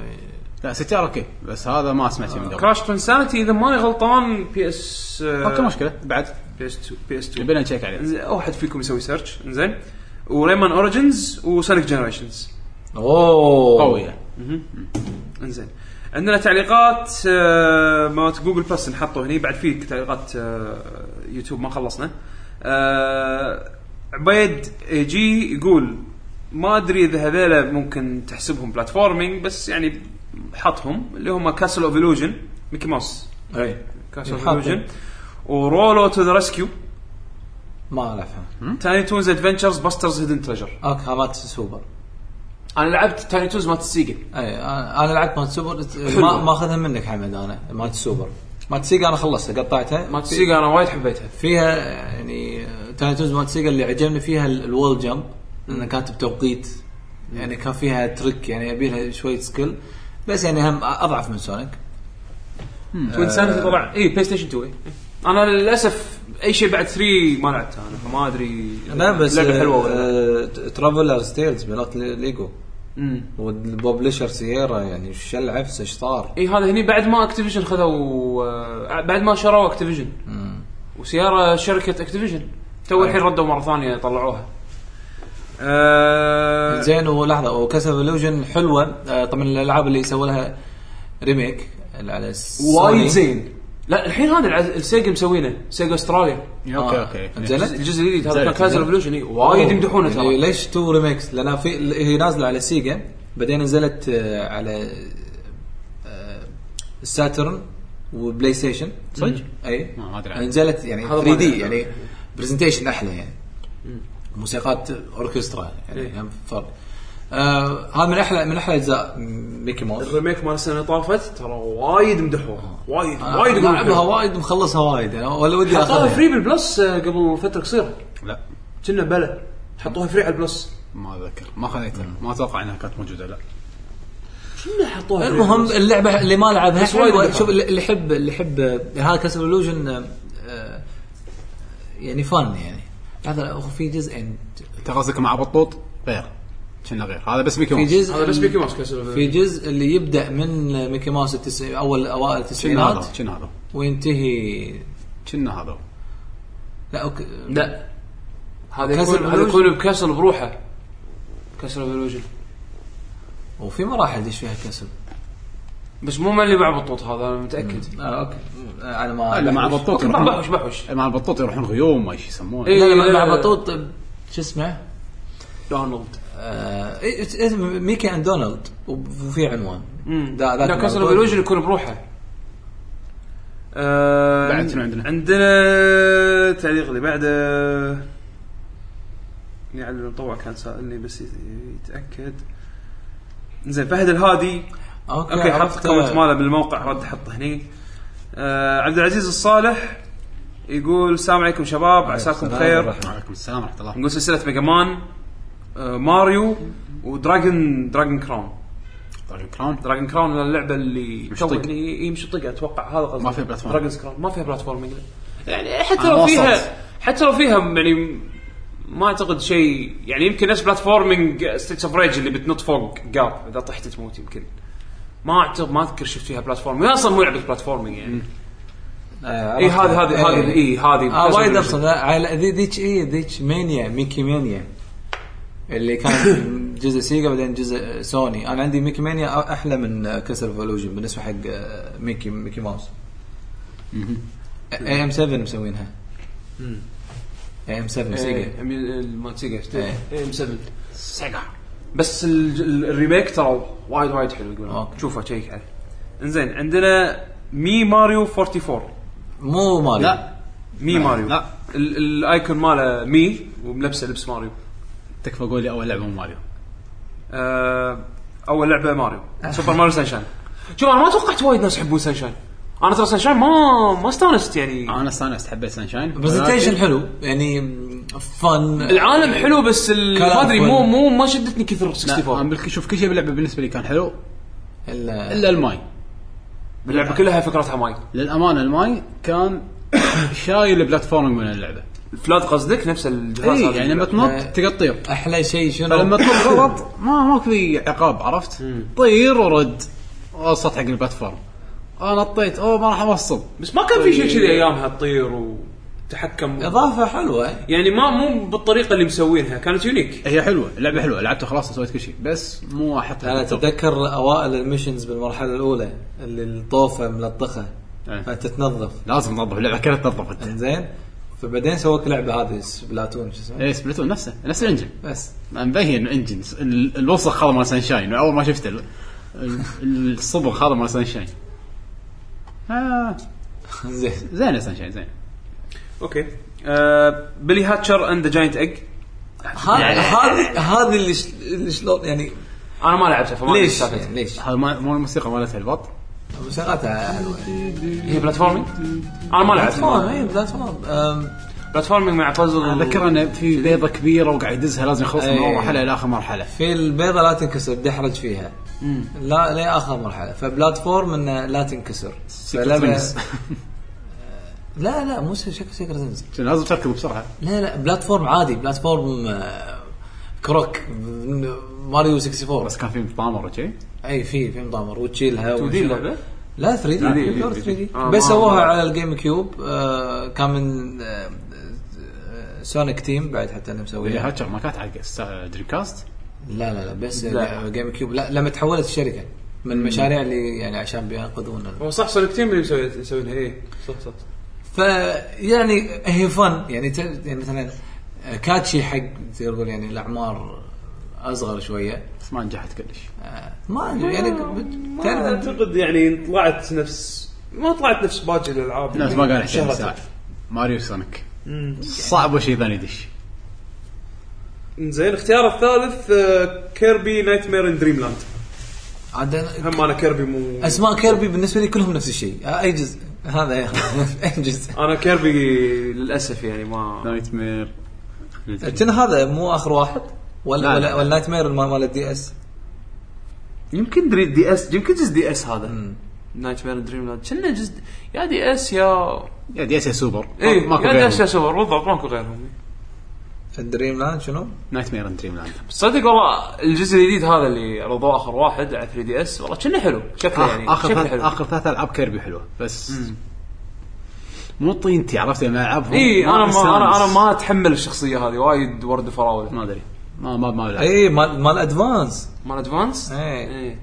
Speaker 2: لا ستار اوكي بس هذا ما اسمع شيء من قبل
Speaker 4: كراش توين سانتي اذا ماني غلطان آه، بي اس
Speaker 2: اوكي مشكله بعد
Speaker 4: بي اس 2 بي اس 2
Speaker 2: نبينا نشيك عليه
Speaker 4: إنزين، او حد فيكم يسوي سيرش انزين وريمان اوريجنز وسونيك جنريشنز
Speaker 3: اوه
Speaker 2: قويه
Speaker 4: انزين عندنا تعليقات آه، مالت جوجل بلس نحطوا هني بعد في تعليقات آه، يوتيوب ما خلصنا آه، عبيد جي يقول ما ادري اذا هذيلا ممكن تحسبهم بلاتفورمينج بس يعني حطهم اللي هم كاسل اوف الوجن ميكي ماوس
Speaker 3: اي
Speaker 4: كاسل اوف
Speaker 3: حاطه.
Speaker 4: الوجن ورولو تو ذا ريسكيو
Speaker 3: ما لا افهم
Speaker 4: تاني تونز ادفنتشرز باسترز هيدن تريجر
Speaker 3: اوكي ها مالت سوبر
Speaker 4: انا لعبت تاني تونز مالت السيجا
Speaker 3: اي انا إيه، أنا لعبت مالت سوبر ما ما اخذها منك حمد انا مالت سوبر مالت سيجا انا خلصتها قطعتها
Speaker 4: مالت السيجا انا وايد حبيتها
Speaker 3: فيها يعني تايم توز مالت سيجا اللي عجبني فيها ال- الوول جمب لانها كانت بتوقيت يعني كان فيها تريك يعني يبي لها شويه سكيل بس يعني هم اضعف من سونيك
Speaker 4: توين
Speaker 3: آه.
Speaker 4: سانتي طبعا اي بلاي ستيشن 2 إي. انا للاسف اي شيء بعد 3 ما لعبته انا فما ادري
Speaker 3: لا بس آه،
Speaker 4: لعبه حلوه ولا لا.
Speaker 3: ترافلرز تيلز مالت ليجو
Speaker 4: أمم.
Speaker 3: والببلشر سييرا يعني شلعفس شطار
Speaker 4: اي إيه، هذا هني بعد ما اكتيفيجن خذوا آه، بعد ما شروا اكتيفيجن وسياره شركه اكتيفيجن تو
Speaker 3: آه.
Speaker 4: الحين ردوا مره ثانيه طلعوها آه
Speaker 3: زين ولحظه وكسب الوجن حلوه آه، طبعا الالعاب اللي سووا لها ريميك على السوني.
Speaker 4: وايد زين لا الحين هذا الع- السيجا مسوينه سيجا استراليا
Speaker 2: اوكي
Speaker 3: آه.
Speaker 2: اوكي
Speaker 3: زين.
Speaker 4: الجزء الجزء الجديد هذا
Speaker 2: زين.
Speaker 4: كان كازل ريفولوشن اي وايد يمدحونه
Speaker 3: يعني
Speaker 4: ترى
Speaker 3: ليش تو ريميكس؟ لان في هي نازله على سيجا بعدين نزلت آه، على آه، ساترن وبلاي ستيشن
Speaker 2: صدق؟
Speaker 3: اي
Speaker 2: ما- ما أدري عنها.
Speaker 3: نزلت يعني
Speaker 4: هذا ما
Speaker 3: 3 دي
Speaker 4: أدري
Speaker 3: يعني برزنتيشن احلى يعني موسيقات اوركسترا
Speaker 4: إيه.
Speaker 3: يعني هم فرق آه، هذا من احلى من احلى اجزاء ميكي ماوس
Speaker 4: الريميك مال السنه طافت ترى وايد مدحوها وايد
Speaker 3: أنا
Speaker 4: وايد يقولون
Speaker 3: لعبها
Speaker 4: حلو.
Speaker 3: وايد ومخلصها وايد انا ولا ودي
Speaker 4: حطوها
Speaker 3: اخذها
Speaker 4: فري بالبلس آه، قبل فتره قصيره
Speaker 2: لا
Speaker 4: كنا بلا حطوها فري على البلس
Speaker 2: ما اذكر ما خذيتها ما اتوقع انها كانت موجوده لا
Speaker 4: كنا حطوها فري
Speaker 3: المهم
Speaker 4: بالبلس.
Speaker 3: اللعبه اللي ما لعبها
Speaker 4: بس وايد
Speaker 3: حلوه
Speaker 4: دفع.
Speaker 3: شوف اللي اللي يحب اللي يحب آه، هذا كاس الوجن آه، يعني فن يعني هذا هو في جزئين
Speaker 2: انت قصدك مع بطوط غير كنا غير هذا بس ميكي
Speaker 3: في
Speaker 2: ماوس
Speaker 3: جزء
Speaker 4: هذا بس ميكي ماوس كسر
Speaker 3: في جزء اللي يبدا من ميكي ماوس التس... اول اوائل
Speaker 2: كنا هذا
Speaker 3: التسعينات
Speaker 2: كنا هذا
Speaker 3: وينتهي
Speaker 2: كنا هذا
Speaker 3: لا أوكي.
Speaker 4: لا هذا
Speaker 3: كسر
Speaker 4: يكون هذا
Speaker 3: Illusion.
Speaker 4: يكون بكسل بروحه كسر الوجن
Speaker 3: وفي مراحل دش فيها كسب
Speaker 4: بس مو مال اللي مع بطوط هذا انا متاكد
Speaker 3: آه اوكي آه، انا ما
Speaker 2: اللي مع بطوط
Speaker 4: اوكي بحوش
Speaker 2: يروحون إيه،
Speaker 4: بحوش
Speaker 2: مع البطوط يروحون غيوم ما ايش يسمونه
Speaker 4: إيه.
Speaker 3: لا، لا، مع بطوط شو اسمه
Speaker 4: دونالد
Speaker 3: آه إيه- اسم ميكي اند دونالد وفي عنوان دا- ذاك
Speaker 1: لا كاسل
Speaker 3: الموضوع.
Speaker 1: بلوجن يكون بروحه
Speaker 4: آه
Speaker 2: بعد شنو عندنا؟
Speaker 4: عندنا التعليق اللي بعده يعني المطوع كان سالني بس يت- يتاكد زين فهد الهادي
Speaker 3: اوكي,
Speaker 4: اوكي حط
Speaker 3: عرفت.
Speaker 4: كومنت ماله بالموقع رد حطه هني آه عبد العزيز الصالح يقول السلام عليكم شباب عساكم
Speaker 3: السلام
Speaker 4: بخير
Speaker 3: والرحمة.
Speaker 2: وعليكم السلام ورحمه الله
Speaker 4: نقول سلسله ميجا مان آه ماريو ودراجون دراجون كراون
Speaker 2: طيب كراون
Speaker 4: دراجون كراون اللعبه اللي
Speaker 2: مشطق.
Speaker 4: تو- اللي- اي مشطقه اتوقع هذا قصدي
Speaker 2: ما فيها platform.
Speaker 4: دراجون كراون ما فيها بلاتفورمينج يعني حتى
Speaker 2: أنا
Speaker 4: لو
Speaker 2: ما
Speaker 4: فيها
Speaker 2: وصلت.
Speaker 4: حتى لو فيها يعني ما اعتقد شيء يعني يمكن نفس بلاتفورمينج ستيتس اوف ريج اللي بتنط فوق جاب اذا طحت تموت يمكن ما اعتقد ما اذكر شفت فيها بلاتفورمينج اصلا مو لعبه بلاتفورمينج يعني
Speaker 3: آه،
Speaker 4: اي
Speaker 3: عرفت.
Speaker 4: هذه إيه، هذه هذه اي هذه
Speaker 3: اه وايد ابسط لا، على- ذي- ذيك اي ذيك مانيا ميكي مانيا اللي كان جزء سيجا بعدين جزء سوني انا عندي ميكي مانيا احلى من كسر فولوجن بالنسبه حق آه، ميكي ميكي ماوس اي ام 7 مسوينها اي ام 7 سيجا
Speaker 4: إيه، أمي- مال سيجا
Speaker 3: إيه.
Speaker 4: ام 7 سيجا بس ال- ال- الريميك ترى وايد وايد حلو يقولون
Speaker 3: أوكي.
Speaker 4: شوفه شيك عليه انزين عندنا مي ماريو 44
Speaker 3: مو ماريو
Speaker 2: لا
Speaker 4: مي ماريو
Speaker 2: لا.
Speaker 4: ال- الايكون ماله مي وملبسه لبس ماريو
Speaker 2: تكفى قول لي اول لعبه مو ماريو
Speaker 4: آه، اول لعبه ماريو سوبر ماريو سانشاين شوف انا ما توقعت وايد ناس يحبون سانشاين انا ترى سانشاين ما ما استانست يعني
Speaker 2: انا استانست حبيت سانشاين
Speaker 3: برزنتيشن حلو يعني فن
Speaker 4: العالم حلو بس ال-
Speaker 3: كلام
Speaker 4: ما ادري
Speaker 3: فل.
Speaker 4: مو مو ما شدتني كثر 64
Speaker 2: 64 شوف كل شيء باللعبه بالنسبه لي كان حلو
Speaker 3: الا
Speaker 2: الا الماي
Speaker 4: اللعبه كلها فكرتها ماي
Speaker 2: للامانه الماي كان شايل بلاتفورمينج من اللعبه
Speaker 4: فلاد قصدك نفس الجهاز
Speaker 2: اي
Speaker 4: هذا
Speaker 2: إيه، يعني لما تنط
Speaker 3: آه.
Speaker 2: تقعد تطير
Speaker 3: احلى شيء شنو
Speaker 2: فلما تنط غلط ما ما في عقاب عرفت طير ورد وصلت حق البلاتفورم انا نطيت اوه ما راح اوصل
Speaker 4: بس ما كان في شيء كذي ايامها تطير وتحكم
Speaker 3: اضافه حلوه
Speaker 4: يعني ما مو بالطريقه اللي مسوينها كانت يونيك
Speaker 2: هي حلوه اللعبه حلوه لعبتها خلاص وسويت كل شيء بس مو احطها
Speaker 3: انا
Speaker 2: بالتوب.
Speaker 3: اتذكر اوائل يعني المشنز بالمرحله الاولى اللي الطوفه ملطخه
Speaker 2: إيه.
Speaker 3: فتتنظف
Speaker 2: لازم تنظف اللعبه كلها تنظفت
Speaker 3: زين فبعدين سووك لعبه هذه سبلاتون شو اسمها
Speaker 2: ايه سبلاتون نفسه نفس الانجن
Speaker 3: بس
Speaker 2: مبين انجن ال- الوسخ هذا مال سانشاين اول ما شفته ال- ال- الصبغ هذا مال سانشاين آه
Speaker 3: زين
Speaker 2: زين سانشاين زين
Speaker 4: اوكي آه بلي هاتشر اند ذا جاينت ايج
Speaker 2: يعني
Speaker 3: هذه هذه- هذه اللي ش- اللي شلون يعني
Speaker 4: انا ما لعبتها فما أدري
Speaker 3: ليش؟
Speaker 4: سالفتها.
Speaker 3: يعني ليش؟
Speaker 2: هذا ما- مو الموسيقى مالتها البط
Speaker 3: موسيقاتها حلوه
Speaker 4: هي بلاتفورمينج انا ما
Speaker 3: بلاتفورم
Speaker 4: لعبتها
Speaker 3: اي بلاتفورم أم،
Speaker 4: بلاتفورمينج مع بازل
Speaker 2: انا اذكر انه في بيضه كبيره وقاعد يدزها لازم يخلص من اول
Speaker 3: إيه.
Speaker 2: مرحله الى اخر مرحله
Speaker 3: في البيضه لا تنكسر دحرج فيها لا لاخر مرحله فبلاتفورم انه لا تنكسر فلما-
Speaker 2: فينس.
Speaker 3: لا لا مو شكل سيكرت
Speaker 2: عشان لازم تركض بسرعه
Speaker 3: لا لا بلاتفورم عادي بلاتفورم آه، كروك ماريو 64
Speaker 2: بس كان في مطامر وشي
Speaker 4: إيه.
Speaker 3: اي في في مضامر وتشيلها
Speaker 4: 2 دي اللعبه
Speaker 3: لا 3
Speaker 2: 3D.
Speaker 3: دي 3 دي
Speaker 4: آه،
Speaker 3: بس
Speaker 4: ما-
Speaker 3: سووها
Speaker 4: ما-
Speaker 3: على الجيم كيوب آه، كان من آه، آه، سونيك تيم بعد حتى اللي
Speaker 2: اللي
Speaker 4: إيه،
Speaker 3: مسويها
Speaker 2: هاتشر ما كانت حق السا- دريم كاست
Speaker 3: لا لا لا بس
Speaker 4: لا.
Speaker 3: جيم كيوب لا لما تحولت الشركه من المشاريع اللي يعني عشان بينقذون
Speaker 4: هو صح سونيك تيم اللي مسوي- يسوينها إيه. اي صح صح
Speaker 3: فيعني هي فن يعني ت- يعني مثلا آه، كاتشي حق تقدر تقول يعني الاعمار اصغر شويه
Speaker 2: بس ما نجحت كلش
Speaker 3: آه، ما ادري يعني بت-
Speaker 4: ما
Speaker 3: تعرف
Speaker 4: اعتقد يعني طلعت نفس ما طلعت نفس باقي الالعاب
Speaker 2: الناس ما قال حسين
Speaker 4: شهرت.
Speaker 2: ساعة. ماريو سونيك
Speaker 4: طيب. مم.
Speaker 2: صعب وشي ثاني يدش
Speaker 4: زين اختيار الثالث آه، كيربي نايت مير ان دريم لاند
Speaker 3: عاد أنا-
Speaker 4: هم انا كيربي مو
Speaker 3: اسماء كيربي بالنسبه لي كلهم نفس الشيء آه، اي جزء هذا ياخذ اي جزء
Speaker 4: انا كيربي للاسف يعني ما
Speaker 2: نايت مير
Speaker 3: كان هذا مو اخر واحد ولا
Speaker 2: لا،
Speaker 3: ولا
Speaker 2: لا.
Speaker 3: ولا نايت مير مال مال الدي اس
Speaker 4: يمكن دري دي اس يمكن جزء دي اس هذا نايت مير دريم لاند كنا جزء يا دي اس يا
Speaker 2: يا دي اس يا سوبر
Speaker 4: اي إيه، يا دي اس
Speaker 2: غيرهم.
Speaker 4: يا سوبر بالضبط ماكو غيرهم
Speaker 3: الدريم لاند شنو؟
Speaker 2: نايت مير اند دريم لاند
Speaker 4: صدق والله الجزء الجديد هذا اللي رضوه اخر واحد على 3 دي اس والله كنا حلو شكله يعني
Speaker 2: اخر
Speaker 4: شكله
Speaker 2: آه، ثلاث
Speaker 4: حلو
Speaker 2: اخر ثلاث العاب كيربي حلوه بس مو طينتي عرفت يعني لما العبهم
Speaker 4: اي انا إيه، ما انا انا
Speaker 2: أستانس.
Speaker 4: ما اتحمل الشخصيه هذه وايد ورد وفراوله
Speaker 2: ما ادري ما ما ما لعبت.
Speaker 3: اي مال مال إيه. ادفانس
Speaker 4: مال ادفانس
Speaker 3: إي.
Speaker 4: اي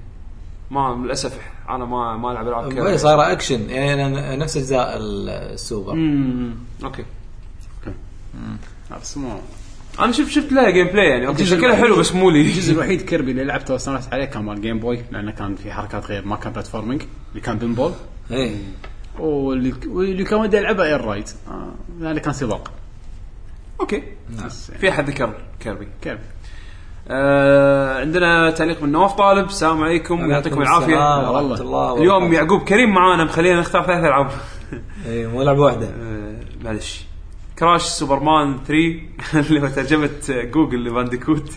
Speaker 4: ما للاسف انا ما ما العب العاب
Speaker 3: بس
Speaker 4: كذا
Speaker 3: صار اكشن إيه، يعني أنا- نفس اجزاء السوبر
Speaker 4: امم اوكي
Speaker 2: آه، بس مو
Speaker 4: انا شفت شفت لها جيم بلاي يعني اوكي
Speaker 2: الجزء
Speaker 4: شكلها
Speaker 2: الوحيد-
Speaker 4: حلو بس مو لي
Speaker 2: الجزء الوحيد كيربي اللي لعبته واستانست عليه كان مال جيم بوي لانه كان في حركات غير ما كان بلاتفورمينج اللي كان بنبول
Speaker 3: ايه
Speaker 2: واللي واللي كان ودي العبه اير رايد آه، لانه كان سباق
Speaker 4: اوكي
Speaker 3: نعم.
Speaker 2: بس يعني
Speaker 4: في احد ذكر كيربي
Speaker 2: كيربي
Speaker 4: آه عندنا تعليق من نواف طالب السلام عليكم يعطيكم العافيه
Speaker 3: السلام ورحمة الله
Speaker 4: اليوم
Speaker 3: وبركاته.
Speaker 4: يعقوب كريم معانا مخلينا نختار ثلاث العاب
Speaker 3: ايه مو لعبه واحده
Speaker 4: آه، معلش كراش سوبرمان 3 اللي هو ترجمه جوجل لبانديكوت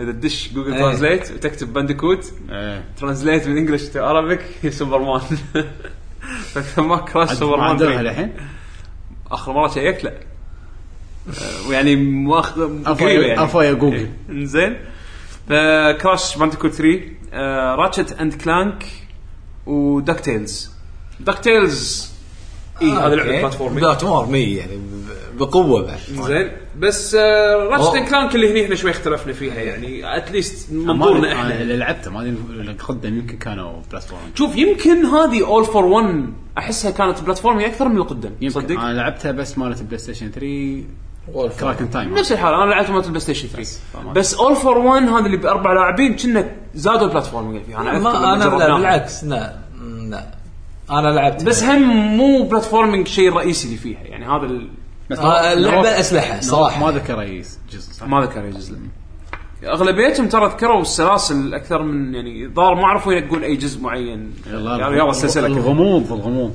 Speaker 4: اذا تدش جوجل
Speaker 3: إيه.
Speaker 4: ترانزليت وتكتب بانديكوت
Speaker 2: ايه
Speaker 4: ترانزليت من انجلش تو ارابيك هي سوبرمان فما كراش
Speaker 2: عاد-
Speaker 4: سوبرمان
Speaker 2: عدلها
Speaker 4: 3
Speaker 2: الحين
Speaker 4: اخر مره شيكت لا آه، ويعني مؤخ-
Speaker 2: عفوا
Speaker 4: قريبه
Speaker 2: يا-
Speaker 4: يعني
Speaker 2: عفوا يا جوجل
Speaker 4: انزين فكراش بانديكو 3 آه راتشت اند كلانك ودك تيلز دك تيلز اي هذا لعبه بلاتفورمينج
Speaker 3: بلاتفورم اي يعني ب- بقوه بعد
Speaker 4: زين بس آه راتشت
Speaker 3: أوه.
Speaker 4: اند كلانك اللي هنا احنا شوي اختلفنا فيها يعني اتليست منظورنا
Speaker 2: انا
Speaker 4: احنا
Speaker 2: اللي لعبته ما ادري اللي قدم يمكن كانوا بلاتفورمينج
Speaker 4: شوف يمكن هذه اول فور 1 احسها كانت بلاتفورمينج اكثر من اللي قدم
Speaker 2: يمكن آه.
Speaker 4: صدق
Speaker 2: انا لعبتها بس مالت البلاي ستيشن 3
Speaker 3: وولف.
Speaker 2: كراكن تايم
Speaker 4: نفس الحال انا لعبت مالت البلاي ستيشن 3
Speaker 2: فما-
Speaker 4: بس اول فور 1 هذا اللي باربع لاعبين كنا زادوا بلاتفورمينج فيها انا أذكر لما
Speaker 3: ما انا لا
Speaker 4: جربناها.
Speaker 3: بالعكس لا مم، لا انا لعبت
Speaker 4: بس هم مو بلاتفورمينج شيء الرئيسي اللي فيها يعني هذا ال-
Speaker 2: بس
Speaker 3: آه،
Speaker 2: نواف-
Speaker 3: اللعبه اسلحه
Speaker 2: ما
Speaker 3: صراحه
Speaker 2: ذكر اي جزء صح؟
Speaker 4: ما ذكر يجوز لنا اغلبيتهم ترى ذكروا السلاسل اكثر من يعني ظهر ما عرفوا ينقون اي جزء معين يلا يلا السلسله كذا.
Speaker 2: الغموض الغموض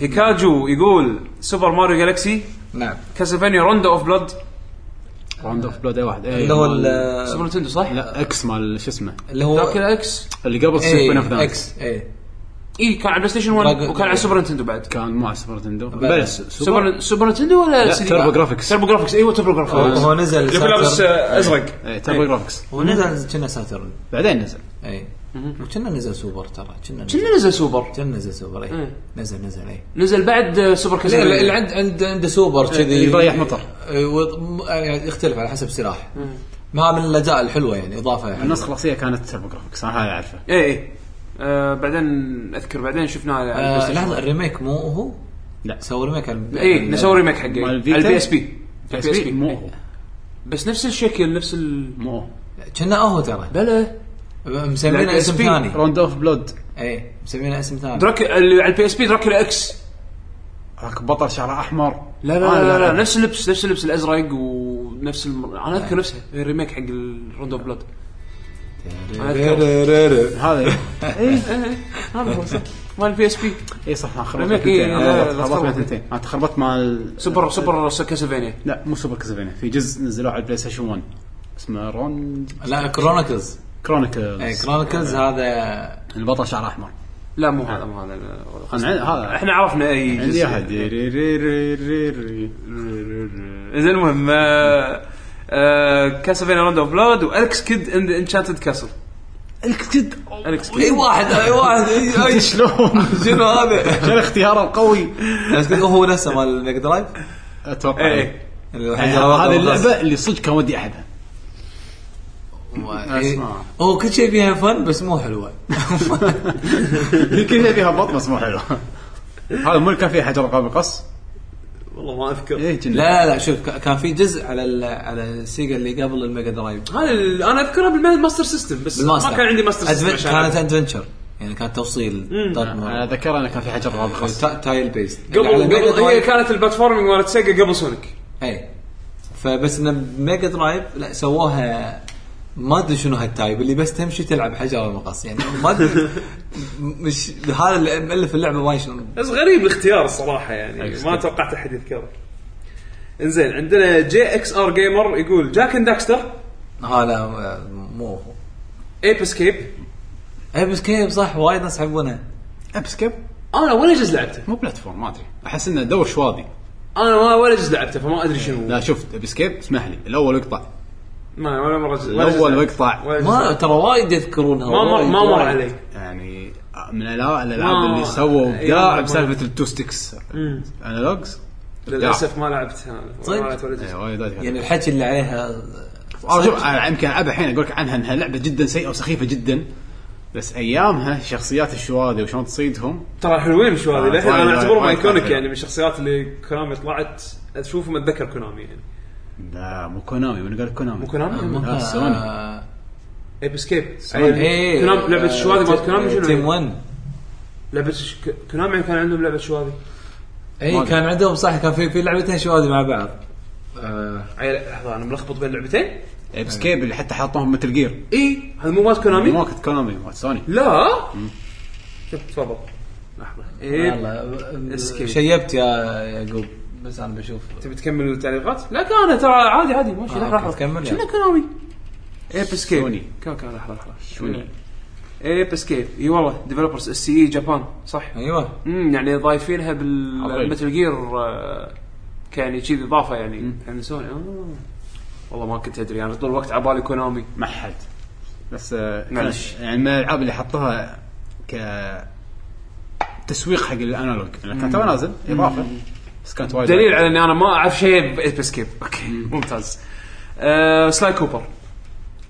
Speaker 4: هيكاجو يقول سوبر ماريو جالكسي
Speaker 3: نعم
Speaker 4: كاسلفانيا روندو اوف بلاد
Speaker 2: راوند اوف بلود اي واحد إيه،
Speaker 3: اللي هو
Speaker 2: مال-
Speaker 3: ال-
Speaker 4: سوبر نتندو صح؟
Speaker 2: لا اكس مال شو اسمه
Speaker 3: اللي هو
Speaker 4: داكن اكس
Speaker 2: اللي قبل
Speaker 3: إيه،
Speaker 2: سيمفوني اوف دانس
Speaker 3: اكس اي
Speaker 4: اي إيه، كان على بلاي ستيشن 1
Speaker 3: دراجون-
Speaker 4: وكان على سوبر نتندو بعد
Speaker 2: كان مع سوبر نتندو
Speaker 3: بلى.
Speaker 2: بلى س- سوبر
Speaker 4: سوبر سوبر نتندو ولا
Speaker 2: لا،
Speaker 4: CD؟
Speaker 2: تيربو جرافيكس.
Speaker 4: تيربو جرافيكس ايوه تيربو جرافيكس
Speaker 3: هو نزل
Speaker 4: اللي هو لابس
Speaker 3: ساترن.
Speaker 4: آه، ازرق
Speaker 2: إيه، تيربو جرافيكس
Speaker 3: هو نزل كنا ساترن
Speaker 2: بعدين نزل
Speaker 3: اي وكنا نزل سوبر ترى كنا نزل
Speaker 4: كنا نزل سوبر
Speaker 3: كنا نزل سوبر اي
Speaker 4: إيه.
Speaker 3: نزل نزل اي
Speaker 4: نزل بعد آه، سوبر
Speaker 3: لا لا، اللي
Speaker 4: كاسلفانيا
Speaker 3: عند عند عنده سوبر كذي
Speaker 2: يريح مطر.
Speaker 3: إيه، وط- م- يعني يختلف على حسب سلاح ما من الاجزاء الحلوه يعني اضافه حلوة.
Speaker 2: النسخه الاصليه كانت تيربو جرافيكس انا هذا اعرفه
Speaker 4: اي اي إيه، آه، بعدين اذكر بعدين شفناه على
Speaker 3: آه،
Speaker 4: البلاي ستيشن
Speaker 3: لحظه الريميك مو هو؟
Speaker 2: لا
Speaker 3: سووا ريميك على
Speaker 4: اي إيه، نسوي ريميك حقه
Speaker 2: مال
Speaker 4: على
Speaker 2: الفيتا؟
Speaker 4: البي اس بي
Speaker 2: بس بي- مو هو
Speaker 4: بس نفس الشكل نفس ال
Speaker 2: مو هو
Speaker 3: كنا هو ترى
Speaker 4: بلا
Speaker 3: مسمينه
Speaker 4: لا،
Speaker 3: اسم
Speaker 4: SP.
Speaker 3: ثاني
Speaker 2: راوند اوف بلود
Speaker 3: اي مسمينه اسم ثاني
Speaker 4: دراك اللي على البي اس بي دراكولا اكس
Speaker 2: هاك بطل شعره احمر
Speaker 4: لا لا,
Speaker 2: آه،
Speaker 4: لا, لا, لا, نفس اللبس نفس اللبس الازرق ونفس الم... انا اذكر نفسها هي الريميك حق الروند اوف بلاد أنا أذكر.
Speaker 2: هذا
Speaker 4: إيه، هذا هو صح. مال البي اس بي
Speaker 2: اي صح انا خربت
Speaker 4: ريميك،
Speaker 2: اثنتين
Speaker 4: إيه،
Speaker 2: أنا
Speaker 4: لا، لا، لا،
Speaker 2: خربت
Speaker 4: تخربط.
Speaker 2: من اثنتين انا تخربطت مع ال-
Speaker 4: سوبر سوبر كاسلفينيا
Speaker 2: لا مو سوبر كاسلفينيا في جزء نزلوه على البلاي ستيشن 1 اسمه روند
Speaker 3: لا كرونيكلز اي
Speaker 2: كرونيكلز
Speaker 3: كرونيكلز هذا
Speaker 2: البطل شعره احمر
Speaker 4: لا مو هذا مو هذا لا.
Speaker 2: انا عن- هذا
Speaker 4: احنا عرفنا اي جزء.
Speaker 2: عندي احد
Speaker 4: زين المهم آه، كاسلفينيا روند اوف بلاد والكس كيد ان ذا انشانتد كاسل
Speaker 2: الكتد
Speaker 4: الكس
Speaker 3: اي إيه، واحد
Speaker 4: إيه،
Speaker 3: اي واحد إي- أي.
Speaker 2: شلون
Speaker 3: شنو هذا؟
Speaker 2: شنو الاختيار القوي
Speaker 3: بس هو نفسه مال الميك درايف
Speaker 2: اتوقع
Speaker 4: ايه
Speaker 3: الوحيد
Speaker 2: يعني
Speaker 3: اللي ربطه
Speaker 2: هذه
Speaker 3: بالراس.
Speaker 2: اللعبه اللي صدق كان ودي احبها
Speaker 3: ما-
Speaker 2: أسمع.
Speaker 3: إيه. هو كل شيء فيها فن بس مو حلوه
Speaker 2: يمكن هي فيها بط بس مو حلو هذا مو اللي كان فيه حجر قابل قص
Speaker 4: والله ما اذكر
Speaker 2: ايه جنة.
Speaker 3: لا لا شوف ك- كان في جزء على ال- على السيجا اللي قبل الميجا درايف
Speaker 4: هذا ال- انا اذكرها بالماستر سيستم بس ما كان عندي ماستر سيستم
Speaker 3: أدفن-
Speaker 4: عشان آه،
Speaker 3: كانت ادفنشر يعني كان توصيل طرد
Speaker 2: انا
Speaker 3: مرة.
Speaker 2: ذكر انا كان في حجر قابل قص
Speaker 3: تا- تايل بيست
Speaker 4: قبل
Speaker 3: على الميجا
Speaker 4: قبل هي
Speaker 3: درايف-
Speaker 4: كانت البلاتفورمينج مالت سيجا قبل سونيك
Speaker 3: اي إيه. فبس ان ميجا درايف لا سووها ما ادري شنو هالتايب اللي بس تمشي تلعب حجر ومقص يعني ما ادري مش هذا اللي مؤلف اللعبه ما شنو
Speaker 4: بس غريب الاختيار الصراحه يعني ما توقعت احد يذكره انزين عندنا جي اكس ار جيمر يقول جاك اند داكستر
Speaker 3: هذا مو هو
Speaker 4: ايب اسكيب
Speaker 3: اي بس كيف صح وايد ناس يحبونه
Speaker 2: ابسكيب
Speaker 4: انا ولا جزء لعبته
Speaker 2: مو بلاتفورم ما ادري احس انه دور شواذي
Speaker 4: انا ما ولا جزء لعبته فما ادري شنو
Speaker 2: لا شفت ابسكيب اسمح لي الاول اقطع
Speaker 4: ما ولا مره جزء ولا جزء
Speaker 2: الاول
Speaker 4: لعبته.
Speaker 2: اقطع
Speaker 4: ولا جزء
Speaker 3: ما
Speaker 4: لعبته.
Speaker 3: ترى وايد يذكرونها
Speaker 4: ما مر
Speaker 3: وايد،
Speaker 4: ما مر
Speaker 3: وايد.
Speaker 4: علي
Speaker 2: يعني من الألا- الالعاب
Speaker 4: ما-
Speaker 2: اللي سووا ابداع
Speaker 4: آه. أيوة.
Speaker 2: بسالفه التو ستكس انالوجز
Speaker 4: للاسف ما لعبتها أنا.
Speaker 3: صدق؟
Speaker 4: ما لعبت ولا جزء.
Speaker 2: يعني
Speaker 3: يعني الحكي اللي عليها
Speaker 2: أنا آه، شوف أنا يمكن العبها الحين اقول لك عنها انها لعبه جدا سيئه وسخيفه جدا بس ايامها شخصيات الشواذي وشلون تصيدهم
Speaker 4: ترى حلوين شو هذه
Speaker 2: آه،
Speaker 4: للحين انا
Speaker 2: وايد-
Speaker 4: اعتبرهم
Speaker 2: وايد- وايد
Speaker 4: ايكونيك
Speaker 2: حلو.
Speaker 4: يعني من الشخصيات اللي كونامي طلعت اشوفهم اتذكر كونامي يعني
Speaker 2: لا مو كونامي من قال كونامي
Speaker 4: مو كونامي؟
Speaker 2: لا، سوني.
Speaker 3: آه،
Speaker 4: ايب اسكيب
Speaker 3: إيه،
Speaker 4: أيوه. كونامي لعبه
Speaker 3: آه،
Speaker 4: الشو هذه مالت كونامي شنو
Speaker 3: تيم
Speaker 4: هي؟
Speaker 3: 1
Speaker 4: لعبه ش- ك- كونامي كان عندهم لعبه شو هذه
Speaker 3: اي
Speaker 2: ما أدري.
Speaker 3: إيه، كان عندهم صح كان في في لعبتين شواذ مع بعض آه،
Speaker 4: عيل- لحظه انا ملخبط بين لعبتين
Speaker 2: ايبس
Speaker 4: أيوة.
Speaker 2: كيب اللي إيه، حتى حطوهم مثل جير
Speaker 4: اي هذا إيه، مو مالت كونامي
Speaker 2: ما كنت كونامي مال سوني
Speaker 4: لا شوف تفضل لحظه
Speaker 3: إيه،
Speaker 4: اي
Speaker 3: والله،
Speaker 4: Escape.
Speaker 3: شيبت يا يعقوب بس انا بشوف
Speaker 4: تبي تكمل التعليقات؟ لا كان ترى عادي عادي ماشي
Speaker 3: آه،
Speaker 4: لحظه
Speaker 3: أوكي،
Speaker 4: لحظه
Speaker 3: كمل
Speaker 4: شنو
Speaker 3: يعني.
Speaker 4: كونامي؟ ايب اسكيب
Speaker 2: سوني.
Speaker 4: كان كان لحظه لحظه
Speaker 2: سوني.
Speaker 4: ايب اسكيب اي والله ديفلوبرز اس سي اي جابان E صح
Speaker 3: ايوه
Speaker 4: امم يعني ضايفينها
Speaker 2: عظيم.
Speaker 4: بالمتل جير آه، كيعني كذي اضافه يعني عن سوني آه. والله ما كنت ادري انا طول الوقت على بالي كونامي
Speaker 2: ما حد بس آه، كان-
Speaker 4: معلش.
Speaker 2: يعني من الالعاب اللي حطوها ك تسويق حق الانالوج لأن كان تو نازل اضافه بس كانت وايد
Speaker 4: دليل على اني انا ما اعرف شيء باسكيب اوكي ممتاز آه سلاي كوبر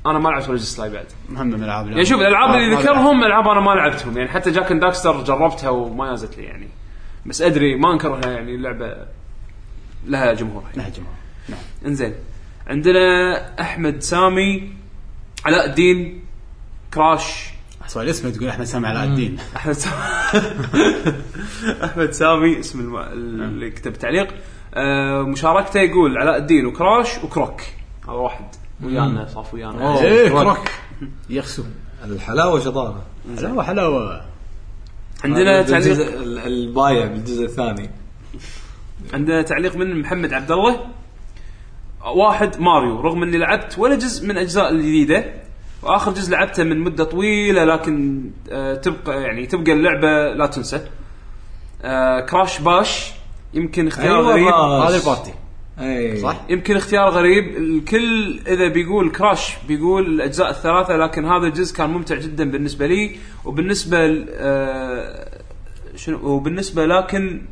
Speaker 4: انا ما لعبت ولا جزء سلاي بعد
Speaker 2: مهم من آه، الالعاب
Speaker 4: يعني شوف الالعاب اللي ذكرهم العاب انا ما لعبتهم يعني حتى جاك اند داكستر جربتها وما نازت لي يعني بس ادري ما انكرها يعني اللعبه لها جمهورها يعني.
Speaker 2: نهجمها
Speaker 4: انزين عندنا احمد سامي علاء الدين كراش
Speaker 2: احسن الاسم تقول احمد سامع علاء الدين
Speaker 4: احمد سامي احمد سامي اسم الم... اللي كتب تعليق آه مشاركته يقول علاء الدين وكراش وكروك هذا واحد ويانا صاف ويانا
Speaker 3: أوه.
Speaker 2: ايه
Speaker 3: كروك.
Speaker 2: كروك يخسو
Speaker 3: الحلاوه شطاره
Speaker 2: حلاوه حلاوه
Speaker 4: عندنا تعليق
Speaker 3: بالجزء- ال- البايع بالجزء الثاني
Speaker 4: عندنا تعليق من محمد عبد الله واحد ماريو رغم اني لعبت ولا جزء من اجزاء الجديده واخر جزء لعبته من مده طويله لكن آه، تبقى يعني تبقى اللعبه لا تنسى آه، كراش باش يمكن اختيار
Speaker 3: أيوة إيه،
Speaker 4: غريب
Speaker 3: باش.
Speaker 2: هذا البارتي
Speaker 3: اي
Speaker 2: صح؟
Speaker 4: يمكن اختيار غريب الكل اذا بيقول كراش بيقول الاجزاء الثلاثه لكن هذا الجزء كان ممتع جدا بالنسبه لي وبالنسبه ل- آه، شنو وبالنسبه لكن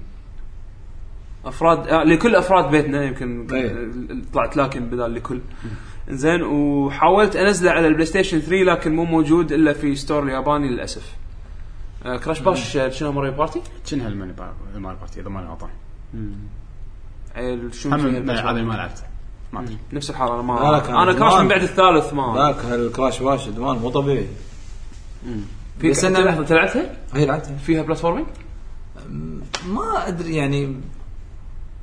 Speaker 4: افراد آه لكل افراد بيتنا يمكن
Speaker 3: أي. إيه.
Speaker 4: آه، طلعت لكن بدال لكل زين وحاولت انزله على البلاي ستيشن 3 لكن مو موجود الا في ستور الياباني للاسف آه كراش باش آه، شنو ماريو بارتي؟
Speaker 2: شنها الماني بار- مال البارتي اذا ماني غلطان
Speaker 4: عيل شنو
Speaker 2: هم من
Speaker 4: فيها
Speaker 2: الالعاب
Speaker 4: البلاي
Speaker 2: اللي ما لعبتها ما ادري
Speaker 4: ستيشن؟ نفس الحاله انا
Speaker 3: لا، لا،
Speaker 4: ما
Speaker 3: كان
Speaker 4: انا كراش
Speaker 3: زمان.
Speaker 4: من بعد الثالث ما
Speaker 3: ذاك الكراش باش ادمان مو طبيعي
Speaker 4: في
Speaker 3: بس
Speaker 4: بس انا
Speaker 3: أنا-
Speaker 4: لحظه أنت لعبتها؟
Speaker 3: هي لعبتها
Speaker 4: فيها بلاتفورمينج؟
Speaker 3: ما ادري يعني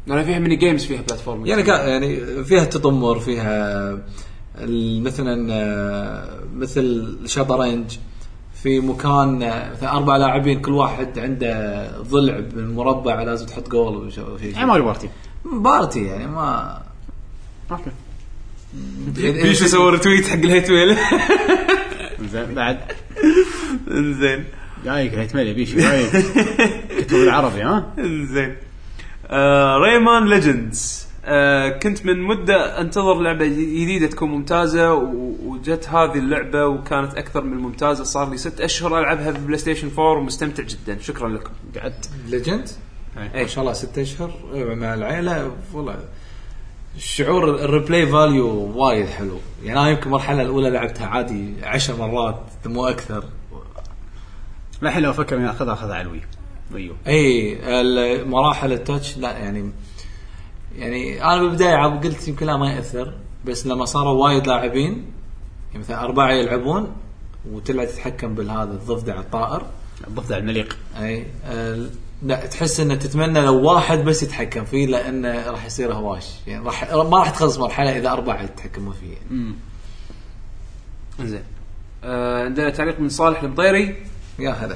Speaker 4: انا فيها ميني جيمز فيها بلاتفورمينج
Speaker 3: يعني كا يعني فيها تطمر فيها ال- مثلا آه، مثل شطرنج في مكان آه، مثلا اربع لاعبين كل واحد عنده ضلع بالمربع لازم تحط جول وش- وشي
Speaker 2: يعني ماري بارتي
Speaker 3: بارتي يعني ما
Speaker 2: اوكي
Speaker 4: بيش يصور تويت حق الهيت ويل
Speaker 2: زين بعد
Speaker 4: انزين
Speaker 2: جايك هيت ميلي بيشي جايك كتب العربي ها
Speaker 4: انزين آه، ريمان ليجندز آه، كنت من مدة انتظر لعبة جديدة تكون ممتازة و- وجت هذه اللعبة وكانت أكثر من ممتازة صار لي ست أشهر ألعبها في بلاي ستيشن 4 ومستمتع جدا شكرا لكم
Speaker 2: قعدت
Speaker 3: ليجند
Speaker 2: إيه.
Speaker 3: ما شاء الله ستة اشهر إيه، مع العيله والله شعور الريبلاي فاليو وايد حلو يعني انا يمكن المرحله الاولى لعبتها عادي عشر مرات مو اكثر
Speaker 2: الحين لو افكر اني اخذها اخذها على الوي ويو
Speaker 3: اي المراحل التاتش لا يعني يعني انا بالبدايه عم قلت يمكن لا ما ياثر بس لما صاروا وايد لاعبين يعني مثلا اربعه يلعبون وتلعب تتحكم بالهذا الضفدع الطائر
Speaker 2: الضفدع المليق
Speaker 3: اي آه، لا تحس انه تتمنى لو واحد بس يتحكم فيه لانه راح يصير هواش يعني راح ما راح تخلص مرحله اذا اربعه يتحكمون فيه يعني.
Speaker 4: انزين آه، عندنا تعليق من صالح المطيري
Speaker 3: يا هلا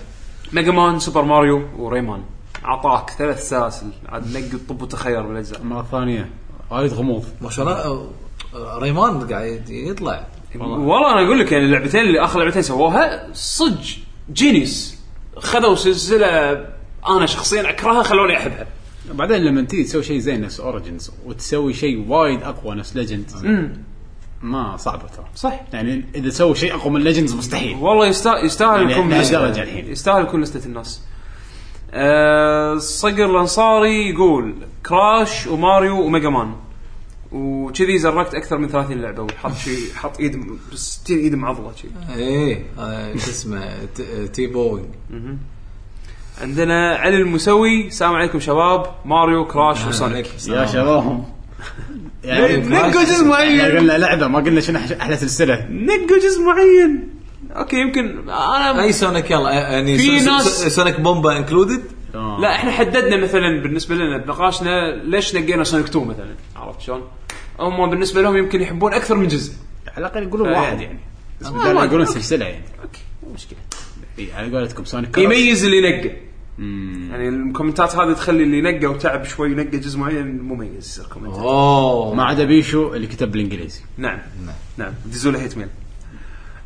Speaker 4: ميجا مان سوبر ماريو وريمان اعطاك ثلاث سلاسل عاد نقي الطب وتخير بالاجزاء
Speaker 2: المره الثانيه وايد غموض
Speaker 3: ما شاء الله آه، آه، ريمان قاعد يطلع
Speaker 4: والله انا اقول لك يعني اللعبتين اللي اخر لعبتين سووها صدق جينيس خذوا سلسله انا شخصيا اكرهها خلوني احبها
Speaker 2: بعدين لما تيجي تسوي شيء زي نفس اوريجنز وتسوي شيء وايد اقوى نفس ليجندز ما صعبه ترى
Speaker 4: صح
Speaker 2: يعني اذا سووا شيء اقوى من ليجندز مستحيل
Speaker 4: والله يستاهل يستاهل
Speaker 2: يعني
Speaker 4: يكون
Speaker 2: لهالدرجة الحين.
Speaker 4: يستاهل يكون لستة الناس أه صقر الانصاري يقول كراش وماريو وميجا مان وكذي زرقت اكثر من 30 لعبه وحط شيء حط ايد 60 ايد معضله شي
Speaker 3: ايه آه، شو اسمه ت- آه، تي بوينج
Speaker 4: عندنا علي المسوي السلام عليكم شباب ماريو كراش وسونيك
Speaker 2: يا شباب يعني
Speaker 7: نقوا جزء
Speaker 2: احنا
Speaker 7: معين
Speaker 2: قلنا لعبه ما قلنا شنو أح- احلى سلسله
Speaker 7: نقوا جزء معين اوكي يمكن انا
Speaker 3: اي سونيك يلا يعني
Speaker 4: في
Speaker 3: سو- سو-
Speaker 4: ناس-
Speaker 3: سونيك بومبا انكلودد
Speaker 2: آه.
Speaker 4: لا احنا حددنا مثلا بالنسبه لنا بنقاشنا ليش نقينا سونيك 2 مثلا عرفت شلون؟ هم بالنسبه لهم يمكن يحبون اكثر من جزء
Speaker 2: على الاقل يقولون واحد يعني بس
Speaker 4: آه،
Speaker 2: بدال
Speaker 4: ما
Speaker 2: ما يقولون
Speaker 4: أدري.
Speaker 2: سلسله يعني
Speaker 4: اوكي مو مشكله
Speaker 2: إي، على قولتكم سونيك كروس.
Speaker 4: يميز اللي نقى
Speaker 2: مم.
Speaker 7: يعني الكومنتات هذه تخلي اللي نقى وتعب شوي نقى جزء معين مميز يصير كومنت
Speaker 3: اوه
Speaker 2: ما عدا بيشو اللي كتب بالانجليزي
Speaker 7: نعم نعم دزوا له هيت ميل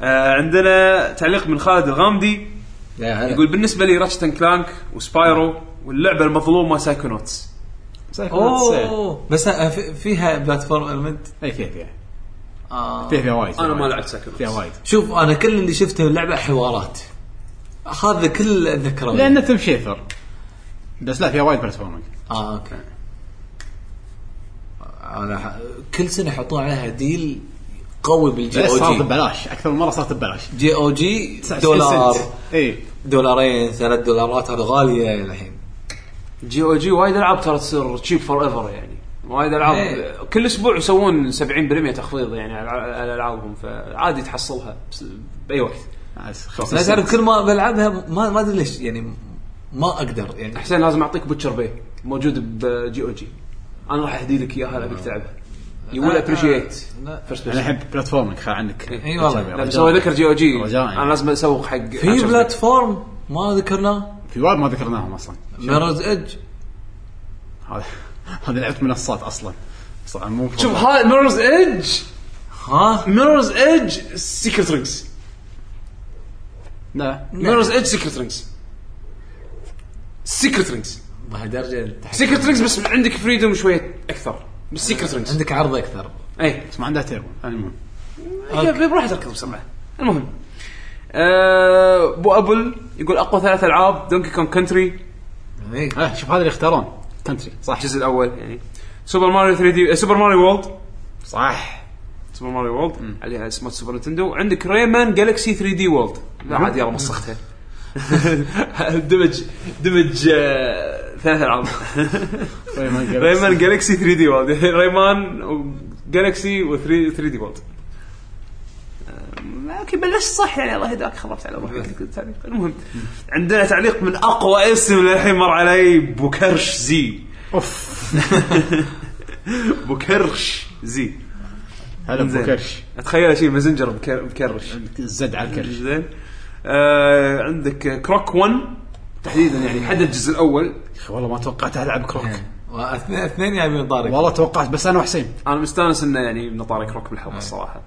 Speaker 7: آه عندنا تعليق من خالد الغامدي
Speaker 3: يا هلا.
Speaker 7: يقول بالنسبه لي راتشتن كلانك وسبايرو واللعبه المظلومه سايكونوتس
Speaker 3: اوه بس آه، في- فيها بلاتفورم المنت
Speaker 2: اي إيه، فيها فيها
Speaker 4: آه.
Speaker 2: فيها فيها وايد
Speaker 7: انا
Speaker 2: فيها
Speaker 7: ما
Speaker 2: وايد.
Speaker 7: لعبت
Speaker 2: فيها
Speaker 7: سايكونوتس
Speaker 2: وايد
Speaker 3: شوف انا كل اللي شفته من اللعبه حوارات اخذ كل الذكرى
Speaker 2: لانه تم شيفر بس لا فيها وايد بلاتفورمينج
Speaker 3: اه اوكي انا ح... كل سنه يحطون عليها ديل قوي بالجي
Speaker 2: بس
Speaker 3: او
Speaker 2: صارت
Speaker 3: جي
Speaker 2: ببلاش اكثر من مره صارت ببلاش
Speaker 3: جي او جي
Speaker 2: 99
Speaker 3: دولار
Speaker 2: سنت. اي
Speaker 3: دولارين ثلاث دولارات هذا غاليه الحين
Speaker 4: جي او جي وايد العاب ترى تصير تشيب فور ايفر يعني وايد العاب
Speaker 3: إيه.
Speaker 4: كل اسبوع يسوون 70% تخفيض يعني على- على العابهم فعادي تحصلها بس- باي وقت
Speaker 2: بس
Speaker 3: لا
Speaker 2: 50
Speaker 3: تعرف كل ما بلعبها ما ما ادري ليش يعني ما اقدر يعني
Speaker 4: حسين لازم اعطيك بوتشر بي موجود بجي او جي انا راح اهدي لك اياها لو بدك تلعبها يو ويل
Speaker 3: آه.
Speaker 4: ابريشيت
Speaker 3: لا.
Speaker 4: فيرست
Speaker 2: انا
Speaker 4: بيرسون
Speaker 2: احب بلاتفورمينج خل عنك
Speaker 3: إي والله.
Speaker 4: لا بس هو ذكر جي او جي
Speaker 2: رجاء يعني.
Speaker 4: انا لازم اسوق حق
Speaker 3: في بلاتفورم ما ذكرناه
Speaker 2: في وايد ما ذكرناهم اصلا
Speaker 3: ميرز ايدج
Speaker 2: هذا هذا لعبه منصات اصلا بس طبعا مو
Speaker 4: شوف هاي ميرورز ايدج
Speaker 3: ها
Speaker 4: ميرورز ايدج سيكرت رينجز
Speaker 2: لا
Speaker 4: ميرورز ايدج سيكرت رينجز سيكرت رينجز
Speaker 3: بهالدرجه أنت حق-
Speaker 4: سيكرت رينجز بس عندك فريدوم شويه اكثر بس سيكرت رينجز
Speaker 3: عندك عرض اكثر
Speaker 4: اي
Speaker 2: بس ما عندها تيربون المهم
Speaker 4: هي بروح تركض بسرعه المهم آه، ابو ابل يقول اقوى ثلاث العاب دونكي كون كنتري
Speaker 3: هيك.
Speaker 2: آه، شوف هذا اللي اختارون كنتري صح
Speaker 4: الجزء الاول يعني سوبر ماريو 3 دي آه، سوبر ماريو وولد
Speaker 2: صح
Speaker 4: سوبر ماريو وولد عليها اسمه سوبر نتندو عندك ريمان جالكسي 3 دي وولد لا عاد يلا مسختها دمج دمج آه، ثلاث العاب ريمان جالكسي 3 دي وولد ريمان جالكسي و 3 دي وولد آه، اوكي بلشت صح يعني الله يهداك خربت على روحي كل التعليق المهم عندنا تعليق من اقوى اسم للحين مر علي بوكرش زي
Speaker 2: اوف
Speaker 4: بوكرش زي
Speaker 2: هلا
Speaker 4: زين.
Speaker 2: ابو كرش
Speaker 4: اتخيل شيء مازنجر بكر- بكرش
Speaker 2: الزد على الكرش
Speaker 4: زين آه عندك كروك 1 تحديدا يعني حدد الجزء الاول
Speaker 2: يا أخي والله ما توقعت العب كروك
Speaker 3: إيه. واثنين اثنين جايبين طارق
Speaker 2: والله توقعت بس انا وحسين
Speaker 4: انا مستانس انه يعني بنطاري كروك بالحلقه الصراحه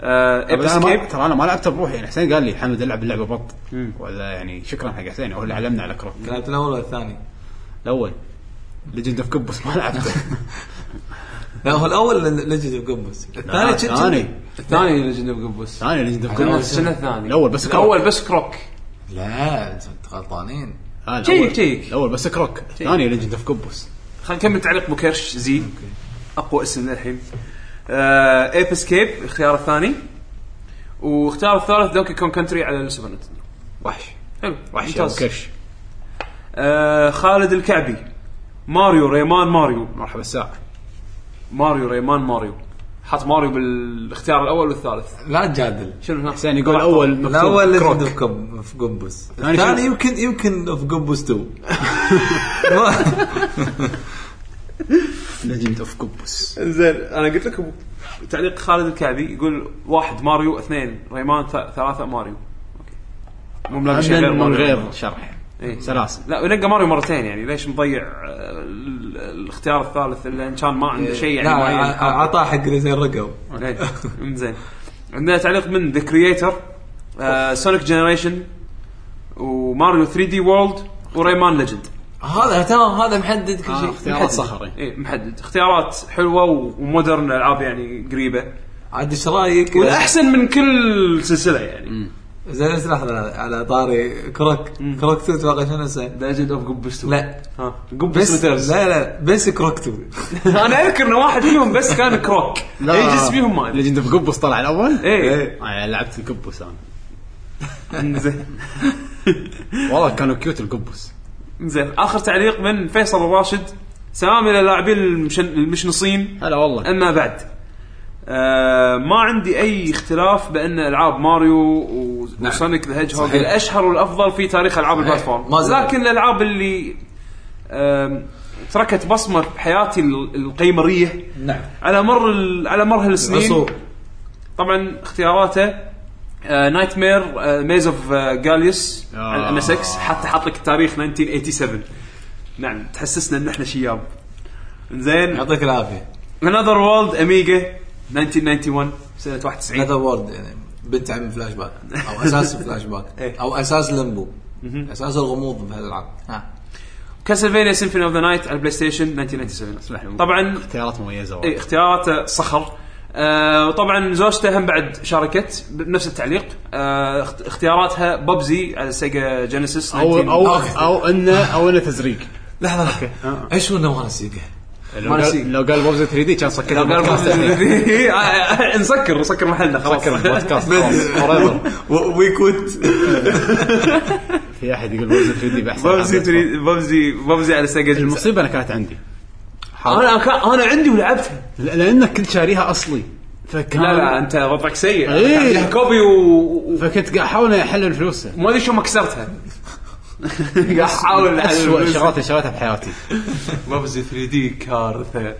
Speaker 4: آه
Speaker 2: بس انا
Speaker 4: اسكيب
Speaker 2: ما ترى انا ما لعبته بروحي يعني حسين قال لي حمد العب اللعبه بط ولا يعني شكرا حق حسين هو اللي علمنا على كروك
Speaker 3: لعبت الاول والثاني
Speaker 2: الاول ليجند اوف كبس ما لعبته
Speaker 3: لا هو الاول لجد بقبس الثاني شو- شو-
Speaker 2: الثاني
Speaker 4: الثاني ليجند اوف قبوس
Speaker 2: الثاني ليجند اوف
Speaker 4: كنا
Speaker 2: كبس
Speaker 4: السنه الثانية
Speaker 2: الأول بس كروك.
Speaker 4: الاول بس كروك
Speaker 3: لا انتم غلطانين
Speaker 2: آه،
Speaker 4: جيك،
Speaker 2: الأول-
Speaker 4: جيك.
Speaker 2: الاول بس كروك الثاني ليجند اوف كبس
Speaker 4: خلينا نكمل تعليق ابو كرش زي اقوى اسم للحين آه ايب اسكيب الاختيار الثاني واختيار الثالث دونكي كون كنتري على السوبر نتندو
Speaker 2: وحش
Speaker 4: حلو
Speaker 2: وحش يا أبو
Speaker 4: ممتاز.
Speaker 2: كرش
Speaker 4: آه خالد الكعبي ماريو ريمان ماريو
Speaker 2: مرحبا الساعة
Speaker 4: ماريو ريمان ماريو حط ماريو بالاختيار الاول والثالث
Speaker 3: لا تجادل
Speaker 4: شنو هنا؟
Speaker 2: حسين يقول الاول مكتوب
Speaker 3: الاول
Speaker 2: كروك.
Speaker 3: لجد بقب- في قبس
Speaker 2: الثاني
Speaker 3: الثاني
Speaker 2: شو-
Speaker 3: يمكن يمكن في قبس 2
Speaker 2: ليجند اوف كبس
Speaker 4: زين انا قلت لكم تعليق خالد الكعبي يقول واحد ماريو اثنين ريمان ث- ثلاثه ماريو أوكي. مو ملاقي شيء غير
Speaker 2: من
Speaker 4: ماريو.
Speaker 2: غير شرح
Speaker 4: إيه.
Speaker 2: سلاسل
Speaker 4: لا ونقى ماريو مرتين يعني ليش مضيع آه، ال- الاختيار الثالث لان كان ما عنده شيء يعني
Speaker 3: لا آه،
Speaker 4: معين
Speaker 3: ع- ع- عطاه حق زين رقم
Speaker 4: إيه. زين عندنا تعليق من ذا كرييتر سونيك جنريشن وماريو 3 دي وورلد وريمان ليجند
Speaker 3: هذا تمام هذا محدد كل
Speaker 2: آه،
Speaker 3: شيء
Speaker 2: اختيارات صخري
Speaker 3: طيب.
Speaker 4: اي إيه، محدد اختيارات حلوه و- ومودرن العاب يعني
Speaker 3: طيب.
Speaker 4: قريبه
Speaker 3: عاد ايش رايك
Speaker 4: والاحسن من كل سلسله يعني
Speaker 3: زين بس لحظه على طاري كروك كروك 2 تتوقع شنو اسمه؟
Speaker 4: ليجند اوف قبس
Speaker 3: لا
Speaker 4: ها قبس
Speaker 3: بس
Speaker 4: ريتيرز
Speaker 3: لا لا بس كروك 2
Speaker 4: انا اذكر ان واحد فيهم بس كان كروك اي جزء إيه، فيهم ما ادري
Speaker 2: ليجند اوف كبس طلع الاول
Speaker 3: إيه.
Speaker 4: ايه
Speaker 2: آه، لعبت الكبس انا
Speaker 4: زين
Speaker 2: والله كانوا كيوت الكبس
Speaker 4: زين اخر تعليق من فيصل الراشد سلام الى لاعبين المشن- المشنصين
Speaker 2: هلا والله
Speaker 4: اما بعد آه ما عندي اي اختلاف بان العاب ماريو و-
Speaker 3: نعم.
Speaker 4: وسونيك ذا هيدج هوج
Speaker 3: صحيح.
Speaker 4: الاشهر والافضل في تاريخ العاب
Speaker 3: صحيح.
Speaker 4: البلاتفورم
Speaker 3: ما زال.
Speaker 4: لكن الالعاب اللي آم، تركت بصمه بحياتي ال- القيمريه
Speaker 3: نعم
Speaker 4: على مر ال- على مر هالسنين
Speaker 3: العصور
Speaker 4: طبعا اختياراته آه، نايت مير ميز اوف جاليوس على ام اس اكس حتى حاط لك التاريخ 1987 نعم تحسسنا ان احنا شياب زين
Speaker 3: يعطيك العافيه
Speaker 4: انذر وورلد اميجا 1991 سنه 91
Speaker 3: هذا وورد يعني بنت عم فلاش باك او اساس فلاش باك
Speaker 4: إيه.
Speaker 3: او اساس لمبو اساس الغموض بهالالعاب ها
Speaker 4: كاسلفينيا سيمفوني اوف ذا نايت على البلاي ستيشن 1997 طبعا
Speaker 2: اختيارات مميزه والله.
Speaker 4: اي اختياراته إيه، صخر آه وطبعا زوجته هم بعد شاركت بنفس التعليق آه اخت- اختياراتها ببزي على سيجا جينيسيس آه،
Speaker 2: او
Speaker 4: 19
Speaker 2: او او انه او انه تزريق
Speaker 3: لحظه لحظه ايش هو نوع نسيقه؟
Speaker 2: لو
Speaker 4: نسيق.
Speaker 2: قال لو قال بوبز 3 دي كان سكر البودكاست
Speaker 4: إيه، آه، نسكر نسكر محلنا خلاص
Speaker 2: سكر البودكاست خلاص forever.
Speaker 3: وي كوت
Speaker 2: في احد يقول بوبز 3 دي باحسن
Speaker 4: ببزي
Speaker 2: عرض.
Speaker 4: تري- ببزي ببزي على سيجا جينيسيس
Speaker 2: المصيبه انا كانت عندي
Speaker 4: انا كان- انا عندي ولعبتها
Speaker 2: ل- لانك كنت شاريها اصلي فكان
Speaker 4: لا لا انت وضعك سيء
Speaker 2: إيه.
Speaker 4: كان لها كوبي و- و-
Speaker 2: فكنت قاعد احاول احلل فلوسه
Speaker 4: وما ادري شو ما كسرتها قاعد احاول
Speaker 2: اسوء شغلات اللي شريتها بحياتي
Speaker 4: ببزي 3 دي كارثه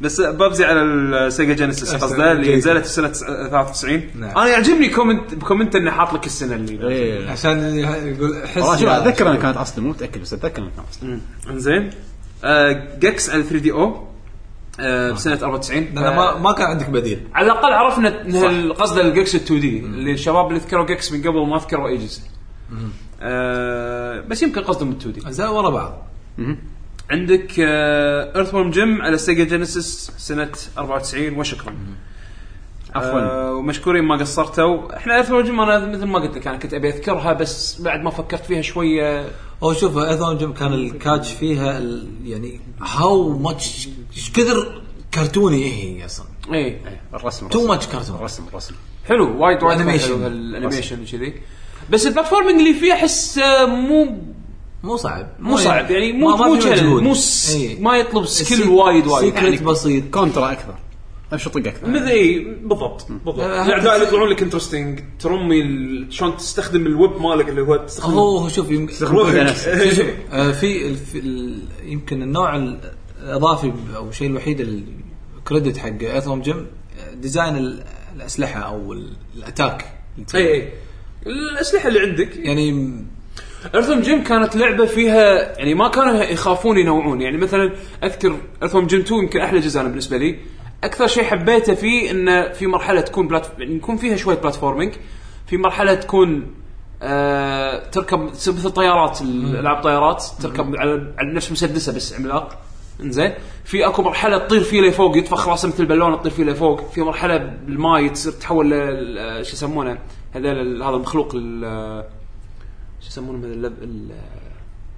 Speaker 4: بس ببزي على السيجا جينيسيس قصده اللي
Speaker 3: جيد.
Speaker 4: نزلت سنه 93
Speaker 3: نعم. إيه.
Speaker 4: انا يعجبني كومنت كومنت انه حاط لك السنه اللي
Speaker 2: ايه
Speaker 3: عشان يقول حس
Speaker 2: والله شوف اتذكر انا كانت اصلي مو متاكد بس اتذكر انها كانت اصلي
Speaker 4: انزين آه، جكس على 3 دي او آه، بسنه 94
Speaker 3: لأنه
Speaker 4: آه،
Speaker 3: ما ما كان عندك بديل
Speaker 4: على الاقل عرفنا ان قصد الجكس ال 2 دي اللي الشباب اللي ذكروا جكس من قبل ما ذكروا ايجز آه بس يمكن قصدهم ال 2 دي
Speaker 3: اجزاء ورا بعض
Speaker 4: عندك ايرث ورم جيم على سيجا جينيسيس سنه 94 وشكرا
Speaker 2: عفوا
Speaker 4: آه ومشكورين ما قصرتوا احنا ايرث ورم جيم انا مثل ما قلت لك انا كنت ابي اذكرها بس بعد ما فكرت فيها شويه
Speaker 3: هو شوف ايضا جيم كان الكاتش فيها ال- يعني هاو ماتش ايش كثر كرتوني إيه هي هي اصلا
Speaker 4: اي
Speaker 2: إيه، الرسم
Speaker 3: تو
Speaker 2: الرسم
Speaker 3: ماتش كرتون
Speaker 2: الرسم الرسم
Speaker 4: حلو وايد وايد
Speaker 3: وأنيميشن.
Speaker 4: حلو الانيميشن كذي بس البلاتفورمينج اللي فيه احس آه، مو
Speaker 3: مو صعب
Speaker 4: مو صعب يعني
Speaker 3: طيب. ما-
Speaker 4: مو
Speaker 3: ما
Speaker 4: مو
Speaker 3: في
Speaker 4: challenge،
Speaker 3: مجهود.
Speaker 4: مو س-
Speaker 3: إيه.
Speaker 4: ما يطلب سكيل
Speaker 3: السي-
Speaker 4: وايد وايد
Speaker 3: سيكرت
Speaker 4: يعني
Speaker 3: بسيط
Speaker 2: كونترا اكثر امشي طق اكثر
Speaker 4: مثل اي بالضبط بالضبط
Speaker 3: أهم
Speaker 4: الاعداء اللي
Speaker 3: شيء-
Speaker 4: يطلعون لك انترستنج ترمي ال- شلون تستخدم الويب مالك اللي هو تستخدم
Speaker 3: هو هو شوف يمكن
Speaker 2: استخدم كل نفسه.
Speaker 3: شوف، شوف، آه، في ال- في ال- يمكن النوع الاضافي ب- او الشيء الوحيد الكريدت حق اثروم جيم آه، ديزاين ال- الاسلحه او ال- الاتاك
Speaker 4: اي
Speaker 3: إيه،
Speaker 4: اي الاسلحه اللي عندك
Speaker 3: يعني
Speaker 4: ارثم جيم كانت لعبه فيها يعني ما كانوا يخافون ينوعون يعني مثلا اذكر ارثم جيم 2 يمكن احلى جزء انا بالنسبه لي اكثر شيء حبيته فيه انه في مرحله تكون بلاتف... يعني يكون فيها شويه بلاتفورمينج في مرحله تكون آه... تركب تصير مثل طيارات العاب طيارات تركب على... على نفس مسدسه بس عملاق انزين في اكو مرحله تطير فيه لفوق يتفخ راسه مثل بالونه تطير فيه لفوق في مرحله بالماي تصير تحول ل... ل- شو يسمونه هذا هذا المخلوق ال- شو يسمونه هذا اللب... ال-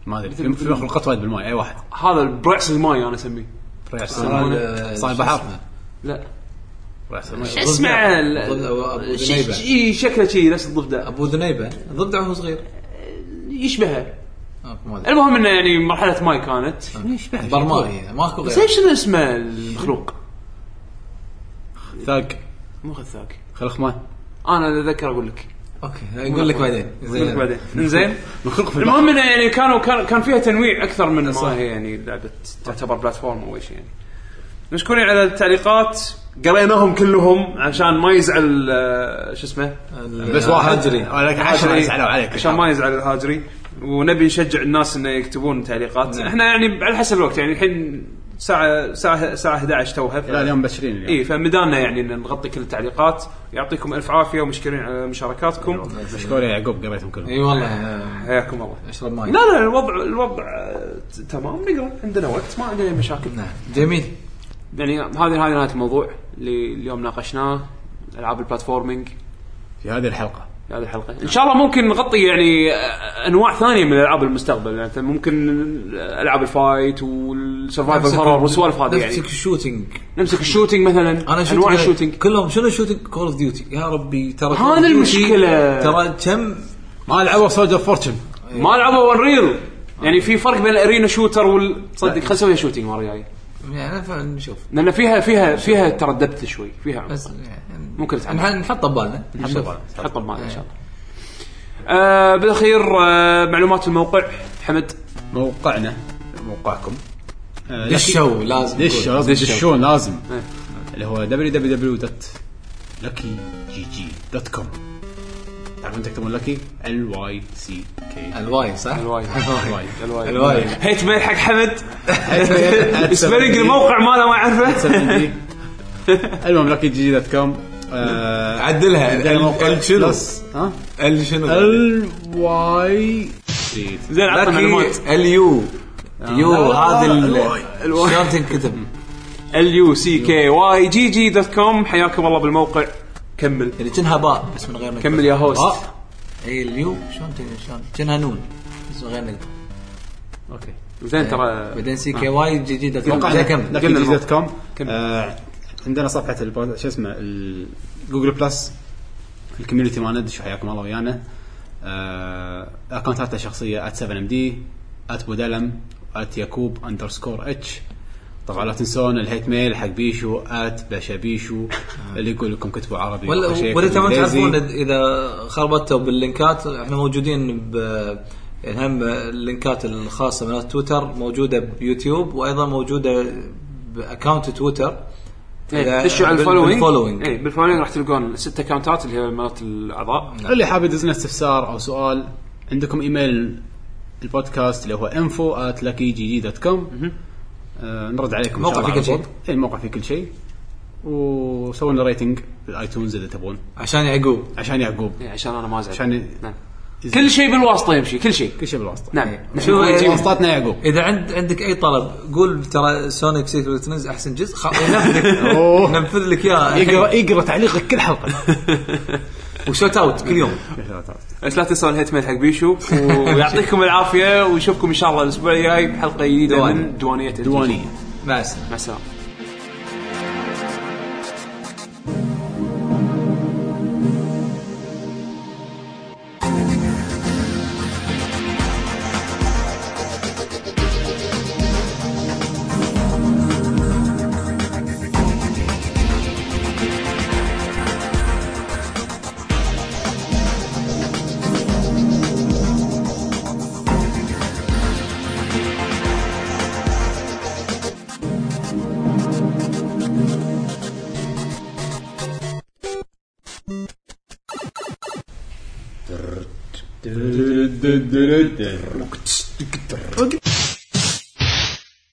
Speaker 2: ما ادري في في مخلوقات وايد بالماي اي واحد
Speaker 4: هذا البرعس الماي انا اسميه
Speaker 2: ريح
Speaker 4: يسمونه
Speaker 3: آه،
Speaker 2: صاير
Speaker 3: شو
Speaker 2: بحر.
Speaker 3: اسمه؟
Speaker 4: لا
Speaker 2: ريح سماء.
Speaker 4: شو اسمه ال-
Speaker 3: ضفدع وأبو
Speaker 4: ش-
Speaker 3: ذنيبة.
Speaker 4: ش- إي، شكله شيء نفس الضفدع
Speaker 3: ابو ذنيبه ضفدع وهو صغير
Speaker 4: يشبهه
Speaker 3: آه، ما أدري.
Speaker 4: المهم انه يعني مرحله ماي كانت
Speaker 3: برمائي ماكو
Speaker 4: بس
Speaker 3: غير
Speaker 4: ايش شنو اسمه المخلوق؟
Speaker 2: ثاق
Speaker 4: مو غثاك
Speaker 2: خلخمان
Speaker 4: انا اذا اتذكر اقول لك
Speaker 3: اوكي اقول لك بعدين
Speaker 4: اقول لك بعدين انزين
Speaker 2: مخلوق في البحر
Speaker 4: المهم انه يعني كانوا كان كان فيها تنويع اكثر من ما هي يعني لعبه تعتبر بلاتفورم او شيء يعني. مشكورين على التعليقات قريناهم كلهم عشان ما يزعل آه، شو اسمه
Speaker 2: بس واحد
Speaker 3: هجري
Speaker 2: ولكن 10
Speaker 4: عشان-
Speaker 2: يزعلوا عليك
Speaker 4: عشان ما يزعل الهاجري ونبي نشجع الناس انه يكتبون تعليقات
Speaker 3: نعم.
Speaker 4: احنا يعني على حسب الوقت يعني الحين ساعه ساعه ساعه 11 توها ف...
Speaker 2: لا اليوم مبشرين
Speaker 4: اي
Speaker 2: اليوم
Speaker 4: فمدانا يعني ان نغطي كل التعليقات يعطيكم الف عافيه ومشكورين على مشاركاتكم
Speaker 2: مشكور يا يعقوب قريتهم كلهم
Speaker 3: اي والله آه،
Speaker 4: حياكم الله
Speaker 3: اشرب ماي
Speaker 4: لا لا الوضع الوضع آه، ت- تمام نقرا عندنا وقت ما عندنا أي مشاكل
Speaker 3: نعم جميل
Speaker 4: يعني هذه هذه نهايه الموضوع اللي اليوم ناقشناه العاب البلاتفورمينج
Speaker 2: في هذه الحلقه
Speaker 4: في هذه الحلقه ان شاء الله ممكن نغطي يعني آه، انواع ثانيه من العاب المستقبل يعني مثلاً ممكن العاب الفايت والسرفايفل هورر والسوالف هذه يعني
Speaker 3: نمسك الشوتنج
Speaker 4: نمسك الشوتينج مثلا
Speaker 3: انا شفت
Speaker 4: انواع
Speaker 3: كذا
Speaker 4: الشوتينج
Speaker 3: كلهم شنو الشوتنج كول اوف ديوتي يا ربي ترى
Speaker 4: هذا
Speaker 3: Call of Duty
Speaker 4: المشكلة.
Speaker 3: ترى كم
Speaker 2: ما لعبوا سولجر فورتشن
Speaker 4: ما لعبوا ون ريل
Speaker 1: يعني في فرق بين الارينا شوتر وال تصدق خلنا نسويها شوتنج المره الجايه
Speaker 3: يعني ف- نشوف
Speaker 1: لان فيها فيها فيها ترى دبت شوي فيها عمق.
Speaker 3: بس يعني
Speaker 1: ممكن تتعلم.
Speaker 3: نح- نحطه ببالنا نشوف.
Speaker 1: حطه بمعنى ان شاء الله آه بالاخير آه معلومات الموقع حمد
Speaker 2: موقعنا موقعكم آه،
Speaker 3: للشو لازم
Speaker 2: دشوا
Speaker 3: نقول.
Speaker 2: لازم
Speaker 1: دشوا.
Speaker 2: دشون لازم
Speaker 1: إيه.
Speaker 2: اللي هو www.luckygg.com تعرفون تكتبون لكي ال واي سي كي
Speaker 3: الواي صح؟
Speaker 1: الواي
Speaker 2: واي
Speaker 3: الواي
Speaker 1: هيت ميل حق حمد سبيلنج الموقع ماله ما اعرفه
Speaker 2: المهم آه، لكي جي جي دوت كوم
Speaker 3: عدلها. ال- ال شنو؟
Speaker 2: ها
Speaker 3: ال شنو؟
Speaker 2: ال واي
Speaker 1: زين عطنا معلومات
Speaker 3: ال يو يو
Speaker 2: لا، لا،
Speaker 3: هذا
Speaker 2: الواي.
Speaker 3: ال- شلون تنكتب؟
Speaker 1: ال يو سي كي واي جي جي دوت كوم حياكم الله بالموقع كمل
Speaker 3: اللي كأنها يعني باء بس من غير نكتب
Speaker 1: كمل يا هوست.
Speaker 3: باء. اي اليو شلون تن- شلون كأنها نون بس من غير نكتب
Speaker 2: اوكي
Speaker 1: زين ترى آه.
Speaker 3: بعدين سي كي واي جي جي دوت كوم.
Speaker 2: موقعنا
Speaker 3: زين كمل
Speaker 2: لكي
Speaker 1: قلنا
Speaker 2: جي جي دوت
Speaker 1: الموقع.
Speaker 2: كوم
Speaker 1: كمل.
Speaker 2: آه، عندنا صفحه البو- شو اسمه ال- جوجل بلس الكوميونتي مالنا دشوا حياكم الله ويانا آه، اكونتاتنا الشخصيه 7 md بودلم يكوب اندرسكور اتش طبعا لا تنسون الهيت ميل حق بيشو بشابيشو اللي يقول لكم كتبوا عربي
Speaker 3: آه. ولا
Speaker 2: وأخر شيء
Speaker 3: ولا
Speaker 2: كتبوا
Speaker 3: تبون
Speaker 2: إنجليزي.
Speaker 3: تعرفون إذ- اذا خربطتوا باللينكات احنا موجودين ب يعني هم اللينكات الخاصه من تويتر موجوده بيوتيوب وايضا موجوده باكونت تويتر
Speaker 1: إيه،
Speaker 3: إذا-
Speaker 1: دشوا على إيه.
Speaker 3: بال-
Speaker 1: الفولوينج
Speaker 3: بالfollowing.
Speaker 4: إيه،
Speaker 1: اي بالفولوينج راح تلقون ست اكونتات اللي هي مالت الاعضاء
Speaker 2: اللي حاب يدزنا استفسار او سؤال عندكم ايميل البودكاست اللي هو info at luckygg.com آه نرد عليكم
Speaker 3: موقع في كل شيء.
Speaker 2: اي الموقع في إيه، كل شيء وسووا لنا ريتنج بالايتونز اذا تبون
Speaker 3: عشان يعقوب
Speaker 2: عشان يعقوب
Speaker 1: إيه، عشان انا ما ازعل
Speaker 2: عشان ي-
Speaker 1: نعم. كل شيء بالواسطه يمشي كل شيء
Speaker 2: كل شيء بالواسطه
Speaker 1: نعم
Speaker 3: شو
Speaker 2: إيه.
Speaker 3: إيه.
Speaker 2: واسطتنا يعقوب
Speaker 3: اذا عند عندك اي طلب قول ترى سونيك سيكريت ويتنز احسن جزء خ- ينفذك
Speaker 2: أوه.
Speaker 3: ننفذ لك اياه
Speaker 2: يقرا
Speaker 3: الحين.
Speaker 2: يقرا تعليقك كل حلقه
Speaker 3: وشوت اوت كل يوم
Speaker 1: بس لا تنسون الهيت ميل حق بيشو ويعطيكم العافيه ونشوفكم ان شاء الله الاسبوع الجاي بحلقه جديده
Speaker 3: دواني.
Speaker 1: من دوانيه الجيش.
Speaker 2: دواني
Speaker 3: مع السلامه
Speaker 1: مع السلامه